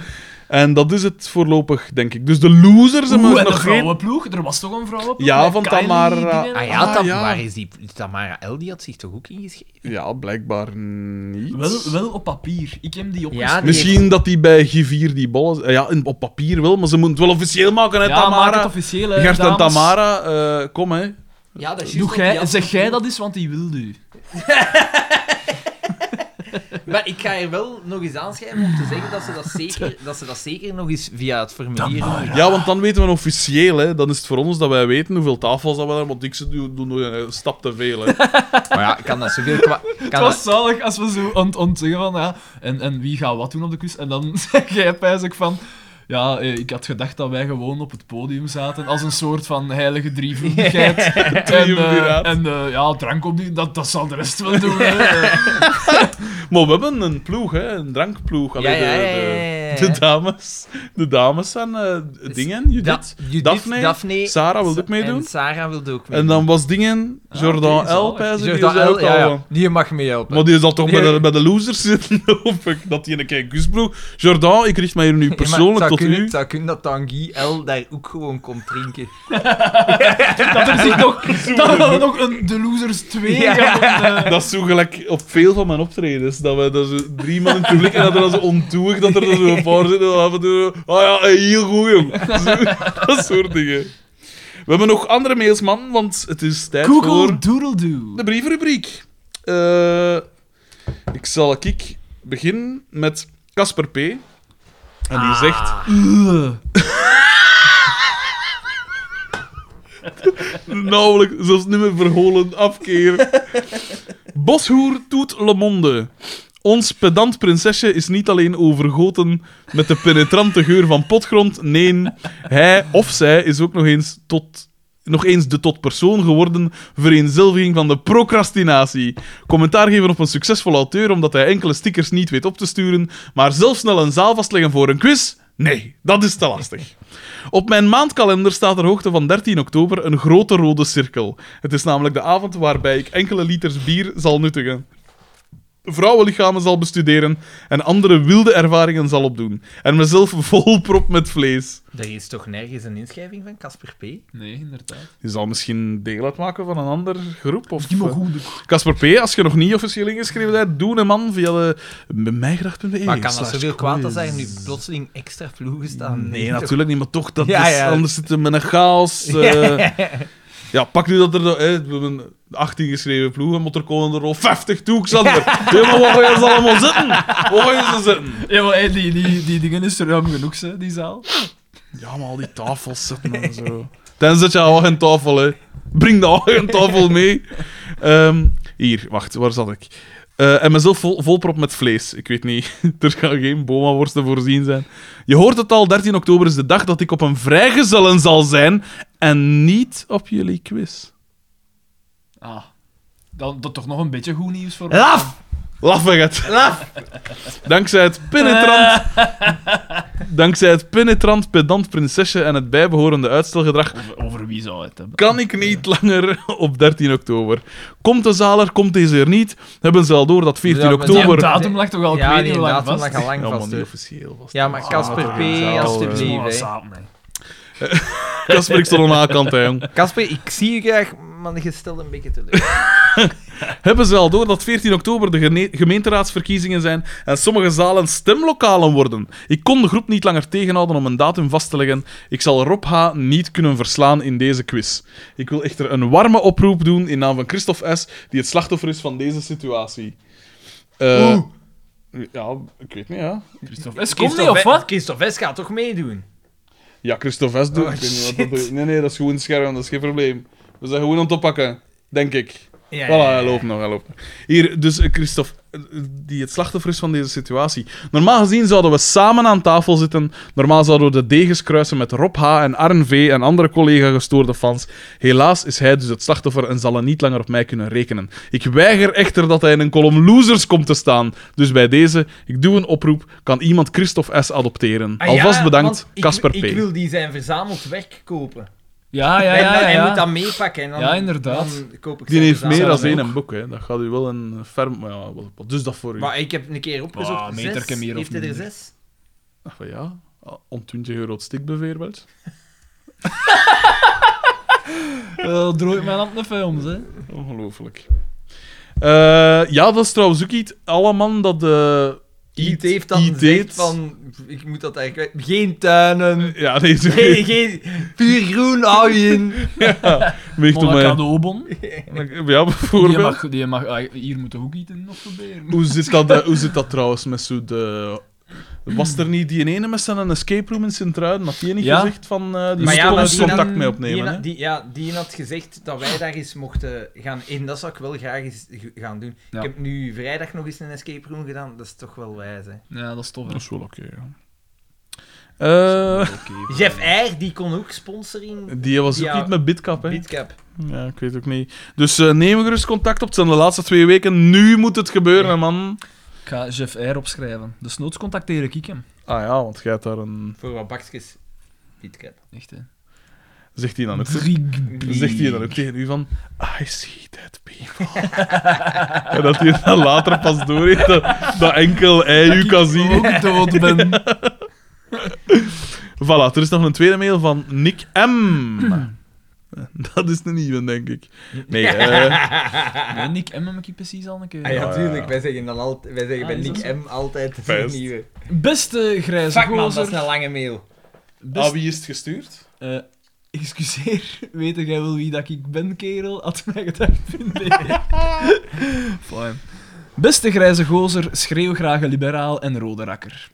Speaker 2: En dat is het voorlopig, denk ik. Dus de losers hebben
Speaker 3: Oeh,
Speaker 2: we
Speaker 3: en de
Speaker 2: nog geen...
Speaker 3: vrouwenploeg? Er was toch een vrouwenploeg?
Speaker 2: Ja,
Speaker 3: Met
Speaker 2: van
Speaker 3: Kylie
Speaker 2: Tamara-
Speaker 3: dingen en
Speaker 2: Ah,
Speaker 4: Ah
Speaker 2: ja.
Speaker 4: ja, Tamara, is die, Tamara L die had zich toch ook ingeschreven?
Speaker 2: Ja, blijkbaar niet.
Speaker 3: Wel, wel op papier. Ik heb die opgeschreven.
Speaker 4: Ja, die
Speaker 2: Misschien dat die bij G4 die ballen... eh, Ja, in- op papier wel, maar ze moeten het wel officieel maken, hè,
Speaker 3: Ja, maak het
Speaker 2: Tamara.
Speaker 3: officieel, hè,
Speaker 2: Gert en
Speaker 3: dames.
Speaker 2: Tamara, eh, kom, hè.
Speaker 4: Ja, dat is juist
Speaker 3: Doe
Speaker 4: wat
Speaker 3: jij-
Speaker 4: die had.
Speaker 3: zeg jij dat eens, want die wil u.
Speaker 4: Maar ik ga er wel nog eens aanschrijven om te zeggen dat ze dat zeker, dat ze dat zeker nog eens via het formulier doen.
Speaker 2: Ja, want dan weten we officieel, hè. Dan is het voor ons dat wij weten hoeveel tafels dat we hebben, want ik ze doen doen nog een stap te veel, hè.
Speaker 4: Maar ja, kan dat zoveel kwa- kan
Speaker 3: Het
Speaker 4: dat-
Speaker 3: was zalig als we zo aan het ontzeggen van, ja, en, en wie gaat wat doen op de quiz? En dan zeg jij pijs ik van... Ja, eh, ik had gedacht dat wij gewoon op het podium zaten als een soort van heilige drievoetigheid. en
Speaker 2: Triumviraat.
Speaker 3: eh, en eh, ja, drank op die, dat, dat zal de rest wel doen. hè. Eh,
Speaker 2: Maar we hebben een ploeg, hè. Een drankploeg. Allee,
Speaker 4: Ja, ja,
Speaker 2: de,
Speaker 4: ja, ja,
Speaker 2: de,
Speaker 4: ja.
Speaker 2: de dames. De dames zijn eh, dingen, Judith.
Speaker 4: Da- Judith,
Speaker 2: Daphne, Sarah wil ook meedoen.
Speaker 4: En Sarah wilde ook
Speaker 2: En,
Speaker 4: meedoen.
Speaker 2: dan was dingen, Jordan
Speaker 3: oké,
Speaker 2: L.
Speaker 3: zalig.
Speaker 2: pijs ik, die
Speaker 4: Jordan
Speaker 2: is daar
Speaker 4: L,
Speaker 2: ook
Speaker 4: ja,
Speaker 2: al. eh,
Speaker 4: ja. Die mag mee helpen.
Speaker 2: Maar die zal toch bij, de,
Speaker 4: Nee.
Speaker 2: bij de losers zitten, hoop ik. Dat die een keer kusbroek. Jordan, ik richt mij hier nu
Speaker 4: Ja, maar
Speaker 2: persoonlijk
Speaker 4: het zou
Speaker 2: tot
Speaker 4: kunnen,
Speaker 2: u.
Speaker 4: Het zou kunnen dat Tanguy L daar ook gewoon komt drinken.
Speaker 3: dat er zich nog, dat we nog een De Losers 2
Speaker 4: Ja.
Speaker 3: gaan, eh,
Speaker 2: Dat is zo gelijk op veel van mijn optredens. Dat we dat zo drie man in het publiek en dat er dan zo ontoeig dat er dan zo een paar zitten. en af en toe, Ah ja, hey, heel goed, jong. Zo, dat soort dingen. We hebben nog andere mails, man, want het is tijd voor...
Speaker 3: Google Doodledoo.
Speaker 2: De brievenrubriek. Eh, ik zal ik beginnen met Casper P. En die zegt...
Speaker 3: Ugh.
Speaker 2: Nauwelijks, zelfs niet meer verholen, afkeer. Boshoer toet Le Monde. Ons pedant prinsesje is niet alleen overgoten met de penetrante geur van potgrond. Nee, hij of zij is ook nog eens, tot, nog eens de tot persoon geworden vereenzelviging van de procrastinatie. Commentaar geven op een succesvolle auteur omdat hij enkele stickers niet weet op te sturen, maar zelf snel een zaal vastleggen voor een quiz? Nee, dat is te lastig. Op mijn maandkalender staat er hoogte van 13 oktober een grote rode cirkel. Het is namelijk de avond waarbij ik enkele liters bier zal nuttigen. Vrouwenlichamen zal bestuderen en andere wilde ervaringen zal opdoen. En mezelf volprop met vlees.
Speaker 4: Er is toch nergens een inschrijving van Casper P?
Speaker 3: Nee, inderdaad.
Speaker 2: Je zal misschien deel uitmaken van een ander groep. Of,
Speaker 3: Die mag
Speaker 2: eh,
Speaker 3: goed doen.
Speaker 2: Casper P., als je nog niet officieel ingeschreven bent, doe een man via de mijgracht.be.
Speaker 4: Maar kan dat
Speaker 2: E. slash
Speaker 4: zoveel kwaad als er nu
Speaker 2: quiz.
Speaker 4: plotseling extra ploegen staan?
Speaker 2: Nee, natuurlijk niet, maar toch, dat
Speaker 4: Ja,
Speaker 2: is,
Speaker 4: ja.
Speaker 2: anders zitten we met een chaos. eh. ja, pak nu dat er... Hè, we hebben 18 geschreven ploegen, maar er komen er al 50 toe, Xander. Hé, maar waar gaan ze allemaal zitten? Waar gaan ze zitten?
Speaker 3: Ja, maar hey, die, die, die dingen is ruim genoeg, hè, die zaal.
Speaker 2: Ja, maar al die tafels zitten en zo. Tenzij je al geen tafel, hè. Breng de geen tafel mee. Ehm, hier, wacht, waar zat ik? Eh, en mezelf vol, volprop met vlees. Ik weet niet, er gaan geen boma-worsten voorzien zijn. Je hoort het al, 13 oktober is de dag dat ik op een vrijgezellen zal zijn en niet op jullie quiz.
Speaker 3: Ah, dan, dat toch nog een beetje goed nieuws voor
Speaker 4: Laf!
Speaker 2: Laffig het.
Speaker 4: Laf!
Speaker 2: Dankzij het penetrant... Dankzij het penetrant pedant prinsesje en het bijbehorende uitstelgedrag
Speaker 3: Over, over wie zou het hebben?
Speaker 2: kan ik niet langer op 13 oktober. Komt de zaler, komt deze er niet. Hebben ze al door dat 14
Speaker 4: Ja, maar die
Speaker 3: Die
Speaker 2: oktober...
Speaker 4: hebben
Speaker 3: datum lag toch al, ik
Speaker 4: Ja,
Speaker 3: weet
Speaker 4: die
Speaker 3: niet hoe lang
Speaker 4: datum
Speaker 3: vast.
Speaker 4: lag al lang
Speaker 2: Ja, maar Ah,
Speaker 4: vast.
Speaker 2: niet
Speaker 4: hoor.
Speaker 2: officieel was
Speaker 4: Ja, maar
Speaker 1: Ah,
Speaker 4: Casper P,
Speaker 3: Morgen
Speaker 4: alstublieft. hè.
Speaker 3: zaterdag.
Speaker 2: Casper, ik stond aan de A-kant, hè, jong.
Speaker 4: Casper, ik zie je graag, maar je stelt een beetje teleur.
Speaker 2: Hebben ze al door dat 14 oktober de gene- gemeenteraadsverkiezingen zijn en sommige zalen stemlokalen worden? Ik kon de groep niet langer tegenhouden om een datum vast te leggen. Ik zal Rob H. niet kunnen verslaan in deze quiz. Ik wil echter een warme oproep doen in naam van Christophe S., die het slachtoffer is van deze situatie. Eh, Ja, ik weet niet, ja.
Speaker 3: Christophe, is kom niet, of wat?
Speaker 4: Christophe S gaat toch meedoen?
Speaker 2: Ja, Christophe S. doet.
Speaker 4: Oh,
Speaker 2: ik weet niet wat dat doet. Nee, nee, dat is gewoon scherm, dat is geen probleem. We zijn gewoon aan het oppakken, denk ik.
Speaker 4: Ja,
Speaker 2: Voilà, hij loopt nog, hij loopt nog. Hier, dus eh, Christophe die het slachtoffer is van deze situatie. Normaal gezien zouden we samen aan tafel zitten. Normaal zouden we de degens kruisen met Rob H. en Arn V. en andere collega-gestoorde fans. Helaas is hij dus het slachtoffer en zal er niet langer op mij kunnen rekenen. Ik weiger echter dat hij in een column losers komt te staan. Dus bij deze, ik doe een oproep. Kan iemand Christophe S. adopteren?
Speaker 4: Ah, ja,
Speaker 2: Alvast bedankt,
Speaker 4: want ik-
Speaker 2: Casper P.
Speaker 4: Ik wil die zijn verzameld werk kopen.
Speaker 3: Ja, ja,
Speaker 4: en dan,
Speaker 3: ja. ja,
Speaker 4: Hij
Speaker 3: ja.
Speaker 4: moet dat meepakken. En dan,
Speaker 3: Ja, inderdaad.
Speaker 4: Dan koop ik
Speaker 2: Die
Speaker 4: zijn
Speaker 2: heeft
Speaker 4: verzameld
Speaker 2: meer dan
Speaker 4: werk.
Speaker 2: één een boek, hè. Dat gaat u wel een ferm... maar Ja, wel- wat is dat voor u?
Speaker 4: Maar ik heb een keer opgezocht.
Speaker 3: Ah,
Speaker 4: zes.
Speaker 3: meterke meer of
Speaker 4: Heeft hij er
Speaker 3: minder.
Speaker 4: zes?
Speaker 2: Ah, van ja, om 20 euro het stikbeveer wel.
Speaker 3: Eh, droog mijn hand naar films, hè.
Speaker 2: Ongelooflijk. Eh, ja, dat is trouwens ook iets. Alle man dat eh, de...
Speaker 1: IT heeft dan gezegd van, ik moet dat eigenlijk kwijt. Geen tuinen,
Speaker 2: Ja, nee, zo...
Speaker 1: geen, geen puur groen houden.
Speaker 2: Dus weegt om,
Speaker 3: Mona
Speaker 2: eh,
Speaker 3: cadeaubon.
Speaker 2: Ja,
Speaker 3: Die
Speaker 2: bijvoorbeeld.
Speaker 3: mag, die mag ah, hier moeten ook iets in nog proberen.
Speaker 2: Hoe, zit dat, eh, hoe zit dat trouwens met zo de... Was er niet die ene met zijn escape room in Sint-Truiden? Had die niet
Speaker 3: Ja.
Speaker 2: gezegd van... eh die
Speaker 4: Maar
Speaker 2: moet
Speaker 4: ja, maar
Speaker 2: eens
Speaker 4: die
Speaker 2: contact
Speaker 4: dan-
Speaker 2: mee
Speaker 4: Die,
Speaker 2: opnemen,
Speaker 4: na-
Speaker 2: hè?
Speaker 4: die- ja, die had gezegd dat wij daar eens mochten gaan in. Dat zou ik wel graag eens g- gaan doen.
Speaker 3: Ja.
Speaker 4: Ik heb nu vrijdag nog eens een escape room gedaan. Dat is toch wel wijs, hè.
Speaker 3: Ja, dat is tof. hè.
Speaker 2: Dat is wel oké, ja. Eh,
Speaker 3: Oké.
Speaker 4: Jeff Eyre, die kon ook sponsoring.
Speaker 2: die was ook
Speaker 4: Ja.
Speaker 2: niet met Bitcap, hè?
Speaker 4: Bitcap.
Speaker 2: Ja, ik weet ook niet. Dus eh neem gerust contact op. Het zijn de laatste twee weken. Nu moet het gebeuren, man.
Speaker 3: Ik ga Jeff R. opschrijven. Dus noods contacteer ik hem.
Speaker 2: Ah ja, want jij hebt daar een...
Speaker 4: Voor wat bakjes. Bitcap.
Speaker 3: Echt, hè.
Speaker 2: Zegt hij dan ook,
Speaker 3: Driegbee.
Speaker 2: zegt hij dan ook tegen u van... "Ah, I see that people. en dat hij dan later pas door heeft dat, dat enkel hij u kan zien.
Speaker 3: ook dood ben.
Speaker 2: Voilà, er is nog een tweede mail van Nick M. dat is de nieuwe, denk ik. Nee, eh,
Speaker 3: Nee, Nick M. heb ik hier precies al een keer.
Speaker 4: Ah, ja,
Speaker 2: ja.
Speaker 4: tuurlijk. Wij zeggen, dan altijd, wij zeggen
Speaker 3: Ah,
Speaker 4: bij
Speaker 3: is dat
Speaker 4: Nick M altijd het
Speaker 2: Best.
Speaker 4: nieuwe.
Speaker 3: Beste grijze
Speaker 4: Fuck man, dat is nou- Oh,
Speaker 3: gozer.
Speaker 4: een lange mail.
Speaker 2: aan
Speaker 3: Best,
Speaker 2: wie is het gestuurd?
Speaker 3: eh, excuseer, weet jij wel wie dat ik ben, kerel? Had mij gedacht. Fijn. Beste grijze gozer, schreeuw graag een liberaal en rode rakker.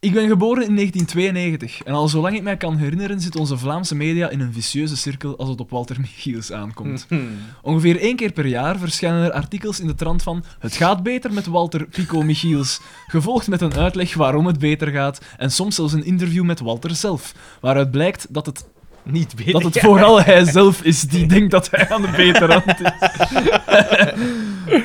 Speaker 3: Ik ben geboren in 1992 en al zolang ik mij kan herinneren zit onze Vlaamse media in een vicieuze cirkel als het op Walter Michiels aankomt.
Speaker 4: Hm.
Speaker 3: Ongeveer één keer per jaar verschijnen er artikels in de trant van Het gaat beter met Walter Pico Michiels, gevolgd met een uitleg waarom het beter gaat en soms zelfs een interview met Walter zelf, waaruit blijkt dat het
Speaker 4: Niet beter.
Speaker 3: dat het vooral hij zelf is die denkt dat hij aan de betere hand is.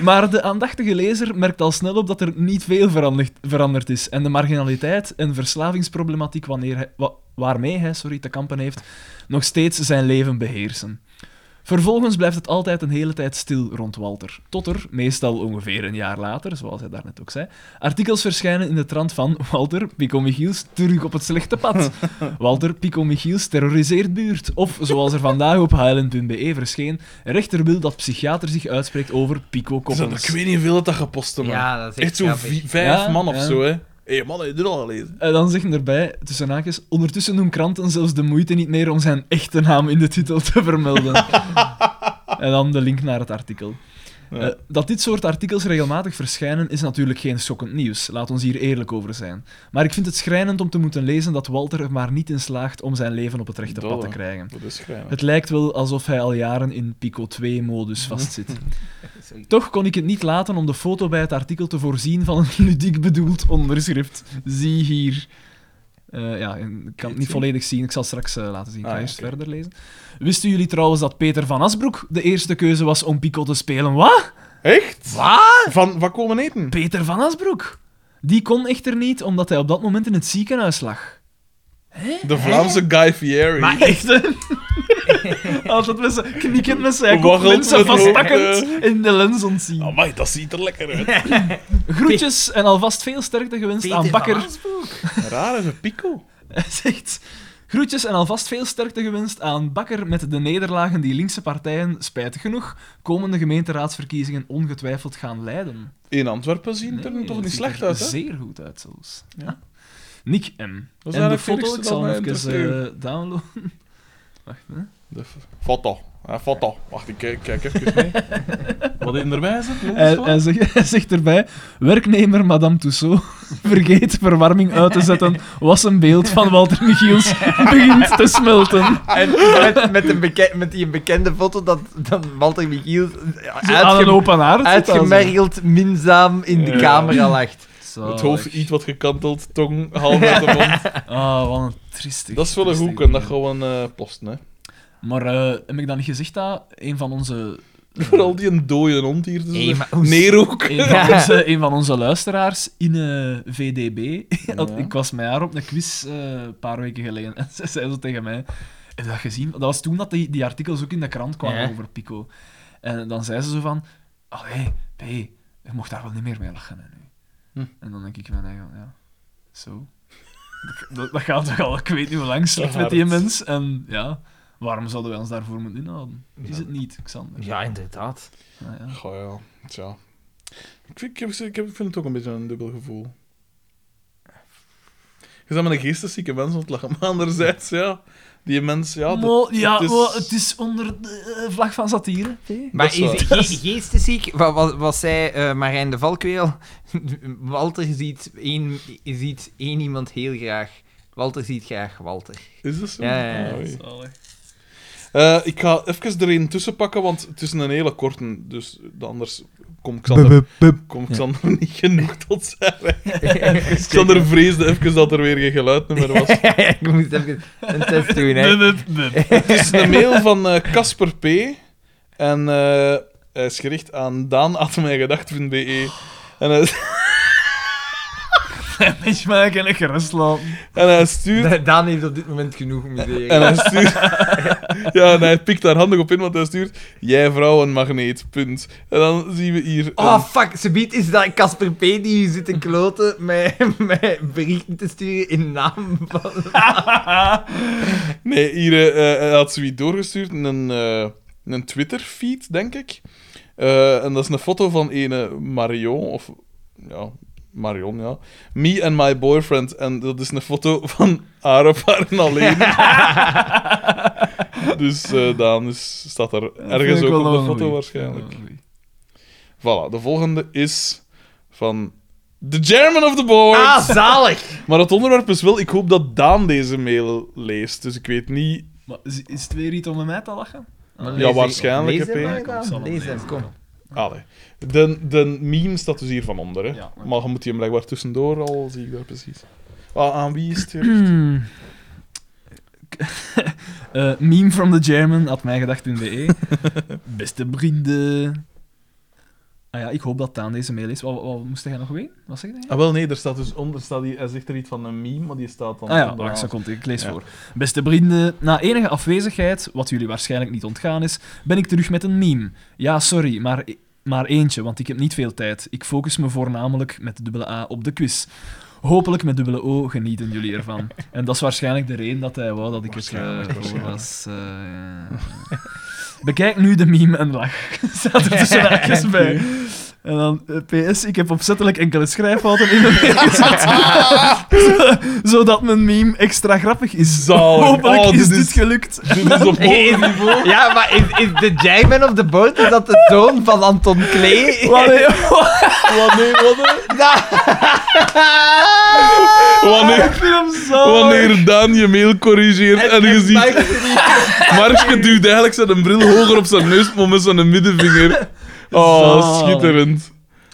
Speaker 3: maar de aandachtige lezer merkt al snel op dat er niet veel veranderd, veranderd is. En de marginaliteit en verslavingsproblematiek wanneer hij, wa- waarmee hij sorry, te kampen heeft, nog steeds zijn leven beheersen. Vervolgens blijft het altijd een hele tijd stil rond Walter. Tot er, meestal ongeveer een jaar later, zoals hij daarnet ook zei, artikels verschijnen in de trant van Walter Pico Michiels terug op het slechte pad. Walter Pico Michiels terroriseert buurt. Of, zoals er vandaag op highland.be E verscheen, rechter wil dat psychiater zich uitspreekt over Pico
Speaker 2: Ik
Speaker 3: Koppens.
Speaker 2: weet niet hoeveel dat dat gepost hebben.
Speaker 4: Ja, dat is
Speaker 2: Echt
Speaker 4: echt
Speaker 2: zo'n
Speaker 4: grappig.
Speaker 2: vi- vijf
Speaker 3: Ja,
Speaker 2: man of
Speaker 3: ja.
Speaker 2: zo, hè. Hé, man, heb je dit al gelezen?
Speaker 3: En dan zeggen erbij, tussen haakjes, ondertussen doen kranten zelfs de moeite niet meer om zijn echte naam in de titel te vermelden. en dan de link naar het artikel.
Speaker 2: Ja.
Speaker 3: Eh, dat dit soort artikels regelmatig verschijnen is natuurlijk geen schokkend nieuws, laat ons hier eerlijk over zijn. Maar ik vind het schrijnend om te moeten lezen dat Walter er maar niet in slaagt om zijn leven op het rechte pad te
Speaker 2: Dolle.
Speaker 3: krijgen.
Speaker 2: Dat is schrijnend.
Speaker 3: Het lijkt wel alsof hij al jaren in Pico 2-modus vastzit.
Speaker 4: Sorry.
Speaker 3: Toch kon ik het niet laten om de foto bij het artikel te voorzien van een ludiek bedoeld onderschrift. Zie hier. Eh, ja, en ik kan het niet volledig zien. Ik zal straks eh, laten zien. Ik ga
Speaker 2: Ah, ja,
Speaker 3: eerst
Speaker 2: oké.
Speaker 3: verder lezen. Wisten jullie trouwens dat Peter van Asbroek de eerste keuze was om Pico te spelen? Wat?
Speaker 2: Echt? Wat? Van wat komen eten?
Speaker 3: Peter van Asbroek? Die kon echter niet, omdat hij op dat moment in het ziekenhuis lag.
Speaker 2: De Vlaamse Guy Fieri.
Speaker 4: Maar
Speaker 3: Echt, hè? Altijd met zijn knikkend met zijn kop,
Speaker 2: Waggelt
Speaker 3: mensen
Speaker 2: met
Speaker 3: vastpakkend in de lens ontzien.
Speaker 2: Amai, Oh, dat ziet er lekker uit.
Speaker 3: Groetjes en alvast veel sterkte gewenst
Speaker 4: Peter
Speaker 3: aan
Speaker 4: van
Speaker 3: Bakker.
Speaker 4: Hansbroek.
Speaker 2: Raar is een pico.
Speaker 3: Hij zegt. Groetjes en alvast veel sterkte gewenst aan Bakker met de nederlagen die linkse partijen, spijtig genoeg, komende gemeenteraadsverkiezingen ongetwijfeld gaan leiden.
Speaker 2: In Antwerpen zien het er
Speaker 3: Nee,
Speaker 2: toch
Speaker 3: dat
Speaker 2: niet
Speaker 3: ziet er
Speaker 2: slecht uit, hè?
Speaker 3: Zeer goed uit zelfs.
Speaker 2: Ja.
Speaker 3: Ja. Nick M.
Speaker 2: Dat is
Speaker 3: en de
Speaker 2: eigenlijk het
Speaker 3: foto,
Speaker 2: eerste
Speaker 3: ik zal
Speaker 2: dat
Speaker 3: hem
Speaker 2: mij
Speaker 3: even eh, downloaden. Wacht, eh, hè.
Speaker 2: De f- foto. Ah, valt al. Wacht, ik kijk, kijk even mee. Wat in erbij zit? jongens,
Speaker 3: Hij,
Speaker 2: wat?
Speaker 3: hij zegt, hij zegt erbij, werknemer Madame Tussaud vergeet verwarming uit te zetten, was een beeld van Walter Michiels begint te smelten.
Speaker 1: En met, met, een beke- met die bekende foto dat, dat Walter Michiels
Speaker 3: Aan een
Speaker 1: uitge-
Speaker 3: open haard. zit dat zo.
Speaker 1: uitgemergeld minzaam in de
Speaker 2: Ja.
Speaker 1: camera lacht.
Speaker 2: Het hoofd
Speaker 3: Oh,
Speaker 2: iets wat gekanteld, tong half uit de mond.
Speaker 3: Ah, wat een triestig.
Speaker 2: Dat is wel een
Speaker 3: triestig
Speaker 2: hoek en dat
Speaker 3: beeld.
Speaker 2: gewoon eh posten, hè.
Speaker 3: Maar eh, heb ik dan niet gezegd dat een van onze,
Speaker 2: Vooral die een dode hond hier. Dus
Speaker 1: Hey, maar hoe-
Speaker 2: Neerhoek.
Speaker 3: een van onze, een van onze luisteraars in eh, VDB, had-
Speaker 2: Ja.
Speaker 3: ik was met haar op een quiz eh, een paar weken geleden en ze zei zo tegen mij, heb je dat gezien? Dat was toen dat die, die artikels ook in de krant kwamen
Speaker 1: Ja.
Speaker 3: over Pico. En dan zei ze zo van, allee, hey, je mocht daar wel niet meer mee lachen. Hè, nu.
Speaker 1: Hm.
Speaker 3: En dan denk ik van, ja, zo. Dat, dat gaat toch al, ik weet niet hoe lang slecht met die
Speaker 2: hard.
Speaker 3: mens. En ja, waarom zouden wij ons daarvoor moeten inhouden? Is het niet, Xander?
Speaker 1: Ja, inderdaad.
Speaker 3: Ah, ja.
Speaker 2: Goh, ja. Tja. Ik vind, ik, heb, ik heb- ik vind het ook een beetje een dubbel gevoel. Je bent met een geesteszieke mens aan het lachen, maar anderzijds, ja. Die mens, ja... dat-
Speaker 3: Mo- ja,
Speaker 2: het is-
Speaker 3: wel, het is onder de eh, vlag van satire.
Speaker 1: Maar
Speaker 2: Dat is
Speaker 1: is ge- geestesziek, wat, wat, wat zei eh, Marijn de Valkweel? Walter ziet één, ziet één iemand heel graag. Walter ziet graag Walter.
Speaker 2: Is dat zo?
Speaker 1: Ja, ja, ja.
Speaker 2: Ah, oei.
Speaker 3: Zalig.
Speaker 2: Eh, ik ga even er een tussen pakken, want het is een hele korte, dus anders kom Xander, kom Xander niet genoeg tot zijn recht. Xander vreesde even dat er weer geen geluidnummer was.
Speaker 1: ik moest even een test doen, hè.
Speaker 3: Bup, bup, bup.
Speaker 2: Het is een mail van eh, Casper P. En eh, hij is gericht aan daan.mijngedacht.be. En hij,
Speaker 3: Mensen maken een gerust laten.
Speaker 2: en hij stuurt...
Speaker 1: Da- Daan heeft op dit moment genoeg museum.
Speaker 2: En hij stuurt... Ja, en hij pikt daar handig op in, want hij stuurt... Jij vrouwenmagneet, punt. En dan zien we hier... een-
Speaker 1: Oh fuck, ze biedt is dat Casper P. die hier zit te kloten met, met berichten te sturen in naam van...
Speaker 2: Nee, hier eh, eh, hij had zoiets doorgestuurd in een, eh, in een Twitter-feed, denk ik. Eh, en dat is een foto van ene Marion, of ja, Marion, ja. Me and my boyfriend. En dat is een foto van haar op haar en alleen. dus eh, Daan is, staat er ergens
Speaker 3: Vind ik
Speaker 2: ook op
Speaker 3: wel nog
Speaker 2: de
Speaker 3: een
Speaker 2: foto
Speaker 3: goeie.
Speaker 2: waarschijnlijk.
Speaker 3: Ja, goeie.
Speaker 2: Voilà, de volgende is van The Chairman of the Board.
Speaker 1: Ah, zalig!
Speaker 2: Maar het onderwerp is wel, ik hoop dat Daan deze mail leest. Dus ik weet niet
Speaker 3: Maar is, is het weer iets om met mij te lachen?
Speaker 1: Maar
Speaker 3: Ah,
Speaker 1: lees hem-
Speaker 2: waarschijnlijk,
Speaker 1: Lees hem,
Speaker 2: hè, P.
Speaker 1: maar,
Speaker 3: Ik zal
Speaker 1: Daan.
Speaker 3: hem
Speaker 1: Lees hem,
Speaker 3: lezen.
Speaker 1: kom.
Speaker 2: Allee. De, de meme staat dus hier van onder, hè.
Speaker 3: Ja, oké.
Speaker 2: maar je moet die hem blijkbaar tussendoor al, zie ik daar precies. Ah, aan wie is het? hier?
Speaker 3: Hmm. Eh, meme from the German, had mij gedacht in de E. Beste vrienden. Ah ja, ik hoop dat Daan deze mail is. Wat, wat moest jij nog weten? Wat zeg je?
Speaker 2: Ah, wel, nee, er staat dus onder, staat hier, hij zegt er iets van een meme, maar die staat dan...
Speaker 3: Ah ja,
Speaker 2: onderaan.
Speaker 3: wacht, seconde, ik lees
Speaker 2: Ja.
Speaker 3: voor. Beste vrienden, na enige afwezigheid, wat jullie waarschijnlijk niet ontgaan is, ben ik terug met een meme. Ja, sorry, maar, maar eentje, want ik heb niet veel tijd. Ik focus me voornamelijk met dubbele A op de quiz. Hopelijk met dubbele O genieten jullie ervan. En dat is waarschijnlijk de reden dat hij wou dat ik het eh,
Speaker 2: Waarschijnlijk,
Speaker 3: voor
Speaker 2: waarschijnlijk.
Speaker 3: was. eh, ja. Bekijk nu de meme en lach. Staat er tussen haakjes bij. En dan, eh, PS, ik heb opzettelijk enkele schrijffouten in mijn mail gezet. Zodat mijn meme extra grappig is.
Speaker 2: Zalig.
Speaker 3: Hopelijk
Speaker 2: Oh,
Speaker 3: is
Speaker 2: dit
Speaker 3: dit
Speaker 2: is-
Speaker 3: gelukt.
Speaker 2: Dit is Dus op hoog niveau.
Speaker 1: Ja, maar is, is de Jayman of the Boat, is dat de toon van Anton Klee? Nou.
Speaker 3: Wat een-
Speaker 2: Wanneer, wanneer,
Speaker 3: Ik
Speaker 2: wanneer,
Speaker 3: vind hem zo...
Speaker 2: wanneer Daan je mail corrigeert en je ziet... Markje duwt eigenlijk zijn bril hoger op zijn neus, maar met zijn middenvinger. Oh,
Speaker 3: Zalig.
Speaker 2: schitterend.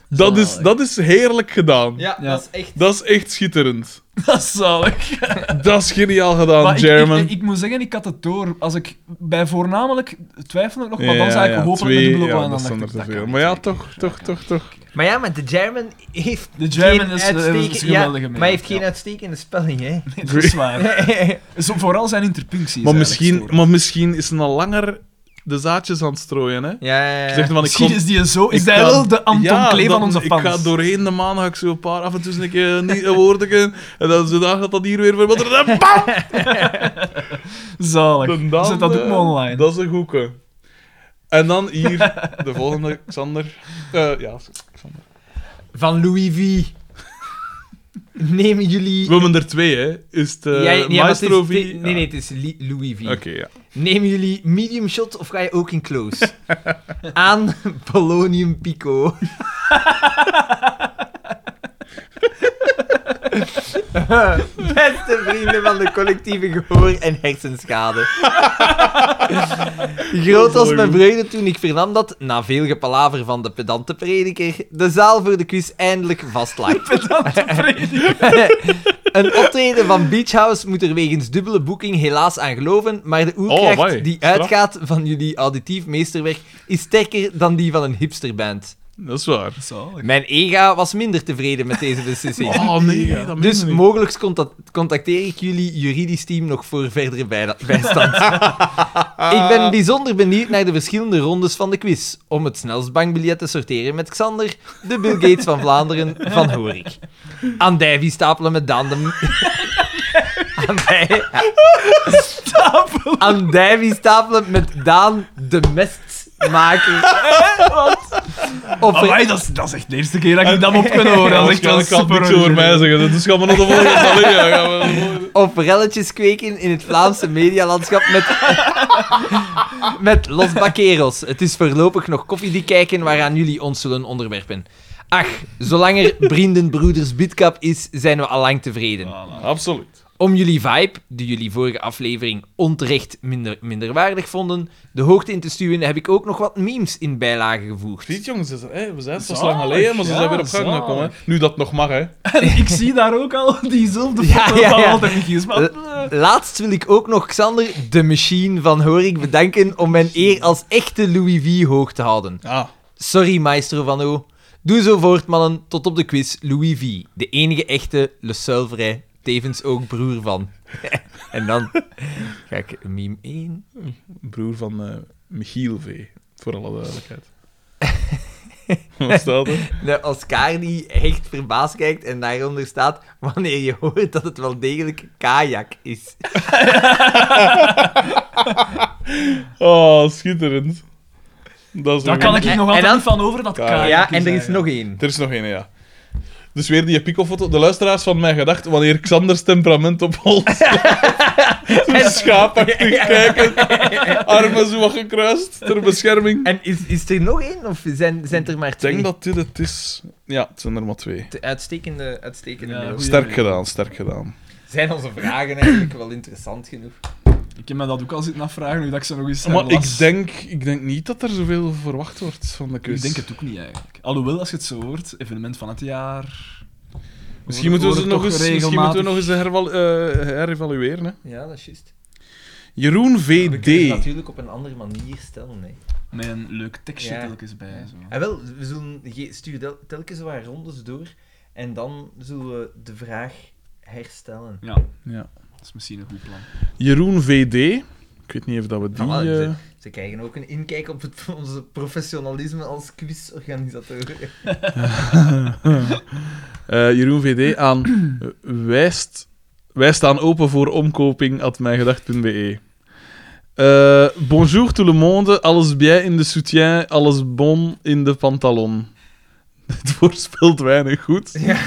Speaker 2: Dat is,
Speaker 3: Zalig.
Speaker 2: dat is heerlijk gedaan.
Speaker 1: Ja,
Speaker 3: Ja.
Speaker 1: dat is echt...
Speaker 2: Dat is echt schitterend.
Speaker 3: Dat is zalig.
Speaker 2: Dat is geniaal gedaan,
Speaker 3: Maar ik,
Speaker 2: German.
Speaker 3: ik, ik moet zeggen, ik had het door. Als ik bij voornamelijk twijfel ik nog, maar dan
Speaker 2: Ja,
Speaker 3: zou ik
Speaker 2: ja,
Speaker 3: hopelijk
Speaker 2: twee,
Speaker 3: met dubbele O
Speaker 2: ja,
Speaker 3: aan
Speaker 2: dat
Speaker 3: dacht
Speaker 2: zijn er
Speaker 3: ik,
Speaker 2: te
Speaker 3: dat
Speaker 2: veel.
Speaker 3: kan
Speaker 2: Maar ja,
Speaker 3: niet.
Speaker 2: toch, toch, toch, toch.
Speaker 1: Maar ja, maar de Jayman heeft...
Speaker 3: De German
Speaker 1: geen
Speaker 3: is, eh, is een
Speaker 1: uitstekende-
Speaker 3: geweldige
Speaker 1: ja,
Speaker 3: man.
Speaker 1: Maar hij heeft
Speaker 3: Ja.
Speaker 1: geen uitstekende spelling, hè.
Speaker 3: Nee, dat is waar. Zo, vooral zijn interpuncties.
Speaker 2: Maar
Speaker 3: eigenlijk
Speaker 2: misschien,
Speaker 3: storen.
Speaker 2: maar misschien is hij al langer de zaadjes aan het strooien, hè?
Speaker 1: ja, ja, ja.
Speaker 2: Zegt van, ik
Speaker 3: Misschien
Speaker 2: kom...
Speaker 3: is die zo. Is
Speaker 2: ik
Speaker 3: hij
Speaker 2: ga-
Speaker 3: wel de Anton
Speaker 2: Ja,
Speaker 3: Klee van
Speaker 2: dan-
Speaker 3: onze fans?
Speaker 2: Ik ga doorheen de maan, ga ik zo een paar af en toe een keer niet een woordje. En dan zodanig dat dat hier weer verandert. En bam!
Speaker 3: Zalig.
Speaker 2: En dan,
Speaker 3: Zet dat ook
Speaker 2: eh,
Speaker 3: maar online.
Speaker 2: Dat is een goeke. En dan hier, de volgende, Xander. Eh, ja, Xander.
Speaker 1: Van Louis V. Neem jullie...
Speaker 2: We hebben er twee, hè. Is het eh,
Speaker 1: Ja, ja, maar het is-
Speaker 2: Maestro V?
Speaker 1: het is- Nee, nee,
Speaker 2: Ja.
Speaker 1: het is Li- Louis V.
Speaker 2: Oké, ja.
Speaker 1: Neem jullie medium shot of ga je ook in close? Aan Polonium Pico. Beste vrienden van de collectieve gehoor- en hersenschade. Groot was mijn vreugde toen ik vernam dat, na veel gepalaver van de pedante prediker, de zaal voor de quiz eindelijk vast lag. Een optreden van Beach House moet er wegens dubbele boeking helaas aan geloven, maar de
Speaker 2: Oh,
Speaker 1: oerkracht
Speaker 2: amai.
Speaker 1: die
Speaker 2: Straf.
Speaker 1: uitgaat van jullie auditief meesterwerk is sterker dan die van een hipsterband.
Speaker 2: Dat is waar.
Speaker 3: Zalig.
Speaker 1: Mijn ega was minder tevreden met deze beslissing.
Speaker 2: Oh nee, dat meen
Speaker 1: Dus
Speaker 2: je niet.
Speaker 1: mogelijk contact- contacteer ik jullie juridisch team nog voor verdere bijda- bijstand. ik ben bijzonder benieuwd naar de verschillende rondes van de quiz. Om het snelst bankbiljet te sorteren met Xander, de Bill Gates van Vlaanderen van Horik. Aan Davy stapelen met Daan de... Aan Dij- Aan Davy stapelen met Daan de Mestmaker. Of er-
Speaker 3: Amai, dat, is, dat is echt de eerste keer dat ik dat op kunnen horen. Dat is echt wel
Speaker 2: Waarschijnlijk kan
Speaker 3: super
Speaker 2: niks over mij
Speaker 3: origineel.
Speaker 2: zeggen. Dat is gaan we naar de volgende allee, ja, gaan we naar de volgende.
Speaker 1: of relletjes kweken in het Vlaamse medialandschap met, met Los Baqueros. Het is voorlopig nog koffiedik kijken waaraan jullie ons zullen onderwerpen. Ach, zolang er vrienden, broeders, bidkap is, zijn we allang tevreden.
Speaker 2: Absoluut.
Speaker 1: Om jullie vibe, die jullie vorige aflevering onterecht minder, minderwaardig vonden, de hoogte in te stuwen, heb ik ook nog wat memes in bijlagen gevoegd.
Speaker 2: Ziet jongens, ze zijn- hè, we zijn pas
Speaker 3: Zalig,
Speaker 2: lang geleden, maar ze
Speaker 3: ja,
Speaker 2: zijn weer op gang
Speaker 3: zalig.
Speaker 2: gekomen. hè. Nu dat nog mag, hè.
Speaker 3: En ik zie daar ook al diezelfde
Speaker 1: Ja,
Speaker 3: foto
Speaker 1: ja,
Speaker 3: van
Speaker 1: ja.
Speaker 3: Walter Michiels. Maar...
Speaker 1: Eh, Laatst wil ik ook nog Xander, de machine van Horik, bedanken om mijn eer als echte Louis V hoog te houden.
Speaker 2: Ah,
Speaker 1: Sorry, maestro Van O. Doe zo voort, mannen. Tot op de quiz Louis V. De enige echte Le Seuvrij. Tevens ook broer van. en dan ga ik meme 1.
Speaker 2: broer van eh, Michiel V. Voor alle duidelijkheid. Wat staat er?
Speaker 1: De Oscar die echt verbaasd kijkt en daaronder staat wanneer je hoort dat het wel degelijk kajak is.
Speaker 2: Oh, schitterend. Dat is
Speaker 3: Daar
Speaker 2: nog
Speaker 3: kan
Speaker 2: een.
Speaker 3: ik hier nog
Speaker 1: En
Speaker 3: altijd
Speaker 1: dan-
Speaker 3: niet van over dat Dus, eh,
Speaker 2: Ja,
Speaker 3: kajak
Speaker 1: ja, en er is
Speaker 3: eigenlijk.
Speaker 1: nog één.
Speaker 2: Er is nog één, ja. Dus weer die picofoto. De luisteraars van mij gedacht, wanneer Xanders temperament op hol Zo schaapachtig kijken. Armen zo wat gekruist, ter bescherming.
Speaker 1: En is, is er nog één of zijn, zijn er maar
Speaker 2: Ik
Speaker 1: twee?
Speaker 2: denk dat dit het is. Ja, het zijn er maar twee.
Speaker 1: De uitstekende, uitstekende
Speaker 3: Ja,
Speaker 1: mails.
Speaker 3: goed.
Speaker 2: Sterk gedaan, sterk gedaan.
Speaker 1: Zijn onze vragen eigenlijk wel interessant genoeg?
Speaker 3: Ik heb me dat ook al zitten afvragen, nu dat ik ze nog eens
Speaker 2: Maar
Speaker 3: herlas.
Speaker 2: ik denk, dus- ik denk niet dat er zoveel verwacht wordt van de
Speaker 3: Ik
Speaker 2: quiz.
Speaker 3: denk het ook niet eigenlijk. Alhoewel, als je het zo hoort, evenement van het jaar.
Speaker 2: Misschien moeten we ze
Speaker 3: Horen
Speaker 2: nog
Speaker 3: toch
Speaker 2: eens, misschien moeten we
Speaker 3: regelmatig.
Speaker 2: nog eens herval- eh, herevalueren. Hè.
Speaker 1: Ja, dat is juist.
Speaker 2: Jeroen
Speaker 1: We kunnen het
Speaker 2: VD.
Speaker 1: natuurlijk op een andere manier stellen. Hè.
Speaker 3: Met een leuk tekstje
Speaker 1: Ja.
Speaker 3: telkens bij. Zo.
Speaker 1: En wel, we zullen ge- stuur tel- telkens wat rondes door en dan zullen we de vraag herstellen.
Speaker 3: Ja,
Speaker 2: Ja.
Speaker 3: dat is misschien een goed plan.
Speaker 2: Jeroen VD. Ik weet niet of dat we die...
Speaker 1: Ah, wel,
Speaker 2: eh,
Speaker 1: Ze krijgen ook een inkijk op het, onze professionalisme als quizorganisator.
Speaker 2: Eh, Jeroen VD aan eh, wijst, wij staan open voor omkoping at mijngedacht.be. E. Eh, bonjour tout le monde, alles bien in de soutien, alles bon in de pantalon. Dit voorspelt weinig goed.
Speaker 1: Ja,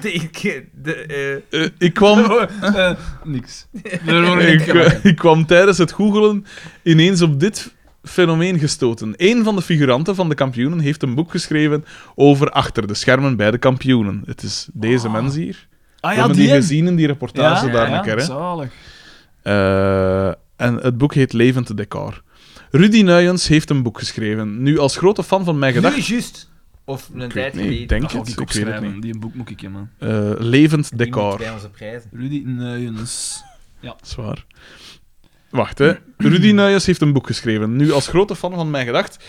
Speaker 1: de, de, eh,
Speaker 2: Eh, ik, kwam,
Speaker 3: Eh, niks. Daar hoor ik
Speaker 2: ik,
Speaker 3: niks van.
Speaker 2: eh, ik kwam tijdens het googelen ineens op dit fenomeen gestoten. Een van de figuranten van de kampioenen heeft een boek geschreven over achter de schermen bij de kampioenen. Het is deze
Speaker 3: Ah.
Speaker 2: mens hier.
Speaker 3: Ah
Speaker 2: we
Speaker 3: ja,
Speaker 2: hebben
Speaker 3: die
Speaker 2: die
Speaker 3: hem.
Speaker 2: gezien in die reportage
Speaker 1: Ja,
Speaker 2: daar
Speaker 1: ja,
Speaker 2: een keer. Hè?
Speaker 3: Zalig.
Speaker 2: Eh, en het boek heet Levend Decor. Rudy Nuyens heeft een boek geschreven. Nu, als grote fan van mijn
Speaker 1: nu
Speaker 2: gedacht...
Speaker 1: juist. Of een
Speaker 2: Ik
Speaker 1: tijd
Speaker 2: weet niet,
Speaker 1: geleden.
Speaker 2: ik denk
Speaker 3: Dat ga
Speaker 2: het,
Speaker 3: ik
Speaker 2: ik,
Speaker 3: ook
Speaker 2: weet het
Speaker 3: schrijven.
Speaker 2: niet.
Speaker 3: Die een boek moet ik hebben.
Speaker 2: Eh, levend
Speaker 1: Die moet
Speaker 2: Decor.
Speaker 1: bij onze prijzen.
Speaker 3: Rudy Nuyens.
Speaker 2: Zwaar. Wacht, hè. Rudy Nuyens heeft een boek geschreven. Nu, als grote fan van mijn gedacht,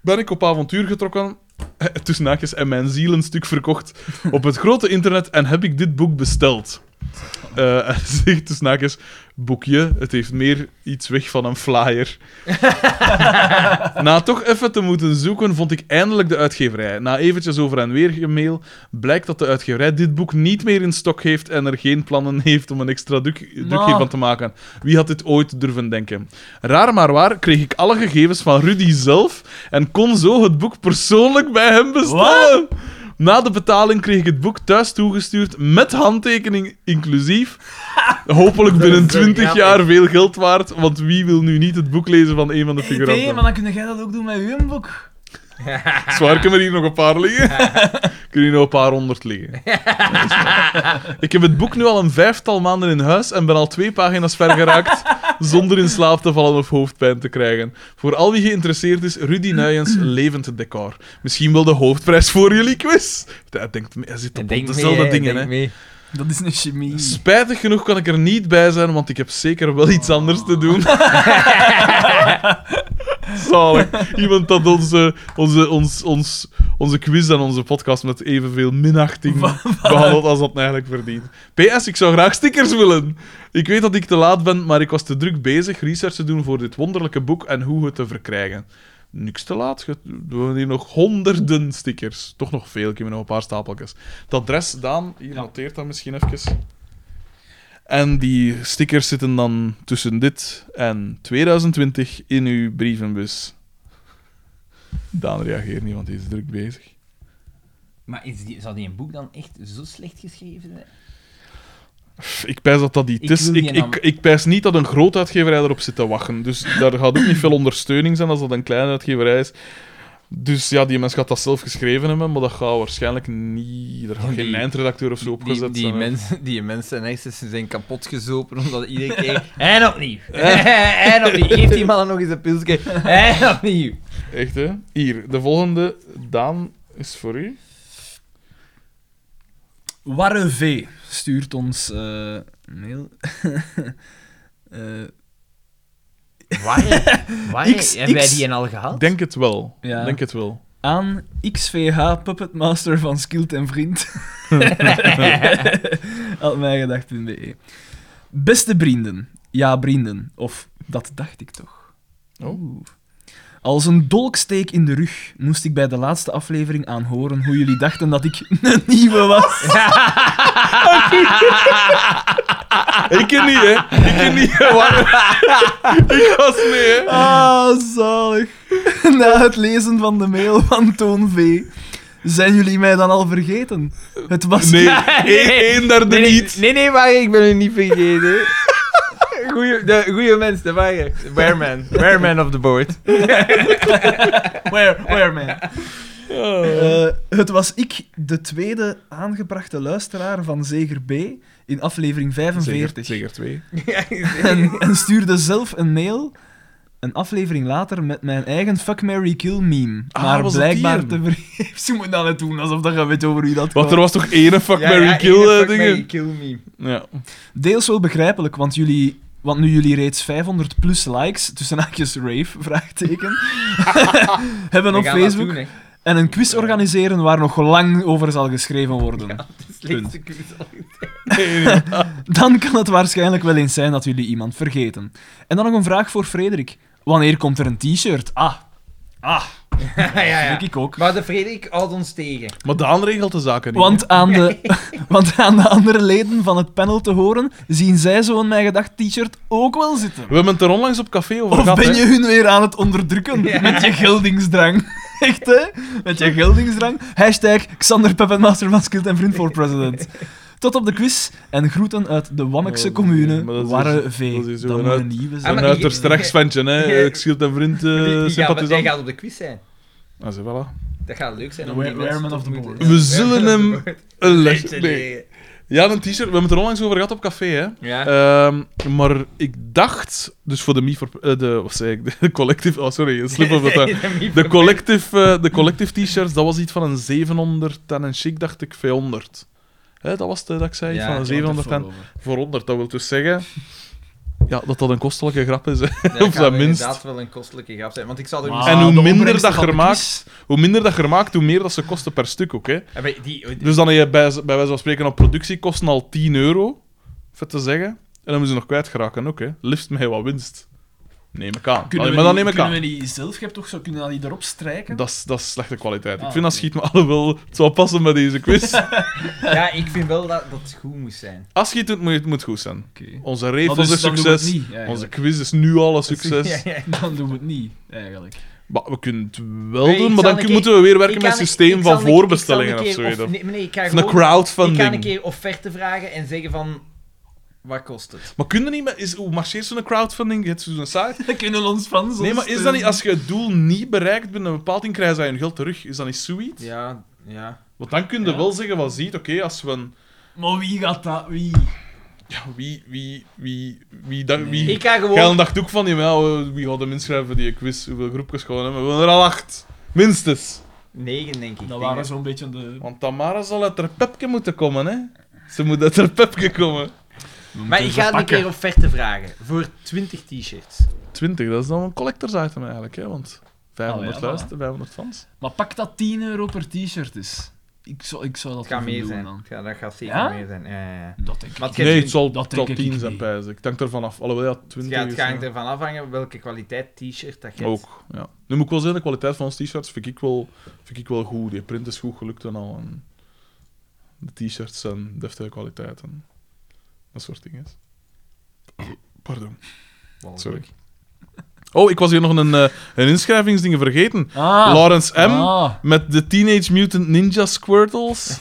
Speaker 2: ben ik op avontuur getrokken, eh, tussen haakjes, en mijn ziel een stuk verkocht op het grote internet en heb ik dit boek besteld. Eh, en zegt tussen haakjes, boekje, het heeft meer iets weg van een flyer. Na toch even te moeten zoeken, vond ik eindelijk de uitgeverij. Na eventjes over en weer gemail, blijkt dat de uitgeverij dit boek niet meer in stok heeft en er geen plannen heeft om een extra druk, druk
Speaker 3: Maar.
Speaker 2: hiervan te maken. Wie had dit ooit durven denken? Raar maar waar kreeg ik alle gegevens van Rudy zelf en kon zo het boek persoonlijk bij hem bestellen. Na de betaling kreeg ik het boek thuis toegestuurd met handtekening inclusief. Hopelijk binnen 20 jaar veel geld waard, want wie wil nu niet het boek lezen van een van de
Speaker 3: Hey, nee, maar
Speaker 2: figuranten?
Speaker 3: dan kun jij dat ook doen met uw boek.
Speaker 2: Zwaar, kunnen er hier nog een paar liggen? Kunnen hier nog een paar honderd liggen? Dat is waar. Ik heb het boek nu al een vijftal maanden in huis en ben al twee pagina's ver geraakt zonder in slaap te vallen of hoofdpijn te krijgen. Voor al wie geïnteresseerd is, Rudy Nuyens levend decor. Misschien wel de hoofdprijs voor jullie quiz. Hij, denkt, hij zit op
Speaker 1: Denk
Speaker 2: dezelfde
Speaker 1: mee, hè,
Speaker 2: dingen, hè.
Speaker 1: denk mee.
Speaker 3: Dat is een chemie.
Speaker 2: Spijtig genoeg kan ik er niet bij zijn, want ik heb zeker wel iets anders te doen. Zalig. Iemand dat onze, onze, ons, ons, onze quiz en onze podcast met evenveel minachting behandelt als dat eigenlijk verdient. PS, ik zou graag stickers willen. Ik weet dat ik te laat ben, maar ik was te druk bezig research te doen voor dit wonderlijke boek en hoe het te verkrijgen. Niks te laat. ge- We hebben hier nog honderden stickers. Toch nog veel. Ik heb hier nog een paar stapeltjes. Dat adres, Daan, hier noteert dat misschien even. En die stickers zitten dan tussen dit en 2020 in uw brievenbus. Daan reageert niet, want hij is druk bezig.
Speaker 4: Maar is die, zou die een boek dan echt zo slecht geschreven zijn?
Speaker 2: Pff, Ik pijs dat dat niet
Speaker 4: Ik
Speaker 2: is.
Speaker 4: wil
Speaker 2: Ik,
Speaker 4: die
Speaker 2: ik,
Speaker 4: naam.
Speaker 2: ik pijs niet dat een groot uitgeverij erop zit te wachten. Dus daar gaat ook niet veel ondersteuning zijn als dat een kleine uitgeverij is. Dus ja, die mens gaat dat zelf geschreven hebben, maar dat gaat waarschijnlijk niet... Er gaat geen
Speaker 1: die-
Speaker 2: eindredacteur of zo opgezet eh.
Speaker 1: Die, die,
Speaker 2: zijn. hè.
Speaker 1: mensen, die mensen en hersens zijn kapotgezopen omdat iedereen keer... En opnieuw. en opnieuw. Geeft die man dan nog eens een pilsje. En opnieuw.
Speaker 2: Echt, hè? Hier, de volgende, Daan, is voor u.
Speaker 3: Warre V stuurt ons eh, mail. Eh,
Speaker 1: Waar? Waar?
Speaker 3: X,
Speaker 1: Hebben wij
Speaker 3: X.
Speaker 1: die een al gehad?
Speaker 2: Denk het wel.
Speaker 3: Ja.
Speaker 2: Denk het wel.
Speaker 3: aan XVH Puppetmaster van Skilt en Vriend. Atmijgedacht.be E. Beste vrienden. Ja, vrienden. Of, dat dacht ik toch.
Speaker 2: Oh.
Speaker 3: Als een dolksteek in de rug moest ik bij de laatste aflevering aanhoren hoe jullie dachten dat ik een nieuwe was.
Speaker 2: Ik ken niet, hè? Ik ken niet. Waar? Ik was mee, hè?
Speaker 3: Ah, zalig. Na het lezen van de mail van Toon V. Zijn jullie mij dan al vergeten? Het was...
Speaker 2: Nee, één, één derde
Speaker 1: Nee, nee,
Speaker 2: niet.
Speaker 1: Nee, nee, maar ik ben u niet vergeten. Goeie, de, goeie mens, de waaier. Wearman. Wearman of the board.
Speaker 3: Where, where man?
Speaker 2: Oh.
Speaker 3: Eh, het was ik, de tweede aangebrachte luisteraar van Zeger B. in aflevering 45.
Speaker 2: Zeker twee.
Speaker 3: En, en stuurde zelf een mail... Een aflevering later met mijn eigen Fuck Mary Kill meme.
Speaker 2: Ah,
Speaker 3: maar
Speaker 2: was dat die
Speaker 3: blijkbaar te vergeefs. Je moet nou net doen alsof dat je weet over wie dat
Speaker 2: Want
Speaker 3: kwam.
Speaker 2: er was toch één fuck Mary
Speaker 1: ene
Speaker 2: kill
Speaker 1: fuck
Speaker 2: eh, dingen?
Speaker 1: Mary kill me.
Speaker 2: Ja.
Speaker 3: Deels wel begrijpelijk, want jullie... Want nu jullie reeds 500 plus likes, tussen haakjes rave, vraagteken, hebben
Speaker 1: We
Speaker 3: op
Speaker 1: gaan dat
Speaker 3: Facebook
Speaker 1: doen, hè.
Speaker 3: en een quiz organiseren waar nog lang over zal geschreven worden.
Speaker 1: Het is linkse kus.
Speaker 2: Nee, nee.
Speaker 3: Dan kan het waarschijnlijk wel eens zijn dat jullie iemand vergeten. En dan nog een vraag voor Frederik. Wanneer komt er een t-shirt? Ah,
Speaker 1: Ja, ja, ja.
Speaker 3: denk ik ook.
Speaker 1: Maar de Frederik houdt ons tegen.
Speaker 2: Maar Daan regelt de zaken niet.
Speaker 3: Want aan, de, want aan de andere leden van het panel te horen, zien zij zo'n Mijn Gedacht t-shirt ook wel zitten.
Speaker 2: hè. We hebben het er onlangs op café over
Speaker 3: Of
Speaker 2: gehad.
Speaker 3: ben
Speaker 2: hè.
Speaker 3: je hun weer aan het onderdrukken
Speaker 1: Ja.
Speaker 3: met je geldingsdrang? Echt, hè? Met je geldingsdrang. Hashtag Xander Peppenmaster van Skilt en Vriend voor President. Tot op de quiz en groeten uit de Wannekse
Speaker 2: Oh,
Speaker 3: commune,
Speaker 2: maar dat is- dus-
Speaker 3: Warre
Speaker 2: dat
Speaker 3: V.
Speaker 2: is zo
Speaker 3: Dat
Speaker 2: een
Speaker 3: moet
Speaker 2: uit-
Speaker 3: een nieuwe
Speaker 1: Ah,
Speaker 3: zijn.
Speaker 2: Een
Speaker 1: maar
Speaker 2: uiterst
Speaker 1: je-
Speaker 2: rechts ventje, hè?
Speaker 1: je-
Speaker 2: Ik schild en vriend
Speaker 1: Die-
Speaker 2: eh
Speaker 1: die gaat- Hij
Speaker 2: sympathisant.
Speaker 1: gaat op de quiz zijn.
Speaker 2: Ah, zie, voilà.
Speaker 1: Dat gaat leuk zijn. om
Speaker 3: Wear-
Speaker 1: die mensen
Speaker 3: wearman
Speaker 1: te
Speaker 3: of the
Speaker 1: ontmoeten.
Speaker 3: board.
Speaker 2: We
Speaker 1: Ja,
Speaker 2: zullen
Speaker 1: wearman of
Speaker 2: hem
Speaker 1: the board.
Speaker 2: Een les.
Speaker 1: Legend,
Speaker 2: Nee. Ja, een t-shirt. We hebben het er onlangs over gehad op café, hè?
Speaker 1: Ja.
Speaker 2: Ehm, maar ik dacht, dus voor de me for, eh, de, wat zei ik, de collective, oh sorry, een slip op het eh. De collective, eh, de collective t-shirts, dat was iets van een 700 en een chic dacht ik 500. Hè, dat was het, eh, dat ik zei, iets
Speaker 1: Ja,
Speaker 2: van een
Speaker 1: ik
Speaker 2: 700 en voor 100. Dat wil dus zeggen ja, dat dat een kostelijke grap is. hè.
Speaker 1: Ja,
Speaker 2: Op
Speaker 1: gaat
Speaker 2: zijn minst.
Speaker 1: inderdaad wel een kostelijke grap zijn. Want ik zou er
Speaker 2: en
Speaker 1: misschien...
Speaker 2: hoe
Speaker 3: Ah, de
Speaker 2: minder
Speaker 3: opbrengst
Speaker 2: dat
Speaker 3: van
Speaker 2: je
Speaker 3: de
Speaker 2: maakt-
Speaker 3: quiz.
Speaker 2: Hoe minder dat je er maakt, hoe meer dat ze kosten per stuk ook. Hè.
Speaker 1: Ja, maar die-
Speaker 2: Dus dan heb je bij, bij wijze van spreken op productiekosten al 10 euro, vet te zeggen. En dan moeten ze nog kwijtgeraken ook. Hè. Liefst met wat winst. Neem ik aan.
Speaker 3: Kunnen
Speaker 2: Allee,
Speaker 3: we
Speaker 2: maar dan
Speaker 3: die-
Speaker 2: neem ik aan.
Speaker 3: kunnen we die zelf? Je hebt toch zo kunnen we die erop strijken?
Speaker 2: Dat is, dat is slechte kwaliteit.
Speaker 3: Ah,
Speaker 2: ik vind dat
Speaker 3: oké.
Speaker 2: schiet me alle wel. Het zou passen bij deze quiz.
Speaker 1: ja, ik vind wel dat dat het goed moest zijn.
Speaker 2: Als je het doet, moet je- het moet goed zijn.
Speaker 3: Oké.
Speaker 2: Onze rave
Speaker 3: Maar
Speaker 2: was een
Speaker 3: dus dan doen we het
Speaker 2: succes.
Speaker 3: niet, eigenlijk.
Speaker 2: Onze quiz is nu al een succes.
Speaker 1: Ja, ja.
Speaker 3: Dan doen we het niet, eigenlijk.
Speaker 2: Maar we kunnen het wel
Speaker 5: Nee, ik
Speaker 2: doen, maar
Speaker 5: zal
Speaker 2: dan
Speaker 5: een
Speaker 2: moeten we weer werken
Speaker 5: Ik
Speaker 2: met
Speaker 5: kan-
Speaker 2: een systeem
Speaker 5: ik
Speaker 2: van
Speaker 5: zal een- ik zal
Speaker 2: voorbestellingen
Speaker 5: een
Speaker 2: of
Speaker 5: keer
Speaker 2: zo.
Speaker 5: of- nee, nee, ik ga
Speaker 2: Of een
Speaker 5: gewoon... Ik ga
Speaker 2: crowdfunding.
Speaker 5: een keer offerte vragen en zeggen van... Wat kost het?
Speaker 2: Maar kun je niet met... Is, hoe marcheert zo'n crowdfunding? Je hebt zo'n site?
Speaker 3: Dan kunnen ons fans
Speaker 2: Nee,
Speaker 3: ons
Speaker 2: maar is dat niet...
Speaker 3: steunen.
Speaker 2: Als je het doel niet bereikt binnen een bepaald ding, krijgen ze hun geld terug. Is dat niet zoiets?
Speaker 5: Ja, ja.
Speaker 2: Want dan kun je
Speaker 5: Ja.
Speaker 2: wel zeggen van... Ziet, oké, als we... een-
Speaker 3: Maar wie gaat dat? Wie?
Speaker 2: Ja, wie... Wie... Wie... Wie... Dat, wie
Speaker 5: Ik ga
Speaker 2: Jij
Speaker 5: gewoon...
Speaker 2: dacht ook van... Ja, eh, wie gaat hem inschrijven voor die quiz? Hoeveel groepjes gaan we hebben? We hebben er al acht. Minstens.
Speaker 5: Negen, denk
Speaker 4: Nou,
Speaker 5: ik.
Speaker 3: Dat
Speaker 5: Denk
Speaker 3: waren zo'n beetje de...
Speaker 2: Want Tamara zal uit haar pepje moeten komen, hè. Ze moet uit haar pepje komen.
Speaker 5: Maar ik ga een keer offerte vragen. Voor 20 t-shirts.
Speaker 2: 20, dat is dan een collectors item eigenlijk, hè? Want 500
Speaker 3: Ah, ja,
Speaker 2: luisteren, 500 fans.
Speaker 3: Maar pak dat 10 euro per t-shirt is. Ik zou, ik zou dat
Speaker 5: Het gaat
Speaker 3: even
Speaker 5: meer
Speaker 3: doen
Speaker 5: zijn.
Speaker 3: dan.
Speaker 5: Het gaat- dat gaat zeker
Speaker 3: Ja?
Speaker 5: meer zijn. Ja, ja, ja.
Speaker 3: Dat denk ik.
Speaker 5: Maar het
Speaker 2: nee,
Speaker 5: geeft-
Speaker 2: het zal,
Speaker 3: dat
Speaker 2: het zal
Speaker 3: denk ik
Speaker 2: 10
Speaker 3: niet.
Speaker 2: zijn, pijs ik. Ik denk ervan af. Alhoewel, ja,
Speaker 5: Het
Speaker 2: 20
Speaker 5: gaat, het
Speaker 2: is...
Speaker 5: gaat
Speaker 2: ja.
Speaker 5: ervan afhangen welke kwaliteit t-shirt dat je hebt.
Speaker 2: Ook, ja. Nu moet ik wel zeggen, de kwaliteit van onze t-shirts vind ik, wel, vind ik wel goed. Die print is goed gelukt en al. En de t-shirts zijn deftige kwaliteit en dat soort dingen. Pardon.
Speaker 5: Wel,
Speaker 2: Sorry. Oh, ik was hier nog een, eh, een inschrijvingsding vergeten.
Speaker 3: Ah.
Speaker 2: Lawrence M.
Speaker 3: Ah.
Speaker 2: Met de Teenage Mutant Ninja Squirtles.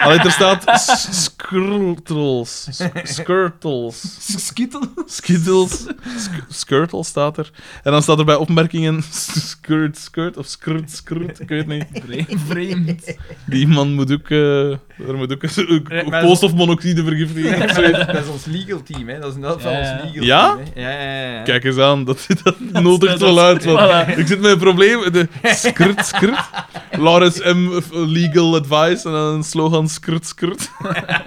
Speaker 2: Allee, er staat s- Squirtles. S- Squirtles.
Speaker 3: Skittle.
Speaker 2: Skittles. Sk- Squirtle staat er. En dan staat er bij opmerkingen Skirt, Skirt of Skirt, Skirt. Ik weet niet.
Speaker 3: Vreemd.
Speaker 2: Die man moet ook, eh, er moet ook een- een
Speaker 5: Nee,
Speaker 2: een
Speaker 5: maar-
Speaker 2: koolstofmonoxide vergiftiging. of zoiets.
Speaker 5: Dat is ons legal team, hè? Dat is net van
Speaker 3: Ja,
Speaker 5: ons
Speaker 3: ja.
Speaker 5: legal
Speaker 2: Ja?
Speaker 5: team. Hè? Ja, ja, ja.
Speaker 2: Kijk eens aan, dat, dat nodigt wel uit. want Ik zit met een probleem. De skrt, skrt. Lawrence M. of Legal Advice en dan een slogan skrt, skrt.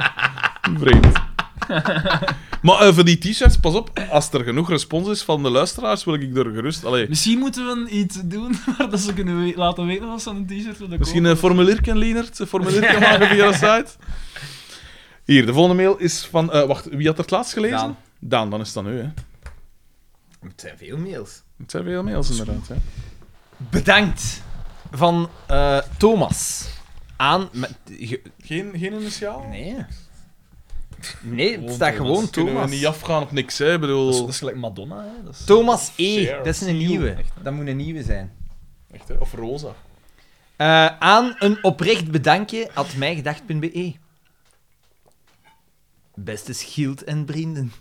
Speaker 2: Vreemd. Maar eh, voor die t-shirts, pas op, als er genoeg respons is van de luisteraars, wil ik er gerust... Allee,
Speaker 3: Misschien moeten we iets doen waar dat ze kunnen we- laten weten wat ze aan een t-shirt willen
Speaker 2: misschien
Speaker 3: kopen.
Speaker 2: een formulierken, Leonard? Een formulierken maken via de site? Hier, de volgende mail is van... eh, wacht, wie had er het laatst gelezen?
Speaker 5: Daan.
Speaker 2: Daan, dan is dat nu, hè.
Speaker 5: Het zijn veel mails.
Speaker 2: Het zijn veel mails, inderdaad. Hè.
Speaker 4: Bedankt van eh, Thomas. Aan. Met, ge-
Speaker 2: Geen, geen initiaal?
Speaker 4: nee. Nee, het staat gewoon
Speaker 2: dus Kunnen
Speaker 4: Thomas.
Speaker 2: we niet afgaan op niks, hè. Ik bedoel...
Speaker 3: Dat is- dat is gelijk Madonna, hè. Dat is...
Speaker 4: Thomas E.
Speaker 2: Share.
Speaker 4: Dat is een nieuwe. Dat moet een nieuwe zijn.
Speaker 2: Echt, hè? Of rosa.
Speaker 4: Eh, aan een oprecht bedankje at mijgedacht.be. Beste Schild en vrienden.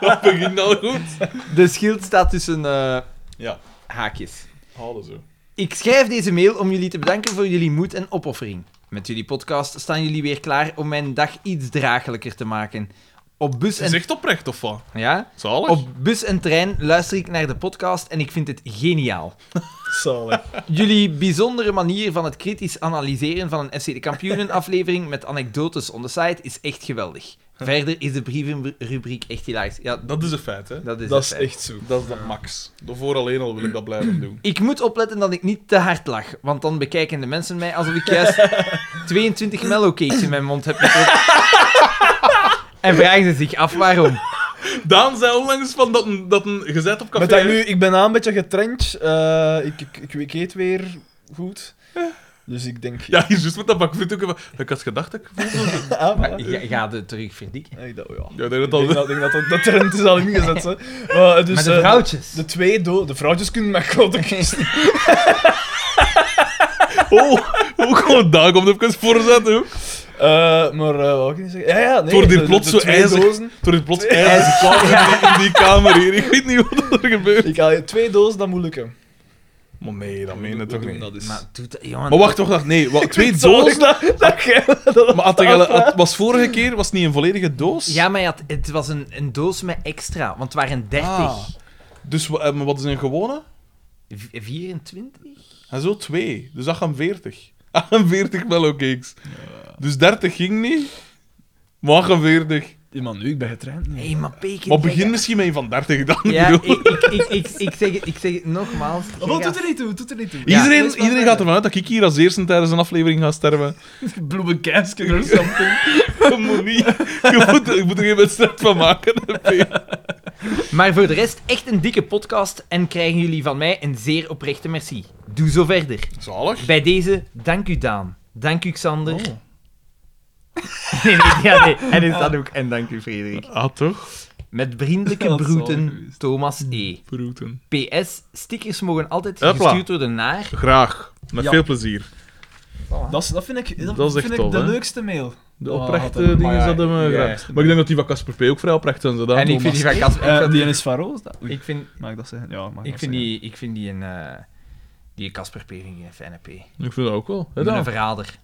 Speaker 2: Dat begint al goed.
Speaker 4: De schild staat tussen eh,
Speaker 2: Ja,
Speaker 4: haakjes.
Speaker 2: halen zo.
Speaker 4: Ik schrijf deze mail om jullie te bedanken voor jullie moed en opoffering. Met jullie podcast staan jullie weer klaar om mijn dag iets draaglijker te maken. Op bus en...
Speaker 2: Zegt oprecht of wat?
Speaker 4: Ja?
Speaker 2: Zalig.
Speaker 4: Op bus en trein luister ik naar de podcast en ik vind het geniaal.
Speaker 2: Zalig.
Speaker 4: Jullie bijzondere manier van het kritisch analyseren van een FC de Kampioenen aflevering met anekdotes on the site is echt geweldig. Verder is de brievenrubriek echt hilarisch. Ja,
Speaker 2: Dat is een feit, hè?
Speaker 4: Dat is
Speaker 2: dat
Speaker 4: een
Speaker 2: is
Speaker 4: feit.
Speaker 2: echt zo. Dat is dat max. Daarvoor alleen al wil ik dat blijven doen.
Speaker 4: Ik moet opletten dat ik niet te hard lach, want dan bekijken de mensen mij alsof ik juist 22 mellowcakes in mijn mond heb gestopt. En vragen ze zich af waarom.
Speaker 2: Daan zei onlangs van dat een, dat een gezet op café.
Speaker 6: Met dat nu, ik ben aan een beetje getrencht. eh, ik, ik, ik, ik eet weer goed. Dus ik denk...
Speaker 2: Ja, hier is juist met dat bak fruit ook even- Ik had gedacht dat ik...
Speaker 6: Ah,
Speaker 4: Maar
Speaker 6: maar-
Speaker 4: ik ga- ik ga het terug verdikken.
Speaker 6: Ja, ik dacht, ja.
Speaker 2: Ja, dat is
Speaker 6: Ik denk
Speaker 2: al...
Speaker 6: dat, ik denk dat dat trend is al ingezet. Hè. Maar, eh, dus,
Speaker 4: Met de
Speaker 6: eh,
Speaker 4: vrouwtjes.
Speaker 6: de twee doden. De vrouwtjes kunnen met grote kisten.
Speaker 2: Oh, ook gewoon Daan komt even voorzetten, hoor.
Speaker 6: Eh, maar eh, wat wil ik niet zeggen? Ja, ja, nee.
Speaker 2: Het wordt hier
Speaker 6: de- de-
Speaker 2: plots
Speaker 6: de
Speaker 2: zo
Speaker 6: twee
Speaker 2: ijzig.
Speaker 6: dozen.
Speaker 2: Toen is plots ijzig plaat in, die- in die kamer hier. Ik weet niet wat er gebeurt.
Speaker 6: Ik haal twee dozen, dat moet lukken.
Speaker 2: Maar nee, dat meen je toch niet.
Speaker 6: Dat is...
Speaker 4: Maar doe dat, jongen.
Speaker 2: Maar wacht, wacht, wacht. Nee, wa- twee
Speaker 6: Sorry
Speaker 2: dozen.
Speaker 6: dat, dat, jij dat,
Speaker 2: Maar had je gele- het was vorige keer was het niet een volledige doos.
Speaker 4: Ja, maar je had- het was een, een doos met extra, want het waren 30.
Speaker 2: Ah. Dus wa- eh, maar wat is een gewone?
Speaker 4: V- 24?
Speaker 2: En zo twee. Dus dat gaan 40. 48 mellowcakes. Dus 30 ging niet. Maar 48.
Speaker 3: Ja, maar nu, ik ben getraind. nu.
Speaker 4: Hé, hey, maar Pekin.
Speaker 2: Maar begin misschien met een van 30 dan.
Speaker 4: Ja, ik,
Speaker 2: bedoel.
Speaker 4: ik, ik, ik, ik, zeg het, ik zeg het nogmaals.
Speaker 3: Oh,
Speaker 4: Jij
Speaker 3: doet
Speaker 4: gaat-
Speaker 3: er niet toe, doet er niet toe.
Speaker 4: Ja.
Speaker 2: iedereen
Speaker 4: dat is wel
Speaker 2: iedereen gaat
Speaker 4: duidelijk.
Speaker 2: ervan uit dat ik hier als eerste tijdens een aflevering ga sterven.
Speaker 3: Bloemenkeisken of something.
Speaker 2: Dat moet niet. Je moet, je moet er geen wedstrijd van maken. Peter.
Speaker 4: Maar voor de rest, echt een dikke podcast en krijgen jullie van mij een zeer oprechte merci. Doe zo verder.
Speaker 2: Zalig.
Speaker 4: Bij deze, dank u Daan. Dank u Xander.
Speaker 3: Oh.
Speaker 4: Nee, nee, ja, nee. En is dat ook. En dank u Frederik.
Speaker 2: Ah, toch?
Speaker 4: Met vriendelijke
Speaker 3: Dat zal
Speaker 4: groeten,
Speaker 3: geweest.
Speaker 4: Thomas E.
Speaker 2: Broeten.
Speaker 4: PS, stickers mogen altijd
Speaker 2: Hopla.
Speaker 4: gestuurd worden naar...
Speaker 2: Graag. Met
Speaker 3: Ja.
Speaker 2: veel plezier.
Speaker 3: Dat, is- dat vind ik, dat
Speaker 2: Dat is echt
Speaker 3: vind
Speaker 2: tof,
Speaker 3: ik de
Speaker 2: hè?
Speaker 3: leukste mail.
Speaker 2: De
Speaker 3: Oh,
Speaker 2: oprechte
Speaker 3: wat een-
Speaker 2: dingen
Speaker 7: maar ja,
Speaker 2: zouden we
Speaker 7: ja.
Speaker 2: graag. Maar ik denk dat die van Casper P. ook vrij oprecht zijn. Zodat
Speaker 4: En ik vind die van Casper...
Speaker 3: Eh,
Speaker 4: ik vind-
Speaker 3: die is van Roos. dat- Oei,
Speaker 4: Ik vind,
Speaker 3: Mag ik dat zeggen? Ja, mag
Speaker 4: ik
Speaker 3: dat
Speaker 4: vind,
Speaker 3: zeggen.
Speaker 4: die, ik vind die een... eh, die Casper P. vind ik een fijne P.
Speaker 2: Ik vind dat ook wel. Hè,
Speaker 4: Ik ben
Speaker 2: dan?
Speaker 4: een verrader.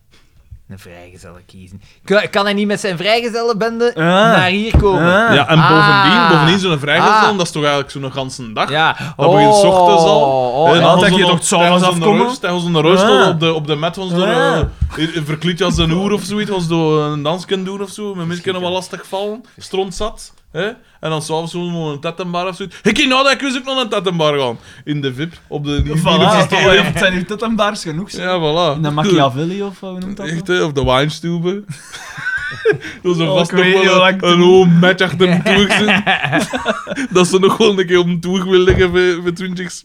Speaker 4: Een vrijgezel kiezen. Kan, kan hij niet met zijn vrijgezellenbende
Speaker 3: Ah.
Speaker 4: naar hier komen?
Speaker 3: Ah.
Speaker 2: Ja, en bovendien,
Speaker 4: Ah.
Speaker 2: bovendien zo'n vrijgezel,
Speaker 4: Ah.
Speaker 2: dat is toch eigenlijk zo'n ganse dag?
Speaker 4: Ja.
Speaker 2: Dat begint 's ochtends al.
Speaker 4: Oh,
Speaker 2: En
Speaker 4: ja.
Speaker 3: ja.
Speaker 2: dan
Speaker 3: dat
Speaker 2: zo'n-
Speaker 3: je toch s'avonds
Speaker 2: tijdens een
Speaker 3: afkomen?
Speaker 2: rust- Tijdens een rust
Speaker 3: Ah.
Speaker 2: op de, op de mat ons door eh,
Speaker 3: Ah.
Speaker 2: een, een- verkleed als een hoer of zoiets, ons door een dans kunnen doen of zo. Met mensen kunnen wel lastig vallen, stront zat. Hè? En dan s'avonds zo'n een tettenbar of zoiets. Ik ging nou dat ik wist ook nog een tettenbar gaan. In de VIP, op de... die- die-
Speaker 3: Voilà,
Speaker 2: die-
Speaker 3: toch, het zijn hier tot en baars genoeg. zeg.
Speaker 2: Ja, voilà.
Speaker 3: In de Machiavelli of eh, hoe noemt dat?
Speaker 2: Echt, hè? Of de wijnstube. dat is een
Speaker 3: Oh,
Speaker 2: vast
Speaker 3: ik
Speaker 2: nog
Speaker 3: weet niet
Speaker 2: wel
Speaker 3: wat
Speaker 2: een,
Speaker 3: ik doe.
Speaker 2: een oom match achter hem toe zit. dat ze nog wel een keer op hem toe wil liggen voor, voor 20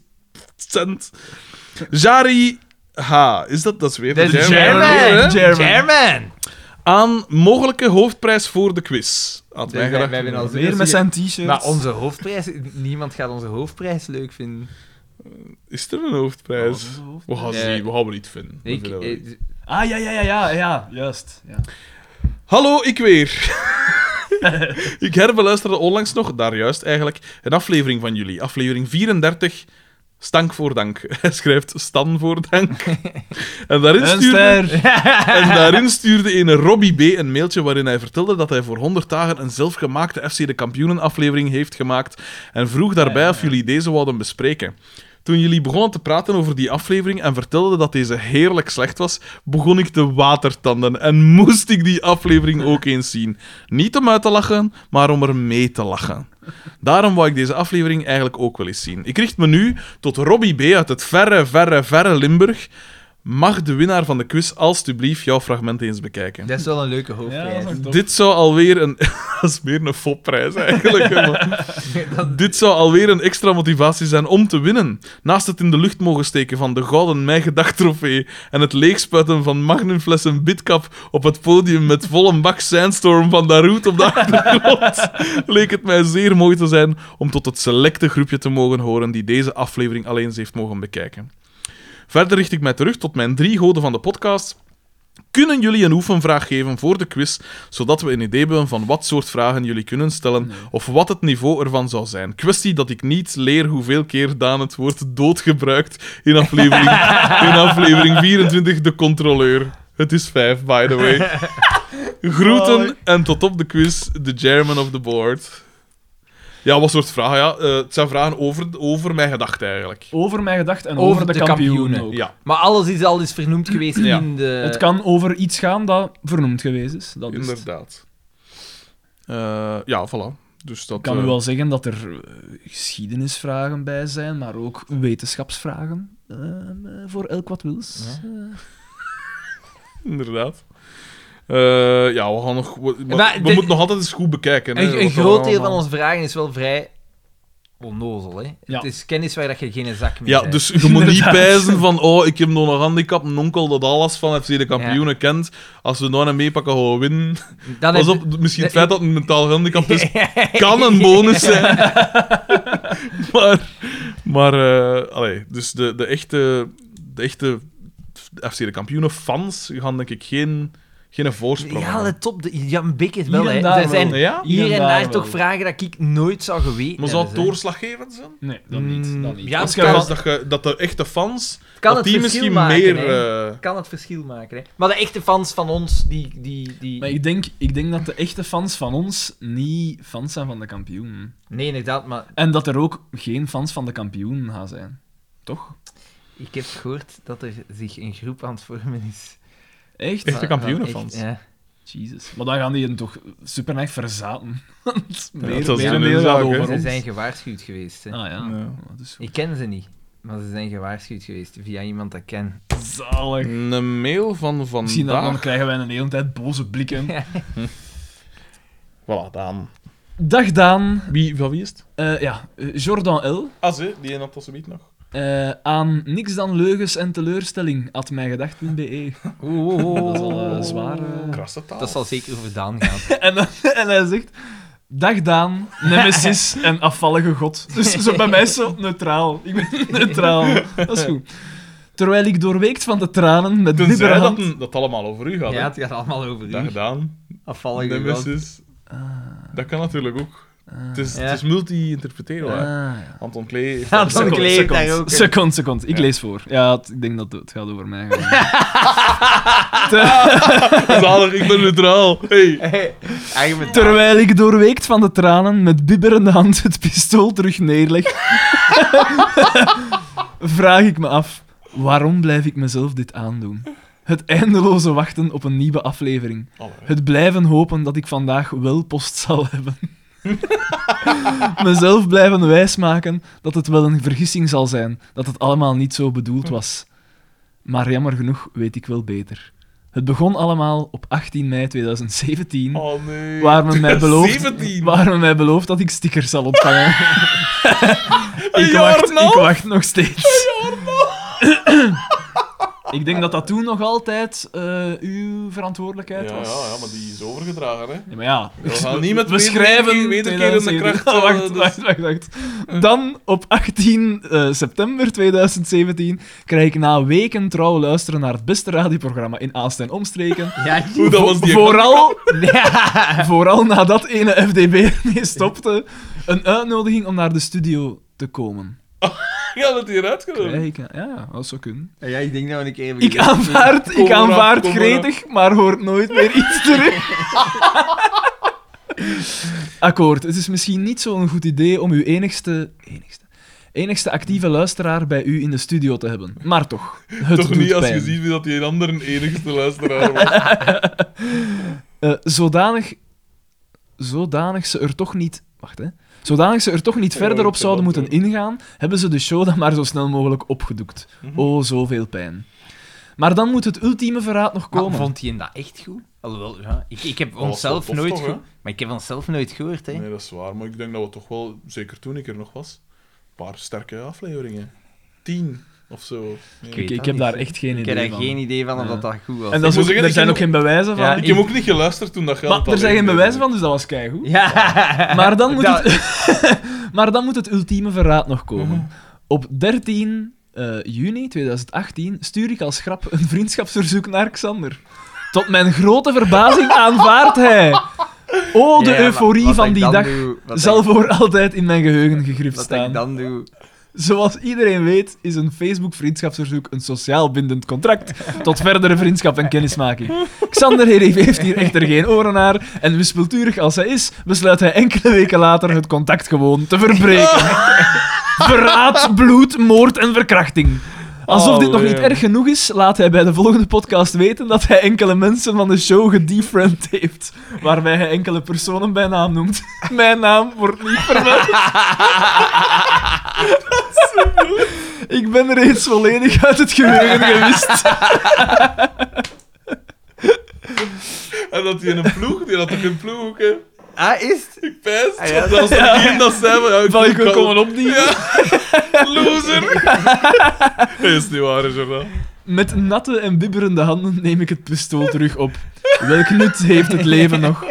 Speaker 2: cent. Jari H. Is dat? Dat is weer
Speaker 4: Dat
Speaker 2: de
Speaker 4: is
Speaker 2: German
Speaker 4: German.
Speaker 2: weer, hè?
Speaker 3: German.
Speaker 4: Chairman!
Speaker 2: Aan mogelijke hoofdprijs voor de quiz. Had
Speaker 4: Dus
Speaker 2: mij
Speaker 4: wij-
Speaker 2: gedacht.
Speaker 4: wij hebben al
Speaker 3: Weer
Speaker 4: zoiets
Speaker 3: met
Speaker 4: gezegd.
Speaker 3: zijn t-shirts.
Speaker 4: Maar onze hoofdprijs... Niemand gaat onze hoofdprijs leuk vinden.
Speaker 2: Is er een
Speaker 3: Oh,
Speaker 2: hoofdprijs?
Speaker 3: onze hoofd.
Speaker 2: We gaan
Speaker 4: Nee.
Speaker 2: zien. We gaan we niet vinden. We
Speaker 4: Ik,
Speaker 2: vinden we
Speaker 4: eh,
Speaker 2: niet.
Speaker 3: Ah, ja, ja, ja, ja, ja. Juist. Ja.
Speaker 2: Hallo, ik weer. ik herbeluisterde onlangs nog, daar juist eigenlijk, een aflevering van jullie. Aflevering 34, Stank voor Dank. Hij schrijft Stan voor Dank. En daarin
Speaker 3: Een
Speaker 2: stuurde,
Speaker 3: ster.
Speaker 2: en daarin stuurde een Robbie B. een mailtje waarin hij vertelde dat hij voor 100 dagen een zelfgemaakte FC de Kampioenen aflevering heeft gemaakt en vroeg daarbij of jullie deze wouden bespreken. Toen jullie begonnen te praten over die aflevering en vertelden dat deze heerlijk slecht was, begon ik te watertanden en moest ik die aflevering ook eens zien. Niet om uit te lachen, maar om er mee te lachen. Daarom wou ik deze aflevering eigenlijk ook wel eens zien. Ik richt me nu tot Robbie B. uit het verre, verre, verre Limburg. Mag de winnaar van de quiz alstublieft jouw fragment eens bekijken?
Speaker 4: dat is wel een leuke
Speaker 3: Ja,
Speaker 4: hoofdprijs.
Speaker 3: dat is ook tof.
Speaker 2: Dit zou alweer een... dat is meer een fopprijs eigenlijk. hè, maar- Dit zou alweer een extra motivatie zijn om te winnen. Naast het in de lucht mogen steken van de Gouden Mijn Gedacht trofee en het leegspuiten van magnumflessen Bitcap op het podium met volle bak Sandstorm van Darude op de achtergrond, leek het mij zeer mooi te zijn om tot het selecte groepje te mogen horen die deze aflevering alleen eens heeft mogen bekijken. Verder richt ik mij terug tot mijn drie goden van de podcast. Kunnen jullie een oefenvraag geven voor de quiz, zodat we een idee hebben van wat soort vragen jullie kunnen stellen of wat het niveau ervan zou zijn? Kwestie dat ik niet leer hoeveel keer Daan het woord dood gebruikt in aflevering, in aflevering 24, de controleur. Het is vijf, by the way. Groeten en tot op de quiz, de chairman of the board. Ja, wat soort vragen? Ja? Eh, het zijn vragen over, over mijn gedachten eigenlijk.
Speaker 3: Over mijn gedacht en
Speaker 4: Over
Speaker 3: over,
Speaker 4: de
Speaker 3: de, kampioenen.
Speaker 4: kampioenen.
Speaker 3: ook.
Speaker 2: Ja,
Speaker 4: Maar alles is al eens vernoemd geweest
Speaker 2: Ja.
Speaker 4: in de...
Speaker 3: Het kan over iets gaan dat vernoemd geweest is. Dat is het.
Speaker 2: inderdaad. Eh, ja, voilà. Dus dat,
Speaker 3: Ik kan
Speaker 2: eh,
Speaker 3: u wel zeggen dat er eh, geschiedenisvragen bij zijn, maar ook wetenschapsvragen ehm, eh, voor elk wat wils. Eh,
Speaker 2: Inderdaad. Eh, ja, we gaan nog... We, we-
Speaker 4: Maar
Speaker 2: we
Speaker 4: de-
Speaker 2: moeten nog altijd eens goed bekijken. hè,
Speaker 4: Een, een
Speaker 2: wat we
Speaker 4: groot deel
Speaker 2: allemaal-
Speaker 4: van onze vragen is wel vrij onnozel. Hè?
Speaker 3: Ja.
Speaker 4: Het is kennis waar dat je geen zak mee
Speaker 2: Ja,
Speaker 4: zei.
Speaker 2: dus je moet niet
Speaker 3: Inderdaad.
Speaker 2: pijzen van... Oh, ik heb nog een handicap. Een onkel dat alles van FC de kampioenen kent. Als we nou een meepakken, gaan we winnen.
Speaker 4: Dan
Speaker 2: Pas
Speaker 4: heb-
Speaker 2: op, misschien het feit dat het een mentaal handicap is, kan een bonus zijn. maar, maar eh, allee, dus de, de echte, de echte FC de kampioenen fans gaan denk ik geen, geen voorsprong
Speaker 4: Ja,
Speaker 2: hebben.
Speaker 4: let op. de- Jan Bik is wel,
Speaker 3: Hier en
Speaker 4: hè.
Speaker 3: daar
Speaker 4: Er zijn
Speaker 3: wel.
Speaker 2: Ja?
Speaker 4: hier en daar toch
Speaker 3: vragen?
Speaker 4: vragen dat ik nooit zou geweten
Speaker 2: Maar zou het
Speaker 4: hebben, hè.
Speaker 2: doorslaggevend zijn?
Speaker 3: Nee, dat
Speaker 2: Mm,
Speaker 3: niet. Dat niet.
Speaker 4: Mm, Ja,
Speaker 2: Als
Speaker 4: het
Speaker 2: je
Speaker 4: kan,
Speaker 2: dat, je- dat de echte fans,
Speaker 4: kan
Speaker 2: dat
Speaker 4: het
Speaker 2: die
Speaker 4: verschil
Speaker 2: misschien
Speaker 4: maken.
Speaker 2: meer...
Speaker 4: hè.
Speaker 2: eh,
Speaker 4: Kan het verschil maken. Hè. Maar de echte fans van ons, die... die, die...
Speaker 3: Maar ik denk, ik denk dat de echte fans van ons niet fans zijn van de kampioen.
Speaker 4: Nee, inderdaad, maar
Speaker 3: En dat er ook geen fans van de kampioen gaan zijn. Toch?
Speaker 4: ik heb gehoord dat er zich een groep aan het vormen is.
Speaker 3: Echt?
Speaker 2: Echte
Speaker 4: Van-
Speaker 2: kampioenenfans.
Speaker 4: van echt- ja.
Speaker 3: Jezus. Maar dan gaan die hen toch super echt verzaten. Want meer,
Speaker 2: dat is
Speaker 3: meer
Speaker 2: een
Speaker 3: en meer
Speaker 2: zaak,
Speaker 3: gaat
Speaker 2: hè.
Speaker 3: over
Speaker 4: Ze
Speaker 3: ons.
Speaker 4: zijn gewaarschuwd geweest. Hè.
Speaker 3: Ah ja.
Speaker 2: Ja.
Speaker 3: Dat is goed.
Speaker 4: Ik ken ze niet, maar ze zijn gewaarschuwd geweest via iemand dat ik ken.
Speaker 3: Zalig.
Speaker 2: Een mail van
Speaker 3: Misschien dan, dan
Speaker 2: vandaag...
Speaker 3: krijgen wij een hele tijd boze blikken.
Speaker 2: Voilà, Daan.
Speaker 3: Dag Daan.
Speaker 2: Wie, van wie is het?
Speaker 3: Eh, ja, eh, Jordan L.
Speaker 2: Ah, ze, die had dat zo nog.
Speaker 3: Eh, aan niks dan leugens en teleurstelling, at mijgedacht.be.
Speaker 4: Oeh,
Speaker 3: E. Dat is al eh, zwaar. eh.
Speaker 2: Krasse taal.
Speaker 4: Dat zal zeker over Daan gaan.
Speaker 3: en, dan- en hij zegt... Dag Daan, Nemesis en afvallige god. Dus zo, bij mij is zo neutraal. Ik ben neutraal. Dat is goed. Terwijl ik doorweekt van de tranen met
Speaker 2: Tenzij
Speaker 3: bibberen hand...
Speaker 2: dat dat allemaal over u gaat.
Speaker 1: Ja,
Speaker 2: Ja,
Speaker 1: het gaat allemaal over
Speaker 2: Dag
Speaker 1: u.
Speaker 2: gedaan.
Speaker 1: Afvallige gast.
Speaker 2: Nemesis. Dat kan natuurlijk ook. Het is,
Speaker 1: Ja.
Speaker 2: het is multi-interpreteren. hè.
Speaker 3: Ah, ja.
Speaker 2: Anton Klee heeft
Speaker 1: Ja,
Speaker 2: dat
Speaker 1: Anton
Speaker 2: ook.
Speaker 1: Klee. kleeft daar ook in.
Speaker 3: Second, second. Ik
Speaker 2: Ja.
Speaker 3: lees voor. Ja, het- ik denk dat het gaat over mij. gaan.
Speaker 2: Zalig, ik ben neutraal. Hey.
Speaker 1: Eigenlijk met-
Speaker 3: Terwijl ik doorweekt van de tranen met bibberende hand het pistool terug neerleg, vraag ik me af: waarom blijf ik mezelf dit aandoen? Het eindeloze wachten op een nieuwe aflevering.
Speaker 2: Allee.
Speaker 3: Het blijven hopen dat ik vandaag wel post zal hebben. Mezelf blijven wijsmaken dat het wel een vergissing zal zijn, dat het allemaal niet zo bedoeld was. Maar jammer genoeg weet ik wel beter. Het begon allemaal op 18 mei 2017
Speaker 2: Oh nee.
Speaker 3: waar men mij belooft,
Speaker 2: 17.
Speaker 3: waar men mij belooft dat ik stickers zal ontvangen. ik,
Speaker 2: jaar
Speaker 3: wacht,
Speaker 2: nog?
Speaker 3: ik wacht nog steeds. ik denk dat dat toen nog altijd eh, uw
Speaker 2: Ja,
Speaker 3: verantwoordelijkheid
Speaker 2: ja,
Speaker 3: was.
Speaker 2: ja, maar die is overgedragen, hè.
Speaker 3: Ja, maar ja.
Speaker 2: We gaan niet met
Speaker 3: We schrijven
Speaker 2: wederkerende
Speaker 3: 2017.
Speaker 2: kracht.
Speaker 3: Ah,
Speaker 2: eh,
Speaker 3: wacht,
Speaker 2: dus-
Speaker 3: wacht, wacht, wacht. Dan op 18 eh, september 2017 krijg ik na weken trouw luisteren naar het beste radioprogramma in Aasten en omstreken.
Speaker 1: Ja,
Speaker 2: Hoe dat was die
Speaker 3: Vooral, vooral nadat ene FDB ermee stopte, een uitnodiging om naar de studio te komen.
Speaker 2: Ja, dat hier uitgenomen.
Speaker 3: Kijk, ja, dat zou kunnen.
Speaker 1: ja, ik denk nou een keer even...
Speaker 3: Ik aanvaard, ik
Speaker 2: Kom eraf,
Speaker 3: aanvaard
Speaker 2: kom
Speaker 3: gretig, maar hoort nooit meer iets terug. Akkoord, het is misschien niet zo'n goed idee om uw enigste, enigste, enigste actieve luisteraar bij u in de studio te hebben. Maar toch, het
Speaker 2: Toch
Speaker 3: doet
Speaker 2: niet als je
Speaker 3: pijn.
Speaker 2: ziet wie dat die een ander een enigste luisteraar was.
Speaker 3: Eh, zodanig, zodanig ze er toch niet. Wacht hè. Zodanig ze er toch niet
Speaker 2: Ja,
Speaker 3: verder
Speaker 2: ik
Speaker 3: op
Speaker 2: ben
Speaker 3: zouden
Speaker 2: dat
Speaker 3: moeten ingaan, hebben ze de show dan maar zo snel mogelijk opgedoekt. Oh, zoveel pijn. Maar dan moet het ultieme verraad nog
Speaker 1: Maar
Speaker 3: komen.
Speaker 1: vond je dat echt goed? Alhoewel, ja, ik, ik heb
Speaker 2: was wel
Speaker 1: onszelf
Speaker 2: tof
Speaker 1: nooit
Speaker 2: toch, hè?
Speaker 1: goed... Maar ik heb onszelf nooit gehoord, hè.
Speaker 2: Nee, dat is waar. Maar ik denk dat we toch wel, zeker toen ik er nog was, een paar sterke afleveringen. Tien of zo. Nee.
Speaker 1: weet
Speaker 3: Ik,
Speaker 1: dat
Speaker 3: ik heb
Speaker 1: niet,
Speaker 3: daar
Speaker 1: hè.
Speaker 3: echt
Speaker 1: Ik
Speaker 3: geen idee
Speaker 1: heb daar
Speaker 3: van.
Speaker 1: geen idee van of dat, dat goed was.
Speaker 3: En dat is
Speaker 2: moet
Speaker 3: ook,
Speaker 2: zeggen,
Speaker 3: er
Speaker 2: ik
Speaker 3: zijn
Speaker 2: heb
Speaker 3: ook geen bewijzen van.
Speaker 1: Ja,
Speaker 2: Ik heb ook niet geluisterd toen dat geld
Speaker 3: maar er zijn geen bewijzen van, dus dat was keigoed.
Speaker 1: Ja.
Speaker 3: Maar dan, moet
Speaker 1: Dat-
Speaker 3: het, maar dan moet het ultieme verraad nog
Speaker 1: Mhm.
Speaker 3: komen. Op 13 eh, juni 2018 stuur ik als grap een vriendschapsverzoek naar Xander. Tot mijn grote verbazing aanvaardt hij. Oh, de
Speaker 1: Ja, maar
Speaker 3: euforie
Speaker 1: wat
Speaker 3: van
Speaker 1: ik
Speaker 3: die
Speaker 1: dan
Speaker 3: dag
Speaker 1: doe- wat
Speaker 3: zal
Speaker 1: ik-
Speaker 3: voor altijd in mijn geheugen gegrift
Speaker 1: Wat ik
Speaker 3: staan.
Speaker 1: dan doe...
Speaker 3: Zoals iedereen weet, is een Facebook-vriendschapsverzoek een sociaal bindend contract tot verdere vriendschap en kennismaking. Xander Herif heeft hier echter geen oren naar en wispelturig als hij is, besluit hij enkele weken later het contact gewoon te verbreken. Verraad, bloed, moord en verkrachting. Alsof dit nog niet
Speaker 2: Allee.
Speaker 3: erg genoeg is, laat hij bij de volgende podcast weten dat hij enkele mensen van de show gedefriend heeft. Waarbij hij enkele personen bij naam noemt. Mijn naam wordt niet vermeld. Ik ben reeds volledig uit het geheugen gewist.
Speaker 2: En dat hij een ploeg, die had toch een ploeg, hè?
Speaker 1: Ah, is het?
Speaker 2: Ik pijst.
Speaker 1: Ah, ja.
Speaker 2: Dat was toch geen dat zijn we. Ja,
Speaker 3: Van ik wil
Speaker 2: kan-
Speaker 3: komen opdienen.
Speaker 2: Loser. Dat is niet waar, Jordan.
Speaker 3: Met natte en bibberende handen neem ik het pistool terug op. Welk nut heeft het leven nog?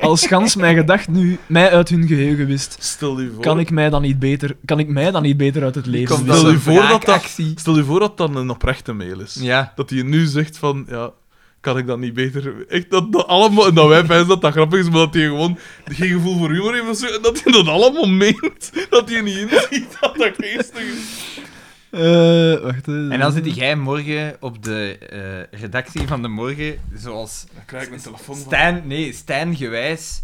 Speaker 3: Als gans mijn gedacht nu mij uit hun geheugen wist,
Speaker 2: Stel je voor...
Speaker 3: kan ik mij dan niet beter, kan ik mij dan niet beter uit het leven
Speaker 1: komt
Speaker 2: Stel
Speaker 1: dat
Speaker 3: wissen?
Speaker 2: je
Speaker 1: een
Speaker 2: voor dat dat,
Speaker 1: wraakactie.
Speaker 2: stel je voor dat dat een oprechte mail is.
Speaker 1: Ja.
Speaker 2: Dat hij nu zegt van, ja, kan ik dat niet beter... Echt, dat, dat allemaal... En dat wij pijzen dat dat grappig is, maar dat hij gewoon geen gevoel voor humor heeft of zo. En dat hij dat allemaal meent. Dat hij niet inziet dat dat geestig is.
Speaker 3: Eh, wacht. eh.
Speaker 1: En dan zit jij morgen op de eh, redactie van de morgen, zoals
Speaker 2: Dan krijg ik een telefoon van...
Speaker 1: Stijn, nee, Stijn gewijs.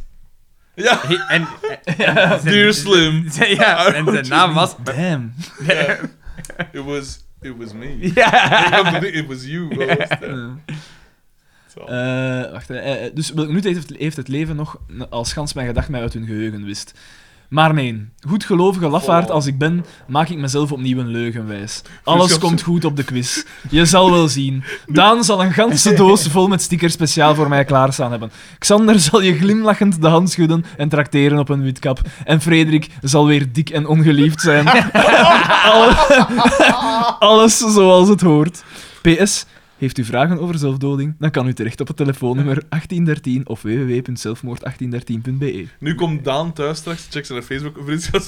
Speaker 2: Ja,
Speaker 1: He- en, en- en-
Speaker 2: dear
Speaker 1: zijn-
Speaker 2: Slim.
Speaker 1: zijn- ja, en zijn naam was.
Speaker 3: Damn.
Speaker 2: Ja. It was... It was me.
Speaker 1: Ja.
Speaker 2: It was you. Wat was het? Zo.
Speaker 3: Eh, wacht. eh, eh, dus welk nut heeft, heeft het leven nog als gans mijn gedacht mij uit hun geheugen wist? Maar nee, goedgelovige lafaard
Speaker 2: Oh.
Speaker 3: als ik ben, maak ik mezelf opnieuw een leugenwijs. Alles
Speaker 2: Vriendschap-
Speaker 3: komt goed op de quiz. Je zal wel zien. Daan zal een ganse doos vol met stickers speciaal voor mij klaarstaan hebben. Xander zal je glimlachend de hand schudden en trakteren op een witkap. En Frederik zal weer dik en ongeliefd zijn. Alle- Alles zoals het hoort. PS, Heeft u vragen over zelfdoding? Dan kan u terecht op het telefoonnummer 1813 of www.zelfmoord1813.be.
Speaker 2: Nu komt Daan thuis straks, check zijn Facebook. Vriendschap,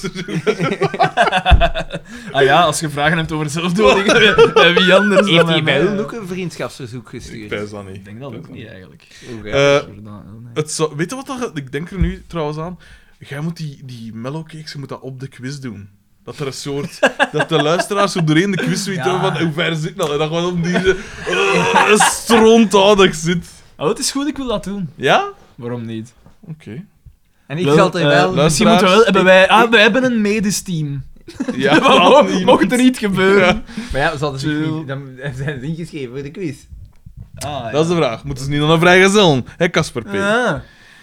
Speaker 3: Ah ja, als je vragen hebt over zelfdoding, bij wie anders dan
Speaker 4: Heeft hij
Speaker 3: bij
Speaker 4: bij
Speaker 3: mij?
Speaker 4: u ook een vriendschapsverzoek
Speaker 2: ik
Speaker 4: gestuurd?
Speaker 2: pijs dat niet.
Speaker 3: Ik denk dat ook niet, eigenlijk.
Speaker 4: Oké.
Speaker 2: Eh,
Speaker 3: Jordaan, nee.
Speaker 2: Het zou- weet je wat dat, ik denk er nu trouwens aan? Jij moet die, die mellowcakes, je moet dat op de quiz doen. Dat er een soort... dat de luisteraars op doorheen de quiz weten
Speaker 3: Ja.
Speaker 2: van hoe ver zit dat? En dan gewoon op die... eh, strontadig zit.
Speaker 3: Oh, het is goed, ik wil dat doen.
Speaker 2: Ja?
Speaker 3: Waarom niet?
Speaker 2: Oké.
Speaker 4: en ik zal er
Speaker 3: eh,
Speaker 4: wel...
Speaker 3: misschien moeten we wel... Hebben wij, ah, wij hebben een medisch team.
Speaker 2: Ja, laat
Speaker 3: Mo-
Speaker 2: niet.
Speaker 3: Mocht er niet gebeuren.
Speaker 4: maar ja, ze hadden zich
Speaker 3: Chill.
Speaker 4: niet... Dan dan zijn ze ingeschreven voor de quiz.
Speaker 3: Ah,
Speaker 2: Dat is de vraag. Moeten ze niet aan een vrijgezellen? Hé, Casper P.
Speaker 3: Ah.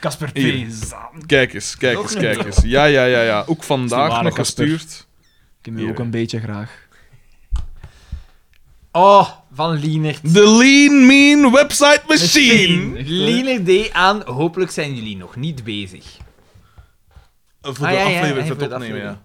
Speaker 3: Casper P.
Speaker 2: Hier.
Speaker 3: Zaan.
Speaker 2: Kijk eens, kijk
Speaker 3: Nog
Speaker 2: eens,
Speaker 3: een
Speaker 2: kijk eens. Ja, ja, ja, ja. Ook vandaag
Speaker 3: ware
Speaker 2: nog
Speaker 3: Casper.
Speaker 2: gestuurd.
Speaker 3: Ik heb hem
Speaker 2: Hier.
Speaker 3: ook een beetje graag.
Speaker 4: Oh, van Lienert.
Speaker 2: The Lean Mean Website Machine.
Speaker 3: Echt, hè?
Speaker 4: Lienert D aan, hopelijk zijn jullie nog niet bezig.
Speaker 2: Eh, Voor
Speaker 4: Ah,
Speaker 2: de
Speaker 4: ja, ja,
Speaker 2: aflevering,
Speaker 4: ja,
Speaker 2: voor het
Speaker 4: voor de
Speaker 2: opnemen, ja.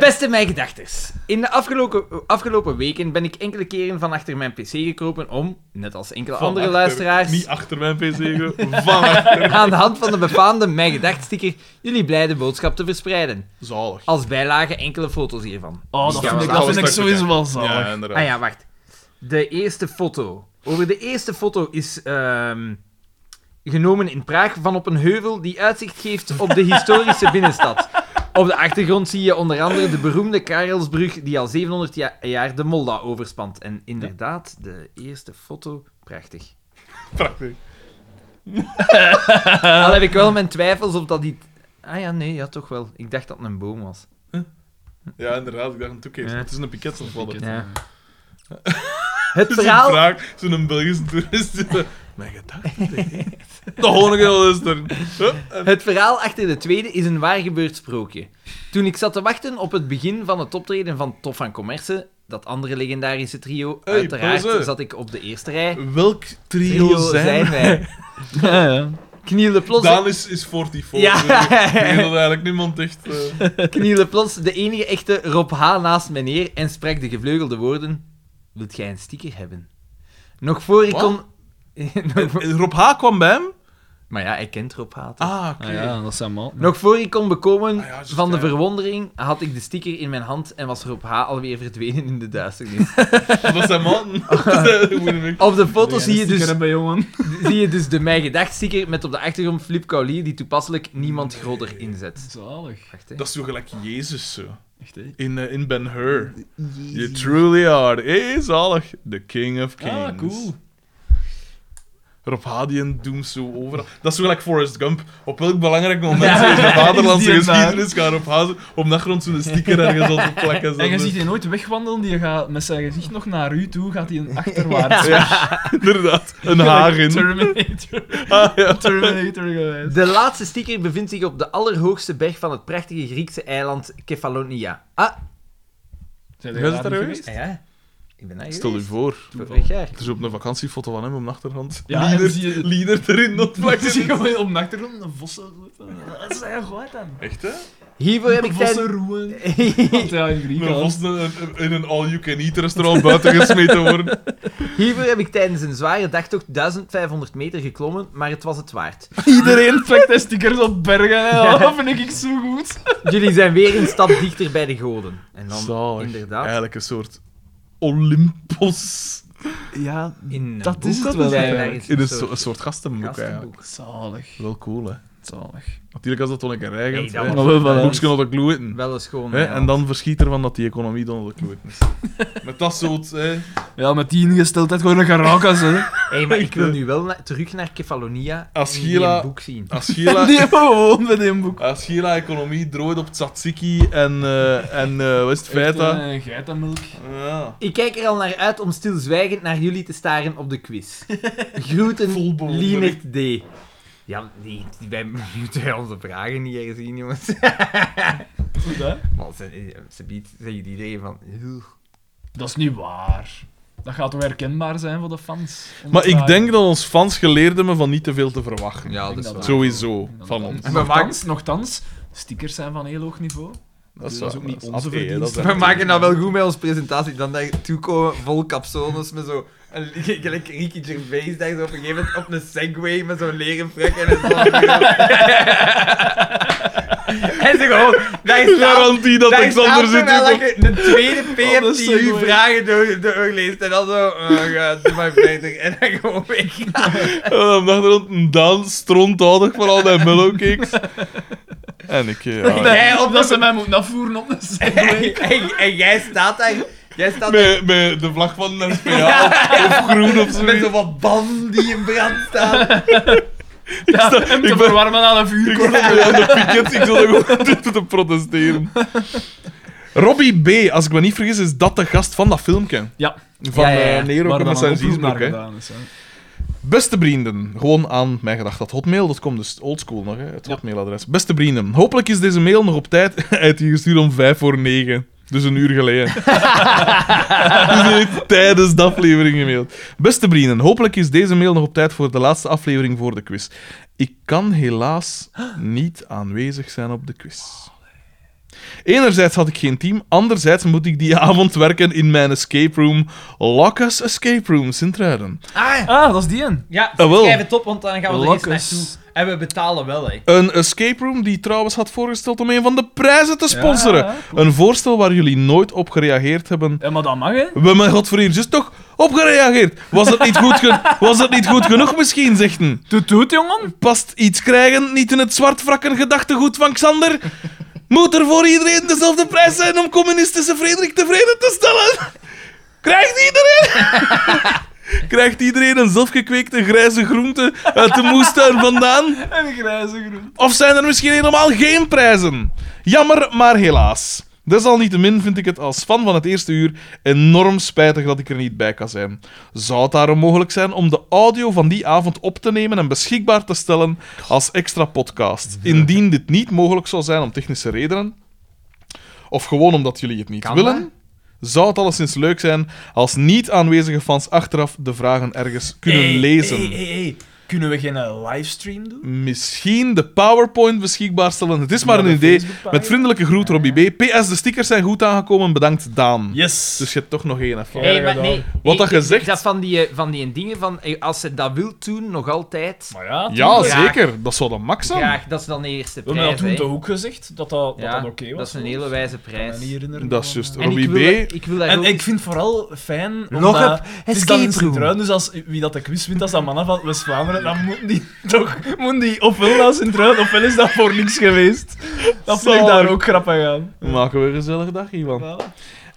Speaker 4: Beste mijn gedachters. In de afgelopen, afgelopen weken ben ik enkele keren van achter mijn pc gekropen om, net als enkele
Speaker 2: Van
Speaker 4: andere
Speaker 2: achter-
Speaker 4: luisteraars,
Speaker 2: Niet achter mijn pc, gewoon van achter.
Speaker 4: aan de hand van de befaamde Mijn Gedacht-sticker jullie blijde boodschap te verspreiden.
Speaker 2: Zalig.
Speaker 4: Als bijlage enkele foto's hiervan.
Speaker 3: Oh,
Speaker 2: Die
Speaker 3: dat
Speaker 2: gaan
Speaker 3: vind
Speaker 2: we
Speaker 3: ik, dat
Speaker 2: straks
Speaker 3: vind ik
Speaker 2: bekijken.
Speaker 3: sowieso wel zalig.
Speaker 2: Ja, inderdaad.
Speaker 4: Ah ja, wacht. De eerste foto. Over de eerste foto is ehm, genomen in Praag van op een heuvel die uitzicht geeft op de historische binnenstad. Op de achtergrond zie je onder andere de beroemde Karelsbrug die al 700 ja- jaar de Molda overspant. En inderdaad, de eerste foto, prachtig.
Speaker 2: Prachtig.
Speaker 4: Al heb ik wel mijn twijfels of dat die... Ah ja, nee, ja, toch wel. Ik dacht dat het een boom was.
Speaker 2: Ja, inderdaad. Ik dacht een toekeer.
Speaker 4: Ja.
Speaker 2: Het is een piket of wat. Het
Speaker 4: Ja. Het
Speaker 2: is een
Speaker 4: verhaal
Speaker 2: vraag. Zo'n Belgische toerist. die zo, Mijn gedachten. De honig en luisteren. Hup, en-
Speaker 4: Het verhaal achter de tweede is een waar gebeurd sprookje. Toen ik zat te wachten op het begin van het optreden van Top van Commerce, dat andere legendarische trio,
Speaker 2: Hey,
Speaker 4: uiteraard
Speaker 2: pauze.
Speaker 4: zat ik op de eerste rij.
Speaker 2: Welk trio, zijn,
Speaker 4: wij.
Speaker 3: Ja, ja.
Speaker 4: Knielde plots,
Speaker 2: Daan is, is 44.
Speaker 4: Ja.
Speaker 2: Ja. Ik denk dat eigenlijk niemand echt... eh,
Speaker 4: knielde plots de enige echte Rob H. naast mij neer en sprak de gevleugelde woorden: Wilt jij een sticker hebben? Nog voor ik
Speaker 2: Wat?
Speaker 4: kon. Nog voor-
Speaker 2: Rob H. kwam bij hem.
Speaker 4: Maar ja, hij kent Rob H. toch?
Speaker 2: Ah, oké.
Speaker 3: Ah, ja, dat zijn maat.
Speaker 4: Nog voor ik kon bekomen
Speaker 2: Ah ja, juist,
Speaker 4: van de
Speaker 2: ja.
Speaker 4: verwondering, had ik de sticker in mijn hand en was Rob H. alweer verdwenen in de duisternis.
Speaker 2: Dat zijn mannen. Dat zijn- hoe noem ik-
Speaker 4: Op de foto zie, je dus,
Speaker 3: Hebben, jongen.
Speaker 4: zie je dus de Mijn Gedacht sticker met op de achtergrond Flip Kaulier, die toepasselijk niemand groter inzet.
Speaker 3: Zalig.
Speaker 4: Wacht, hè.
Speaker 2: Dat is zo gelijk Jezus zo.
Speaker 3: Echt, hè?
Speaker 2: In, eh, in Ben Hur. You truly are. Hey, zalig. The King of Kings.
Speaker 3: Ah, cool.
Speaker 2: Rob H. die een doemt zo overal. Dat is zo gelijk Forrest Gump. Op welk belangrijk moment in de vaderlandse
Speaker 3: die een
Speaker 2: geschiedenis gaat Rob H. zo op de grond zo'n sticker ergens op te plakken.
Speaker 3: En je
Speaker 2: Zo.
Speaker 3: ziet die nooit wegwandelen, die gaat met zijn gezicht nog naar u toe, gaat hij een achterwaarts.
Speaker 2: Ja, inderdaad. Een hagen.
Speaker 3: Terminator.
Speaker 2: Ah, ja.
Speaker 3: Terminator geweest.
Speaker 4: De laatste sticker bevindt zich op de allerhoogste berg van het prachtige Griekse eiland Kefalonia. Ah,
Speaker 3: Zijn
Speaker 2: Jij zit daar geweest?
Speaker 4: ja. Ik ben daar
Speaker 2: Stel u
Speaker 4: geweest.
Speaker 2: voor.
Speaker 4: Vorig jaar.
Speaker 2: Er is op een vakantiefoto van hem op de achtergrond.
Speaker 3: Ja, en
Speaker 2: Lieder,
Speaker 3: zie je-
Speaker 2: Lieder erin dat
Speaker 3: Het is
Speaker 2: plakje.
Speaker 3: gewoon op de achtergrond een vossen. Dat is heel goed dan.
Speaker 2: Echt, hè?
Speaker 4: Hiervoor heb ik
Speaker 3: Een vossen
Speaker 4: tijdens...
Speaker 3: roeien. Want ja, in
Speaker 2: Een
Speaker 3: Griekenland.
Speaker 2: vos in een- in een all-you-can-eat restaurant buiten gesmeten worden.
Speaker 4: Hiervoor heb ik tijdens een zware dagtocht 1500 meter geklommen, maar het was het waard.
Speaker 3: Iedereen plakt daar stickers op bergen. hè. Dat vind ik zo goed.
Speaker 4: Jullie zijn weer een stap dichter bij de goden. En dan
Speaker 2: Zalig.
Speaker 4: inderdaad
Speaker 2: Eigenlijk een soort Olympos.
Speaker 3: Ja,
Speaker 4: in
Speaker 3: Dat
Speaker 4: een
Speaker 3: is
Speaker 4: boek
Speaker 3: het wel eh,
Speaker 4: zijn we daar
Speaker 3: eigenlijk.
Speaker 4: eens
Speaker 2: In
Speaker 4: een
Speaker 2: een,
Speaker 4: soort
Speaker 2: soort- een soort gastenboek, eigenlijk.
Speaker 4: gastenboek.
Speaker 3: zalig.
Speaker 2: Wel cool, hè?
Speaker 3: Zalig.
Speaker 2: Natuurlijk als dat Donald een
Speaker 4: Hey,
Speaker 2: Reagan
Speaker 4: dat
Speaker 2: hey,
Speaker 4: was-
Speaker 3: wel wel, hè.
Speaker 2: Boekje onder de kloeten.
Speaker 4: Wel eens gewoon.
Speaker 2: Hè, En dan verschiet ervan dat die economie Donald de kloeten is. Met dat soort... hè.
Speaker 3: Ja, met die ingesteldheid gewoon een garakas, hè.
Speaker 4: Hey, maar ik wil nu wel na- terug naar Kefalonia
Speaker 2: Als
Speaker 4: en die
Speaker 2: Gila-
Speaker 4: een boek zien.
Speaker 2: Als Gila...
Speaker 3: Die hebben we gewoon met een boek.
Speaker 2: Als Gila economie drooit op tzatziki en... eh, en eh, wat is het? Feta.
Speaker 3: Echt, eh, Geitenmelk.
Speaker 2: Ja.
Speaker 4: Ik kijk er al naar uit om stilzwijgend naar jullie te staren op de quiz. Groeten,
Speaker 2: Vol bewondering.
Speaker 4: Lienert D. Ja, die, die, wij moeten onze vragen niet ergens zien, jongens.
Speaker 3: Goed, hè?
Speaker 4: Maar ze, eh, ze biedt, zeggen iedereen van... "Ugh."
Speaker 3: Dat is niet waar. Dat gaat toch herkenbaar zijn voor de fans?
Speaker 2: Maar ik denk dat ons fans geleerd hebben van niet te veel te verwachten.
Speaker 4: Ja, dat is
Speaker 3: dat
Speaker 4: waar.
Speaker 2: Sowieso, van ons.
Speaker 4: Maar
Speaker 3: Nogthans, nogthans, stickers zijn van heel hoog niveau.
Speaker 8: Dat is,
Speaker 2: Dat is
Speaker 8: waar,
Speaker 2: ook niet
Speaker 8: dat is
Speaker 2: onze
Speaker 8: afgeven, dat is
Speaker 2: verdienste.
Speaker 1: We maken nou wel goed met onze presentatie. Dan daartoe komen vol capsones met zo... een- Gelijk Ricky Gervais daar zo op een gegeven moment op een Segway met zo'n leren frak en een zon. en ze gewoon... Daar staat,
Speaker 2: Garantie dat
Speaker 1: daar
Speaker 2: Alexander
Speaker 1: staat
Speaker 2: zit
Speaker 1: terwijl
Speaker 2: hier op.
Speaker 1: ik de tweede
Speaker 2: Op een
Speaker 1: PMTU
Speaker 2: Segway.
Speaker 1: vragen door, doorleest. En dan zo... Oh god, doe maar beter. En dan gewoon weg.
Speaker 2: En dan dacht er een Daan strontoudig van al die mellowcakes. En ik... eh, Ja, ja.
Speaker 1: Jij op
Speaker 3: Dat ze mij moeten afvoeren op de
Speaker 1: en,
Speaker 3: Segway.
Speaker 1: en, en jij staat daar... Jij staat daar
Speaker 2: Met, met de vlag van de SPA of groen of zo.
Speaker 1: met zo wat banden die in brand staan.
Speaker 3: Ja, hem te
Speaker 2: ben-
Speaker 3: verwarmen aan een
Speaker 2: Ik
Speaker 3: vuur.
Speaker 2: word weer aan de piket, ik zal ook te, te protesteren. Robbie B., als ik me niet vergis, is dat de gast van dat filmpje.
Speaker 3: Ja.
Speaker 2: Van
Speaker 1: Ja, ja, ja.
Speaker 2: eh, Nero
Speaker 3: Waar
Speaker 2: met
Speaker 3: dan een
Speaker 2: zijn
Speaker 3: oproep naar
Speaker 2: zielsbroek, hè.
Speaker 3: gedaan is, hè.
Speaker 2: Beste vrienden, gewoon aan mijn gedacht dat hotmail.com, dus oldschool nog, hè, het
Speaker 3: Ja.
Speaker 2: hotmailadres. Beste vrienden, hopelijk is deze mail nog op tijd uit hier gestuurd om vijf voor negen. Dus een uur geleden. dus die heeft tijdens de aflevering gemaild. Beste vrienden, hopelijk is deze mail nog op tijd voor de laatste aflevering voor de quiz. Ik kan helaas niet aanwezig zijn op de quiz. Enerzijds had ik geen team, anderzijds moet ik die avond werken in mijn escape room, Locus Escape Room, Sint-Truiden.
Speaker 1: Ah,
Speaker 3: Ah, dat is die een.
Speaker 4: Ja,
Speaker 2: Ah, wel.
Speaker 4: schrijf het op, want dan gaan we er eens
Speaker 3: Lokkes.
Speaker 4: naartoe. En we betalen wel, hè.
Speaker 2: Een escape room die trouwens had voorgesteld om een van de prijzen te sponsoren.
Speaker 3: Ja,
Speaker 2: Een voorstel waar jullie nooit op gereageerd hebben.
Speaker 3: Ja, maar dat mag, hè.
Speaker 2: We mijn god voor hier juist toch op gereageerd. Was dat niet goed, ge- was dat niet goed genoeg misschien, zegt een.
Speaker 3: Doet doet, jongen.
Speaker 2: Past iets krijgen niet in het zwart wrakken gedachtegoed van Xander? Moet er voor iedereen dezelfde prijs zijn om communistische Frederik tevreden te stellen? Krijgt iedereen? Krijgt iedereen een zelfgekweekte grijze groente uit de moestuin vandaan?
Speaker 3: En een grijze groen.
Speaker 2: Of zijn er misschien helemaal geen prijzen? Jammer, maar helaas. Desalniettemin vind ik het als fan van het eerste uur enorm spijtig dat ik er niet bij kan zijn. Zou het daarom mogelijk zijn om de audio van die avond op te nemen en beschikbaar te stellen als extra podcast? Indien dit niet mogelijk zou zijn om technische redenen, of gewoon omdat jullie het niet
Speaker 1: Kan
Speaker 2: willen, zou het alleszins leuk zijn als niet aanwezige fans achteraf de vragen ergens kunnen
Speaker 4: Eh,
Speaker 2: lezen.
Speaker 3: Kunnen we geen eh, livestream doen?
Speaker 2: misschien de PowerPoint beschikbaar stellen. Het is maar
Speaker 3: Ja,
Speaker 2: een
Speaker 3: de
Speaker 2: idee.
Speaker 3: Facebookpagina.
Speaker 2: Met vriendelijke groet, Robbie B. PS, de stickers zijn goed aangekomen. Bedankt, Daan.
Speaker 3: Yes.
Speaker 2: Dus je hebt toch nog één even.
Speaker 4: Hey, maar nee.
Speaker 2: Wat dat
Speaker 4: Ik- ik-
Speaker 2: gezegd-
Speaker 4: Dat van die, eh, van die dingen van, eh, als ze dat wil doen, nog altijd.
Speaker 3: maar ja,
Speaker 2: Ja,
Speaker 4: Graag.
Speaker 2: zeker. Dat zou dan max zijn.
Speaker 4: Graag, dat is dan de eerste
Speaker 3: we
Speaker 4: prijs.
Speaker 3: hebben dat toen
Speaker 4: hè.
Speaker 3: toch ook gezegd, dat dat, dat,
Speaker 4: Ja,
Speaker 3: dat oké was.
Speaker 4: dat is een
Speaker 3: hoor.
Speaker 4: hele wijze prijs.
Speaker 3: Ik kan me niet herinneren
Speaker 2: Dat is
Speaker 3: van,
Speaker 2: juist.
Speaker 3: eh,
Speaker 4: En ik
Speaker 2: Robbie
Speaker 4: wil,
Speaker 2: B.
Speaker 4: ik wil daar
Speaker 3: En
Speaker 4: ook-
Speaker 3: ik vind vooral fijn
Speaker 1: Nog
Speaker 3: omdat...
Speaker 1: op
Speaker 3: Het is dan
Speaker 1: escape
Speaker 3: in
Speaker 1: room.
Speaker 3: Sint-Truiden, dus als wie dat de quiz wint, als dat mannen van West-Vlaanderen, dan moeten die toch moeten die ofwel naar Sint-Truiden, ofwel is dat voor niks geweest. Dat vind ik daar ook grappig aan.
Speaker 2: Maken we een gezellig dag, Ivan.
Speaker 3: Ja.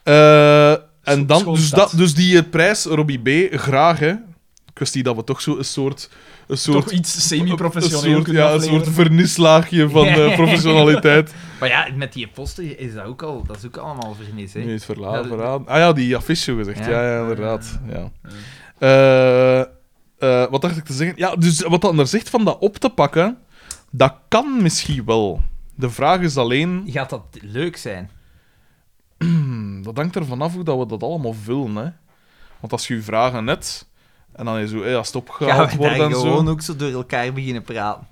Speaker 2: Eh, en
Speaker 3: Scho-
Speaker 2: dan,
Speaker 3: schoon
Speaker 2: dus,
Speaker 3: stad.
Speaker 2: dat, dus die eh, prijs, Robbie B. Graag, hè. Kwestie dat we toch zo een soort... Een soort
Speaker 3: Toch iets
Speaker 2: een
Speaker 3: semi-professioneel
Speaker 2: soort,
Speaker 3: kunnen
Speaker 2: ja, een
Speaker 3: afleveren.
Speaker 2: soort vernislaagje van eh, professionaliteit.
Speaker 4: Maar ja, met die posten is dat ook al, dat is ook allemaal vernis, hè.
Speaker 2: Nu het verlaat,
Speaker 4: Ja,
Speaker 2: verraad. Ah ja, die affiche gezegd. Ja,
Speaker 4: Ja.
Speaker 2: ja, inderdaad. Ja. Eh, eh, wat dacht ik te zeggen? Ja, dus wat dan er zegt van dat op te pakken, dat kan misschien wel. De vraag is alleen,
Speaker 4: Gaat dat leuk zijn?
Speaker 2: hmm, dat hangt er vanaf hoe dat we dat allemaal vullen. Hè? Want als je je vragen net, en dan is zo, hey, als het
Speaker 1: Gaan
Speaker 2: opgehaald
Speaker 1: we
Speaker 2: wordt
Speaker 1: daar
Speaker 2: en
Speaker 1: gewoon
Speaker 2: zo.
Speaker 1: ook zo door elkaar beginnen praten?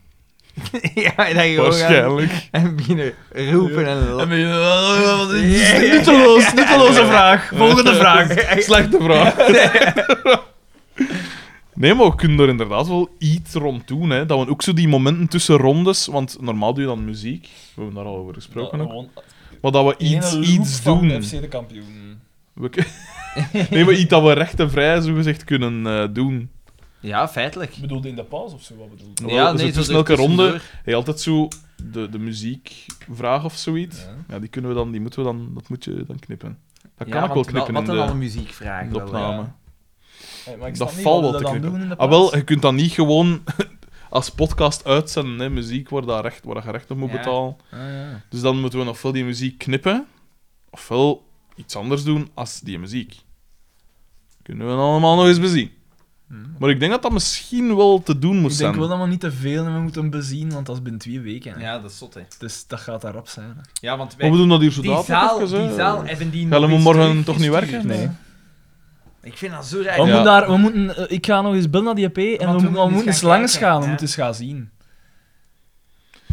Speaker 1: ja, wij daar gewoon gaan
Speaker 2: Waarschijnlijk.
Speaker 1: en beginnen roepen en
Speaker 3: En
Speaker 1: lachen.
Speaker 3: ben je- Nutteloos, nutteloze vraag. Volgende vraag.
Speaker 2: Slechte vraag. Nee, maar we kunnen er inderdaad wel iets rond doen. Hè. Dat we ook zo die momenten tussen rondes... Want normaal doe je dan muziek. We hebben daar al over gesproken.
Speaker 8: Eh,
Speaker 2: ook. Maar dat we iets, iets doen.
Speaker 8: FC de kampioen.
Speaker 2: We kun- nee, maar iets dat we recht en vrij zogezegd kunnen eh, doen.
Speaker 4: Ja, feitelijk.
Speaker 8: Ik bedoelde in de pauze of zo, wat bedoelde
Speaker 2: Ja,
Speaker 4: Ja,
Speaker 2: dus
Speaker 4: nee,
Speaker 2: het
Speaker 4: zo
Speaker 2: is elke
Speaker 4: ertussendoor.
Speaker 2: ronde. Hey, altijd zo de, de muziekvraag of zoiets.
Speaker 8: Eh,
Speaker 2: Ja. die kunnen we dan... Die moeten we dan... Dat moet je dan knippen. Dat
Speaker 4: Ja,
Speaker 2: kan ik wel
Speaker 4: want
Speaker 2: knippen
Speaker 4: Wat
Speaker 2: in
Speaker 4: dan al
Speaker 2: de,
Speaker 4: muziekvraag
Speaker 2: in de
Speaker 4: wel, ja.
Speaker 2: opname.
Speaker 8: Hey, maar ik
Speaker 2: Dat
Speaker 8: snap niet
Speaker 2: valt
Speaker 8: wat
Speaker 2: wel
Speaker 8: we dan
Speaker 2: te knippen.
Speaker 8: doen in de
Speaker 2: Ah,
Speaker 8: pauze.
Speaker 2: wel, je kunt dat niet gewoon als podcast uitzenden, hè, muziek waar, dat recht, waar dat je recht op moet
Speaker 4: Ja.
Speaker 2: betalen.
Speaker 4: ja.
Speaker 2: Dus dan moeten we ofwel die muziek knippen, ofwel iets anders doen als die muziek. Kunnen we allemaal nog eens bezien. Maar ik denk dat dat misschien wel te doen moet
Speaker 3: Ik
Speaker 2: zijn.
Speaker 3: denk wel dat we niet te veel en we moeten bezien, want dat is binnen twee weken. hè.
Speaker 4: Ja, dat is zot, hè.
Speaker 3: Dus dat gaat daar rap zijn. hè.
Speaker 4: Ja, want wij-
Speaker 2: Maar we doen dat hier zo
Speaker 4: die
Speaker 2: dadelijk
Speaker 4: zaal,
Speaker 2: even, eh, hè.
Speaker 4: die zaal hebben die
Speaker 2: Gaan
Speaker 4: nog
Speaker 2: we
Speaker 4: eens
Speaker 2: morgen toch niet
Speaker 4: teruggestuurd.
Speaker 2: werken?
Speaker 3: Nee.
Speaker 4: Ik vind dat zo raar.
Speaker 2: Ja.
Speaker 3: We moeten daar, we moeten, eh, ik ga nog eens bellen naar die EP en we
Speaker 4: we
Speaker 3: moeten, we
Speaker 4: moeten
Speaker 3: moeten
Speaker 4: eens
Speaker 3: eens
Speaker 4: gaan
Speaker 3: langs
Speaker 4: kijken,
Speaker 3: gaan, we
Speaker 4: ja.
Speaker 3: moeten eens gaan zien.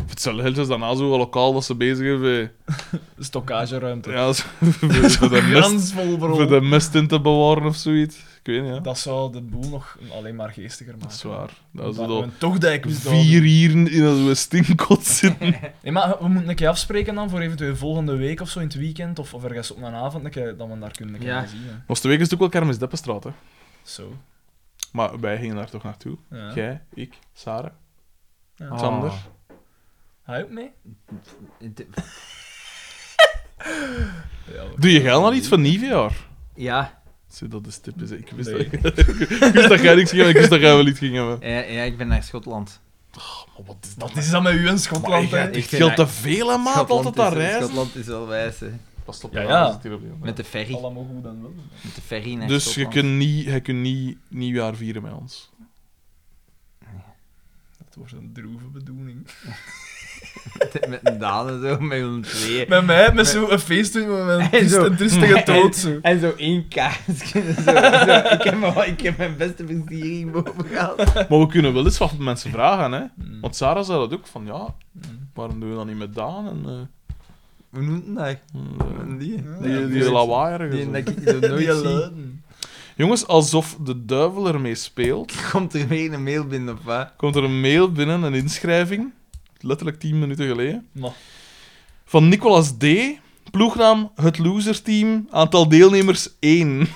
Speaker 2: Hetzelfde geld is daarna zo wel lokaal dat ze bezig is. eh,
Speaker 3: Stockageruimte.
Speaker 2: Ja, zo- voor, voor de mest,
Speaker 3: Glansvol, bro.
Speaker 2: voor de mest in te bewaren of zoiets. Ik weet niet, ja.
Speaker 3: Dat zou de boel nog alleen maar geestiger maken.
Speaker 2: Dat is waar. Dat is
Speaker 3: Omdat
Speaker 2: dat
Speaker 3: we een togdijk misdaden.
Speaker 2: vier uren in zo'n stinkot zitten.
Speaker 3: Nee, maar we moeten een keer afspreken dan voor eventueel volgende week of zo in het weekend of, of ergens op een avond een keer, dat we daar kunnen een keer
Speaker 9: Ja.
Speaker 3: zien. Hè.
Speaker 2: Was de week is het ook wel kermis Deppenstraat, hè.
Speaker 3: Zo.
Speaker 2: Maar wij gingen daar toch naartoe.
Speaker 3: Ja.
Speaker 2: Jij, ik, Sarah,
Speaker 3: Ja.
Speaker 2: Sander.
Speaker 4: Ah.
Speaker 3: Ga je ook mee? Ja, hoor.
Speaker 2: Doe je geil naar iets van Nivejaar?
Speaker 9: Ja,
Speaker 2: Zo, dat is typisch. hè. Ik wist,
Speaker 3: Nee.
Speaker 2: dat, ik wist dat jij niks ging hebben, ik wist dat jij wel iets ging hebben.
Speaker 4: Ja, ja, ik ben naar Schotland. Oh,
Speaker 2: wat is
Speaker 3: Wat is dat met u in Schotland?
Speaker 4: Maar
Speaker 3: hè?
Speaker 4: ik ga-
Speaker 2: Echt
Speaker 4: vind
Speaker 2: veel te
Speaker 4: dat-
Speaker 2: veel, hè, maat,
Speaker 4: Schotland
Speaker 2: altijd aan
Speaker 4: is-
Speaker 2: reizen.
Speaker 4: Schotland is wel wijs, hè.
Speaker 2: Pas op,
Speaker 3: Ja,
Speaker 2: ja,
Speaker 3: ja.
Speaker 2: ja.
Speaker 4: Met de ferry.
Speaker 3: Allemaal goed dan wel.
Speaker 4: Met de ferry naar
Speaker 2: Dus je
Speaker 4: Schotland.
Speaker 2: kunt, niet, je kunt niet nieuwjaar vieren met ons.
Speaker 3: Dat wordt een droeve bedoeling.
Speaker 4: Met een Daan en zo, met hun tweeën.
Speaker 3: Met mij, met zo'n feest doen we met een,
Speaker 4: En
Speaker 3: triest,
Speaker 4: zo.
Speaker 3: een triestige dood. Zo.
Speaker 4: En zo één kaars. Zo, zo. Ik, heb mijn, ik heb mijn beste versiering boven gehad.
Speaker 2: Maar we kunnen wel eens wat mensen vragen, hè.
Speaker 3: Mm.
Speaker 2: Want Sarah zei dat ook, van ja, waarom doen we dat niet met Daan? En, eh,
Speaker 4: Hoe noemt het dat?
Speaker 2: en, eh,
Speaker 4: Die,
Speaker 2: die die lawaaierige
Speaker 4: die
Speaker 2: zo.
Speaker 4: dat ik zo nooit
Speaker 3: Die
Speaker 4: zie.
Speaker 3: luiden.
Speaker 2: Jongens, alsof de duivel ermee speelt,
Speaker 4: Komt er weer een mail binnen of wat?
Speaker 2: komt er een mail binnen, een inschrijving, letterlijk 10 minuten geleden,
Speaker 3: Maar,
Speaker 2: van Nicolas D., ploegnaam Het Loser Team, aantal deelnemers 1.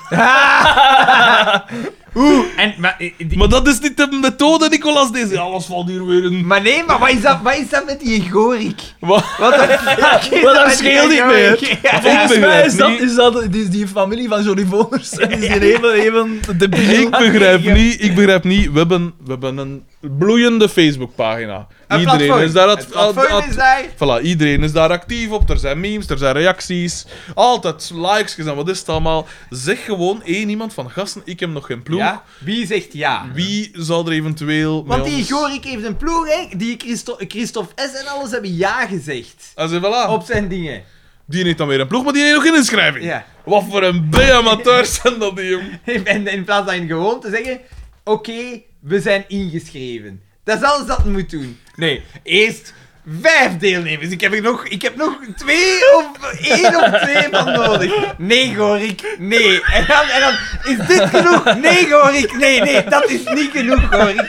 Speaker 9: Oeh, en, maar, eh, die-
Speaker 2: Maar dat is niet de methode, Nicolas D. Zeg, Alles valt hier weer in.
Speaker 4: Maar nee, maar wat is dat, wat is dat met die Gorik?
Speaker 2: Wat?
Speaker 4: Wat de fuck is
Speaker 2: Maar
Speaker 4: dat
Speaker 2: dat
Speaker 4: met die
Speaker 2: scheelt niet meer.
Speaker 4: Gorik? Ja.
Speaker 3: volgens
Speaker 2: begrijp
Speaker 3: mij is dat,
Speaker 2: niet-
Speaker 3: is dat die, die familie van Johnny Voners. En die zijn even, even de
Speaker 2: Ik begrijp niet, ik begrijp niet. We hebben, we hebben een bloeiende Facebookpagina.
Speaker 4: Een
Speaker 2: Iedereen
Speaker 4: platform.
Speaker 2: is daar
Speaker 4: Het
Speaker 2: at- at-
Speaker 4: platform is
Speaker 2: at-
Speaker 4: daar.
Speaker 2: Voilà, iedereen is daar actief op. Er zijn memes, er zijn reacties. Altijd likes en wat is het allemaal. Zeg gewoon één iemand van gasten, ik heb nog geen ploeg.
Speaker 4: Ja, wie zegt ja?
Speaker 2: Wie zou er eventueel
Speaker 4: Want
Speaker 2: met
Speaker 4: die
Speaker 2: ons...
Speaker 4: Gorik heeft een ploeg, hè? Die Christo Christophe S. en alles hebben ja gezegd.
Speaker 2: Ah, zie, voilà.
Speaker 4: Op zijn dingen.
Speaker 2: Die heeft dan weer een ploeg, maar die heeft nog geen inschrijving.
Speaker 4: Ja.
Speaker 2: Wat voor een B-amateur zijn dat die, jong.
Speaker 4: En in plaats van gewoon te zeggen: Oké, we zijn ingeschreven. Dat is alles dat moet doen. Nee, eerst vijf deelnemers. Ik heb, er nog, ik heb nog twee of één of twee van nodig. Nee, Gorik, nee. En dan, en dan is dit genoeg? Nee, Gorik, nee, nee, dat is niet genoeg, Gorik.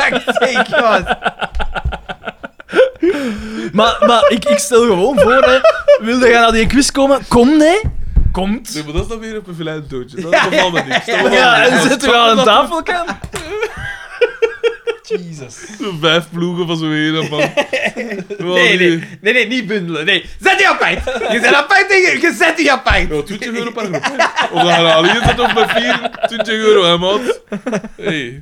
Speaker 4: Fuck sake, gast.
Speaker 3: Maar, maar ik, ik stel gewoon voor, hè. Wilde jij naar die quiz komen? Kom, nee. Komt.
Speaker 2: Nee, maar dat is dan weer een vervelend doodje. Dat
Speaker 4: Ja,
Speaker 2: bevalt me niks. Dat bevalt me
Speaker 3: Ja,
Speaker 2: niks.
Speaker 3: en zitten we aan een tafelkant? Jesus.
Speaker 2: Zo'n Vijf ploegen van zo'n ene man. Wel,
Speaker 4: Nee,
Speaker 2: die-
Speaker 4: nee, nee, nee, niet bundelen. Nee, zet die apart. Je zet apart tegen, je zet die apart.
Speaker 2: Ja, 20 euro per groep. hè. Of dat je er alleen zit of met vier, 20 euro, hè, maat. Hey.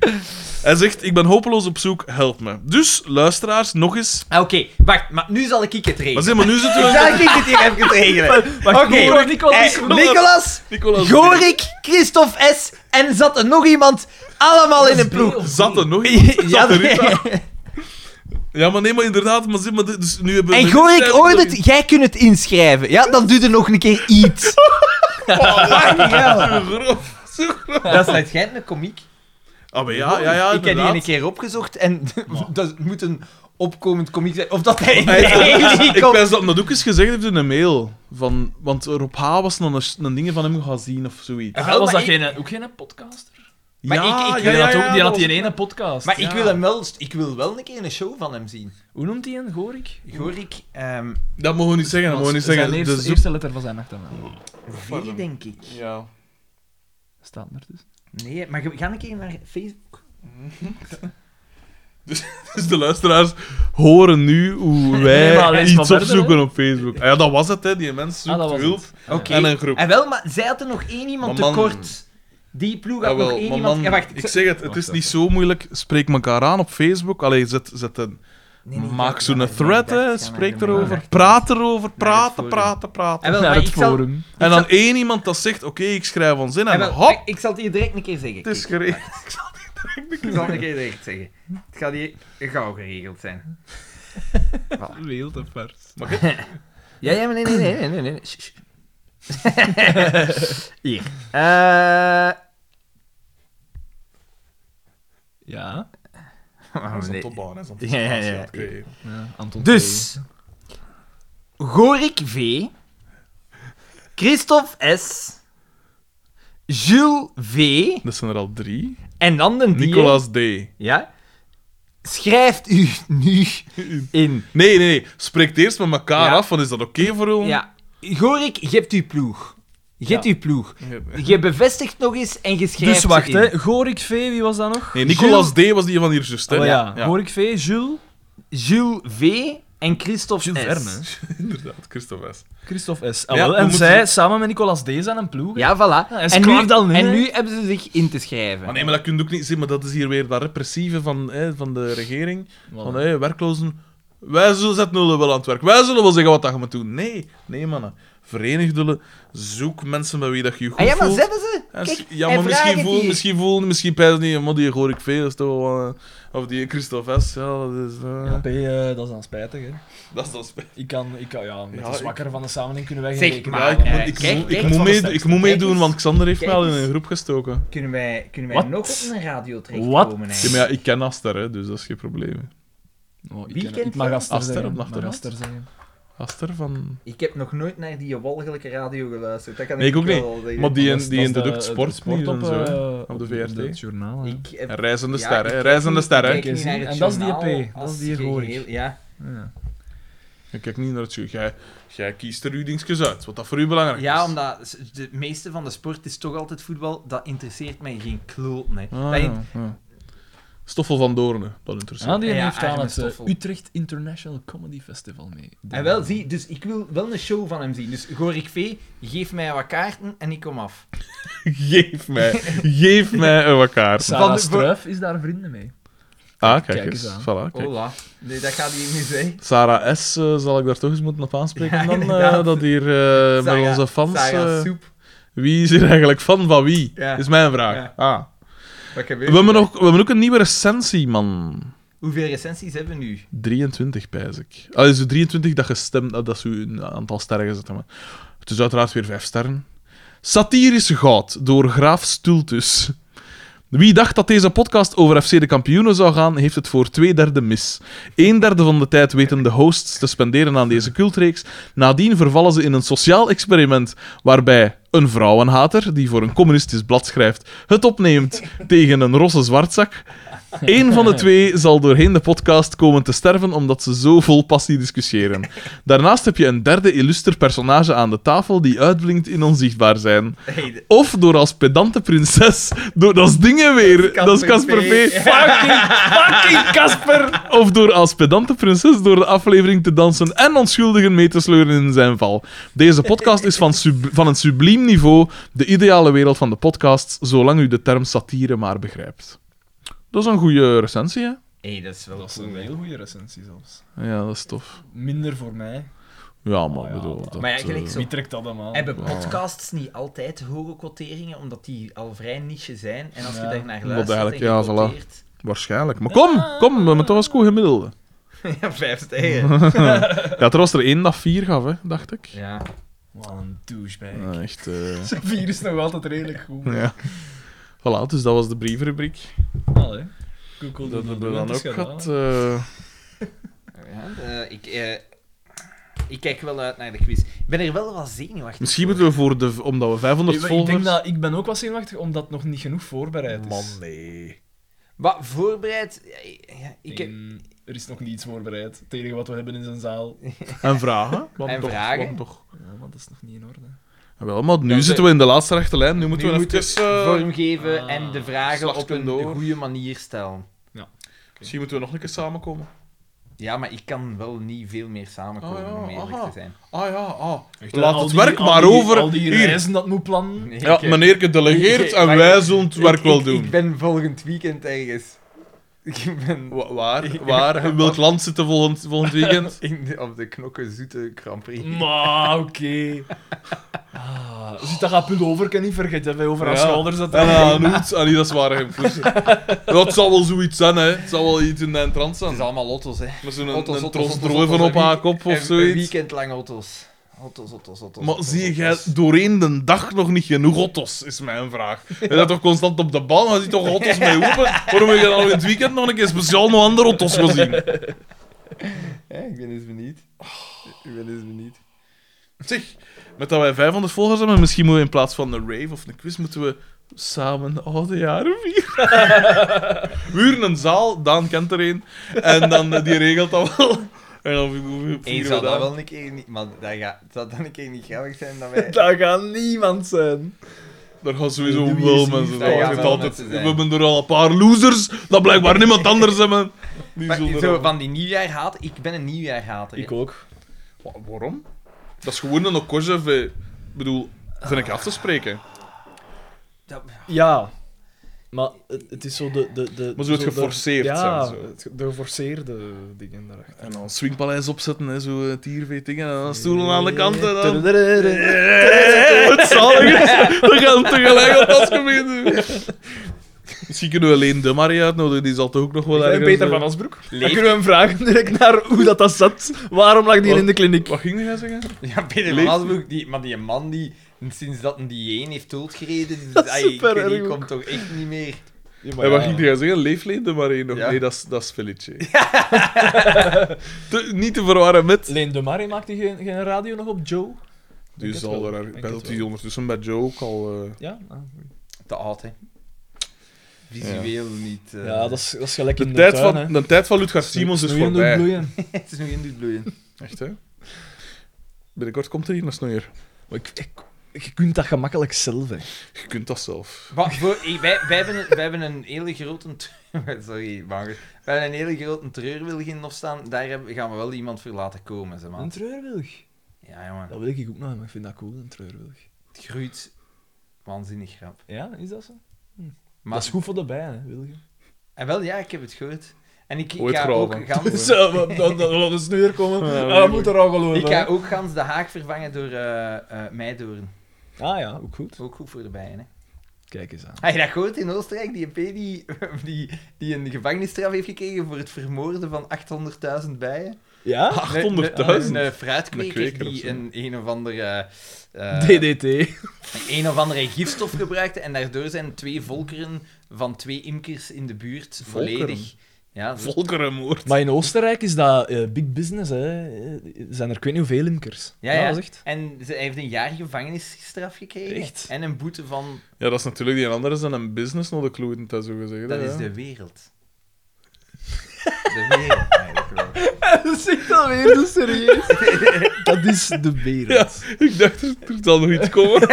Speaker 2: Hij zegt, ik ben hopeloos op zoek, help me. Dus, luisteraars, nog eens.
Speaker 4: Ah, Oké, wacht, maar nu zal ik het
Speaker 2: Maar
Speaker 4: regelen.
Speaker 2: zeg maar, nu zitten we...
Speaker 4: Zal ik het hier even regelen?
Speaker 3: Wacht,
Speaker 4: Oké,
Speaker 3: Nicolas, Nicolas,
Speaker 4: eh,
Speaker 3: Nicolas.
Speaker 2: Nicolas,
Speaker 4: Nicolas, Gorik, Christophe S. en zat er nog iemand allemaal in een ploeg.
Speaker 2: Zat er nog iemand? Zat
Speaker 4: Ja,
Speaker 2: er niet?
Speaker 4: nee.
Speaker 2: Ja, maar nee, maar inderdaad, maar zeg maar... dit- Dus nu hebben we
Speaker 4: En
Speaker 2: een
Speaker 4: Gorik
Speaker 2: inschrijving
Speaker 4: hoorde
Speaker 2: erin.
Speaker 4: het, jij kunt het inschrijven. Ja, dan doe er nog een keer iets. Oh,
Speaker 2: Zo grof, zo grof.
Speaker 4: Dat is uitschijnt een komiek.
Speaker 2: Ah, maar ja, ja, ja,
Speaker 4: ik heb die
Speaker 2: inderdaad.
Speaker 4: een keer opgezocht en dat moet een opkomend komiek zijn. Of dat hij
Speaker 2: Hij heeft dat-
Speaker 4: nee, die
Speaker 2: ik
Speaker 4: komt.
Speaker 2: wens dat hem dat ook eens gezegd heeft in een mail. Van, want Rob H. was dan een, een ding van hem gaan zien of zoiets.
Speaker 4: Wel,
Speaker 3: was
Speaker 4: maar
Speaker 3: dat
Speaker 4: ik-
Speaker 3: geen, ook geen podcaster?
Speaker 4: Maar ik- ik-
Speaker 3: die had, ook, die,
Speaker 2: dat
Speaker 3: had die
Speaker 2: was-
Speaker 3: ene podcast.
Speaker 4: Maar ik
Speaker 2: Ja.
Speaker 4: wil hem wel, ik wil wel een keer een show van hem zien.
Speaker 3: Hoe noemt die een? Gorik?
Speaker 4: Gorik, ehm
Speaker 2: Dat mogen we niet zeggen, dat mogen we niet zeggen.
Speaker 3: Zijn eerste,
Speaker 2: De zoek-
Speaker 3: eerste letter van zijn achternaam.
Speaker 4: V denk ik.
Speaker 2: Ja.
Speaker 3: Staat er dus.
Speaker 4: Nee, maar we gaan een keer naar Facebook.
Speaker 2: Dus de luisteraars horen nu hoe
Speaker 3: Nee,
Speaker 2: wij
Speaker 3: maar lees maar
Speaker 2: iets
Speaker 3: verder,
Speaker 2: opzoeken op Facebook. Ah Ja, dat was het, hè. Die mens
Speaker 3: Ah,
Speaker 2: zoekt
Speaker 3: dat was
Speaker 2: hulp
Speaker 3: het.
Speaker 4: Oké.
Speaker 2: en een groep.
Speaker 4: En Ah, wel, maar zij had er nog één iemand
Speaker 2: Maar man-
Speaker 4: tekort. Die ploeg had
Speaker 2: Jawel,
Speaker 4: nog één
Speaker 2: maar
Speaker 4: iemand...
Speaker 2: man,
Speaker 4: Ja, wacht.
Speaker 2: ik zeg het, het is niet zo moeilijk. Spreek elkaar aan op Facebook. Allee, zet, zet een,
Speaker 4: Nee, nee,
Speaker 2: maak
Speaker 4: ga-
Speaker 2: zo'n
Speaker 4: ga-
Speaker 2: thread,
Speaker 4: ga- ga-
Speaker 2: hè.
Speaker 4: ga-
Speaker 2: Spreek
Speaker 4: ga- ga-
Speaker 2: erover.
Speaker 4: ga-
Speaker 2: Praat erover. Praten,
Speaker 4: forum.
Speaker 2: praten, praten.
Speaker 4: En Ah, wel,
Speaker 3: Naar
Speaker 4: maar
Speaker 3: het
Speaker 4: ik zal...
Speaker 3: forum.
Speaker 2: En dan
Speaker 4: ik zal-
Speaker 2: één iemand dat zegt, oké, ik schrijf ons in.
Speaker 4: en
Speaker 2: En
Speaker 4: wel,
Speaker 2: hop,
Speaker 4: ik- ik zal het hier direct een keer zeggen.
Speaker 2: het is
Speaker 4: Kijk,
Speaker 2: geregeld.
Speaker 4: Ik zal het een keer direct zeggen. Het gaat hier gauw geregeld zijn.
Speaker 3: Heel te vers.
Speaker 4: Ja, ja, maar nee, nee, nee, nee, nee, nee. Shh, shh. hier. Eh...
Speaker 3: Ja.
Speaker 2: Dat is een
Speaker 4: nee.
Speaker 2: topbaan, hè? dat is
Speaker 4: Ja,
Speaker 2: een
Speaker 4: ja,
Speaker 2: topbaan,
Speaker 4: ja.
Speaker 2: oké.
Speaker 1: Ja, Anton
Speaker 4: Dus, Gorik V, Christophe S, Jules V,
Speaker 2: Dat zijn er al drie.
Speaker 4: en dan de die-
Speaker 2: Nicolaas D.
Speaker 4: Ja? Schrijft u nu in.
Speaker 2: Nee, nee, nee. Spreekt eerst met elkaar
Speaker 4: Ja.
Speaker 2: af van is dat oké voor u?
Speaker 4: Ja. Gorik, geeft uw ploeg. Geeft uw ploeg. Je bevestigt nog eens en je schrijft
Speaker 1: Dus wacht,
Speaker 4: ze in.
Speaker 1: hè. Gorik V, wie was dat nog?
Speaker 2: Nee, Nicolaas D was die van hier zus, hè?
Speaker 1: Oh ja, Gorik V, Jules,
Speaker 4: Jules V en Christophe
Speaker 1: Jules
Speaker 4: S.
Speaker 1: Verne.
Speaker 2: Inderdaad, Christophe S.
Speaker 1: Christophe S. Ah,
Speaker 2: Ja,
Speaker 1: wel.
Speaker 2: we
Speaker 1: En
Speaker 2: moeten-
Speaker 1: zij, samen met Nicolas D, zijn een ploeg. hè?
Speaker 4: Ja, voilà.
Speaker 1: Ja, en ze
Speaker 4: en, nu,
Speaker 1: klaagt al niet,
Speaker 4: en
Speaker 1: hè?
Speaker 4: nu hebben ze zich in te schrijven.
Speaker 2: Maar nee, maar dat kun je ook niet zien, maar dat is hier weer dat repressieve van, hè, van de regering. Van
Speaker 1: Voilà.
Speaker 2: hé, werklozen, wij zullen zetten jullie wel aan het werk. Wij zullen wel zeggen wat dat je moet doen. Nee, nee mannen. Verenig jullie, zoek mensen bij wie dat je je goed
Speaker 4: ah ja, maar
Speaker 2: voelt.
Speaker 4: zetten ze?
Speaker 2: Ja,
Speaker 4: Kijk,
Speaker 2: ja,
Speaker 4: hij
Speaker 2: maar misschien
Speaker 4: vraagt
Speaker 2: voel,
Speaker 4: hier.
Speaker 2: misschien voel, misschien pijs niet, maar die hoor ik veel, dat is toch wel, eh, Of die Christophe S, ja, dat is... eh,
Speaker 3: Ja, P, eh, dat is dan spijtig, hè.
Speaker 2: Dat is dan spijt.
Speaker 3: Ik kan, ik kan ja, met
Speaker 2: Ja,
Speaker 3: de
Speaker 2: ik-
Speaker 3: zwakker van de samenleving kunnen wij
Speaker 4: Zeg
Speaker 3: geen rekening
Speaker 2: Ja,
Speaker 4: maar,
Speaker 2: ik,
Speaker 3: houden.
Speaker 4: eh,
Speaker 2: moet- ik,
Speaker 4: kijk,
Speaker 2: moet-
Speaker 4: kijk,
Speaker 2: ik moet,
Speaker 4: van de
Speaker 2: mee,
Speaker 4: sterkste.
Speaker 2: ik moet meedoen,
Speaker 4: Kijk
Speaker 2: want Xander heeft
Speaker 4: Kijk
Speaker 2: mij al in
Speaker 4: eens.
Speaker 2: een groep gestoken.
Speaker 10: Kunnen wij, kunnen wij
Speaker 1: Wat?
Speaker 10: nog op een radio
Speaker 1: Wat?
Speaker 10: terechtkomen?
Speaker 2: Ja, maar
Speaker 10: eigenlijk?
Speaker 2: ja, ik ken Aster, hè, dus dat is geen probleem.
Speaker 1: Oh, ik,
Speaker 10: Wie
Speaker 1: ken-
Speaker 10: kent
Speaker 1: ik mag
Speaker 10: dat?
Speaker 1: Aster
Speaker 2: Aster
Speaker 1: zeggen.
Speaker 2: op Nacht
Speaker 1: mag
Speaker 2: en
Speaker 1: Aster zeggen.
Speaker 2: Aster van...
Speaker 10: Ik heb nog nooit naar die walgelijke radio geluisterd. Dat kan
Speaker 2: Nee, ik ook
Speaker 10: wel zeggen.
Speaker 2: Maar die,
Speaker 1: Dat
Speaker 2: in-
Speaker 1: is-
Speaker 2: die
Speaker 1: dat
Speaker 2: in
Speaker 1: is
Speaker 2: de
Speaker 1: de-
Speaker 2: duct
Speaker 1: de
Speaker 2: sport,
Speaker 1: sport
Speaker 2: niet
Speaker 1: op,
Speaker 2: en zo, hè.
Speaker 1: eh,
Speaker 2: op de VRT.
Speaker 1: Het journaal, ja.
Speaker 10: Ik heb...
Speaker 2: Een reizende
Speaker 10: ja,
Speaker 2: ster,
Speaker 10: ik
Speaker 2: hè.
Speaker 10: kijk
Speaker 2: Reizende
Speaker 10: niet-
Speaker 2: ster,
Speaker 10: ik
Speaker 2: hè.
Speaker 10: kijk niet naar het
Speaker 1: En dat is die
Speaker 10: journaal
Speaker 1: EP, dat
Speaker 10: als
Speaker 1: is die hier hoor ik.
Speaker 10: geheel. Ja.
Speaker 2: Ik kijk niet naar het show. Jij, jij kiest er u dingetjes uit, wat dat voor u belangrijk is.
Speaker 4: Ja, omdat s- de meeste van de sport is toch altijd voetbal. Dat interesseert mij geen kloot, nee.
Speaker 2: Ah,
Speaker 4: Dat in-
Speaker 2: ja, ja. Stoffel van Doornen, dat interesseert
Speaker 1: Ah, die
Speaker 4: Ja,
Speaker 1: heeft aan
Speaker 4: Arne
Speaker 1: het eh,
Speaker 4: Stoffel.
Speaker 1: Utrecht International Comedy Festival mee.
Speaker 4: En wel, zie, dus ik wil wel een show van hem zien. Dus Gorik V, geef mij wat kaarten en ik kom af.
Speaker 2: me. Geef mij, geef mij een elkaar.
Speaker 1: Sarah
Speaker 4: Van de-
Speaker 1: Struif is daar vrienden mee.
Speaker 2: Ah, kijk
Speaker 1: Kijk
Speaker 2: eens.
Speaker 1: eens aan.
Speaker 2: Voilà, kijk.
Speaker 4: Hola.
Speaker 10: Nee, dat gaat hij niet zeggen.
Speaker 2: Sarah S. eh, zal ik daar toch eens moeten op aanspreken
Speaker 10: Ja,
Speaker 2: dan? eh,
Speaker 10: inderdaad.
Speaker 2: dat hier
Speaker 10: Sarah-
Speaker 2: eh, met onze fans...
Speaker 10: Sarah
Speaker 2: eh,
Speaker 10: Soep.
Speaker 2: wie is hier eigenlijk fan van wie?
Speaker 10: Ja.
Speaker 2: Is mijn vraag. Ah.
Speaker 10: Wat
Speaker 2: We
Speaker 10: gebeurt er?
Speaker 2: hebben, nog, we hebben ook een nieuwe recensie, man.
Speaker 4: Hoeveel recensies hebben we nu?
Speaker 2: 23, pijs ik. Ah, is het 23 dat gestemd dat dat zo een aantal sterren gezet hebben. Het is uiteraard weer 5 sterren. Satirisch goud door Graaf Stultus. Wie dacht dat deze podcast over FC de kampioenen zou gaan, heeft het voor twee derde mis. Een derde van de tijd weten de hosts te spenderen aan deze cultreeks. Nadien vervallen ze in een sociaal experiment waarbij een vrouwenhater, die voor een communistisch blad schrijft, het opneemt tegen een rosse zwartzak. Eén van de twee zal doorheen de podcast komen te sterven omdat ze zo vol passie discussiëren. Daarnaast heb je een derde illuster personage aan de tafel die uitblinkt in onzichtbaar zijn. Of door als pedante prinses, door, dat is dingen weer, dat is Casper P. Fucking, fucking Casper! Of door als pedante prinses door de aflevering te dansen en onschuldigen mee te sleuren in zijn val. Deze podcast is van, sub- van een subliem niveau, de ideale wereld van de podcasts, zolang u de term satire maar begrijpt. Dat is een goede recensie, hè?
Speaker 4: Hé, dat is wel
Speaker 3: Dat is een heel goede recensie zelfs.
Speaker 2: Ja, dat is tof.
Speaker 3: Minder voor mij.
Speaker 2: Ja, maar
Speaker 3: Oh ja,
Speaker 2: bedoel...
Speaker 3: maar-
Speaker 2: Dat,
Speaker 4: Maar ja, gelijk
Speaker 2: eh,
Speaker 4: zo.
Speaker 3: Wie trekt dat dan aan?
Speaker 4: Hebben
Speaker 2: Wow.
Speaker 4: podcasts niet altijd hoge quoteringen, omdat die al vrij niche zijn? En als je
Speaker 3: Ja.
Speaker 4: daar naar
Speaker 2: Omdat
Speaker 4: luistert
Speaker 2: eigenlijk-
Speaker 4: en je
Speaker 2: ja, voilà.
Speaker 4: quoteert-
Speaker 2: Waarschijnlijk. Maar kom, kom, we hebben toch eens goed gemiddelde.
Speaker 4: ja, vijf sterren.
Speaker 2: Ja, er was er één dat vier gaf, hè, dacht ik.
Speaker 4: Ja.
Speaker 3: Wat een douchebag.
Speaker 2: Ja, echt... eh,
Speaker 3: Zijn vier is nog altijd redelijk goed.
Speaker 2: Ja. Voilà, dus dat was de brievenrubriek.
Speaker 3: Allee. Google
Speaker 2: Dat hebben we
Speaker 3: doen,
Speaker 2: dan
Speaker 3: het
Speaker 2: ook
Speaker 3: is gedaan,
Speaker 2: gehad.
Speaker 3: hè.
Speaker 2: eh.
Speaker 4: Ja, eh, ik, eh, ik kijk wel uit naar de quiz. Ik ben er wel wat zenuwachtig
Speaker 2: Misschien
Speaker 4: voor.
Speaker 2: moeten we voor de... Omdat we 500
Speaker 3: Ik, ik
Speaker 2: volgers...
Speaker 3: denk dat ik ben ook wat zenuwachtig omdat het nog niet genoeg voorbereid is.
Speaker 4: Oh,
Speaker 2: Man, nee.
Speaker 4: Wat voorbereid... Ja, ja, ik heb...
Speaker 3: En Er is nog niets voorbereid. Het enige wat we hebben is een zaal.
Speaker 2: En vragen? Want
Speaker 4: En
Speaker 2: toch,
Speaker 4: vragen?
Speaker 2: want toch.
Speaker 3: Ja, maar dat is nog niet in orde.
Speaker 2: Wel, maar nu
Speaker 4: Ja,
Speaker 2: zitten we in de laatste rechte lijn. Nu moeten
Speaker 4: Nu
Speaker 2: we
Speaker 4: moeten
Speaker 2: even... eh,
Speaker 4: vormgeven en de vragen op een
Speaker 2: slagkunde hoor.
Speaker 4: goede manier stellen.
Speaker 2: Misschien moeten we nog een keer samenkomen.
Speaker 4: Ja, maar ik kan wel niet veel meer samenkomen,
Speaker 2: Oh ja,
Speaker 4: om eerlijk
Speaker 2: aha.
Speaker 4: te zijn.
Speaker 2: Ah ja, ah.
Speaker 3: Echt,
Speaker 2: Laat
Speaker 3: al
Speaker 2: het
Speaker 3: die-
Speaker 2: werk
Speaker 3: al
Speaker 2: maar
Speaker 3: die-
Speaker 2: over.
Speaker 3: Al die
Speaker 2: Hier.
Speaker 3: reizen dat moet plannen.
Speaker 4: Nee,
Speaker 2: Ja,
Speaker 4: ik, eh,
Speaker 2: meneer gedelegeerd en
Speaker 4: Maar-
Speaker 2: wij zullen het werk
Speaker 4: ik-
Speaker 2: wel
Speaker 4: ik-
Speaker 2: doen.
Speaker 4: Ik ben volgend weekend ergens. Ik ben
Speaker 2: Wa- Waar? Waar? In welk land zitten volgend, volgend weekend?
Speaker 4: in de- op de knokken zoete Grand Prix.
Speaker 3: Maar, oké. Ah, zit dat gaat pullover, kan niet vergeten. Wij over haar
Speaker 2: Ja.
Speaker 3: schouders dat
Speaker 2: En aan een hoed. Ah, nee, dat is waar. Geen voeten. dat zal wel zoiets zijn, hè. Het zal wel iets in de trant
Speaker 4: Het
Speaker 2: zijn.
Speaker 4: is allemaal auto's, hè.
Speaker 2: Met zo'n
Speaker 4: Otto's,
Speaker 2: een
Speaker 4: otto's,
Speaker 2: tros
Speaker 4: otto's,
Speaker 2: droven
Speaker 4: otto's,
Speaker 2: op haar
Speaker 4: wie-
Speaker 2: kop of
Speaker 4: Een
Speaker 2: zoiets.
Speaker 4: weekend lang auto's. Ottos, ottos, ottos.
Speaker 2: Maar zie jij doorheen de dag nog niet genoeg Ottos, is mijn vraag. Je bent toch constant op de bal, maar je ziet toch Ottos mee roepen? Waarom heb je dan in het weekend nog een keer speciaal nog andere Ottos gezien?
Speaker 4: Ja, ik ben eens benieuwd. Ik ben eens benieuwd.
Speaker 2: Zeg, met dat wij 500 volgers hebben, misschien moeten we in plaats van een rave of een quiz, moeten we samen de oude jaren vieren. we huren een zaal, Daan kent er een, en dan eh, die regelt dat wel. En dan vieren
Speaker 4: Eén
Speaker 2: we
Speaker 4: zou dat
Speaker 2: dat.
Speaker 4: wel een keer niet... Maar dat gaat, zou dat een keer niet grappig zijn dat wij...
Speaker 3: Dat gaat niemand zijn.
Speaker 2: Er gaan sowieso
Speaker 3: Louis
Speaker 2: wel
Speaker 3: is
Speaker 2: mensen
Speaker 4: niet-
Speaker 2: zijn.
Speaker 4: Ja,
Speaker 2: Het
Speaker 4: ja,
Speaker 2: is
Speaker 4: wel
Speaker 2: altijd-
Speaker 4: mensen
Speaker 2: We
Speaker 4: zijn.
Speaker 2: hebben er al een paar losers, dat blijkbaar niemand anders hebben. Die
Speaker 4: Maar
Speaker 2: zullen
Speaker 4: zo
Speaker 2: er-
Speaker 4: van die nieuwjaar haat, ik ben een nieuwjaar hater.
Speaker 3: Ik ook.
Speaker 2: Wa- waarom? Dat is gewoon een Okojev. eh. Ik bedoel, vind ik af te spreken.
Speaker 3: Ja. Maar het, het is zo de... de, de
Speaker 2: Maar zo het
Speaker 3: de-
Speaker 2: geforceerd
Speaker 3: ja,
Speaker 2: zijn, zo.
Speaker 3: het ge- de geforceerde dingen daarachter.
Speaker 2: En dan een swingpaleis opzetten, hè, zo eh, tierveet dingen. En dan stoelen aan de kant. En dan...
Speaker 3: Ehm,
Speaker 2: Het zalige is, we gaan tegelijk op dat gebied. Misschien kunnen we alleen de Maria uitnodigen, die zal toch ook nog wel
Speaker 3: En
Speaker 2: ergens,
Speaker 3: Peter
Speaker 2: eh,
Speaker 3: van Asbroek. Dan kunnen we hem Ehm, vragen direct naar hoe dat, dat zat. Waarom lag die
Speaker 2: Wat?
Speaker 3: in de kliniek?
Speaker 2: Wat ging jij zeggen?
Speaker 4: Ja, Peter van
Speaker 2: Leeft-
Speaker 4: Asbroek, die, maar die man die sinds dat een dieet heeft doodgereden, dus,
Speaker 3: Dat is
Speaker 4: ai, ik
Speaker 3: super
Speaker 4: weet niet,
Speaker 3: erg ook.
Speaker 4: komt toch echt niet meer.
Speaker 2: en Eh, wat ging jij zeggen? Leefleen de Maria nog?
Speaker 4: Ja.
Speaker 2: Nee, dat is- dat is Felice. Te- niet te verwarren met...
Speaker 3: Leen de Marie maakt die geen, geen radio nog op Joe?
Speaker 2: Dus
Speaker 3: het
Speaker 2: zal
Speaker 3: wel,
Speaker 2: er...
Speaker 3: denk
Speaker 2: Ik
Speaker 3: het
Speaker 2: ben dat
Speaker 3: wel.
Speaker 2: die ondertussen bij Joe ook al... eh,
Speaker 3: Ja, ah.
Speaker 4: Te oud, hè. Visueel niet. eh,
Speaker 3: ja dat, is, dat is gelijk
Speaker 2: De,
Speaker 3: in de
Speaker 2: tijd
Speaker 3: tuin,
Speaker 2: van,
Speaker 3: hè.
Speaker 2: de tijd van Ludgar Simons is
Speaker 3: Snoeiende
Speaker 2: voorbij.
Speaker 3: bloeien.
Speaker 4: Het is nog in dit bloeien.
Speaker 2: Echt, hè? Binnenkort komt er hier een snoeier.
Speaker 3: Maar ik, ik- je kunt dat gemakkelijk zelf, hè.
Speaker 2: Je kunt dat zelf.
Speaker 4: Maar voor- eh, wij, wij, hebben, een- wij hebben een hele grote... tre- Sorry, Marcus. Wij hebben een hele grote treurwilg in nog staan. Daar hebben, gaan we wel iemand voor laten komen, zeg maar.
Speaker 3: Een treurwilg.
Speaker 4: Ja, jongen.
Speaker 3: Dat wil ik ook nog, maar ik vind dat cool, een treurwilg.
Speaker 4: Het groeit waanzinnig rap.
Speaker 3: Ja, is dat zo?
Speaker 4: Maar,
Speaker 3: Dat is goed voor de bijen, hè, wilgen.
Speaker 4: En wel, ja, ik heb het gehoord. En ik, ik
Speaker 2: Ooit
Speaker 4: ga ook...
Speaker 2: graven.
Speaker 4: Gans,
Speaker 3: Zo, maar dan, dan laat de sneeuw komen.
Speaker 2: Ja,
Speaker 3: Ja,
Speaker 2: dat
Speaker 3: dat moet Ah, er al geloven.
Speaker 4: ik ga ook gans de haak vervangen door eh eh meidoorn.
Speaker 3: Ah ja, ook goed.
Speaker 4: Ook goed voor de bijen, hè.
Speaker 3: Kijk eens aan.
Speaker 4: Heb je dat gehoord in Oostenrijk? Die EP die, die, die een gevangenisstraf heeft gekregen voor het vermoorden van 800.000 bijen.
Speaker 3: Ja?
Speaker 2: 800.000?
Speaker 4: Een, een, een
Speaker 2: Een
Speaker 4: fruitkweker
Speaker 2: kweker of
Speaker 4: die
Speaker 2: zo.
Speaker 4: een, een of andere... eh,
Speaker 3: DDT.
Speaker 4: een of andere gifstof gebruikte en daardoor zijn twee volkeren van twee imkers in de buurt
Speaker 2: Volkeren?
Speaker 4: volledig... Ja, zo-
Speaker 2: Volkerenmoord.
Speaker 3: Maar in Oostenrijk is dat eh, big business, hè. Eh, Zijn er, ik weet niet hoeveel imkers.
Speaker 4: ja, ja.
Speaker 3: dat is echt.
Speaker 4: En ze, hij heeft een jaar gevangenisstraf gekregen.
Speaker 3: Echt?
Speaker 4: En een boete van...
Speaker 2: Ja, dat is natuurlijk die andere dan een business nog de kloeien, dat zo gezegd.
Speaker 4: Dat
Speaker 2: hè,
Speaker 4: is
Speaker 2: ja.
Speaker 4: de wereld. De wereld, eigenlijk wel.
Speaker 3: Dat zegt alweer, doe serieus. dat is de wereld.
Speaker 2: Ik dacht, er zal nog iets komen.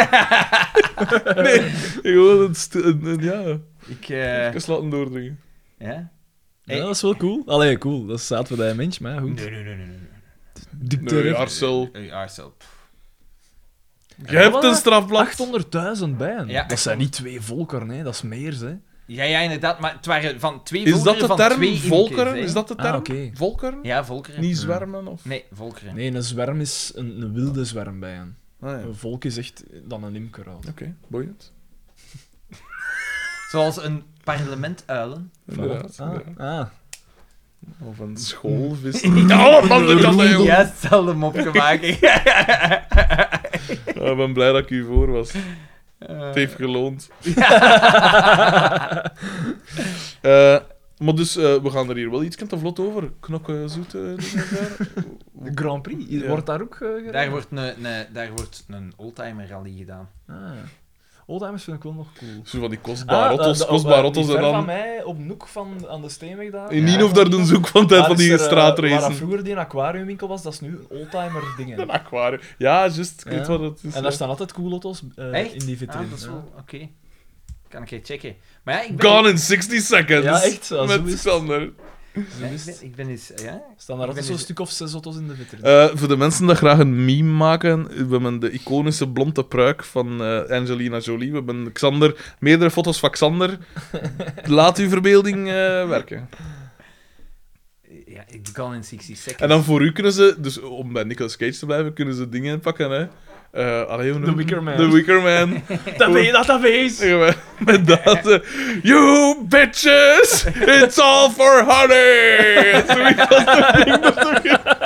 Speaker 2: nee, gewoon een, st- een, een- ja,
Speaker 4: Ik... eh,
Speaker 2: even laten doordringen.
Speaker 4: ja?
Speaker 3: Ja, dat is wel cool. Allee, cool. Dat staat voor dat mens, maar goed.
Speaker 4: nee, nee, nee. nee.
Speaker 2: Nee,
Speaker 3: Dicteur.
Speaker 2: Arcel.
Speaker 4: Hey, Arcel. Pff,
Speaker 2: Je hebt een
Speaker 3: Voilà.
Speaker 2: strafblad.
Speaker 3: 800.000 bijen.
Speaker 4: Ja,
Speaker 3: dat zijn niet twee volkeren, hè. dat is meer. Hè.
Speaker 4: Ja, ja, inderdaad, maar het waren van twee
Speaker 2: Is dat de
Speaker 4: volkeren van
Speaker 2: term?
Speaker 4: twee
Speaker 2: Volkeren?
Speaker 4: imkers, hè.
Speaker 2: Is dat de
Speaker 3: Ah,
Speaker 2: term?
Speaker 3: oké.
Speaker 2: Volkeren?
Speaker 4: Ja, volkeren.
Speaker 2: Niet zwermen? Of...
Speaker 4: Nee, volkeren.
Speaker 3: Nee, een zwerm is een, een wilde zwerm bijen.
Speaker 2: Ah, ja.
Speaker 3: Een
Speaker 2: Oké,
Speaker 3: volk is echt dan een imker. al.
Speaker 2: boeiend.
Speaker 4: Zoals een parlement uilen.
Speaker 2: Inderdaad.
Speaker 3: Ah,
Speaker 2: inderdaad.
Speaker 3: ah.
Speaker 2: Of een schoolvis. oh, man, dat kan dat, jongen.
Speaker 4: Ja, hetzelfde mopje maken.
Speaker 2: Ah, Ik ben blij dat ik u voor was. Het heeft geloond. Eh, maar dus, eh, we gaan er hier wel iets te vlot over. Knokken, zoete dingen daar.
Speaker 3: De Grand Prix,
Speaker 2: Ja.
Speaker 3: wordt daar ook eh, gereden?
Speaker 4: Daar wordt een, een, daar wordt een oldtimer rally gedaan.
Speaker 3: Ah. Oldtimers vind ik wel nog cool.
Speaker 2: Zo van die
Speaker 3: Ah,
Speaker 2: kostbare otto's,
Speaker 3: eh, de-
Speaker 2: kostbare
Speaker 3: eh,
Speaker 2: otto's
Speaker 3: die
Speaker 2: en
Speaker 3: ver van
Speaker 2: dan...
Speaker 3: mij, op Noek van, aan de Steenweg daar.
Speaker 2: In
Speaker 4: Ja.
Speaker 2: Nien of daar doen ze ook van tijd
Speaker 3: Daar
Speaker 2: van
Speaker 3: is
Speaker 2: die
Speaker 3: er, eh, Waar dat
Speaker 2: straatracen.
Speaker 3: vroeger die aquariumwinkel was, dat is nu een oldtimer ding. hè.
Speaker 2: Een aquarium. Ja, juist. Ik
Speaker 3: Ja.
Speaker 2: weet wat het is.
Speaker 3: En daar staan altijd cool auto's eh,
Speaker 4: Echt?
Speaker 3: in die
Speaker 4: Ah,
Speaker 3: vitrine.
Speaker 4: dat is
Speaker 3: ja.
Speaker 4: wel... Oké. Kan ik even checken. Maar ja, ik ben...
Speaker 2: Gone in 60 seconds.
Speaker 3: Ja, echt, ja, zo is
Speaker 2: Met
Speaker 3: het.
Speaker 2: Sander.
Speaker 4: Ja, ik, ben, ik ben eens... eh, Ja?
Speaker 3: staan daar
Speaker 4: Ik ben
Speaker 3: altijd zo'n
Speaker 4: dus-
Speaker 3: stuk of zes auto's in de vitrine.
Speaker 2: Eh, voor de mensen die graag een meme maken, we hebben de iconische blonde pruik van eh, Angelina Jolie. We hebben Xander, meerdere foto's van Xander. Laat uw verbeelding eh, werken.
Speaker 4: Ja, ik kan in 60 seconds.
Speaker 2: En dan voor u kunnen ze, dus om bij Nicolas Cage te blijven, kunnen ze dingen inpakken, hè. Eh allee, hoe noem-
Speaker 3: The Wicker Man.
Speaker 2: The Wicker Man.
Speaker 3: dat weet dat, dat weet
Speaker 2: Zeggen we Met dat. eh, you bitches! It's all for honey! Zoiets als dat ding dat ook-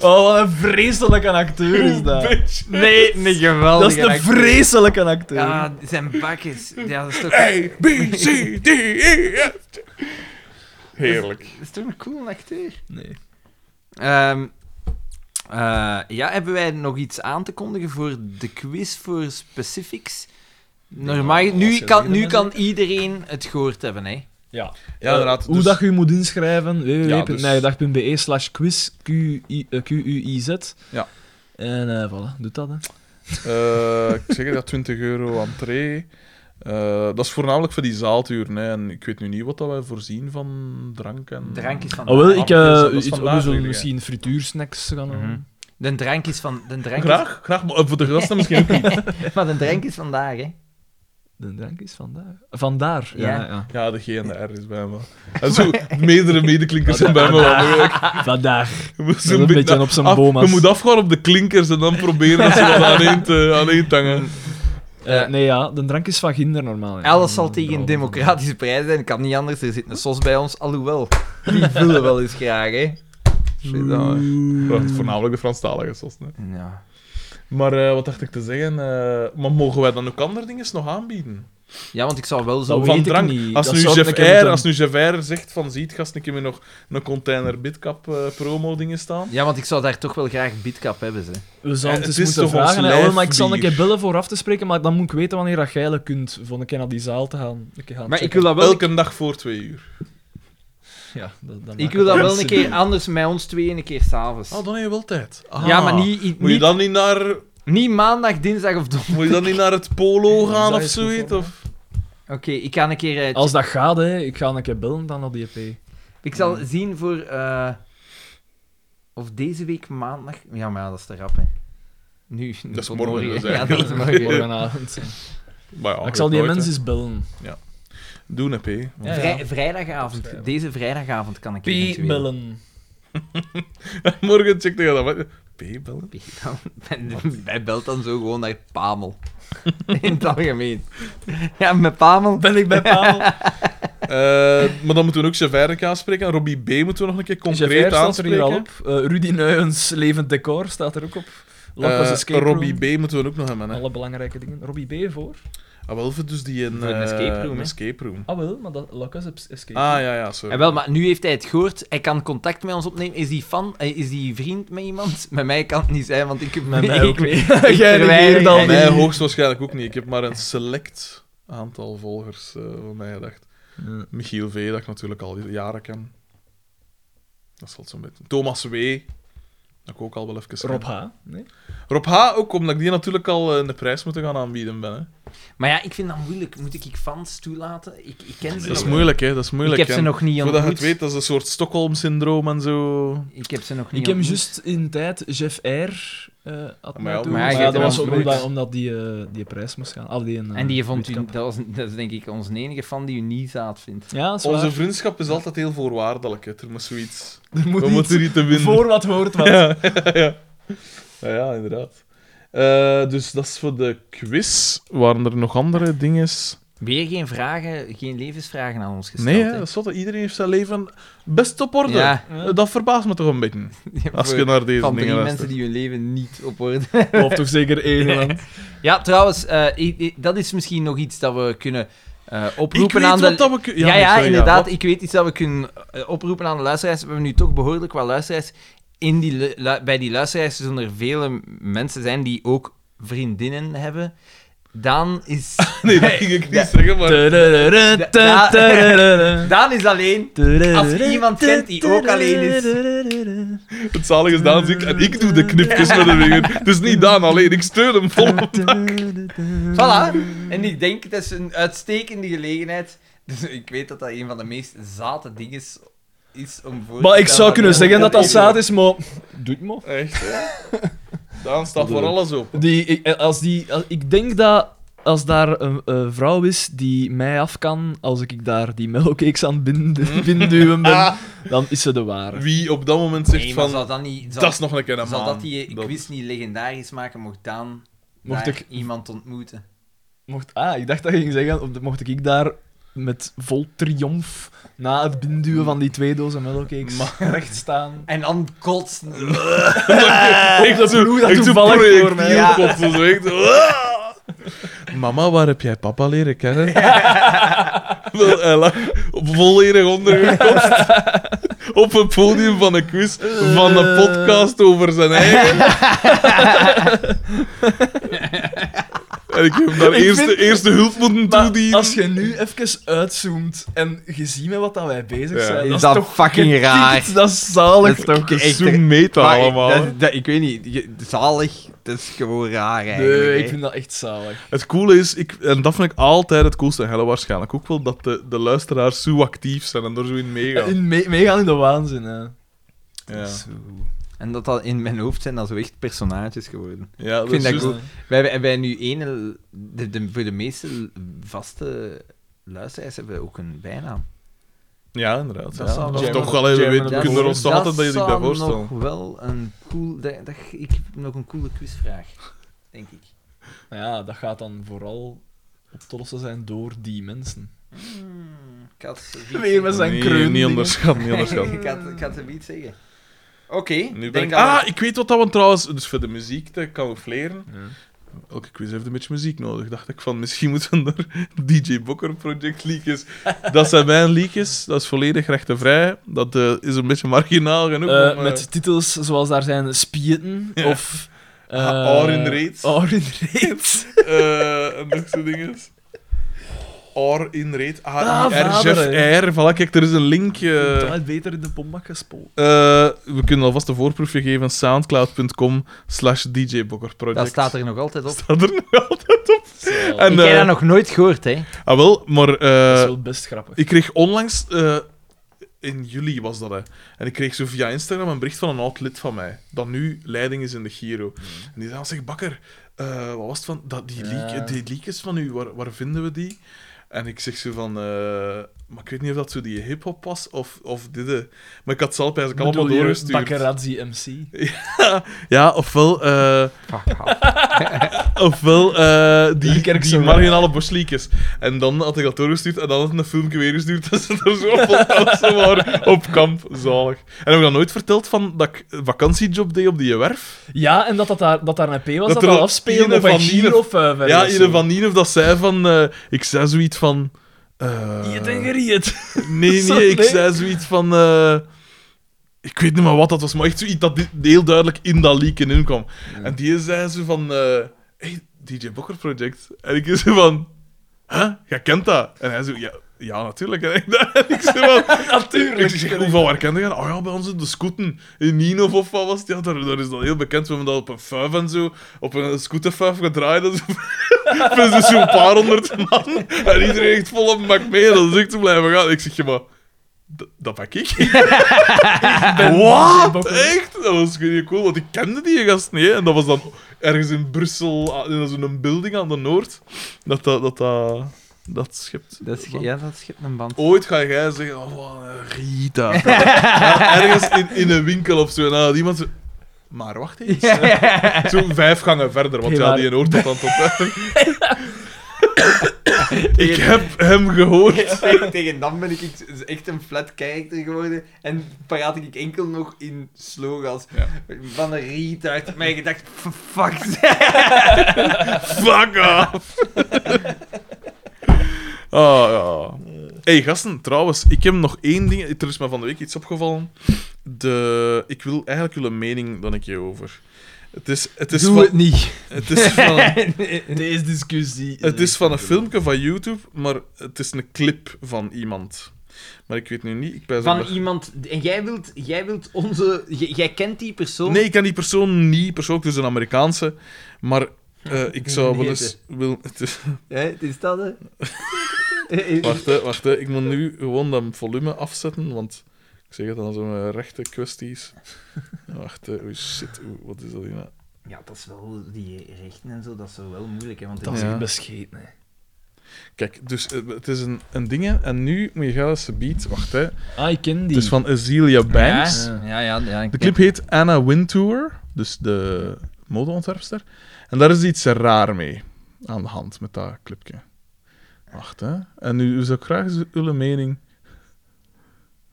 Speaker 11: Oh, wat een vreselijke acteur is dat.
Speaker 2: Bitch.
Speaker 4: Nee, nee,
Speaker 11: Dat
Speaker 4: geweldig.
Speaker 11: is een vreselijke acteur.
Speaker 4: Ja, zijn bakjes. Ja, dat is toch,
Speaker 2: A, B, C, D, E, F. G. Heerlijk.
Speaker 4: dat is toch een cool acteur?
Speaker 11: Nee.
Speaker 4: Ehm, eh, ja, hebben wij nog iets aan te kondigen voor de quiz voor specifics? Normaal,
Speaker 11: Ja, als
Speaker 4: nu,
Speaker 11: je
Speaker 4: kan,
Speaker 11: zegt,
Speaker 4: nu
Speaker 11: dan
Speaker 4: kan iedereen het gehoord hebben, hè?
Speaker 2: Ja, inderdaad.
Speaker 3: Hoe
Speaker 2: dus-
Speaker 3: dat je je moet inschrijven,
Speaker 2: Ja, dus-
Speaker 3: www.nijgedag.be slash quiz, Q-I- eh, Q-U-I-Z.
Speaker 2: Ja.
Speaker 3: En eh, voilà, doet dat, hè.
Speaker 2: Eh, ik zeg het, ja, 20 euro entree. Eh, dat is voornamelijk voor die zaalturen. Hè. En ik weet nu niet wat dat wij voorzien van drank en...
Speaker 4: Drank is van
Speaker 3: Oh, wel,
Speaker 2: Ah,
Speaker 3: ik,
Speaker 2: oké,
Speaker 3: eh,
Speaker 2: dus dat is
Speaker 3: iets-
Speaker 2: vandaag
Speaker 3: we zullen
Speaker 2: eigenlijk,
Speaker 3: misschien frituursnacks gaan... eh,
Speaker 4: Mhm. De drank is van... De drank is-
Speaker 2: Graag, graag. Maar eh, voor de gasten misschien ook niet.
Speaker 4: maar de drank is vandaag, hè?
Speaker 3: De drank is vandaag. Vandaar, ja.
Speaker 4: Ja.
Speaker 3: ja,
Speaker 2: Ja, de G en de R is bij me. En zo, meerdere medeklinkers zijn bij me. wel
Speaker 3: Vandaag.
Speaker 2: moeilijk.
Speaker 3: een beetje op zijn
Speaker 2: af-
Speaker 3: boma's.
Speaker 2: Je moet afgaan op de klinkers en dan proberen dat ze wat aan één te- aan één te hangen.
Speaker 3: Eh, nee, ja, de drank is van ginder normaal. ja.
Speaker 4: Alles zal tegen een
Speaker 3: Brouwen.
Speaker 4: democratische prijs zijn. Kan niet anders. Er zit een sos bij ons. Alhoewel, die vullen wel eens graag, hè? Shit, dan, hè.
Speaker 2: Dat is voornamelijk de Franstalige sos. Hè.
Speaker 4: Ja.
Speaker 2: Maar eh, wat dacht ik te zeggen? eh, maar mogen wij dan ook andere dingen nog aanbieden?
Speaker 4: ja, want ik zou wel zo...
Speaker 3: Dat
Speaker 2: van
Speaker 3: weet ik
Speaker 2: drank.
Speaker 3: niet.
Speaker 2: Als,
Speaker 3: Dat
Speaker 2: nu
Speaker 3: zou
Speaker 2: Jeff
Speaker 3: ik een keer
Speaker 2: R,
Speaker 3: moeten-
Speaker 2: als nu Jeff R zegt van ziet, gast, een keer met nog een container bitcap eh, promo dingen staan.
Speaker 4: Ja, want ik zou daar toch wel graag bitcap hebben, hè?
Speaker 3: We zouden
Speaker 2: Eh,
Speaker 3: het
Speaker 2: het
Speaker 3: eens
Speaker 2: is
Speaker 3: moeten
Speaker 2: toch ons
Speaker 3: vragen. hè. Oh, maar ik zal een
Speaker 2: lijfbier.
Speaker 3: keer bellen voor af te spreken, maar dan moet ik weten wanneer dat jij dat kunt, voor een keer naar die zaal te gaan. Een keer gaan
Speaker 4: Maar ik
Speaker 3: checken.
Speaker 4: wil dat wel...
Speaker 2: Elke dag voor twee uur.
Speaker 3: Ja, dat, dat
Speaker 4: Ik
Speaker 3: maakt
Speaker 4: wil dat
Speaker 3: het
Speaker 4: wel een
Speaker 3: simpel.
Speaker 4: keer anders met ons twee en een keer s'avonds.
Speaker 2: Ah, dan heb je wel tijd. Ah.
Speaker 4: ja, maar niet, niet,
Speaker 2: Moet je, dan niet naar,
Speaker 4: niet maandag, dinsdag of donderdag.
Speaker 2: moet je dan niet naar het polo
Speaker 3: Ja,
Speaker 2: gaan
Speaker 3: dat
Speaker 2: of
Speaker 3: is
Speaker 2: zoiets?
Speaker 3: goed,
Speaker 2: Of...
Speaker 4: Oké, ik ga een keer... eh,
Speaker 3: Als dat gaat, hè, ik ga een keer bellen dan op die E EP.
Speaker 4: Ik zal zien voor... eh, of deze week maandag... Ja, maar ja, dat is te rap, hè. Nu.
Speaker 2: Dat is
Speaker 4: tot
Speaker 2: morgen, dus
Speaker 4: Ja, dat
Speaker 2: eigenlijk.
Speaker 4: is morgen.
Speaker 3: Morgenavond.
Speaker 2: Maar ja,
Speaker 3: ik zal die
Speaker 2: Oh, nooit,
Speaker 3: mensen eens bellen.
Speaker 2: hè. Doen, hè, P.
Speaker 3: Ja,
Speaker 4: Vrij-
Speaker 3: ja.
Speaker 4: vrijdagavond. Deze vrijdagavond kan ik
Speaker 3: P bellen.
Speaker 2: Morgen check je dat. P bellen.
Speaker 4: Hij belt dan zo gewoon naar Pamel. In het algemeen. Ja, met Pamel.
Speaker 11: Ben ik bij Pavel?
Speaker 2: Eh, maar dan moeten we ook Javert een keer aanspreken. Robbie B moeten we nog een keer
Speaker 3: Javert
Speaker 2: concreet
Speaker 3: staat er hier al
Speaker 2: aanspreken.
Speaker 3: op. Eh, Rudy Nuyens, Levend Decor, staat er ook op. Locke
Speaker 2: Eh,
Speaker 3: Escape
Speaker 2: Robbie
Speaker 3: Room.
Speaker 2: B moeten we ook nog hebben. Hè.
Speaker 3: Alle belangrijke dingen. Robbie B voor?
Speaker 2: Ah, wel voor dus die een,
Speaker 4: Voor een escape
Speaker 2: eh,
Speaker 4: room, hè.
Speaker 2: escape room.
Speaker 3: Ah wel, maar dat Locke is Escape
Speaker 2: Ah, ja, ja, sorry.
Speaker 4: En wel, maar nu heeft hij het gehoord. Hij kan contact met ons opnemen. Is die fan? eh, Is die vriend met iemand? Met mij kan het niet zijn, want ik heb
Speaker 3: Met mij
Speaker 4: ik-
Speaker 3: ook niet.
Speaker 4: ik
Speaker 3: Jij
Speaker 4: verwijder-
Speaker 3: negeert al
Speaker 2: Mij hoogstwaarschijnlijk ook niet. Ik heb maar een select aantal volgers eh, van mij gedacht.
Speaker 3: Ja.
Speaker 2: Michiel V, dat ik natuurlijk al jaren ken. Dat zal het zo'n beetje. Thomas W. Dat ik ook al wel even ken.
Speaker 3: Rob H. Nee?
Speaker 2: Rob H. ook, omdat ik die natuurlijk al eh, een prijs moeten gaan aanbieden ben. Hè.
Speaker 4: Maar ja, ik vind dat moeilijk. Moet ik ik fans toelaten? Ik, ik ken ze
Speaker 2: Dat is
Speaker 4: nog
Speaker 2: moeilijk, hè. Dat is moeilijk,
Speaker 4: Ik heb ze
Speaker 2: hè.
Speaker 4: nog niet
Speaker 2: Voordat je het
Speaker 4: ontmoet.
Speaker 2: weet, dat is een soort Stockholm-syndroom en zo.
Speaker 4: Ik heb ze nog niet
Speaker 3: Ik heb
Speaker 4: ontmoet.
Speaker 3: juist in tijd Jeff R. eh had
Speaker 2: Maar ja,
Speaker 3: mij
Speaker 4: maar
Speaker 3: toegestuurd.
Speaker 4: hij geeft
Speaker 3: dat
Speaker 4: hem
Speaker 3: was
Speaker 4: al
Speaker 3: ook
Speaker 4: nooit.
Speaker 3: omdat, omdat die, eh, die prijs moest gaan. Ah, die een, eh,
Speaker 4: En die vond u, dat,
Speaker 3: windkap.
Speaker 4: was, dat is denk ik onze enige fan die u niet zaad vindt.
Speaker 3: Ja, dat is waar.
Speaker 2: Onze vriendschap is altijd heel voorwaardelijk, hè. Er moet zoiets...
Speaker 3: Er moet
Speaker 2: We
Speaker 3: iets
Speaker 2: moeten niet te winnen.
Speaker 3: voor wat hoort wat.
Speaker 2: Ja, ja. ja, ja, inderdaad. Eh, dus dat is voor de quiz. Waren er nog andere dingen?
Speaker 4: Weer geen vragen, geen levensvragen aan ons gesteld.
Speaker 2: Nee,
Speaker 4: hè?
Speaker 2: hè, dat is zot, hè. iedereen heeft zijn leven best op orde.
Speaker 4: Ja.
Speaker 2: Eh, Dat verbaast me toch een beetje. Als je naar deze
Speaker 4: van drie
Speaker 2: dingen
Speaker 4: mensen
Speaker 2: luistert.
Speaker 4: die hun leven niet op orde
Speaker 3: Of toch zeker één land.
Speaker 4: Ja, trouwens, eh, i- i- dat is misschien nog iets dat we kunnen eh, oproepen
Speaker 2: Ik weet
Speaker 4: aan de...
Speaker 2: wat dat we kun-
Speaker 4: Ja,
Speaker 2: nee,
Speaker 4: ja,
Speaker 2: sorry,
Speaker 4: inderdaad.
Speaker 2: wat-
Speaker 4: ik weet iets dat we kunnen eh, oproepen aan de luisteraars. We hebben nu toch behoorlijk wat luisteraars. In die, lu- lu- bij die luisteraars zullen er vele mensen zijn die ook vriendinnen hebben. Dan is...
Speaker 2: Nee, dat ging ik niet zeggen, maar...
Speaker 4: Daan is alleen. Als je iemand kent die ook alleen is.
Speaker 2: Het zalige is Daan ziek en ik doe de knipjes met de vinger. Het is niet Daan alleen, ik steun hem volop.
Speaker 4: Voilà. En ik denk, het is een uitstekende gelegenheid. Dus ik weet dat dat een van de meest zate dingen is om voor te
Speaker 3: Maar ik
Speaker 4: stellen
Speaker 3: zou
Speaker 4: dat
Speaker 3: kunnen
Speaker 4: we-
Speaker 3: zeggen dat dat zaad is, maar... Doet me.
Speaker 2: Echt, hè? Daan staat voor alles op.
Speaker 3: Die, ik, als die, als- ik denk dat als daar een, eh, vrouw is die mij af kan, als ik daar die mellowcakes aan bind, binduwen ben,
Speaker 2: Ah.
Speaker 3: dan is ze de ware.
Speaker 2: Wie op dat moment zegt
Speaker 4: Nee, maar
Speaker 2: van...
Speaker 4: zou dat niet... Zou,
Speaker 2: Dat is nog een keer een
Speaker 4: zou
Speaker 2: maan.
Speaker 4: dat die quiz niet legendarisch maken, mocht Daan
Speaker 3: Mocht
Speaker 4: daar
Speaker 3: ik-
Speaker 4: iemand ontmoeten?
Speaker 3: Mocht, ah, ik dacht dat je ging zeggen, op de- mocht ik daar met vol triomf na het binnenduwen van die twee dozen mellowcakes recht staan.
Speaker 4: En dan kotsen. Eh,
Speaker 2: Ik
Speaker 3: dat
Speaker 2: zo-
Speaker 3: ploeg dat
Speaker 2: ik zo
Speaker 3: toevallig voor
Speaker 2: projectiel
Speaker 3: mij, ja.
Speaker 2: kotsen, zo, ik zo, "Ah." Mama, waar heb jij papa leren kennen? Wel, hij lag volledig ondergekost op het podium van een quiz van een podcast over zijn eigen. en ik heb hem daar
Speaker 3: Ik
Speaker 2: eerste,
Speaker 3: vind-
Speaker 2: eerste hulp moeten
Speaker 3: Maar
Speaker 2: toedienen.
Speaker 3: als je nu even uitzoomt en je ziet met wat dat wij bezig
Speaker 2: Ja.
Speaker 3: zijn,
Speaker 4: Is
Speaker 3: dat is
Speaker 4: dat
Speaker 3: toch
Speaker 4: fucking
Speaker 3: getikt,
Speaker 4: raar.
Speaker 3: Dat is zalig
Speaker 4: Dat
Speaker 3: toch?
Speaker 4: is echt-
Speaker 2: Zo meta
Speaker 4: Maar ik-
Speaker 2: allemaal.
Speaker 4: dat- dat- ik weet niet, je- zalig, dat is gewoon raar eigenlijk.
Speaker 3: Nee, ik
Speaker 4: hè.
Speaker 3: vind dat echt zalig.
Speaker 2: Het coole is, ik, en dat vind ik altijd het coolste, en Helle waarschijnlijk ook wel, dat de, de luisteraars zo actief zijn en er zo in meegaan.
Speaker 3: In me- meegaan in de waanzin, hè.
Speaker 2: Ja,
Speaker 4: Zo. En dat dat in mijn hoofd zijn, dat zo echt personages geworden.
Speaker 2: ja dat
Speaker 4: Ik vind
Speaker 2: is
Speaker 4: dat
Speaker 2: juist-
Speaker 4: goed. Wij hebben, wij nu ene, de, de- voor de meeste vaste luisteraars hebben we ook een bijnaam.
Speaker 2: Ja, inderdaad.
Speaker 4: Dat
Speaker 2: ja.
Speaker 4: zou
Speaker 2: Dat is
Speaker 4: wel-
Speaker 2: toch wel even,
Speaker 3: German
Speaker 2: we kunnen er ons toch altijd dat je
Speaker 4: zou
Speaker 2: bij voorstellen.
Speaker 4: nog wel een cool... Dat, dat- ik heb nog een coole quizvraag, denk ik.
Speaker 3: Nou ja, dat gaat dan vooral op te lossen zijn door die mensen.
Speaker 4: Hmm, ik had zoiets-
Speaker 3: Weer met zijn
Speaker 2: Nee,
Speaker 3: kreun
Speaker 2: niet
Speaker 3: dingen.
Speaker 2: onderschat, niet onderschat.
Speaker 4: Ik had, ik had het niet zeggen. Oké,
Speaker 2: Nu
Speaker 4: denk
Speaker 2: ben ik...
Speaker 4: dat
Speaker 2: Ah,
Speaker 4: we-
Speaker 2: ik weet wat dat we trouwens, dus voor de muziek te camoufleren.
Speaker 3: Ja.
Speaker 2: Elke quiz heeft een beetje muziek nodig. Dacht ik van, misschien moeten we er DJ Bokker Project leakjes. Dat zijn mijn leakjes, dat is volledig rechtenvrij. Dat eh, is een beetje marginaal genoeg.
Speaker 3: Eh,
Speaker 2: om, eh,
Speaker 3: met titels zoals daar zijn Spieten
Speaker 2: Ja.
Speaker 3: of... eh
Speaker 2: Ah, Or in Raids.
Speaker 3: Or in Raids.
Speaker 2: Eh, en nog zo'n ding is. Or in rate.
Speaker 3: Ah,
Speaker 2: Ah, R, Jeff
Speaker 3: vaderen.
Speaker 2: R. Voilà, kijk, er is een link. eh.
Speaker 3: Dat had beter in de pombak gespoeld.
Speaker 2: Eh, we kunnen alvast een voorproefje geven. Soundcloud.com slash djbokkerproject.
Speaker 4: dat staat er nog altijd op.
Speaker 2: Staat er nog altijd op. En,
Speaker 4: ik heb
Speaker 2: eh,
Speaker 4: dat nog nooit gehoord, hè.
Speaker 2: Ah, wel, maar... eh,
Speaker 3: dat is wel best grappig.
Speaker 2: ik kreeg onlangs... eh, in juli was dat, hè. En ik kreeg zo via Instagram een bericht van een oud lid van mij. Dat nu leiding is in de Giro.
Speaker 3: Mm.
Speaker 2: En die zei, zeg, Bakker, eh, wat was het van... Dat, die, leak,
Speaker 3: Ja.
Speaker 2: die leakjes van u, waar, waar vinden we die? En ik zeg zo van... eh, maar ik weet niet of dat zo die hip-hop was of, of dit. eh. Maar ik had ze al bij
Speaker 3: Bedoel
Speaker 2: allemaal
Speaker 3: je
Speaker 2: doorgestuurd.
Speaker 3: Bakkerazzi MC.
Speaker 2: Ja, ofwel, eh, ofwel eh, die,
Speaker 3: Die kerk
Speaker 2: die
Speaker 3: zo, ja.
Speaker 2: marginale bosliekjes. En dan had ik dat doorgestuurd en dan had ik een filmpje weer gestuurd. Dat ze er zo op zo waren op kamp. Zalig. En heb ik dan nooit verteld van dat ik een vakantiejob deed op die werf?
Speaker 3: Ja, en dat dat daar, dat daar een P was,
Speaker 2: Dat
Speaker 3: dat
Speaker 2: er
Speaker 3: dat
Speaker 2: al
Speaker 3: al afspelen
Speaker 2: Ine
Speaker 3: op een
Speaker 2: van Ine-
Speaker 3: Giro of uh,
Speaker 2: ja, Ine van Nien of dat zei van... eh, ik zei zoiets van... eh,
Speaker 3: Je en geriet.
Speaker 2: Nee,
Speaker 3: Sorry,
Speaker 2: nee, ik
Speaker 3: nee.
Speaker 2: zei zoiets van... eh, ik weet niet meer wat dat was, maar echt zoiets dat di- heel duidelijk in dat leak in kwam. En die zei zo van... eh hey, DJ Bokker Project. En ik zo van... Huh? Jij kent dat? En hij zo... Ja, ja natuurlijk. En ik, en ik zo van...
Speaker 3: Natuurlijk.
Speaker 2: Ik zeg, hoe van waar kende je dat? Oh ja, bij ons op de scooten. In Ninov of wat was het? Ja, daar, daar is dat heel bekend. We hebben dat op een fuif en zo, op een scooterfuif gedraaid. En zo. Dus er zo'n paar honderd man. En iedereen echt vol op mak mee. En dan zeg ik te blijven gaan. Ik zeg, je maar... d- Dat pak ik. Wat? Echt? Dat was gewoon cool, want ik kende die gast niet. hè. En dat was dan ergens in Brussel, ah, in zo'n building aan de Noord, dat dat, dat, dat, dat schept.
Speaker 4: Dat is, ge- ja, dat schept een band.
Speaker 2: Ooit ga jij zeggen, oh, wat een Rita. Ja, ergens in, in een winkel of zo. En dan had iemand zo... Maar wacht eens. Zo vijf gangen verder, want
Speaker 3: Hey,
Speaker 2: ja,
Speaker 3: maar-
Speaker 2: die hoort dat dan tot... ik heb hem gehoord.
Speaker 4: tegen, tegen dan ben ik echt- echt een flat character geworden en praat ik enkel nog in slogans
Speaker 2: Ja.
Speaker 4: van een retard. Mijn gedacht, f- fuck
Speaker 2: Fuck off. Ah, ja. hey, gasten, trouwens, ik heb nog één ding. Er is me van de week iets opgevallen. De, ik wil eigenlijk jullie mening dan een keer over. Het is, het is van,
Speaker 3: niet.
Speaker 2: het is van,
Speaker 3: Deze discussie.
Speaker 2: het is van een filmpje van YouTube, maar het is een clip van iemand. Maar ik weet nu niet. Ik ben zo
Speaker 4: Van
Speaker 2: dat-
Speaker 4: iemand, en jij wilt, jij wilt onze, jij, jij kent die persoon.
Speaker 2: Nee, ik ken die persoon niet persoonlijk, dus een Amerikaanse. Maar eh, ik zou wel eens. Wil, het is-
Speaker 4: Hè, het is dat, hè? Eh, eh,
Speaker 2: Wacht, hè, wacht. Hè. Ik moet nu gewoon dat volume afzetten, want ik zeg het dan zo'n rechte kwesties. Wacht, hè. Oei, shit. Oeh, wat is dat hier nou?
Speaker 4: Ja, dat is wel, die rechten en zo, dat is wel wel moeilijk, hè? Want
Speaker 3: Dat
Speaker 4: het-
Speaker 3: is
Speaker 2: Ja.
Speaker 3: echt bescheiden. hè.
Speaker 2: Kijk, dus eh, het is een, een ding, hè. En nu moet je gaan eens beat. Wacht, hè.
Speaker 3: Ah, ik ken die.
Speaker 2: Het is van Azealia Banks.
Speaker 4: Ja, ja, ja. ja, ik
Speaker 2: De clip heet Anna Wintour, dus de modeontwerpster. En daar is iets raar mee aan de hand met dat clipje. Wacht, hè. En nu nu zou ik graag eens uw mening...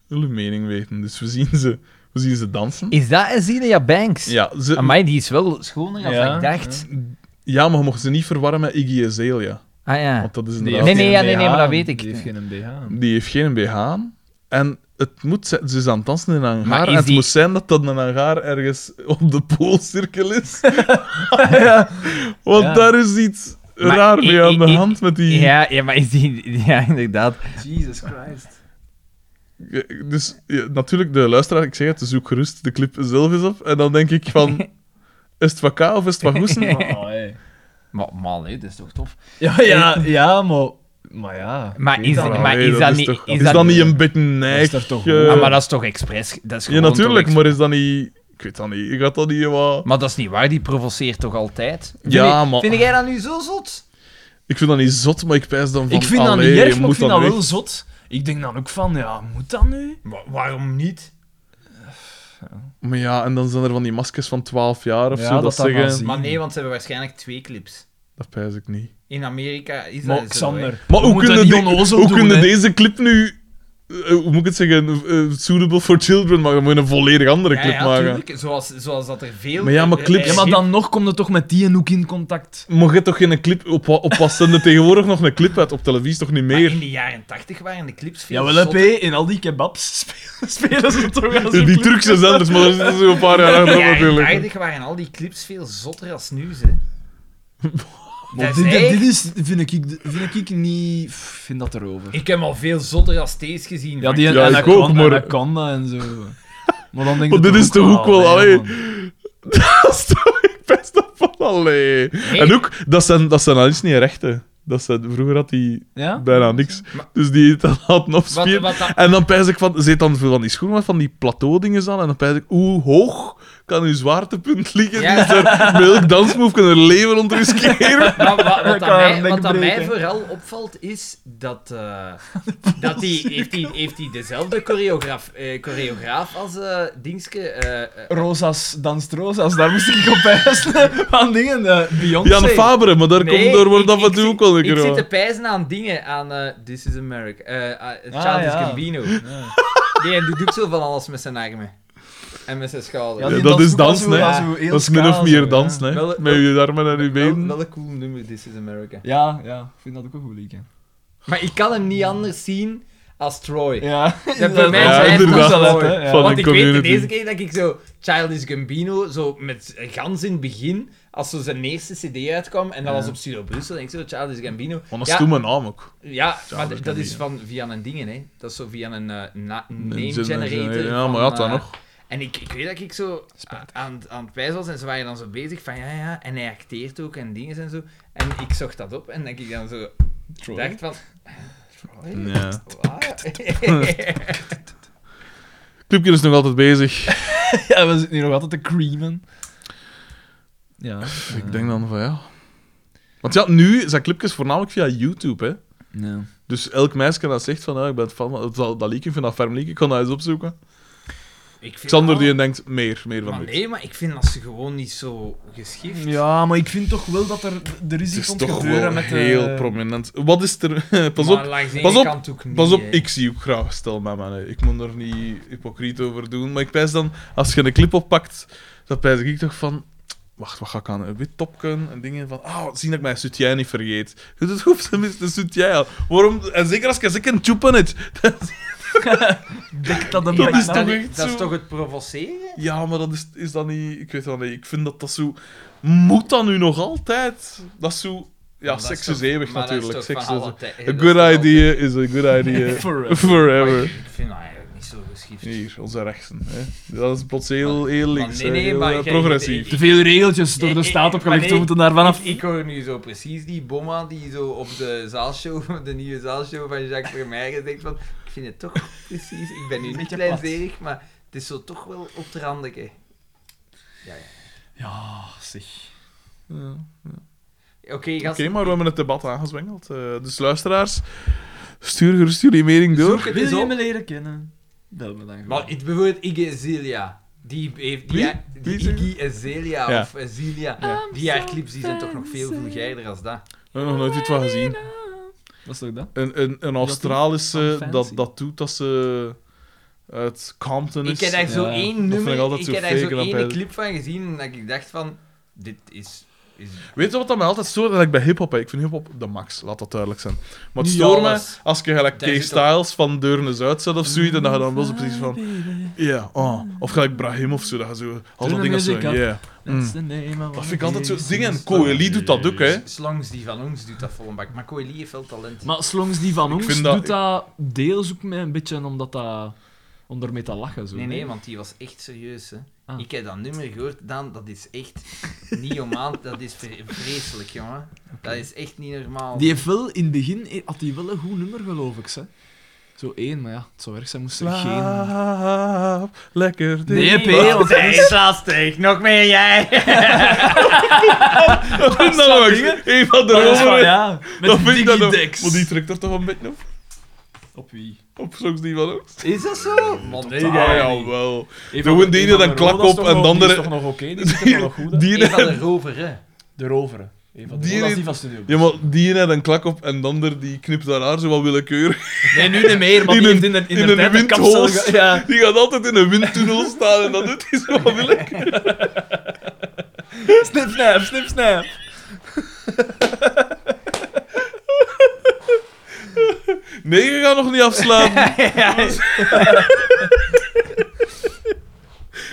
Speaker 2: Uw mening weten. Dus we zien ze, we zien ze dansen.
Speaker 1: Is dat Azilia Banks?
Speaker 2: Ja, ze,
Speaker 1: Amai, die is wel schoner dan
Speaker 3: Ja,
Speaker 1: ik dacht.
Speaker 2: ja, maar je mocht ze niet verwarren met Iggy Azalea.
Speaker 1: Ah ja.
Speaker 2: Want dat is
Speaker 3: Die
Speaker 2: inderdaad...
Speaker 3: heeft
Speaker 1: nee,
Speaker 3: geen
Speaker 1: ja, nee, nee,
Speaker 3: BH.
Speaker 1: maar dat weet ik.
Speaker 3: Die heeft geen BH.
Speaker 2: Die heeft geen BH aan. En het moet zijn, ze is aan het dansen in een
Speaker 1: Maar
Speaker 2: hangar.
Speaker 1: is
Speaker 2: En het
Speaker 1: die-
Speaker 2: moet zijn dat dat een hangar ergens op de poolcirkel is. Want
Speaker 3: Ja.
Speaker 2: daar is iets
Speaker 1: Maar
Speaker 2: raar
Speaker 1: i-
Speaker 2: mee aan de
Speaker 1: i- i-
Speaker 2: hand met die...
Speaker 1: Ja, ja, maar is die... Ja, inderdaad.
Speaker 3: Jesus Christ.
Speaker 2: Dus ja, natuurlijk, de luisteraar, ik zeg het, dus zoek gerust de clip zelf eens op. En dan denk ik van... Is het van K of is het van Goesen?
Speaker 3: Oh, hey.
Speaker 1: Maar man, hé, dat is toch tof.
Speaker 3: Ja, ja, ja, maar... Maar ja... ik
Speaker 1: Maar
Speaker 3: weet
Speaker 1: is,
Speaker 3: dat
Speaker 1: dat,
Speaker 2: wel.
Speaker 3: wel.
Speaker 1: maar
Speaker 2: Nee,
Speaker 1: is
Speaker 2: dat
Speaker 1: dat
Speaker 2: is
Speaker 1: niet...
Speaker 2: toch-
Speaker 1: Is
Speaker 2: is
Speaker 1: dat,
Speaker 2: dat niet een beetje neig?
Speaker 3: dat is toch
Speaker 2: eh,
Speaker 3: gewoon-
Speaker 1: Ah, maar dat is toch expres? Dat is
Speaker 2: Ja,
Speaker 1: gewoon toch
Speaker 2: natuurlijk,
Speaker 1: expres?
Speaker 2: maar is dat niet... Ik weet dat niet. Je gaat dat niet... eh, wat-
Speaker 1: Maar dat is niet waar, die provoceert toch altijd? Vind
Speaker 2: Ja,
Speaker 1: ik-
Speaker 2: Ah, maar-
Speaker 1: Vind jij dat nu zo zot?
Speaker 2: Ik vind dat niet zot, maar ik pijs dan van...
Speaker 3: Ik vind dat
Speaker 2: allee,
Speaker 3: niet
Speaker 2: je
Speaker 3: erg, maar ik
Speaker 2: moet
Speaker 3: vind
Speaker 2: dan
Speaker 3: dat
Speaker 2: weg.
Speaker 3: wel zot. Ik denk dan ook van, ja, moet dat nu?
Speaker 4: waarom niet?
Speaker 2: Maar ja, en dan zijn er van die maskers van 12 jaar of
Speaker 3: Ja,
Speaker 2: zo dat,
Speaker 3: dat dat
Speaker 2: zeggen.
Speaker 3: maar zie.
Speaker 4: Maar nee, want ze hebben waarschijnlijk twee clips.
Speaker 2: Dat pijs ik niet.
Speaker 4: In Amerika is dat
Speaker 3: Maar
Speaker 4: zo, hè.
Speaker 3: Xander,
Speaker 2: Maar
Speaker 3: we
Speaker 2: hoe
Speaker 3: moeten
Speaker 2: kunnen,
Speaker 3: niet
Speaker 2: die-
Speaker 3: onnozel
Speaker 2: hoe
Speaker 3: doen,
Speaker 2: kunnen
Speaker 3: hè.
Speaker 2: deze clip nu... eh, hoe moet ik het zeggen? eh, suitable for children, maar dan moet je een volledig andere
Speaker 4: Ja,
Speaker 2: clip
Speaker 4: ja,
Speaker 2: maken.
Speaker 4: tuurlijk. Zoals, zoals dat er veel...
Speaker 2: Maar ja, maar
Speaker 4: eh,
Speaker 2: clips-
Speaker 4: eh,
Speaker 3: Ja, maar dan nog komt het toch met die en hoek in contact.
Speaker 2: Mocht je toch geen clip... Op, wa- op wat zenden tegenwoordig nog een clip uit? Op televisie toch niet
Speaker 4: maar
Speaker 3: Ah,
Speaker 2: meer?
Speaker 4: in de jaren tachtig waren de clips veel
Speaker 3: Jawel,
Speaker 4: zotter.
Speaker 3: hè, P, in al die kebabs spelen, spelen ze toch als
Speaker 2: Eh,
Speaker 3: een
Speaker 2: Die
Speaker 3: club.
Speaker 2: Turkse zenders, maar daar zitten ze een paar jaar
Speaker 4: In de
Speaker 2: achter
Speaker 4: jaren
Speaker 2: natuurlijk.
Speaker 4: 80 waren al die clips veel zotter als nu, hè.
Speaker 3: Maar
Speaker 4: Dat
Speaker 3: dit,
Speaker 4: is
Speaker 3: dit-
Speaker 4: echt-
Speaker 3: dit is, vind ik, vind ik niet... pff, vind dat erover.
Speaker 4: Ik heb al veel zotter als deze gezien.
Speaker 3: Ja, die
Speaker 2: Ja, ik
Speaker 3: Anaconda,
Speaker 2: ook, maar-
Speaker 3: Anaconda en zo. Maar dan denk
Speaker 2: Maar dit
Speaker 3: ik toch
Speaker 2: is toch ook wel,
Speaker 3: ah,
Speaker 2: allee.
Speaker 3: nee, man.
Speaker 2: Dat is toch- Ik pijs dat van, allee. En ook, dat zijn, dat zijn al eens niet rechten. Dat zijn, vroeger had die
Speaker 3: Ja?
Speaker 2: bijna niks. Dus die heeft dat laten opspieren.
Speaker 4: Wat- wat dat-
Speaker 2: En dan pijs ik van, zit dan veel van die schoenen met van die plateaudingen aan. En dan pijs ik, hoe hoog kan uw zwaartepunt liggen?
Speaker 4: Ja.
Speaker 2: Dus daar, bij elk dansmove kan er leven onder riskeren.
Speaker 4: Maar wa- wat, aan
Speaker 3: haar
Speaker 4: mij,
Speaker 3: nek
Speaker 4: wat aan mij
Speaker 3: breken.
Speaker 4: vooral opvalt is dat, eh, dat die, heeft hij heeft die dezelfde choreograaf, eh, choreograaf als eh Dingske. eh, eh,
Speaker 3: Rosas danst Rosas, daar moest ik op pijzen. Aan dingen, eh, Beyoncé.
Speaker 2: Jan Fabre, maar daar,
Speaker 4: nee,
Speaker 2: komt, daar wordt
Speaker 4: ik-
Speaker 2: dat
Speaker 4: ik
Speaker 2: van toe
Speaker 4: zit-
Speaker 2: ook wel een
Speaker 4: Ik
Speaker 2: keer
Speaker 4: zit te
Speaker 2: aan.
Speaker 4: pijzen aan dingen, aan eh, This is America, eh eh,
Speaker 3: Ah,
Speaker 4: Childish
Speaker 3: ja.
Speaker 4: Gambino.
Speaker 3: Ja.
Speaker 4: Die en die doet zo van alles met zijn armen. En met zijn schouder.
Speaker 3: Ja, die
Speaker 2: dat
Speaker 3: danst
Speaker 2: is
Speaker 3: ook wel
Speaker 2: dansen,
Speaker 3: zo-
Speaker 2: hè.
Speaker 3: zo heel
Speaker 2: Dat is min of
Speaker 3: ska,
Speaker 2: meer
Speaker 3: zo,
Speaker 2: dansen, hè.
Speaker 3: ja.
Speaker 4: Wel-
Speaker 2: Met je armen en je
Speaker 4: wel,
Speaker 2: benen.
Speaker 4: wel een cool nummer, This is America.
Speaker 3: Ja, ja, ik vind dat ook een goed liedje.
Speaker 4: Maar ik kan hem niet anders zien als Troy.
Speaker 3: Ja,
Speaker 4: voor mij
Speaker 2: Ja,
Speaker 4: zijn
Speaker 2: inderdaad.
Speaker 4: het
Speaker 3: Van
Speaker 4: mooi.
Speaker 3: een
Speaker 4: Want ik weet de
Speaker 2: community.
Speaker 4: eerste keer dat ik zo Childish Gambino, zo met gans in het begin, als zo zijn eerste cd uitkwam, en dat was op Studio Brussel, en ik zo, Childish Gambino.
Speaker 2: Want dat
Speaker 4: ja,
Speaker 2: is toen mijn naam ook.
Speaker 4: Ja, maar
Speaker 2: Childish
Speaker 4: d- dat is
Speaker 2: Gambino.
Speaker 4: van, via een dingen, hè. Dat is zo via een eh, na-
Speaker 2: Nee,
Speaker 4: name generator.
Speaker 2: Ja, maar
Speaker 4: van,
Speaker 2: ja, dat
Speaker 4: eh,
Speaker 2: nog.
Speaker 4: En ik, ik weet dat ik zo a- aan, het- aan het wijs was, en ze waren dan zo bezig van, ja, ja, en hij acteert ook, en dingen en zo. En ik zocht dat op, en dat ik dan zo dacht van... Troy?
Speaker 2: Ja.
Speaker 4: Waar?
Speaker 2: Clubje is nog altijd bezig.
Speaker 3: Ja, we zitten hier nog altijd te creamen. Ja.
Speaker 2: Ik denk dan van ja. Want ja, nu zijn clipjes voornamelijk via YouTube, hè.
Speaker 3: Ja.
Speaker 2: Dus elk meisje dat zegt van, ja, ik ben fan van dat, dat liedje, ik vind dat ferm liedje, ik kan dat eens opzoeken.
Speaker 4: Ik vind
Speaker 2: Xander
Speaker 4: wel-
Speaker 2: die denkt, meer, meer van
Speaker 4: Maar
Speaker 2: dit.
Speaker 4: nee, maar ik vind dat ze gewoon niet zo geschikt.
Speaker 3: ja, maar ik vind toch wel dat er, er is
Speaker 2: Het
Speaker 3: iets
Speaker 2: is
Speaker 3: aan
Speaker 2: toch
Speaker 3: gebeuren
Speaker 2: wel
Speaker 3: met eh, de-
Speaker 4: eh,
Speaker 2: heel prominent. Wat is er... Pas op, pas op, Pas op, ik zie ook graag stel met mannen. Ik moet er niet hypocriet over doen. Maar ik pijs dan, als je een clip oppakt, dan pijs ik toch van... Wacht, wat ga ik aan? Een wit topje en dingen van... Ah, zien dat ik mijn soutien niet vergeet. Het hoeft tenminste een soutien al. Waarom? En zeker als je zeker een tjoep in het.
Speaker 3: Denk dat een
Speaker 2: Dat
Speaker 3: beetje-
Speaker 2: is toch echt
Speaker 4: Dat is
Speaker 2: zo?
Speaker 4: toch het provoceren?
Speaker 2: Ja, maar dat is, is dat niet... Ik weet dat niet. Ik vind dat dat zo... Moet dat nu nog altijd? Dat is zo... Ja,
Speaker 4: Maar dat
Speaker 2: seks
Speaker 4: toch-
Speaker 2: is eeuwig
Speaker 4: maar dat
Speaker 2: natuurlijk.
Speaker 4: toch
Speaker 2: Seks is
Speaker 4: van alle tij-
Speaker 2: A
Speaker 4: dat is toch
Speaker 2: good
Speaker 4: altijd-
Speaker 2: idea is a good idea
Speaker 3: Forever.
Speaker 4: Maar
Speaker 2: forever.
Speaker 4: Ik ik vind dat eigenlijk niet zo geschikt.
Speaker 2: Hier, onze rechtsen. Hè. Dat is plots heel, heel
Speaker 4: Maar
Speaker 2: links,
Speaker 4: nee,
Speaker 2: hè,
Speaker 4: nee,
Speaker 2: heel
Speaker 4: maar
Speaker 2: eh,
Speaker 4: jij-
Speaker 2: progressief.
Speaker 3: Te veel regeltjes door de
Speaker 4: Ik-
Speaker 3: staat
Speaker 4: ik-
Speaker 3: opgelegd,
Speaker 4: maar
Speaker 3: we
Speaker 4: nee,
Speaker 3: moeten daar vanaf.
Speaker 4: Ik, ik hoor nu zo precies die bomma die zo op de zaalshow, de nieuwe zaalshow van Jacques Vermeijgen denkt van, ik vind het toch precies, ik ben nu niet
Speaker 3: Beetje
Speaker 4: kleinzerig, maar het is zo toch wel op de randeke. Ja, ja.
Speaker 3: Ja,
Speaker 2: Oh,
Speaker 3: zeg.
Speaker 4: Oké,
Speaker 2: Oké,
Speaker 4: gasten,
Speaker 2: maar we hebben het debat aangezwengeld. eh, dus luisteraars, stuur gerust jullie mening door.
Speaker 4: zoek het eens
Speaker 3: Wil je
Speaker 4: op.
Speaker 3: me leren kennen? Bel me dan
Speaker 4: Maar het- bijvoorbeeld Iggy Azalea. Die heeft... Die,
Speaker 2: Wie?
Speaker 4: die
Speaker 2: Wie zeg
Speaker 4: Iggy Azalea
Speaker 2: Ja.
Speaker 4: of Azelia. Die haar clips die zijn toch nog veel vulgairder als dat.
Speaker 2: Ik heb nog nooit iets van gezien.
Speaker 12: Wat is toch dat?
Speaker 2: Een, een, een Australische
Speaker 12: Van
Speaker 2: dat,
Speaker 12: Fancy.
Speaker 2: dat doet dat ze uit Compton is.
Speaker 4: Ik heb daar zo
Speaker 12: Ja.
Speaker 4: één
Speaker 2: vind ik
Speaker 4: nummer,
Speaker 2: altijd
Speaker 4: ik
Speaker 2: zo
Speaker 4: heb daar
Speaker 2: fake,
Speaker 4: zo
Speaker 2: dat
Speaker 4: één
Speaker 2: bij-
Speaker 4: clip van gezien en dat ik dacht van, dit is... is...
Speaker 2: Weet je wat dat mij altijd stoort? Dat ik bij hip-hop, hè. ik vind hip-hop de max, laat dat duidelijk zijn. Maar het
Speaker 4: Niet
Speaker 2: stoort mij
Speaker 4: alles.
Speaker 2: als je gelijk
Speaker 4: Daar
Speaker 2: K.
Speaker 4: zit ook-
Speaker 2: Styles van Deurnes uitzet of zoiets, en dat je dan wel zo precies van. Ja, oh. Of gelijk Brahim of zo, dat je zo. Al dat
Speaker 12: de
Speaker 2: dingen zo.
Speaker 12: muziek
Speaker 2: Ja.
Speaker 12: af.
Speaker 2: Mm.
Speaker 12: That's the name of
Speaker 2: Dat
Speaker 12: our
Speaker 2: vind ik altijd zo.
Speaker 12: business.
Speaker 2: Dingen, Coeli doet dat ook, hè?
Speaker 4: dus Slangs die van ons doet dat vol een bak. Maar Coeli heeft wel talent.
Speaker 12: Maar Slongs die van ons
Speaker 2: vind dat-
Speaker 12: doet dat deels ook met een beetje omdat dat... eh, Om ermee te lachen, zo.
Speaker 4: nee, nee,
Speaker 12: hè.
Speaker 4: want die was echt serieus. Hè.
Speaker 12: Ah.
Speaker 4: Ik heb dat nummer gehoord, Dan, dat is echt niet om aan. Dat is vre- vreselijk, jongen. Dat is echt niet normaal.
Speaker 12: Die heeft wel, in het begin eh, had hij wel een goed nummer, geloof ik. Hè? Zo één, maar ja, het zou erg zijn moest er geen...
Speaker 2: Slaap, lekker ding.
Speaker 12: Nee, P, want
Speaker 4: Zij is lastig, nog meer jij.
Speaker 2: dat vind Nou, ik dan ook. Een van de romeren.
Speaker 13: ja,
Speaker 2: Dat vind ik dan ook.
Speaker 13: Digidex.
Speaker 2: Maar die trekt er toch een beetje op?
Speaker 13: Op wie?
Speaker 2: Op soms die van ons?
Speaker 4: Is dat zo? Man,
Speaker 2: Ah,
Speaker 4: nee.
Speaker 2: jawel.
Speaker 3: Een
Speaker 2: Doen
Speaker 3: van-
Speaker 2: we die
Speaker 3: een
Speaker 2: er
Speaker 3: van
Speaker 2: dan
Speaker 3: de
Speaker 2: klak
Speaker 3: Rodas
Speaker 2: op
Speaker 3: toch
Speaker 2: en
Speaker 3: nog-
Speaker 2: dan
Speaker 3: Die
Speaker 2: de-
Speaker 3: is toch nog oké, die zit er toch nog goed hè?
Speaker 2: Die,
Speaker 4: Een van de roveren.
Speaker 3: De roveren. Een van de
Speaker 2: Die
Speaker 3: Rodas
Speaker 2: is-
Speaker 3: die van Studio
Speaker 2: ja, maar die net een klak op en de ander die knipt haar haar zo wat willekeurig.
Speaker 3: Nee, nu niet meer, maar
Speaker 2: In
Speaker 3: die
Speaker 2: een-
Speaker 3: heeft in de, in
Speaker 2: in
Speaker 3: de,
Speaker 2: een
Speaker 3: tijd een
Speaker 2: windhoos.
Speaker 3: kapsel ge- Ja.
Speaker 2: Die gaat altijd in een windtunnel staan en dat doet hij zo wat willekeurig.
Speaker 3: Snip, snap, snip, snap.
Speaker 2: Nee, je gaat nog niet afslaan.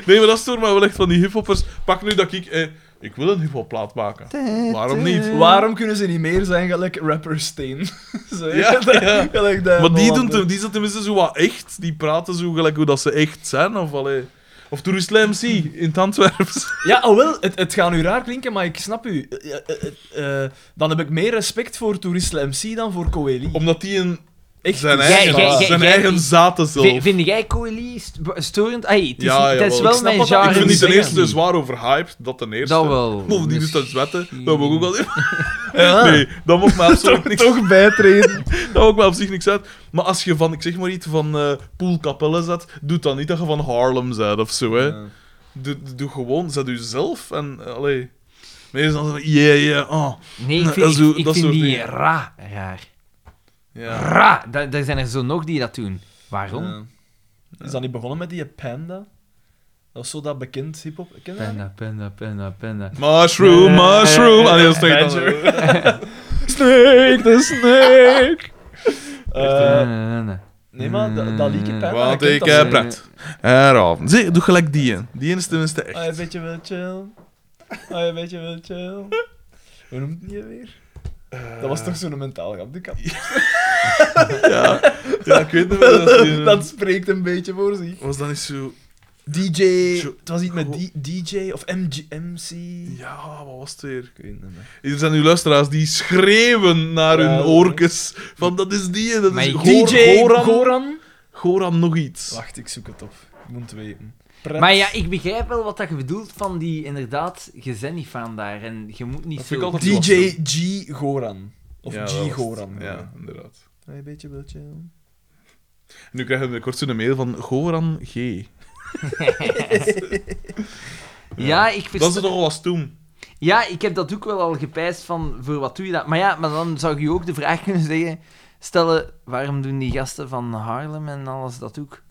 Speaker 2: Nee, maar dat stoort mij wel echt van die hiphoppers. Pak nu dat ik... Eh, ik wil een hiphop plaat maken. Waarom niet?
Speaker 3: Waarom kunnen ze niet meer zijn gelijk rapper Steen? Zo,
Speaker 2: Ja, ja.
Speaker 3: gelijk dat- Oh,
Speaker 2: Maar die,
Speaker 3: wat
Speaker 2: doen,
Speaker 3: de-
Speaker 2: te- die zijn tenminste zo wat echt. Die praten zo gelijk hoe dat ze echt zijn. Of, allee. of door Slam C in het Antwerps.
Speaker 3: Ja, alhoewel, het, het gaat nu raar klinken, maar ik snap u. Eh, eh, eh, eh, dan heb ik meer respect voor Touriste MC dan voor Coeli.
Speaker 2: Omdat die een,
Speaker 3: Echt
Speaker 2: zijn
Speaker 3: waar.
Speaker 2: eigen,
Speaker 3: Ja, ja, ja,
Speaker 2: zijn
Speaker 4: ja.
Speaker 2: eigen zaten zelf.
Speaker 4: Vi- Vind jij Coeli st- b- storend? Ai, het is,
Speaker 2: Ja,
Speaker 4: niet- het
Speaker 2: jawel.
Speaker 4: is
Speaker 3: Ik
Speaker 4: wel
Speaker 3: snap
Speaker 4: mijn
Speaker 3: wat dat-
Speaker 4: genre.
Speaker 2: ik vind die ten
Speaker 4: zingen.
Speaker 2: eerste zwaar overhyped. Dat ten eerste.
Speaker 4: Dat wel.
Speaker 2: Bovendien is dat
Speaker 4: Misschien.
Speaker 2: zwetten. Dat mag ook wel even. Nee, dat mag mij absoluut niks.
Speaker 3: Toch bijtreden.
Speaker 2: Dat maakt mij op zich niks uit. Maar als je van, ik zeg maar iets, van eh Poel Capelle zet, doe dan niet dat je van Harlem zet of zo, hè. Doe, doe gewoon, zet jezelf en, eh, allee. Meestal dan zo, yeah, yeah, oh.
Speaker 4: Nee, ik
Speaker 2: Nee,
Speaker 4: vind,
Speaker 2: dat zo-
Speaker 4: ik, ik
Speaker 2: dat
Speaker 4: vind
Speaker 2: soort
Speaker 4: die
Speaker 2: dingen.
Speaker 4: ra raar.
Speaker 2: Ja.
Speaker 4: Ra! Da- Er zijn er zo nog die dat doen. Waarom?
Speaker 3: Is dat niet begonnen met die Panda? Dat was zo dat bekend hip-hop. Ken je dat?
Speaker 4: Panda, panda, panda, panda.
Speaker 2: Mushroom,
Speaker 3: Eh,
Speaker 2: mushroom. Allee, dat is toch
Speaker 3: Badger.
Speaker 2: iets anders.
Speaker 3: Snake, de snake! Eh,
Speaker 4: Uh,
Speaker 3: nee, maar dat, dat liedje Panda.
Speaker 2: Want
Speaker 3: dat
Speaker 2: ik
Speaker 3: kent dat
Speaker 2: heb
Speaker 3: zo.
Speaker 2: pret. Eravond. Zie, doe gelijk die in. Die in is tenminste echt.
Speaker 3: Ah, je beetje wel chill. Ah, je beetje wel chill. Hoe noemt die weer? Dat was toch zo'n mentaal grap, die kap.
Speaker 2: Ja, ja ik weet niet meer. Dat, is die, eh,
Speaker 3: Dat spreekt een beetje voor zich.
Speaker 2: was dan niet zo...
Speaker 3: DJ.
Speaker 2: Zo-
Speaker 3: Het was iets met
Speaker 2: Goh.
Speaker 3: D- DJ of MG, MC.
Speaker 2: Ja, wat was het weer?
Speaker 3: Ik weet het niet meer.
Speaker 2: Er zijn nu luisteraars die schreeuwen naar
Speaker 3: Ja,
Speaker 2: hun
Speaker 3: dat
Speaker 2: oorkes. Van dat is die, en dat
Speaker 4: Maar
Speaker 2: is
Speaker 4: ik-
Speaker 2: Goor-
Speaker 3: DJ
Speaker 2: Goran.
Speaker 3: Goran?
Speaker 2: Goran nog iets.
Speaker 3: Wacht, ik zoek het op. Ik moet het weten. Pret.
Speaker 4: Maar ja, ik begrijp wel wat dat je bedoelt van die, inderdaad, je bent niet van daar en je moet niet
Speaker 2: Dat
Speaker 4: zo...
Speaker 2: vind ik altijd-
Speaker 3: DJ G Goran. Of
Speaker 2: Ja, dat was
Speaker 3: G
Speaker 2: het.
Speaker 3: Goran.
Speaker 2: Ja, inderdaad.
Speaker 3: Een beetje wel chill.
Speaker 2: Nu krijgen we binnenkort zo'n mail van Goran G.
Speaker 4: Ja, ik
Speaker 2: Dat is
Speaker 4: versta-
Speaker 2: toch al was toen.
Speaker 4: ja, ik heb dat ook wel al gepijst van, voor wat doe je dat? Maar ja, maar dan zou je ook de vraag kunnen zeggen, stellen, waarom doen die gasten van Harlem en alles dat ook?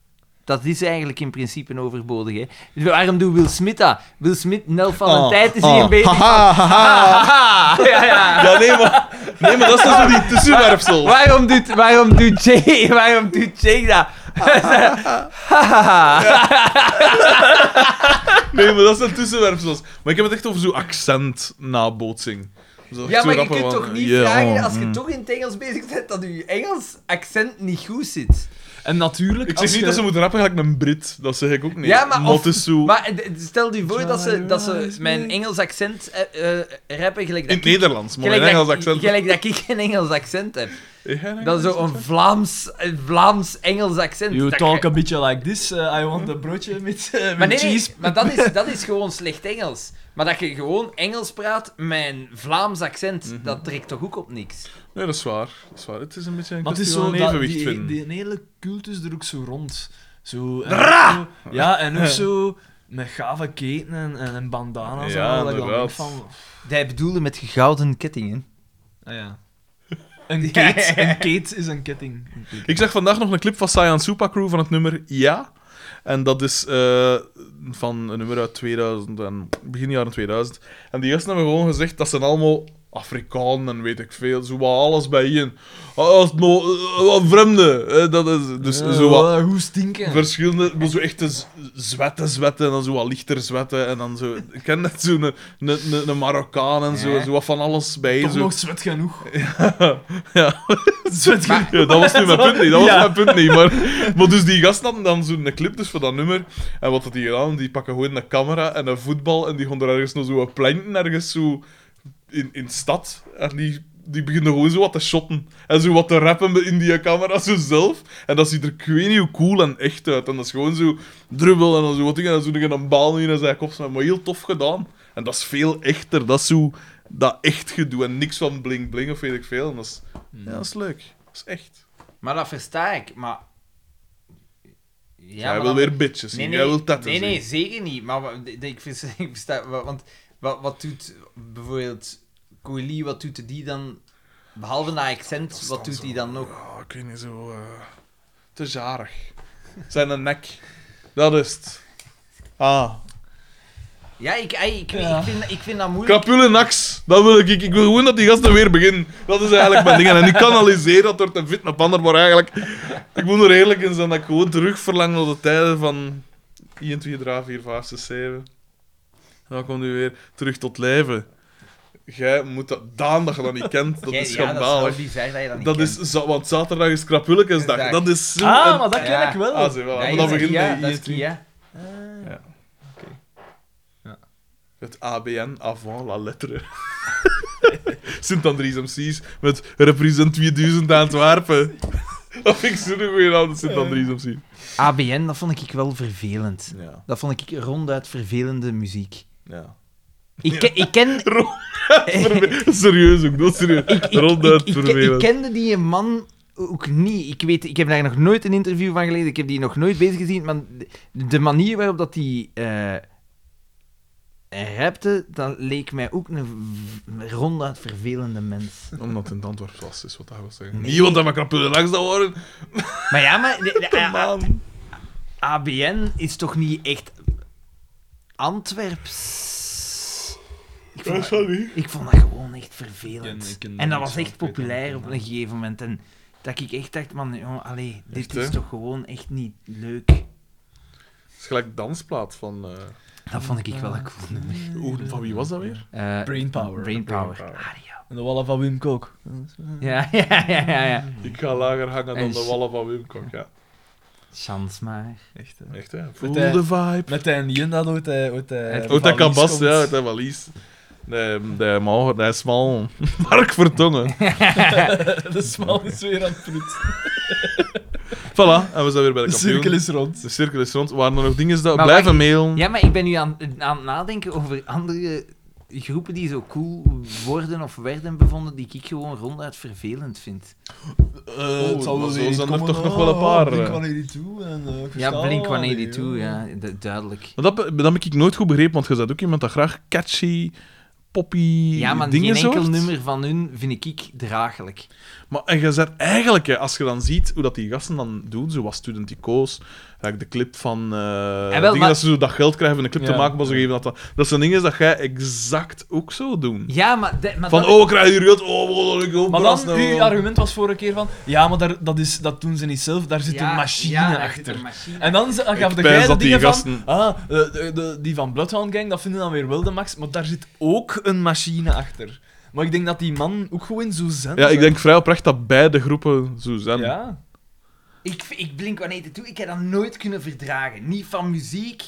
Speaker 4: Dat is eigenlijk in principe overbodig, hè. Waarom doet Will Smith dat? Will Smith, Nel van een tijd is hier een beetje...
Speaker 2: Haha, haha.
Speaker 4: Haha. Ja, ja.
Speaker 2: Ja, nee, maar, nee, maar dat is dan zo die tussenwerpsel.
Speaker 4: Waarom doet, waarom doet Jay, waarom doet Jay dat?
Speaker 2: Nee, maar dat zijn tussenwerpsels. Maar ik heb het echt over zo'n accentnabootsing. Dus dat
Speaker 4: Ja,
Speaker 2: zo
Speaker 4: maar je
Speaker 2: rapper
Speaker 4: kunt
Speaker 2: van,
Speaker 4: toch niet
Speaker 2: yeah,
Speaker 4: vragen,
Speaker 2: oh,
Speaker 4: als je
Speaker 2: mm.
Speaker 4: toch in het Engels bezig bent, dat je Engels accent niet goed zit.
Speaker 12: En natuurlijk,
Speaker 2: Ik
Speaker 12: als
Speaker 2: zeg niet
Speaker 12: je-
Speaker 2: dat ze moeten rappen gelijk een Brit. Dat zeg ik ook niet.
Speaker 4: Ja, maar
Speaker 2: Mot
Speaker 4: of-
Speaker 2: is zo...
Speaker 4: Maar eh, d- stel je voor dat ze, dat ze mijn Engels accent eh, eh, rappen gelijk
Speaker 2: in
Speaker 4: dat
Speaker 2: het
Speaker 4: ik...
Speaker 2: Nederlands, maar
Speaker 4: gelijk
Speaker 2: in
Speaker 4: dat-
Speaker 2: Engels accent.
Speaker 4: Gelijk dat ik geen Engels accent heb.
Speaker 2: Heb jij een
Speaker 4: Dat is
Speaker 2: Engels
Speaker 4: zo een Vlaams, een Vlaams Engels accent.
Speaker 3: You
Speaker 4: Dat
Speaker 3: talk
Speaker 4: je-
Speaker 3: a beetje like this. eh, I want a broodje met, eh, met
Speaker 4: Maar nee, nee,
Speaker 3: cheese.
Speaker 4: maar dat is, dat is gewoon slecht Engels. Maar dat je gewoon Engels praat met een Vlaams accent,
Speaker 3: Mhm.
Speaker 4: dat trekt toch ook op niks?
Speaker 2: Nee, dat is waar. Dat is waar. Het is een beetje een
Speaker 3: Maar het
Speaker 2: kwestie
Speaker 3: is
Speaker 2: van
Speaker 3: zo
Speaker 2: een
Speaker 3: dat,
Speaker 2: evenwicht
Speaker 3: die,
Speaker 2: vinden.
Speaker 3: die hele cultus er ook zo rond. Zo, en ook zo- ja, en ook zo met gave keten en, en, en bandana's.
Speaker 2: Ja,
Speaker 3: en al, dat ik dan denk
Speaker 2: inderdaad.
Speaker 3: van...
Speaker 4: Hij bedoelde met gouden kettingen.
Speaker 3: Ah, ja.
Speaker 8: Een kate, een kate is een ketting.
Speaker 2: Ik zag vandaag nog een clip van Cyan Super Crew van het nummer Ja. En dat is eh, van een nummer uit 2000 en begin jaren 2000. En die gasten hebben gewoon gezegd dat ze allemaal Afrikanen en weet ik veel, zo wat alles bij je. Ah, Als het maar, eh, wat vreemden. eh, dat is dus zo wat
Speaker 8: Eh, hoe stinken?
Speaker 2: verschillende, maar zo echte z- zwetten, zwetten, en dan zo wat lichter zwetten, en dan zo, ik ken net zo'n een, een, een Marokkaan en zo, zo wat van alles bij.
Speaker 8: Toch
Speaker 2: zo.
Speaker 8: nog zwet genoeg.
Speaker 2: Ja.
Speaker 8: Zwet genoeg.
Speaker 2: Ja, dat was nu mijn punt niet, dat was
Speaker 8: Ja.
Speaker 2: mijn punt niet, maar, maar dus die gasten hadden dan zo'n clip dus voor dat nummer, en wat had die gedaan, die pakken gewoon een camera en een voetbal, en die gaan er ergens nog zo wat planten, ergens zo in, in stad, en die... Die beginnen gewoon zo wat te shotten. En zo wat te rappen in die camera, zo zelf. En dat ziet er, ik weet niet hoe cool en echt uit. En dat is gewoon zo drubbel en dan zo wat dingen. En dan zo nog een bal in en zijn kop. Maar heel tof gedaan. En dat is veel echter. Dat is zo dat echt gedoe. En niks van bling bling of weet ik veel. En dat is,
Speaker 1: Mm.
Speaker 2: ja, dat is leuk. Dat is echt.
Speaker 1: Maar dat versta ik, maar...
Speaker 2: Ja,
Speaker 1: Ja,
Speaker 2: Jij
Speaker 1: maar
Speaker 2: wil
Speaker 1: dat-
Speaker 2: weer bitches zien.
Speaker 1: Nee,
Speaker 2: Jij
Speaker 1: nee,
Speaker 2: wil dus tetten
Speaker 1: nee, nee,
Speaker 2: zien.
Speaker 1: zeker niet. Maar wa- de- de- ik vind ik versta, wa- want wat, wat doet bijvoorbeeld Coeli, wat doet die dan? Behalve naar accent,
Speaker 2: is
Speaker 1: wat
Speaker 2: dan
Speaker 1: doet
Speaker 2: zo.
Speaker 1: die dan nog?
Speaker 2: Oh, ik weet niet zo... eh, te jarig. Zijn een nek. Dat is het. Ah.
Speaker 1: Ja, ik, ik, ik, Ik, vind, ik vind dat moeilijk.
Speaker 2: Capule Nax, dat wil ik. Ik wil gewoon dat die gasten weer beginnen. Dat is eigenlijk mijn ding. En ik kanaliseer dat door te fit naar ander, maar eigenlijk... Ik moet er eerlijk in zijn dat ik gewoon terug verlang naar de tijden van... 1, 2, 3, 4, 5, 6, 7. Dan komt u weer terug tot leven. Jij moet dat... Daan, dat je dat niet kent, dat
Speaker 1: Jij-
Speaker 2: is
Speaker 1: ja, dat
Speaker 2: schandalig.
Speaker 1: is wel bizar dat je dat niet
Speaker 2: Dat is...
Speaker 1: kent.
Speaker 2: za- Want zaterdag is krapulekensdag.
Speaker 1: Dag.
Speaker 2: Dat is zo...
Speaker 14: Ah,
Speaker 2: een-
Speaker 14: maar dat
Speaker 1: Ja.
Speaker 14: ken ik wel.
Speaker 2: Ah, zie, voilà.
Speaker 1: Ja,
Speaker 2: Maar dan
Speaker 1: is
Speaker 2: begint
Speaker 1: Kia,
Speaker 2: de
Speaker 1: dat is
Speaker 2: 1, 2,
Speaker 1: Kia.
Speaker 2: Het ABN avant la lettre. Sint-Andries MC's met Represent 2000 Antwerpen. Dat vind ik zo'n goeie naam, dat Sint-Andries MC.
Speaker 4: ABN, dat vond ik wel vervelend.
Speaker 2: Ja,
Speaker 4: Dat vond ik ronduit vervelende muziek.
Speaker 2: ja.
Speaker 4: Ik, ken- ik, ken,
Speaker 2: Serieus ook, dat is serieus. Ronduit
Speaker 4: ik, ik, ik
Speaker 2: vervelend.
Speaker 4: kende die man ook niet. Ik, weet, ik heb daar nog nooit een interview van gelezen. Ik heb die nog nooit bezig gezien. Maar de- de manier waarop dat die eh rapte, dat leek mij ook een v- ronduit vervelende mens.
Speaker 2: Omdat het in het Antwerp was, is wat hij wil zeggen. Niet want dat we krapullen langs dat worden.
Speaker 4: Maar Ah, ja, maar de- de- eh,
Speaker 2: Man.
Speaker 4: ABN is toch niet echt Antwerps? Ik vond, dat,
Speaker 2: sorry.
Speaker 4: ik vond dat gewoon echt vervelend.
Speaker 8: Ik ken- ik ken
Speaker 4: en
Speaker 8: niks
Speaker 4: dat was
Speaker 8: van,
Speaker 4: echt
Speaker 8: ik weet
Speaker 4: populair
Speaker 8: dat
Speaker 4: op een gegeven moment. En dat ik echt dacht, man, jongen, allee, dit
Speaker 2: Echt,
Speaker 4: is
Speaker 2: hè?
Speaker 4: toch gewoon echt niet leuk.
Speaker 2: Het is gelijk dansplaat van... eh,
Speaker 4: Dat vond ik wel een cool nummer.
Speaker 2: oeh, van wie was dat weer?
Speaker 4: Eh,
Speaker 14: Brainpower.
Speaker 4: Brainpower.
Speaker 2: Brainpower.
Speaker 4: Ario.
Speaker 14: En de wallen van Wim Kok.
Speaker 4: Ja, ja, ja, ja. ja.
Speaker 2: Ik ga lager hangen dan
Speaker 4: En-
Speaker 2: de wallen van Wim Kok, ja.
Speaker 4: Chance maar.
Speaker 8: Echt, hè.
Speaker 2: Echt, hè. Voel
Speaker 14: eh,
Speaker 2: de vibe.
Speaker 14: Met een Junda ooit. eh, ooit eh,
Speaker 2: Ook dat
Speaker 14: valies
Speaker 2: kabas,
Speaker 14: komt.
Speaker 2: ja, uit dat valies. De, de man, dat is smal. Mark Vertongen.
Speaker 14: De smal is weer aan het proet.
Speaker 2: Voilà, en we zijn weer bij de
Speaker 14: De cirkel
Speaker 2: kampioen.
Speaker 14: is rond.
Speaker 2: De cirkel is rond. Waren er nog dingen dat
Speaker 4: Maar
Speaker 2: blijven
Speaker 4: wacht,
Speaker 2: mailen?
Speaker 4: Ja, maar ik ben nu aan, aan het nadenken over andere groepen die zo cool worden of werden bevonden, die ik gewoon ronduit vervelend vind.
Speaker 3: Eh,
Speaker 14: Eh,
Speaker 2: Oh,
Speaker 8: het zal
Speaker 2: maar
Speaker 8: wel
Speaker 2: zo
Speaker 8: weer niet
Speaker 2: zijn er
Speaker 8: komen.
Speaker 2: toch nog
Speaker 8: Oh,
Speaker 2: wel een paar,
Speaker 8: Blink
Speaker 2: eh.
Speaker 8: 182 en eh, ik
Speaker 4: Ja,
Speaker 8: versta
Speaker 4: Blink
Speaker 8: wel alweer,
Speaker 4: 182,
Speaker 8: joh.
Speaker 4: ja, du- duidelijk.
Speaker 2: Maar dat, be- dat heb ik nooit goed begrepen, want je bent ook iemand dat graag catchy, poppy
Speaker 4: Ja, maar
Speaker 2: dingen
Speaker 4: geen enkel
Speaker 2: zoekt.
Speaker 4: nummer van hun vind ik, ik draaglijk.
Speaker 2: Maar en je zegt eigenlijk, hè, als je dan ziet hoe dat die gasten dan doen, zoals Studentico's, like de clip van... eh,
Speaker 4: wel,
Speaker 2: dingen
Speaker 4: maar-
Speaker 2: dat ze zo dat geld krijgen om een clip te
Speaker 14: Ja.
Speaker 2: maken, maar ze geven dat... dan- Dat zijn dingen dat jij exact ook zo doen.
Speaker 4: Ja, maar... de- maar
Speaker 2: Van,
Speaker 4: dat-
Speaker 2: oh, we krijgen hier geld, oh, wat een goed
Speaker 14: Maar
Speaker 2: bras,
Speaker 14: dan,
Speaker 2: nou.
Speaker 14: uw argument was vorige keer van... Ja, maar daar, dat, is, dat doen ze niet zelf. Daar zit
Speaker 4: Ja,
Speaker 14: een machine
Speaker 4: ja, daar zit
Speaker 14: achter.
Speaker 4: een machine
Speaker 14: En dan ze- dan gaf de
Speaker 2: pijs
Speaker 14: jij de
Speaker 2: dat die
Speaker 14: dingen
Speaker 2: gasten-
Speaker 14: van... Ah, de, de- de- die van Bloodhound Gang, dat vinden dan weer wel de max. Maar daar zit ook een machine achter. Maar ik denk dat die man ook gewoon zo zen
Speaker 2: Ja, ik
Speaker 14: zijn.
Speaker 2: denk vrij oprecht dat beide groepen zo zijn.
Speaker 14: Ja.
Speaker 4: Ik, ik blink wanneer toe. Ik heb dat nooit kunnen verdragen. Niet van muziek.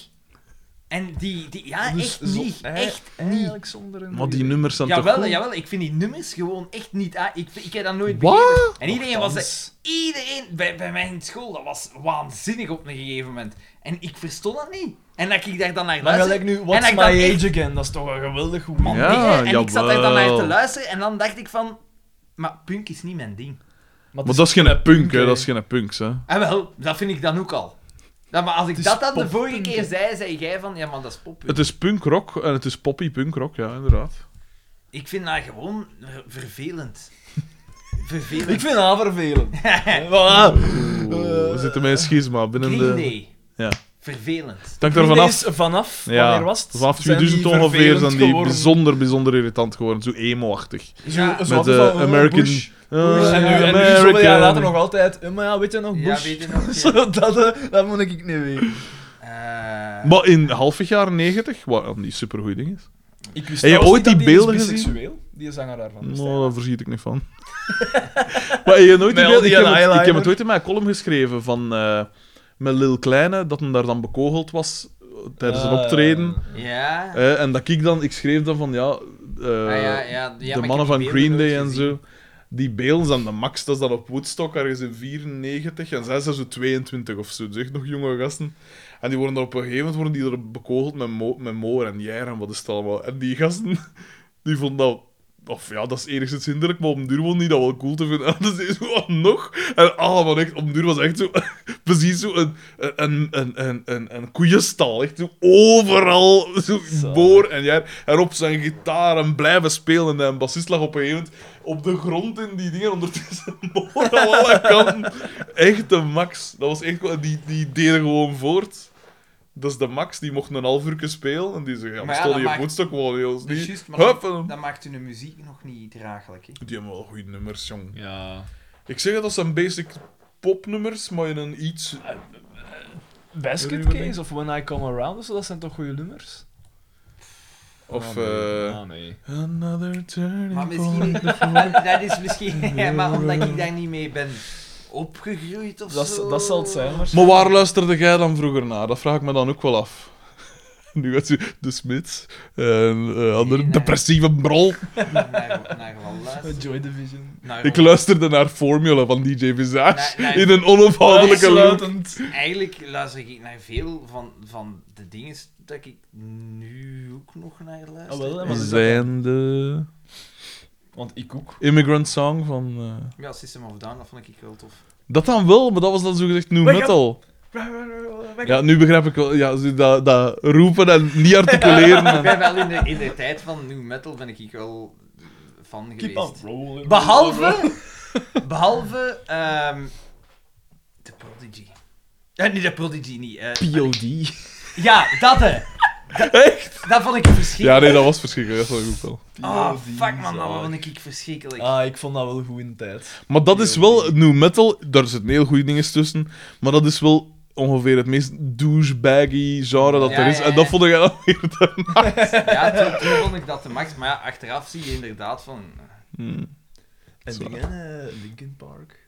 Speaker 4: En die, die ja,
Speaker 14: Dus
Speaker 4: Ah, echt
Speaker 14: zo-
Speaker 4: niet.
Speaker 14: eh,
Speaker 4: Echt niet.
Speaker 14: Eigenlijk zonder een...
Speaker 2: Maar die nummers zijn toch
Speaker 4: Jawel,
Speaker 2: goed?
Speaker 4: jawel, ik vind die nummers gewoon echt niet. ah, Ik, ik heb dat nooit
Speaker 2: Wat? Oh,
Speaker 4: begrepen. En iedereen was
Speaker 14: Nochtans.
Speaker 4: Iedereen bij, bij mij in school, dat was waanzinnig op een gegeven moment. En ik verstond dat niet. En dat ik daar dan naar
Speaker 14: Maar
Speaker 4: luisterde.
Speaker 14: gelijk nu,
Speaker 4: en dat
Speaker 14: What's
Speaker 4: ik
Speaker 14: My
Speaker 4: dan
Speaker 14: Age
Speaker 4: echt-
Speaker 14: Again, dat is toch een geweldig goed
Speaker 4: man,
Speaker 14: man.
Speaker 2: Ja,
Speaker 4: dingen. en ik zat daar dan naar te
Speaker 2: jawel.
Speaker 4: luisteren en dan dacht ik van... Maar punk is niet mijn ding.
Speaker 2: Maar dat is geen punk, hè. Dat is geen punks, hè.
Speaker 4: En wel, dat vind ik dan ook al. Ja, maar als ik
Speaker 14: Het is
Speaker 4: dat dan de vorige
Speaker 14: poppunk,
Speaker 4: keer
Speaker 14: hè.
Speaker 4: zei, zei jij van... Ja, maar dat is poppunk.
Speaker 2: Het is punkrock en het is poppy punkrock, ja, inderdaad.
Speaker 4: Ik vind dat gewoon ver- vervelend. vervelend.
Speaker 3: Ik vind haar vervelend. Eh,
Speaker 2: we zitten met een schisma binnen
Speaker 4: Green
Speaker 2: de...
Speaker 4: Day.
Speaker 2: Ja.
Speaker 4: Vervelend.
Speaker 2: Dank er vanaf.
Speaker 3: Is vanaf,
Speaker 2: Ja,
Speaker 3: wanneer was het?
Speaker 2: Vanaf
Speaker 3: Zijn
Speaker 2: 2000
Speaker 3: die
Speaker 2: ongeveer
Speaker 3: vervelend
Speaker 2: zijn die
Speaker 3: geworden?
Speaker 2: bijzonder, bijzonder irritant geworden. Zo emo-achtig.
Speaker 4: Ja.
Speaker 3: Zo- zo
Speaker 2: Met
Speaker 3: van,
Speaker 2: eh,
Speaker 3: oh,
Speaker 2: American...
Speaker 3: Bush.
Speaker 2: Oh,
Speaker 3: en nu, en nu
Speaker 2: American.
Speaker 3: zoveel jaar later nog altijd. eh, Maar ja, weet je nog,
Speaker 4: Ja,
Speaker 3: Bush?
Speaker 4: weet je nog?
Speaker 3: Zo, dat, eh, dat moet ik niet weten.
Speaker 4: Eh,
Speaker 2: Maar in halfweg jaar 90, wat een die supergoeie ding is.
Speaker 3: Ik wist
Speaker 2: Heb je
Speaker 3: trouwens
Speaker 2: ooit die
Speaker 3: niet dat die is
Speaker 2: beelden gezien?
Speaker 3: biseksueel, Die zanger daarvan.
Speaker 2: Nou, daar verschiet ik niet van. maar je nooit
Speaker 3: Met
Speaker 2: die
Speaker 3: al
Speaker 2: beeld-
Speaker 3: die
Speaker 2: ik, heb het,
Speaker 3: eyeliner.
Speaker 2: ik heb het ooit in mijn column geschreven van eh, met Lil Kleine, dat hem daar dan bekogeld was eh, tijdens een
Speaker 3: Ah.
Speaker 2: optreden.
Speaker 4: ja.
Speaker 2: Eh, en dat ik dan, ik schreef dan van ja, eh,
Speaker 4: Ah, ja, ja, ja, maar
Speaker 2: de
Speaker 4: ik
Speaker 2: mannen
Speaker 4: heb
Speaker 2: van
Speaker 4: die
Speaker 2: Green
Speaker 4: beelden
Speaker 2: Day
Speaker 4: nooit
Speaker 2: en
Speaker 4: gezien.
Speaker 2: zo. Die beelden aan de max, dat is dan op Woodstock ergens in 94 en zij zijn zo 22 of zo, zeg nog jonge gasten. En die worden dan op een gegeven moment worden die er bekogeld met, mo met moor en jij en wat is het allemaal. En die gasten, die vonden dat, of ja, dat is enigszins hinderlijk, maar om duur wonen die dat wel cool te vinden. En dan zei ze, wat nog? En ah, man, echt, om duur was echt zo, precies zo een, een, een, een, een, een koeienstal. Echt zo overal. Zo boor en jij erop zijn gitaar en blijven spelen. En de bassist lag op een gegeven moment op de grond in die dingen. Ondertussen boor aan alle kanten. Echt de max. Dat was echt, wel- die, die deden gewoon voort. Dat is de max, die mocht een half uur spelen. En die zei, ja,
Speaker 4: Maar ja,
Speaker 2: we stonden
Speaker 4: dat
Speaker 2: hier
Speaker 4: maakt-
Speaker 2: voetstuk gewoon, jongens.
Speaker 4: Dat is
Speaker 2: Die,
Speaker 4: juist, maar
Speaker 2: hup,
Speaker 4: dat-
Speaker 2: en-
Speaker 4: dat maakt hun muziek nog niet draaglijk. Hè.
Speaker 2: die hebben wel goede nummers, jong.
Speaker 3: Ja.
Speaker 2: Ik zeg het, dat zijn basic popnummers, maar in een iets...
Speaker 4: Ah,
Speaker 3: Basket Case of When I Come Around, of zo, dat zijn toch goede nummers?
Speaker 2: Of...
Speaker 3: Ah, nee.
Speaker 2: eh,
Speaker 3: Ah, nee.
Speaker 2: Another turning
Speaker 4: Maar
Speaker 2: point.
Speaker 4: misschien, maar dat is misschien, maar omdat ik daar niet mee ben opgegroeid of
Speaker 3: Dat,
Speaker 4: zo.
Speaker 3: dat zal het zijn, maar...
Speaker 2: Maar waar luisterde jij dan vroeger naar? Dat vraag ik me dan ook wel af. Nu gaat ze de Smits en eh andere
Speaker 4: Nee, nee.
Speaker 2: depressieve brol.
Speaker 4: Ah, Naar, naar wat luisteren.
Speaker 3: Joy Division.
Speaker 4: Naar
Speaker 2: Ik
Speaker 4: wat-
Speaker 2: luisterde naar Formula van DJ Visage
Speaker 4: Nee, nee.
Speaker 2: in een onafhankelijke loop.
Speaker 3: Uitsluitend.
Speaker 4: Eigenlijk luister ik naar veel van, van de dingen dat ik nu ook nog naar luister.
Speaker 3: Ah, wel, hè, maar-
Speaker 2: Zijn de
Speaker 3: Want ik ook.
Speaker 2: Immigrant Song van... eh,
Speaker 4: Ja, System of a Down, dat vond ik wel tof.
Speaker 2: Dat dan wel, maar dat was dan zogezegd new metal. Ja, nu begrijp ik wel. Ja, zo dat, dat roepen en niet articuleren.
Speaker 4: Ik
Speaker 2: en-
Speaker 4: ben wel in de, in de tijd van new metal ben ik wel fan
Speaker 3: Keep
Speaker 4: geweest.
Speaker 3: on rolling.
Speaker 4: Behalve, behalve ehm de Prodigy. Ja, niet de Prodigy, niet. eh,
Speaker 15: POD.
Speaker 4: ja, dat hè. Echt? Dat vond ik
Speaker 2: Ja,
Speaker 4: verschrikkelijk.
Speaker 2: nee, dat was verschrikkelijk. Dat was ook wel.
Speaker 4: Oh, fuck man, dat vond ik verschrikkelijk.
Speaker 3: Ah, ik vond dat wel goed in de tijd.
Speaker 2: Maar dat is wel, nu metal, daar zitten heel goede dingen tussen, maar dat is wel ongeveer het meest douchebaggy genre dat
Speaker 4: Ja,
Speaker 2: er is.
Speaker 4: ja,
Speaker 2: En dat
Speaker 4: ja.
Speaker 2: vond ik dan weer de max.
Speaker 4: Ja, toen, toen vond ik dat de max. Maar ja, achteraf zie je inderdaad van... eh,
Speaker 2: Hmm.
Speaker 3: En
Speaker 2: Zwaar.
Speaker 3: dingen, eh, Linkin Park.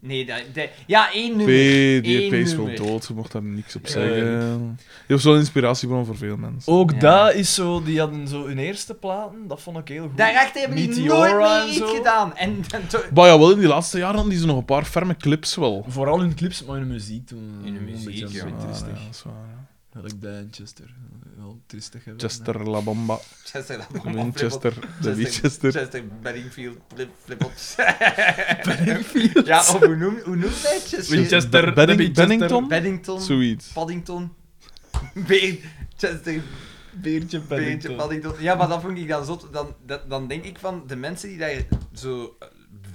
Speaker 4: Nee, dat, dat- ja, één
Speaker 2: P,
Speaker 4: nummer.
Speaker 2: die
Speaker 4: Eén
Speaker 2: P is wel
Speaker 4: nummer.
Speaker 2: dood, ze mocht daar niks op zeggen. Die was wel een inspiratiebron voor veel mensen.
Speaker 3: Ook
Speaker 4: Ja.
Speaker 3: dat is zo, die hadden zo hun eerste platen, dat vond ik heel goed.
Speaker 4: Daarachter hebben die
Speaker 3: Meteora
Speaker 4: nooit meer
Speaker 3: en
Speaker 4: iets
Speaker 3: zo.
Speaker 4: gedaan. En, en to-
Speaker 2: Maar ja, wel in die laatste jaren hadden die ze nog een paar ferme clips wel.
Speaker 3: Vooral hun clips, maar hun muziek toen.
Speaker 4: In hun
Speaker 3: een
Speaker 4: muziek,
Speaker 3: beetje
Speaker 4: ja.
Speaker 3: zo
Speaker 2: Ah,
Speaker 3: tristig.
Speaker 2: ja, dat is waar, ja.
Speaker 3: Welk band, Chester? Wel tristig hebben.
Speaker 2: Chester, La Bamba,
Speaker 4: Chester, dat allemaal
Speaker 2: Winchester, de
Speaker 4: Chester-
Speaker 2: Winchester.
Speaker 4: Chester Benningfield, flip, flip-ops. Ja, of hoe noem, hoe noem je het? Chester?
Speaker 3: Winchester,
Speaker 2: Benning-
Speaker 3: de Winchester.
Speaker 2: Bennington?
Speaker 4: Paddington,
Speaker 2: Zoiets.
Speaker 4: Paddington. Beer, Chester,
Speaker 3: Beertje
Speaker 4: Beertje
Speaker 3: Paddington.
Speaker 4: Paddington. Ja, maar dat vond ik dan zot. Dan, dat- dan denk ik van, de mensen die daar zo eh,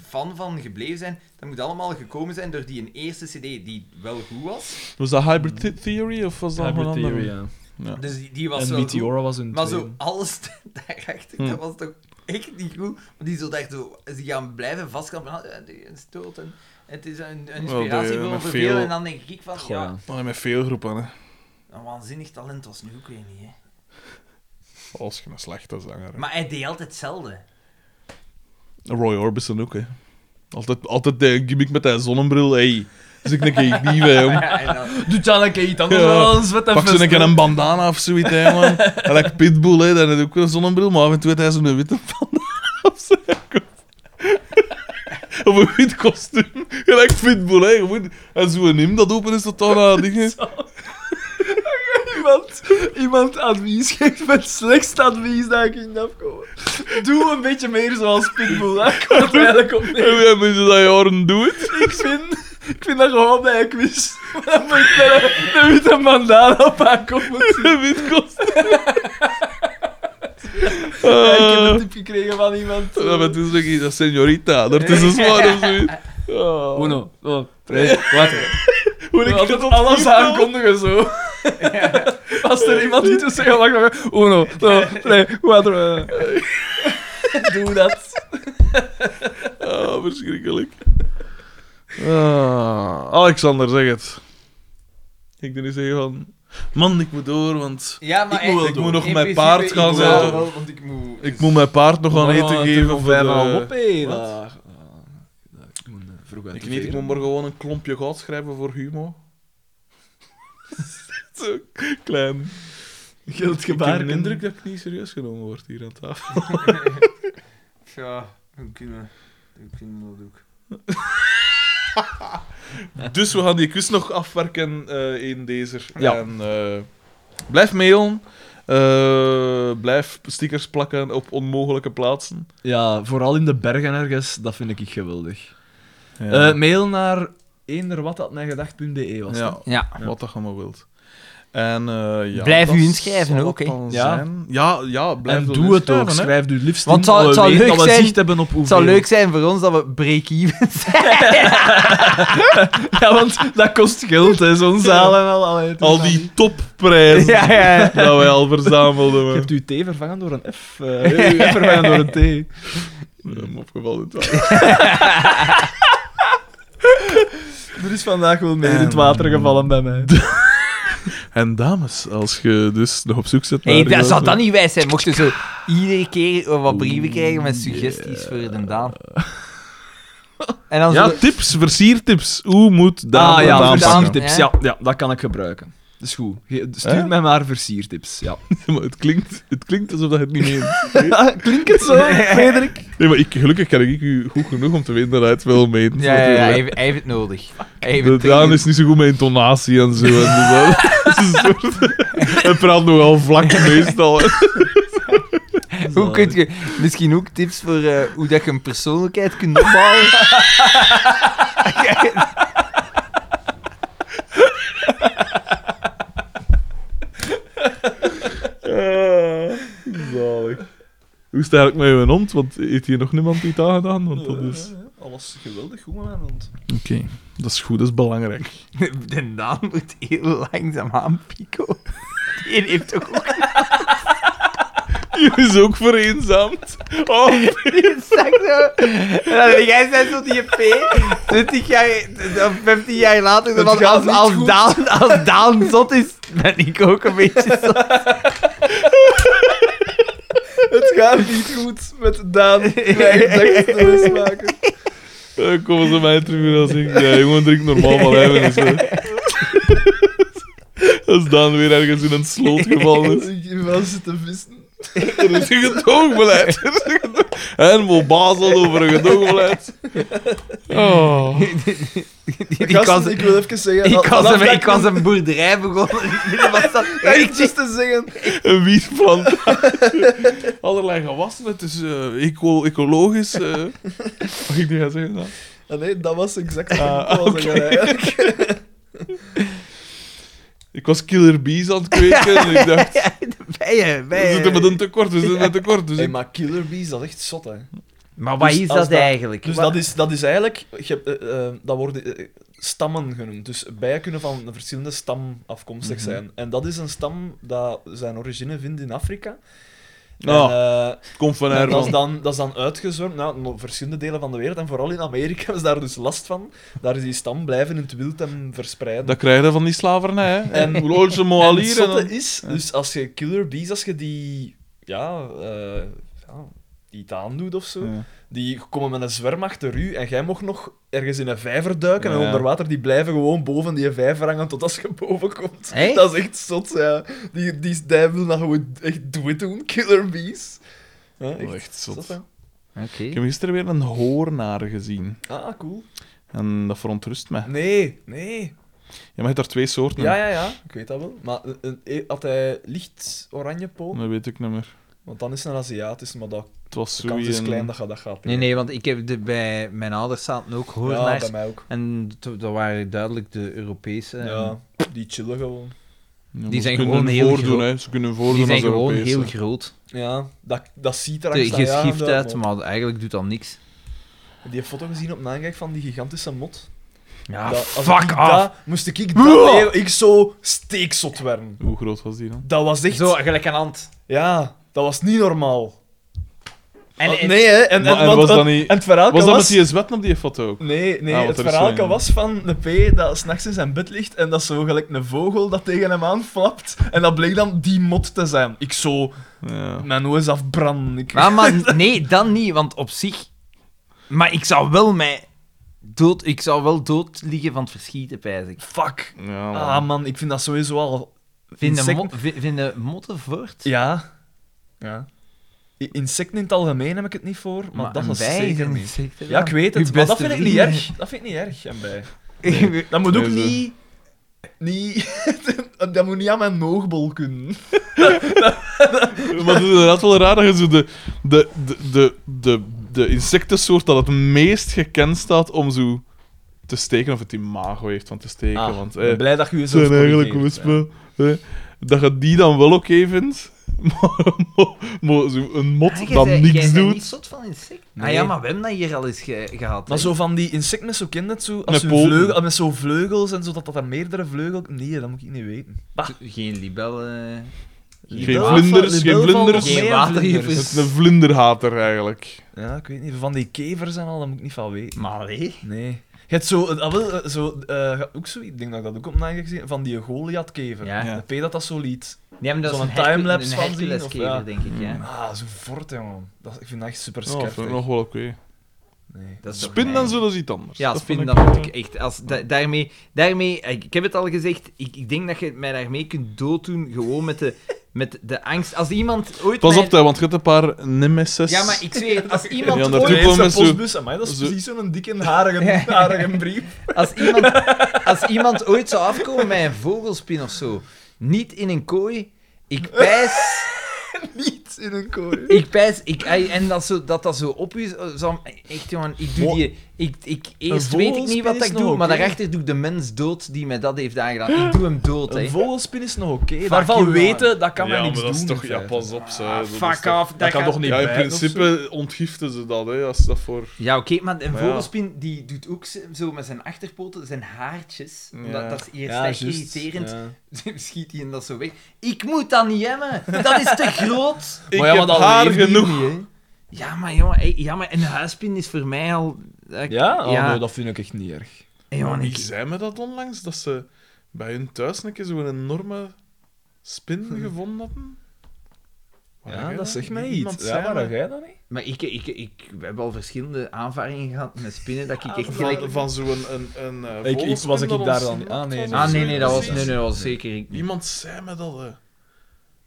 Speaker 4: fan van gebleven zijn, dat moet allemaal gekomen zijn door die een eerste cd die wel goed was.
Speaker 2: Was dat Hybrid The- Theory of was dat nog
Speaker 3: Hybrid
Speaker 2: een andere?
Speaker 3: Theory, ja.
Speaker 2: Ja.
Speaker 4: Dus die, die was
Speaker 3: En
Speaker 4: wel goed.
Speaker 3: Meteora was hun
Speaker 4: Maar
Speaker 3: tweede.
Speaker 4: zo alles daarachter,
Speaker 2: Hm.
Speaker 4: dat was toch echt niet goed. Want die zo daar zo, ze gaan blijven vastkampen. Ah, eh, die- Een stoot en het is een, een inspiratie
Speaker 2: die, eh,
Speaker 4: voor
Speaker 2: met
Speaker 4: veel.
Speaker 2: veel-
Speaker 4: En dan denk ik van,
Speaker 3: Goh,
Speaker 4: ja,
Speaker 3: ja.
Speaker 2: Maar Ah, met veel groepen, hè.
Speaker 4: een waanzinnig talent was nu ook weer niet. Hè.
Speaker 2: Als je een slechte zanger. hè.
Speaker 4: Maar hij deed altijd hetzelfde.
Speaker 2: Roy Orbison ook, hè. Altijd, altijd de gimmick met die zonnebril, hé. Dus ik denk, ik niet bij hem.
Speaker 4: Ja, en dan,
Speaker 3: Doe dan een keer iets anders
Speaker 2: Ja.
Speaker 3: dan ons, wat
Speaker 2: Pak ze een keer een bandana of zoiets, hè, man. En like Pitbull, hè, dan heeft ook een zonnebril, maar af en toe heeft hij zo'n witte bandana op zijn kop. Of een wit kostuum. Gelijk Pitbull, hè. gewoon. En zo'n him dat open is, dat dan aan dingen.
Speaker 3: iemand, iemand advies geeft met slechtst advies dat ik in afkomen. Doe een beetje meer zoals Pitbull, daar komt het eigenlijk op neer.
Speaker 2: En we hebben ze dat jaren doen.
Speaker 3: Ik vind, ik vind dat gewoon bij een quiz. Dan moet ik met een- een witte bandana op aankomen.
Speaker 2: Een wit kostuum. Eh,
Speaker 16: Ik heb een tip gekregen van iemand.
Speaker 2: Ah. Ja,
Speaker 3: eh,
Speaker 2: maar het is nog iets, dat señorita, dat is een zwaar of zoiets. Oh.
Speaker 16: Uno, dos, tres, cuatro.
Speaker 2: Hoe ik
Speaker 16: Altijd
Speaker 2: dat op
Speaker 16: alles
Speaker 2: Vliegveld-
Speaker 16: aankondigen zo. Als er iemand iets te zeggen, mag ik zeggen, uno, dos, tres, cuatro. Doe dat.
Speaker 2: Ah, verschrikkelijk. Ah, Alexander, zeg het. Ik doe niet zeggen van... Man, ik moet door, want
Speaker 4: Ja, maar
Speaker 2: Ik moet wel
Speaker 4: echt,
Speaker 2: doen. Ik moet nog
Speaker 4: in
Speaker 2: mijn
Speaker 4: principe,
Speaker 2: paard
Speaker 4: ik
Speaker 2: gaan
Speaker 4: moet
Speaker 2: zetten.
Speaker 4: wel, wel, want ik moet...
Speaker 2: ik moet mijn paard Oh, nog aan eten geven. Voor de...
Speaker 16: daar. Ik moet eh, vroeg uit
Speaker 2: Ik weet, ik moet morgen gewoon een klompje goud schrijven voor Humo. Zo klein. Ik heb de indruk dat ik niet serieus genomen word hier aan tafel.
Speaker 4: Ja, we kunnen... We kunnen dat ook.
Speaker 2: Dus we gaan die quiz nog afwerken eh, in deze.
Speaker 3: Ja.
Speaker 2: En, eh, blijf mailen. Eh, blijf stickers plakken op onmogelijke plaatsen.
Speaker 3: Ja, vooral in de bergen ergens, dat vind ik geweldig.
Speaker 2: Ja.
Speaker 3: Eh, mail naar eenderwatatmijgedacht.be was het.
Speaker 2: Ja,
Speaker 1: Ja.
Speaker 2: wat dat je maar wilt. En, eh, ja,
Speaker 1: Blijf
Speaker 2: dat
Speaker 1: u inschrijven
Speaker 2: zal
Speaker 1: ook,
Speaker 2: het
Speaker 1: hè.
Speaker 2: dan
Speaker 3: Ja.
Speaker 2: zijn. Ja, ja, blijf
Speaker 3: En
Speaker 2: dat
Speaker 3: doe het ook,
Speaker 2: inschrijven, hè.
Speaker 3: schrijf u liefst
Speaker 1: Want
Speaker 3: in,
Speaker 1: het zou- het
Speaker 3: dat we
Speaker 1: zou
Speaker 3: weten
Speaker 1: leuk
Speaker 3: dat we
Speaker 1: zijn-
Speaker 3: zicht hebben op hoeveel.
Speaker 1: Het zou leuk zijn voor ons dat we break-even zijn.
Speaker 3: Ja, want dat kost geld, hè, zo'n zaal en al. Allee, het is
Speaker 2: Al
Speaker 3: dan niet-
Speaker 2: die topprijzen
Speaker 1: ja, ja, ja.
Speaker 2: dat wij al verzamelden.
Speaker 3: Je
Speaker 2: man.
Speaker 3: hebt uw T vervangen door een F. eh, uw F vervangen door een T.
Speaker 2: Ja, maar opgevallen. het wel.
Speaker 3: Er is vandaag wel meer in het water gevallen bij mij.
Speaker 2: En dames, als je dus nog op zoek zit naar...
Speaker 1: Hey, dat zou dan niet wijs zijn. Mochten ze iedere keer wat brieven krijgen met suggesties voor de Daan. En dan
Speaker 2: Ja,
Speaker 1: zo...
Speaker 2: tips, versiertips. Hoe moet Daan
Speaker 3: ah
Speaker 2: het
Speaker 3: ja,
Speaker 2: aanpakken?
Speaker 3: versiertips. Ja, ja, dat kan ik gebruiken. Dat is goed. Ge- Stuur
Speaker 2: Hè?
Speaker 3: mij maar versiertips. Ja.
Speaker 2: Maar het, klinkt, het klinkt alsof dat het niet meent.
Speaker 3: Klinkt het zo, Frederik?
Speaker 2: Nee, maar ik, gelukkig ken ik u goed genoeg om te weten dat hij het wel meent.
Speaker 1: Ja, ja, ja, hij
Speaker 2: natuurlijk.
Speaker 1: heeft, hij heeft het nodig. Hij heeft
Speaker 2: De
Speaker 1: het
Speaker 2: Daan
Speaker 1: dringend.
Speaker 2: is niet zo goed met intonatie en zo. En dus dat- dat is een soort, hij praat nogal vlak meestal.
Speaker 1: Hoe kun je... Misschien ook tips voor eh, hoe dat je een persoonlijkheid kunt opbouwen.
Speaker 2: Ah, zalig. Hoe is het eigenlijk met uw hond? Want heeft hier nog niemand iets aangedaan? Want dat is...
Speaker 3: Alles geweldig goed met mijn hond.
Speaker 2: Oké, dat is goed, dat is belangrijk.
Speaker 1: De Daan moet heel langzaam aan, Pico. Die heeft ook
Speaker 2: Je is ook vereenzaamd. Oh,
Speaker 1: Zag zo. En dan denk jij zijn tot die P, 20 jaar, of 15 jaar later, zo van, als, als, Daan, als Daan zot is, ben ik ook een beetje zot.
Speaker 3: Het gaat niet goed met Daan. Kleine maken.
Speaker 2: dan komen ze mij terug als ik... Ja, jongen, drink normaal van lijven. Dus, eh. Als Daan weer ergens in een sloot gevallen is.
Speaker 3: Ik was zitten vissen.
Speaker 2: Er is een gedoogbeleid. Er is een gedoog- En Mo Basel over een gedoogbeleid. Oh.
Speaker 1: Die kwam-
Speaker 3: ik wil even zeggen...
Speaker 1: Ik
Speaker 3: dat-
Speaker 1: was,
Speaker 3: dat
Speaker 1: een,
Speaker 3: dat
Speaker 1: ik was een boerderij begonnen. Ik was dat
Speaker 3: Echt iets te zeggen.
Speaker 2: Een wietplant. Allerlei gewassen. Het is eh, eco- ecologisch. eh. Mag ik nu gaan zeggen? Nou?
Speaker 3: Ah, nee, dat was exact wat
Speaker 2: Ah,
Speaker 3: ik wou
Speaker 2: oké.
Speaker 3: zeggen, eigenlijk.
Speaker 2: Ik was killer bees aan het kweken. En ik dacht,
Speaker 1: bijen.
Speaker 4: Dus
Speaker 2: we
Speaker 1: bijen.
Speaker 2: zitten met een tekort. We zitten met een tekort. Dus
Speaker 3: Hey,
Speaker 2: ik
Speaker 3: maar Killer Bees, dat is echt zot, hè.
Speaker 1: Maar wat
Speaker 3: Dus
Speaker 1: is
Speaker 3: als
Speaker 1: dat
Speaker 3: dat-
Speaker 1: eigenlijk?
Speaker 3: Dus
Speaker 1: Wat-
Speaker 3: dat is, dat is eigenlijk... Je hebt, eh, eh, dat worden eh, stammen genoemd. Dus bijen kunnen van een verschillende stam afkomstig
Speaker 1: Mhm.
Speaker 3: zijn. En dat is een stam dat zijn origine vindt in Afrika.
Speaker 1: Ah.
Speaker 2: Nou,
Speaker 3: En, eh,
Speaker 2: kom van
Speaker 3: En dat,
Speaker 2: Herman.
Speaker 3: is dan, dat is dan uitgezworven naar no- verschillende delen van de wereld. En vooral in Amerika hebben ze daar dus last van. Daar is die stam blijven in het wild en verspreiden.
Speaker 2: Dat krijg je van die slavernij, hè?
Speaker 3: En-
Speaker 2: En Loodse
Speaker 3: en
Speaker 2: Moalier.
Speaker 3: het
Speaker 2: en dan-
Speaker 3: zotte is, dus als je killer bees, als je die... Ja, eh ja die het aandoet of zo.
Speaker 2: Ja.
Speaker 3: Die komen met een zwerm achter u en jij mocht nog ergens in een vijver duiken en
Speaker 2: Ja.
Speaker 3: onder water. Die blijven gewoon boven die vijver hangen tot als je boven komt.
Speaker 1: Echt?
Speaker 3: Dat is echt zot, ja. Die, die, die wil dat gewoon echt doen, doen, killer bees. Ja, echt,
Speaker 2: Oh, echt zot.
Speaker 3: zot, hè.
Speaker 1: Oké.
Speaker 2: Ik heb gisteren weer een hoornaar gezien.
Speaker 3: Ah, cool.
Speaker 2: En dat verontrust me.
Speaker 3: Nee, nee.
Speaker 2: Ja, maar je hebt daar twee soorten.
Speaker 3: Ja, ja, ja, ik weet dat wel. Maar eh, eh, eh, had hij licht oranje poot?
Speaker 2: Dat weet ik niet meer.
Speaker 3: Want dan is het een Aziatisch, maar dat,
Speaker 2: Het was
Speaker 3: de
Speaker 2: zo
Speaker 3: kans is
Speaker 2: een-
Speaker 3: klein dat je dat gaat.
Speaker 1: Nee, nee, want ik heb de, bij mijn ouders zaten ook
Speaker 3: Ja,
Speaker 1: hoornaars.
Speaker 3: bij mij ook.
Speaker 4: Eh,
Speaker 1: en t- dat waren duidelijk de Europese.
Speaker 3: Ja, die chillen gewoon.
Speaker 2: maar
Speaker 4: zijn
Speaker 2: ze kunnen
Speaker 4: gewoon
Speaker 2: hun
Speaker 4: heel
Speaker 2: voordoen,
Speaker 4: groot.
Speaker 2: hè. Ze kunnen hun
Speaker 4: Die
Speaker 2: voordoen
Speaker 4: zijn
Speaker 2: als
Speaker 4: gewoon
Speaker 2: Europees.
Speaker 4: heel groot.
Speaker 3: Ja, dat, dat ziet er
Speaker 4: Te
Speaker 3: angstaanjagend
Speaker 4: geschift uit,
Speaker 3: maar-
Speaker 4: maar eigenlijk doet dat niks.
Speaker 3: Die heeft foto gezien op Nijmegen van die gigantische mot.
Speaker 4: Ja,
Speaker 3: Dat- als ik
Speaker 4: fuck af.
Speaker 3: dat- moest ik, ik dat heel- ik zo steekzot werden.
Speaker 2: Hoe groot was die dan?
Speaker 3: Dat was echt...
Speaker 4: Zo, gelijk aan hand.
Speaker 3: Ja, dat was niet normaal.
Speaker 4: En,
Speaker 3: Want-
Speaker 4: en-
Speaker 3: nee, hè. En,
Speaker 2: Maar-
Speaker 3: en,
Speaker 2: en
Speaker 3: want-
Speaker 2: was dat
Speaker 3: en-
Speaker 2: niet-
Speaker 3: en het verhaal
Speaker 2: Was
Speaker 3: was...
Speaker 2: dat met die zwetten op die foto ook?
Speaker 3: Nee, nee
Speaker 2: Ah, want
Speaker 3: het
Speaker 2: er is
Speaker 3: verhaal
Speaker 2: zo een-
Speaker 3: was van de P dat s'nachts in zijn bed ligt en dat zo gelijk een vogel dat tegen hem aanflapt. En dat bleek dan die mot te zijn. Ik zo
Speaker 2: Ja.
Speaker 3: mijn oors afbranden. Ik...
Speaker 4: maar, Ah, maar nee, dan niet, want op zich... Maar ik zou wel mij... Dood, ik zou wel dood liggen van het verschieten, pijs ik.
Speaker 3: Fuck.
Speaker 2: Ja, man.
Speaker 3: Ah man, ik vind dat sowieso al...
Speaker 4: Vinden, mo
Speaker 3: insecten-
Speaker 4: vi- vinden motten voort?
Speaker 3: Ja. Ja. I- Insecten in het algemeen heb ik het niet voor, maar, dat is zeker niet. Ja, ik weet het, maar dat vind ik niet erg. Dat vind ik niet erg, en bij.
Speaker 4: erg.
Speaker 3: Dat moet ook
Speaker 2: Nee, zo.
Speaker 3: niet... Niet... dat moet niet aan mijn oogbol kunnen.
Speaker 2: Maar het is inderdaad wel raar dat je zo de, de, de, de, de, de insectensoort dat het meest gekend staat om zo te steken, of het imago heeft van te steken.
Speaker 3: Ah,
Speaker 2: want,
Speaker 3: ik ben
Speaker 2: eh,
Speaker 3: blij dat je
Speaker 2: Het
Speaker 3: jezelf
Speaker 2: zijn eigenlijk
Speaker 3: corrigeert, ja.
Speaker 2: wispen. hè. Dat je die dan wel oké vindt, maar, maar, maar zo een mot
Speaker 4: Ah,
Speaker 2: dat niks
Speaker 4: Ik
Speaker 2: doet.
Speaker 4: niet zot van insecten. Ah
Speaker 3: Nee.
Speaker 4: ja, maar we hebben dat hier al eens ge- gehad.
Speaker 3: Maar
Speaker 4: hè.
Speaker 3: zo van die insecten met zo kind net zo,
Speaker 2: Met
Speaker 3: als hun
Speaker 2: poten.
Speaker 3: vleugel, met zo vleugels en zo, dat dat er meerdere vleugels... Nee, dat moet ik niet weten.
Speaker 4: Geen eh, libellen...
Speaker 2: Geen vlinders, geen vlinders.
Speaker 4: Geen
Speaker 2: Het
Speaker 4: waterjevers.
Speaker 2: is een vlinderhater eigenlijk.
Speaker 3: Ja, ik weet niet. Van die kevers en al, dat moet ik niet van weten.
Speaker 4: Maar allee.
Speaker 3: Nee. Je hebt zo, ah, wel, eh, zo eh, ook zo, ik denk dat ik dat ook op nagedacht gezien heb, van die Goliath-kever.
Speaker 4: Ja.
Speaker 3: De P dat dat zo liet.
Speaker 4: Nee, maar dat is
Speaker 3: Zo'n
Speaker 4: een Hercu-
Speaker 3: timelapse
Speaker 4: een
Speaker 3: van zien, of
Speaker 4: Herculeskever,
Speaker 3: ja.
Speaker 4: denk ik, ja.
Speaker 3: Ah, zo fort, jongen. Dat, ik vind dat echt super
Speaker 2: Ja, dat
Speaker 3: scherp.
Speaker 2: vind ik nog wel oké.
Speaker 3: nee.
Speaker 4: Dat is toch
Speaker 2: Spin dan
Speaker 4: mijn-
Speaker 2: zullen ze iets anders.
Speaker 4: Ja,
Speaker 2: Dat
Speaker 4: spin,
Speaker 2: vind
Speaker 4: dat moet ik echt. Als, da- daarmee, daarmee, ik, ik heb het al gezegd, ik, ik denk dat je mij daarmee kunt dooddoen, gewoon met de, met de angst. Als iemand ooit.
Speaker 2: Pas
Speaker 4: mij-
Speaker 2: op, hè, want je hebt een paar nemesis.
Speaker 4: Ja, maar ik zweer, het, als
Speaker 2: En die
Speaker 4: iemand,
Speaker 2: andere
Speaker 4: ooit,
Speaker 2: toe komen met zo...
Speaker 3: postbus, amai, dat is
Speaker 2: zo-
Speaker 3: precies zo'n dikke, harige, harige brief.
Speaker 4: als, iemand, als iemand ooit zou afkomen met een vogelspin of zo, niet in een kooi, ik pijs.
Speaker 3: Niet in een kooi.
Speaker 4: Ik pijs, ik, ai, en dat, zo, dat dat zo op u zou... Echt, jongen, ik doe die... Ik, ik, eerst weet ik niet
Speaker 3: vogelspin
Speaker 4: wat
Speaker 3: is
Speaker 4: ik
Speaker 3: nog
Speaker 4: doe, maar
Speaker 3: oké.
Speaker 4: daarachter doe ik de mens dood die mij dat heeft aangedaan. Ik doe hem dood, hè.
Speaker 3: Een vogelspin is nog oké.
Speaker 4: Fuck
Speaker 3: Daarvan
Speaker 4: you,
Speaker 3: weten, dat kan
Speaker 2: ja,
Speaker 3: mij niks
Speaker 2: maar
Speaker 3: doen.
Speaker 2: dat is toch...
Speaker 3: in
Speaker 2: Ja,
Speaker 3: feite.
Speaker 2: pas op, ze.
Speaker 4: Ah,
Speaker 2: dat is
Speaker 4: fuck
Speaker 2: toch-
Speaker 4: off, dat,
Speaker 3: kan toch niet
Speaker 2: Ja, in
Speaker 3: bijten of
Speaker 2: principe ontgiften ze dat, hè, als dat voor...
Speaker 4: Ja, oké, maar een
Speaker 2: Maar ja.
Speaker 4: vogelspin die doet ook z- zo met zijn achterpoten, zijn haartjes.
Speaker 2: Ja.
Speaker 4: Dat, dat is eerst
Speaker 3: Ja,
Speaker 4: echt
Speaker 3: juist.
Speaker 4: irriterend.
Speaker 3: Ja.
Speaker 4: Schiet hij hem dat zo weg. Ik moet dat niet hebben. Dat is te groot.
Speaker 2: Ik
Speaker 3: Maar ja, maar
Speaker 2: heb
Speaker 3: dat
Speaker 2: haar
Speaker 3: leeft hier
Speaker 2: genoeg.
Speaker 3: niet, hè.
Speaker 4: Ja, maar jongen, ey, ja, maar een huispin is voor mij al... eh,
Speaker 3: Ja? Oh,
Speaker 4: Ja.
Speaker 3: nee, dat vind ik echt niet erg.
Speaker 4: ey, jongen,
Speaker 2: Ik
Speaker 4: ik,
Speaker 2: zei me dat onlangs, dat ze bij hun thuis een keer zo'n enorme spin gevonden hadden. Waar
Speaker 3: Hm. Ja,
Speaker 2: jij
Speaker 3: dat zegt mij
Speaker 2: Iemand
Speaker 3: iets.
Speaker 2: zei
Speaker 3: Ja,
Speaker 2: me-
Speaker 3: maar jij dan niet?
Speaker 4: maar ik, ik, ik, we hebben al verschillende aanvaringen gehad met spinnen dat
Speaker 2: Ah,
Speaker 4: ik echt gelijk...
Speaker 2: Van, van zo'n een, een, eh,
Speaker 3: Ik- ik- was
Speaker 2: vogelspin
Speaker 3: ik
Speaker 2: dat
Speaker 3: daar
Speaker 2: ons
Speaker 3: dan- ah, nee,
Speaker 2: was
Speaker 3: nee.
Speaker 2: of
Speaker 4: Ah, nee,
Speaker 2: zo,
Speaker 4: nee, dat was,
Speaker 2: precies.
Speaker 4: nee, nee, dat was zeker ik niet.
Speaker 2: Iemand zei me dat, eh.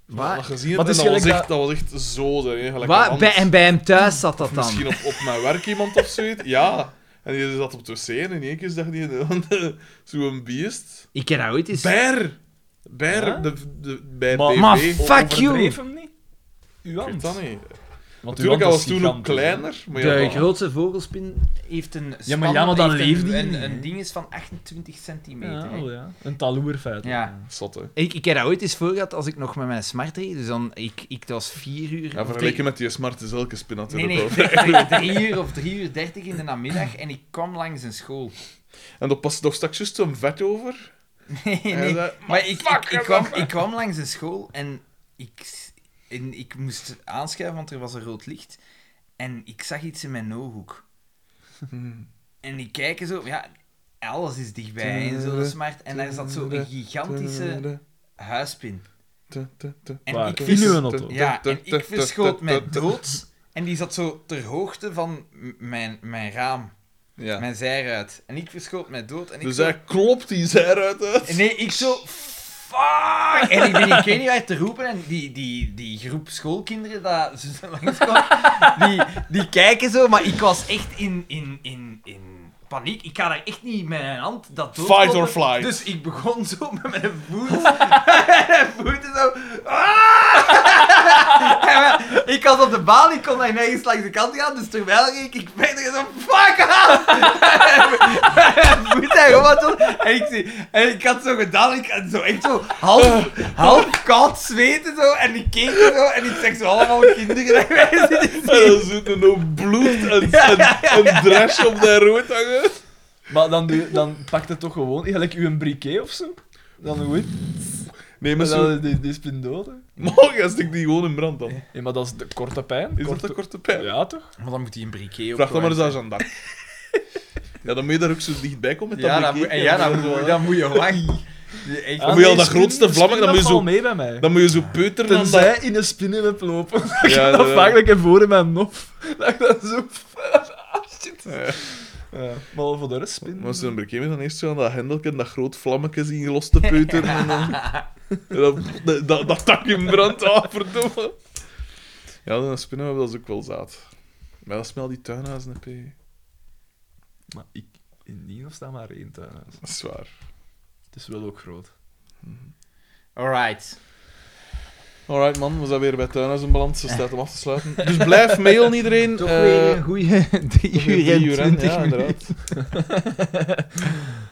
Speaker 4: Waar?
Speaker 2: Dat gezien en
Speaker 3: Maar het is
Speaker 2: dat, was
Speaker 3: gelijk
Speaker 2: echt, dat was echt zo, hè, gelijk een
Speaker 4: Waar?
Speaker 2: hand.
Speaker 4: Bij, en bij hem thuis zat dat dan.
Speaker 2: Misschien op, op mijn werk iemand of zoiets, ja. En die zat op de wc en in één keer zag die een- zo'n beest.
Speaker 4: Ik ken dat ooit eens...
Speaker 2: Ber! Ber,
Speaker 3: Ja?
Speaker 2: de, de, bij
Speaker 3: Maar-
Speaker 2: TV.
Speaker 4: maar
Speaker 2: Ik
Speaker 4: fuck you!
Speaker 3: Dreef hem niet? Uw
Speaker 2: weet
Speaker 3: hand.
Speaker 2: dat niet.
Speaker 3: Want uw hand
Speaker 2: Natuurlijk, hij
Speaker 3: is
Speaker 2: was toen ook
Speaker 3: gigantisch, hè.
Speaker 2: kleiner. Maar ja,
Speaker 4: De
Speaker 2: dan-
Speaker 4: grootste vogelspin heeft een span,
Speaker 3: maar ja, maar dat
Speaker 4: heeft een-
Speaker 3: leeft die
Speaker 4: een,
Speaker 3: niet,
Speaker 4: een
Speaker 3: hè?
Speaker 4: ding is van 28
Speaker 3: Ja,
Speaker 4: centimeter. hè.
Speaker 2: oh.
Speaker 3: wel, ja. Een taloer feitelijk.
Speaker 4: Ja.
Speaker 2: Zot, hè.
Speaker 4: Ik, ik heb dat ooit eens voor gehad als ik nog met mijn smart reed. Dus dan, ik, ik het was vier uur...
Speaker 2: Ja,
Speaker 4: of
Speaker 2: vergeleken met die smarte zelke spin had hij
Speaker 4: Nee,
Speaker 2: het
Speaker 4: nee,
Speaker 2: over.
Speaker 4: drie, drie uur of drie uur dertig in de namiddag en ik kwam langs een school.
Speaker 2: En dat past nog straks juist zo'n vet over.
Speaker 4: Nee,
Speaker 2: En
Speaker 4: nee.
Speaker 2: hij zei,
Speaker 4: Maar ik, ik, ik, kwam, ik kwam langs de school en ik, s- en ik moest aanschuiven, want er was een rood licht. En ik zag iets in mijn ooghoek. En ik kijk en zo, ja, alles is dichtbij en zo, dat is smart. En daar zat zo een gigantische huispin. En
Speaker 3: Waar?
Speaker 4: ik,
Speaker 3: In
Speaker 4: vers-
Speaker 3: uw auto?
Speaker 4: ja, en ik verschoot mij dood. En die zat zo ter hoogte van m- mijn, mijn raam,
Speaker 2: Ja.
Speaker 4: mijn zijruit. En ik verschoot mij dood. En ik
Speaker 2: Dus
Speaker 4: zo-
Speaker 2: hij klopt die zijruit uit.
Speaker 4: Nee, ik zo... Fuck! En ik ben in Kenia uit te roepen en die, die, die groep schoolkinderen dat ze langskwam, die, die kijken zo, maar ik was echt in, in, in, in paniek. Ik ga daar echt niet met mijn hand dat dood.
Speaker 2: Fight or flight.
Speaker 4: Dus ik begon zo met mijn voet, met mijn voeten zo... Ah!
Speaker 1: En we- ik was op de balie, ik kon daar nergens langs de kant gaan, dus terwijl ik, ik verder zo, fuck off! Moet hij gewoon zo- En ik, zie- en ik had zo gedaan, ik had zo echt zo half, half koud zweten zo, en ik keek zo, en ik zeg zo allemaal kinderen en wij zitten
Speaker 2: En dan zit er nog bloed en, en, en drash op de rood hangen.
Speaker 3: Maar dan, doe, dan pakt het toch gewoon, gelijk uw briquet of zo. Dan doe je het.
Speaker 2: Nee, maar
Speaker 3: En
Speaker 2: zo...
Speaker 3: dan die, die spindode.
Speaker 2: Morgen stik die gewoon in brand dan. Is
Speaker 3: Ja, maar dat is de korte pijn.
Speaker 2: dat
Speaker 3: korte...
Speaker 2: de korte pijn?
Speaker 3: Ja, toch?
Speaker 1: Maar dan moet hij een briquet
Speaker 2: Vraag dan maar eens aan Jeanne d'Arc. Ja, dan moet je daar ook zo dichtbij komen. met
Speaker 1: Ja,
Speaker 2: dat
Speaker 1: dan moet,
Speaker 2: briquet.
Speaker 1: en ja, dan moet, dan moet je wachten. Echt.
Speaker 3: Ah,
Speaker 2: Dan moet je al dat grootste vlammen, dan moet je
Speaker 3: zo...
Speaker 2: zo,
Speaker 3: mee bij mij.
Speaker 2: dan moet je zo peuter dan dat...
Speaker 3: Tenzij in een spinnenweb lopen.
Speaker 2: Ja,
Speaker 3: dat
Speaker 2: ja.
Speaker 3: vaak dat ik ervoor in mijn nof. Dat ik dat zo... Ah,
Speaker 2: Ja.
Speaker 3: Ja, maar voor de rest spin.
Speaker 2: Maar zo'n brekeem is dan eerst zo aan dat hendelke en dat groot vlammetje zien los te peuteren. en dan, en dan- dat, dat, dat tak in brand, ah, verdomme. Ja, dan spinnen we dat is ook wel zaad. Maar dat smelt die tuinhuizen, hè, P.
Speaker 3: Maar ik... In Nino staat maar één tuinhuis.
Speaker 2: Dat is waar.
Speaker 3: Het is wel ook groot.
Speaker 1: Alright.
Speaker 2: Alright man, we zijn weer bij tuinhuizen beland. Ze staat hem af te sluiten. Dus blijf mailen iedereen.
Speaker 4: Toch
Speaker 2: eh,
Speaker 4: weer een goede
Speaker 2: toch
Speaker 4: 3
Speaker 2: weer
Speaker 4: uur en
Speaker 2: drie uur, hè?
Speaker 4: 20
Speaker 2: Ja,
Speaker 4: minuten.
Speaker 2: inderdaad.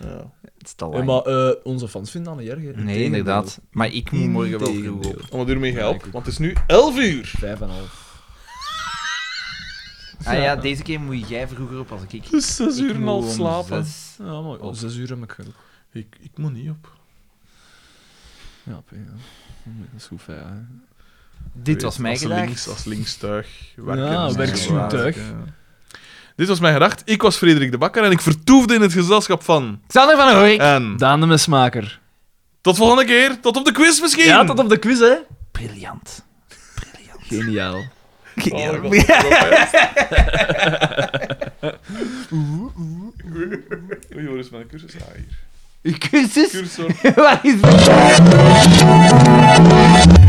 Speaker 2: ja.
Speaker 4: Het is te
Speaker 3: Ja,
Speaker 4: lang.
Speaker 3: maar eh, onze fans vinden dat niet erg. hè.
Speaker 4: nee, inderdaad. Maar ik moet morgen wel vroeg op.
Speaker 2: Om het uur mee helpen, want het is nu 11 uur.
Speaker 3: Vijf en een half.
Speaker 4: Ah ja, deze keer moet jij vroeger op als ik. ik
Speaker 2: Dus 6 uur en
Speaker 4: moet
Speaker 2: half
Speaker 4: om
Speaker 2: slapen.
Speaker 4: zes.
Speaker 3: Ja, mooi.
Speaker 4: Op.
Speaker 3: Zes uur heb ik genoeg.
Speaker 2: Ik, ik moet niet op.
Speaker 3: Ja, P, ja. Dat is goed fijn, hè.
Speaker 4: Dit was mijn
Speaker 2: als
Speaker 4: gedacht.
Speaker 2: links, als linkstuig. werken.
Speaker 3: Ja,
Speaker 2: Dus
Speaker 3: werkstuig.
Speaker 2: ja. Dit was mijn gedacht. Ik was Frederik de Bakker en ik vertoefde in het gezelschap van...
Speaker 4: Xander van der Horik.
Speaker 2: En
Speaker 3: Daan de Mesmaker.
Speaker 2: tot volgende keer. Tot op de quiz misschien.
Speaker 3: Ja, tot op de quiz, hè.
Speaker 4: Briljant. Briljant.
Speaker 3: Geniaal.
Speaker 2: Oh, God, dat was wel fijn. Oei, Joris, mijn cursus. Ah, hier.
Speaker 4: dus- Uw cursus?
Speaker 2: Cursor.
Speaker 4: Waar is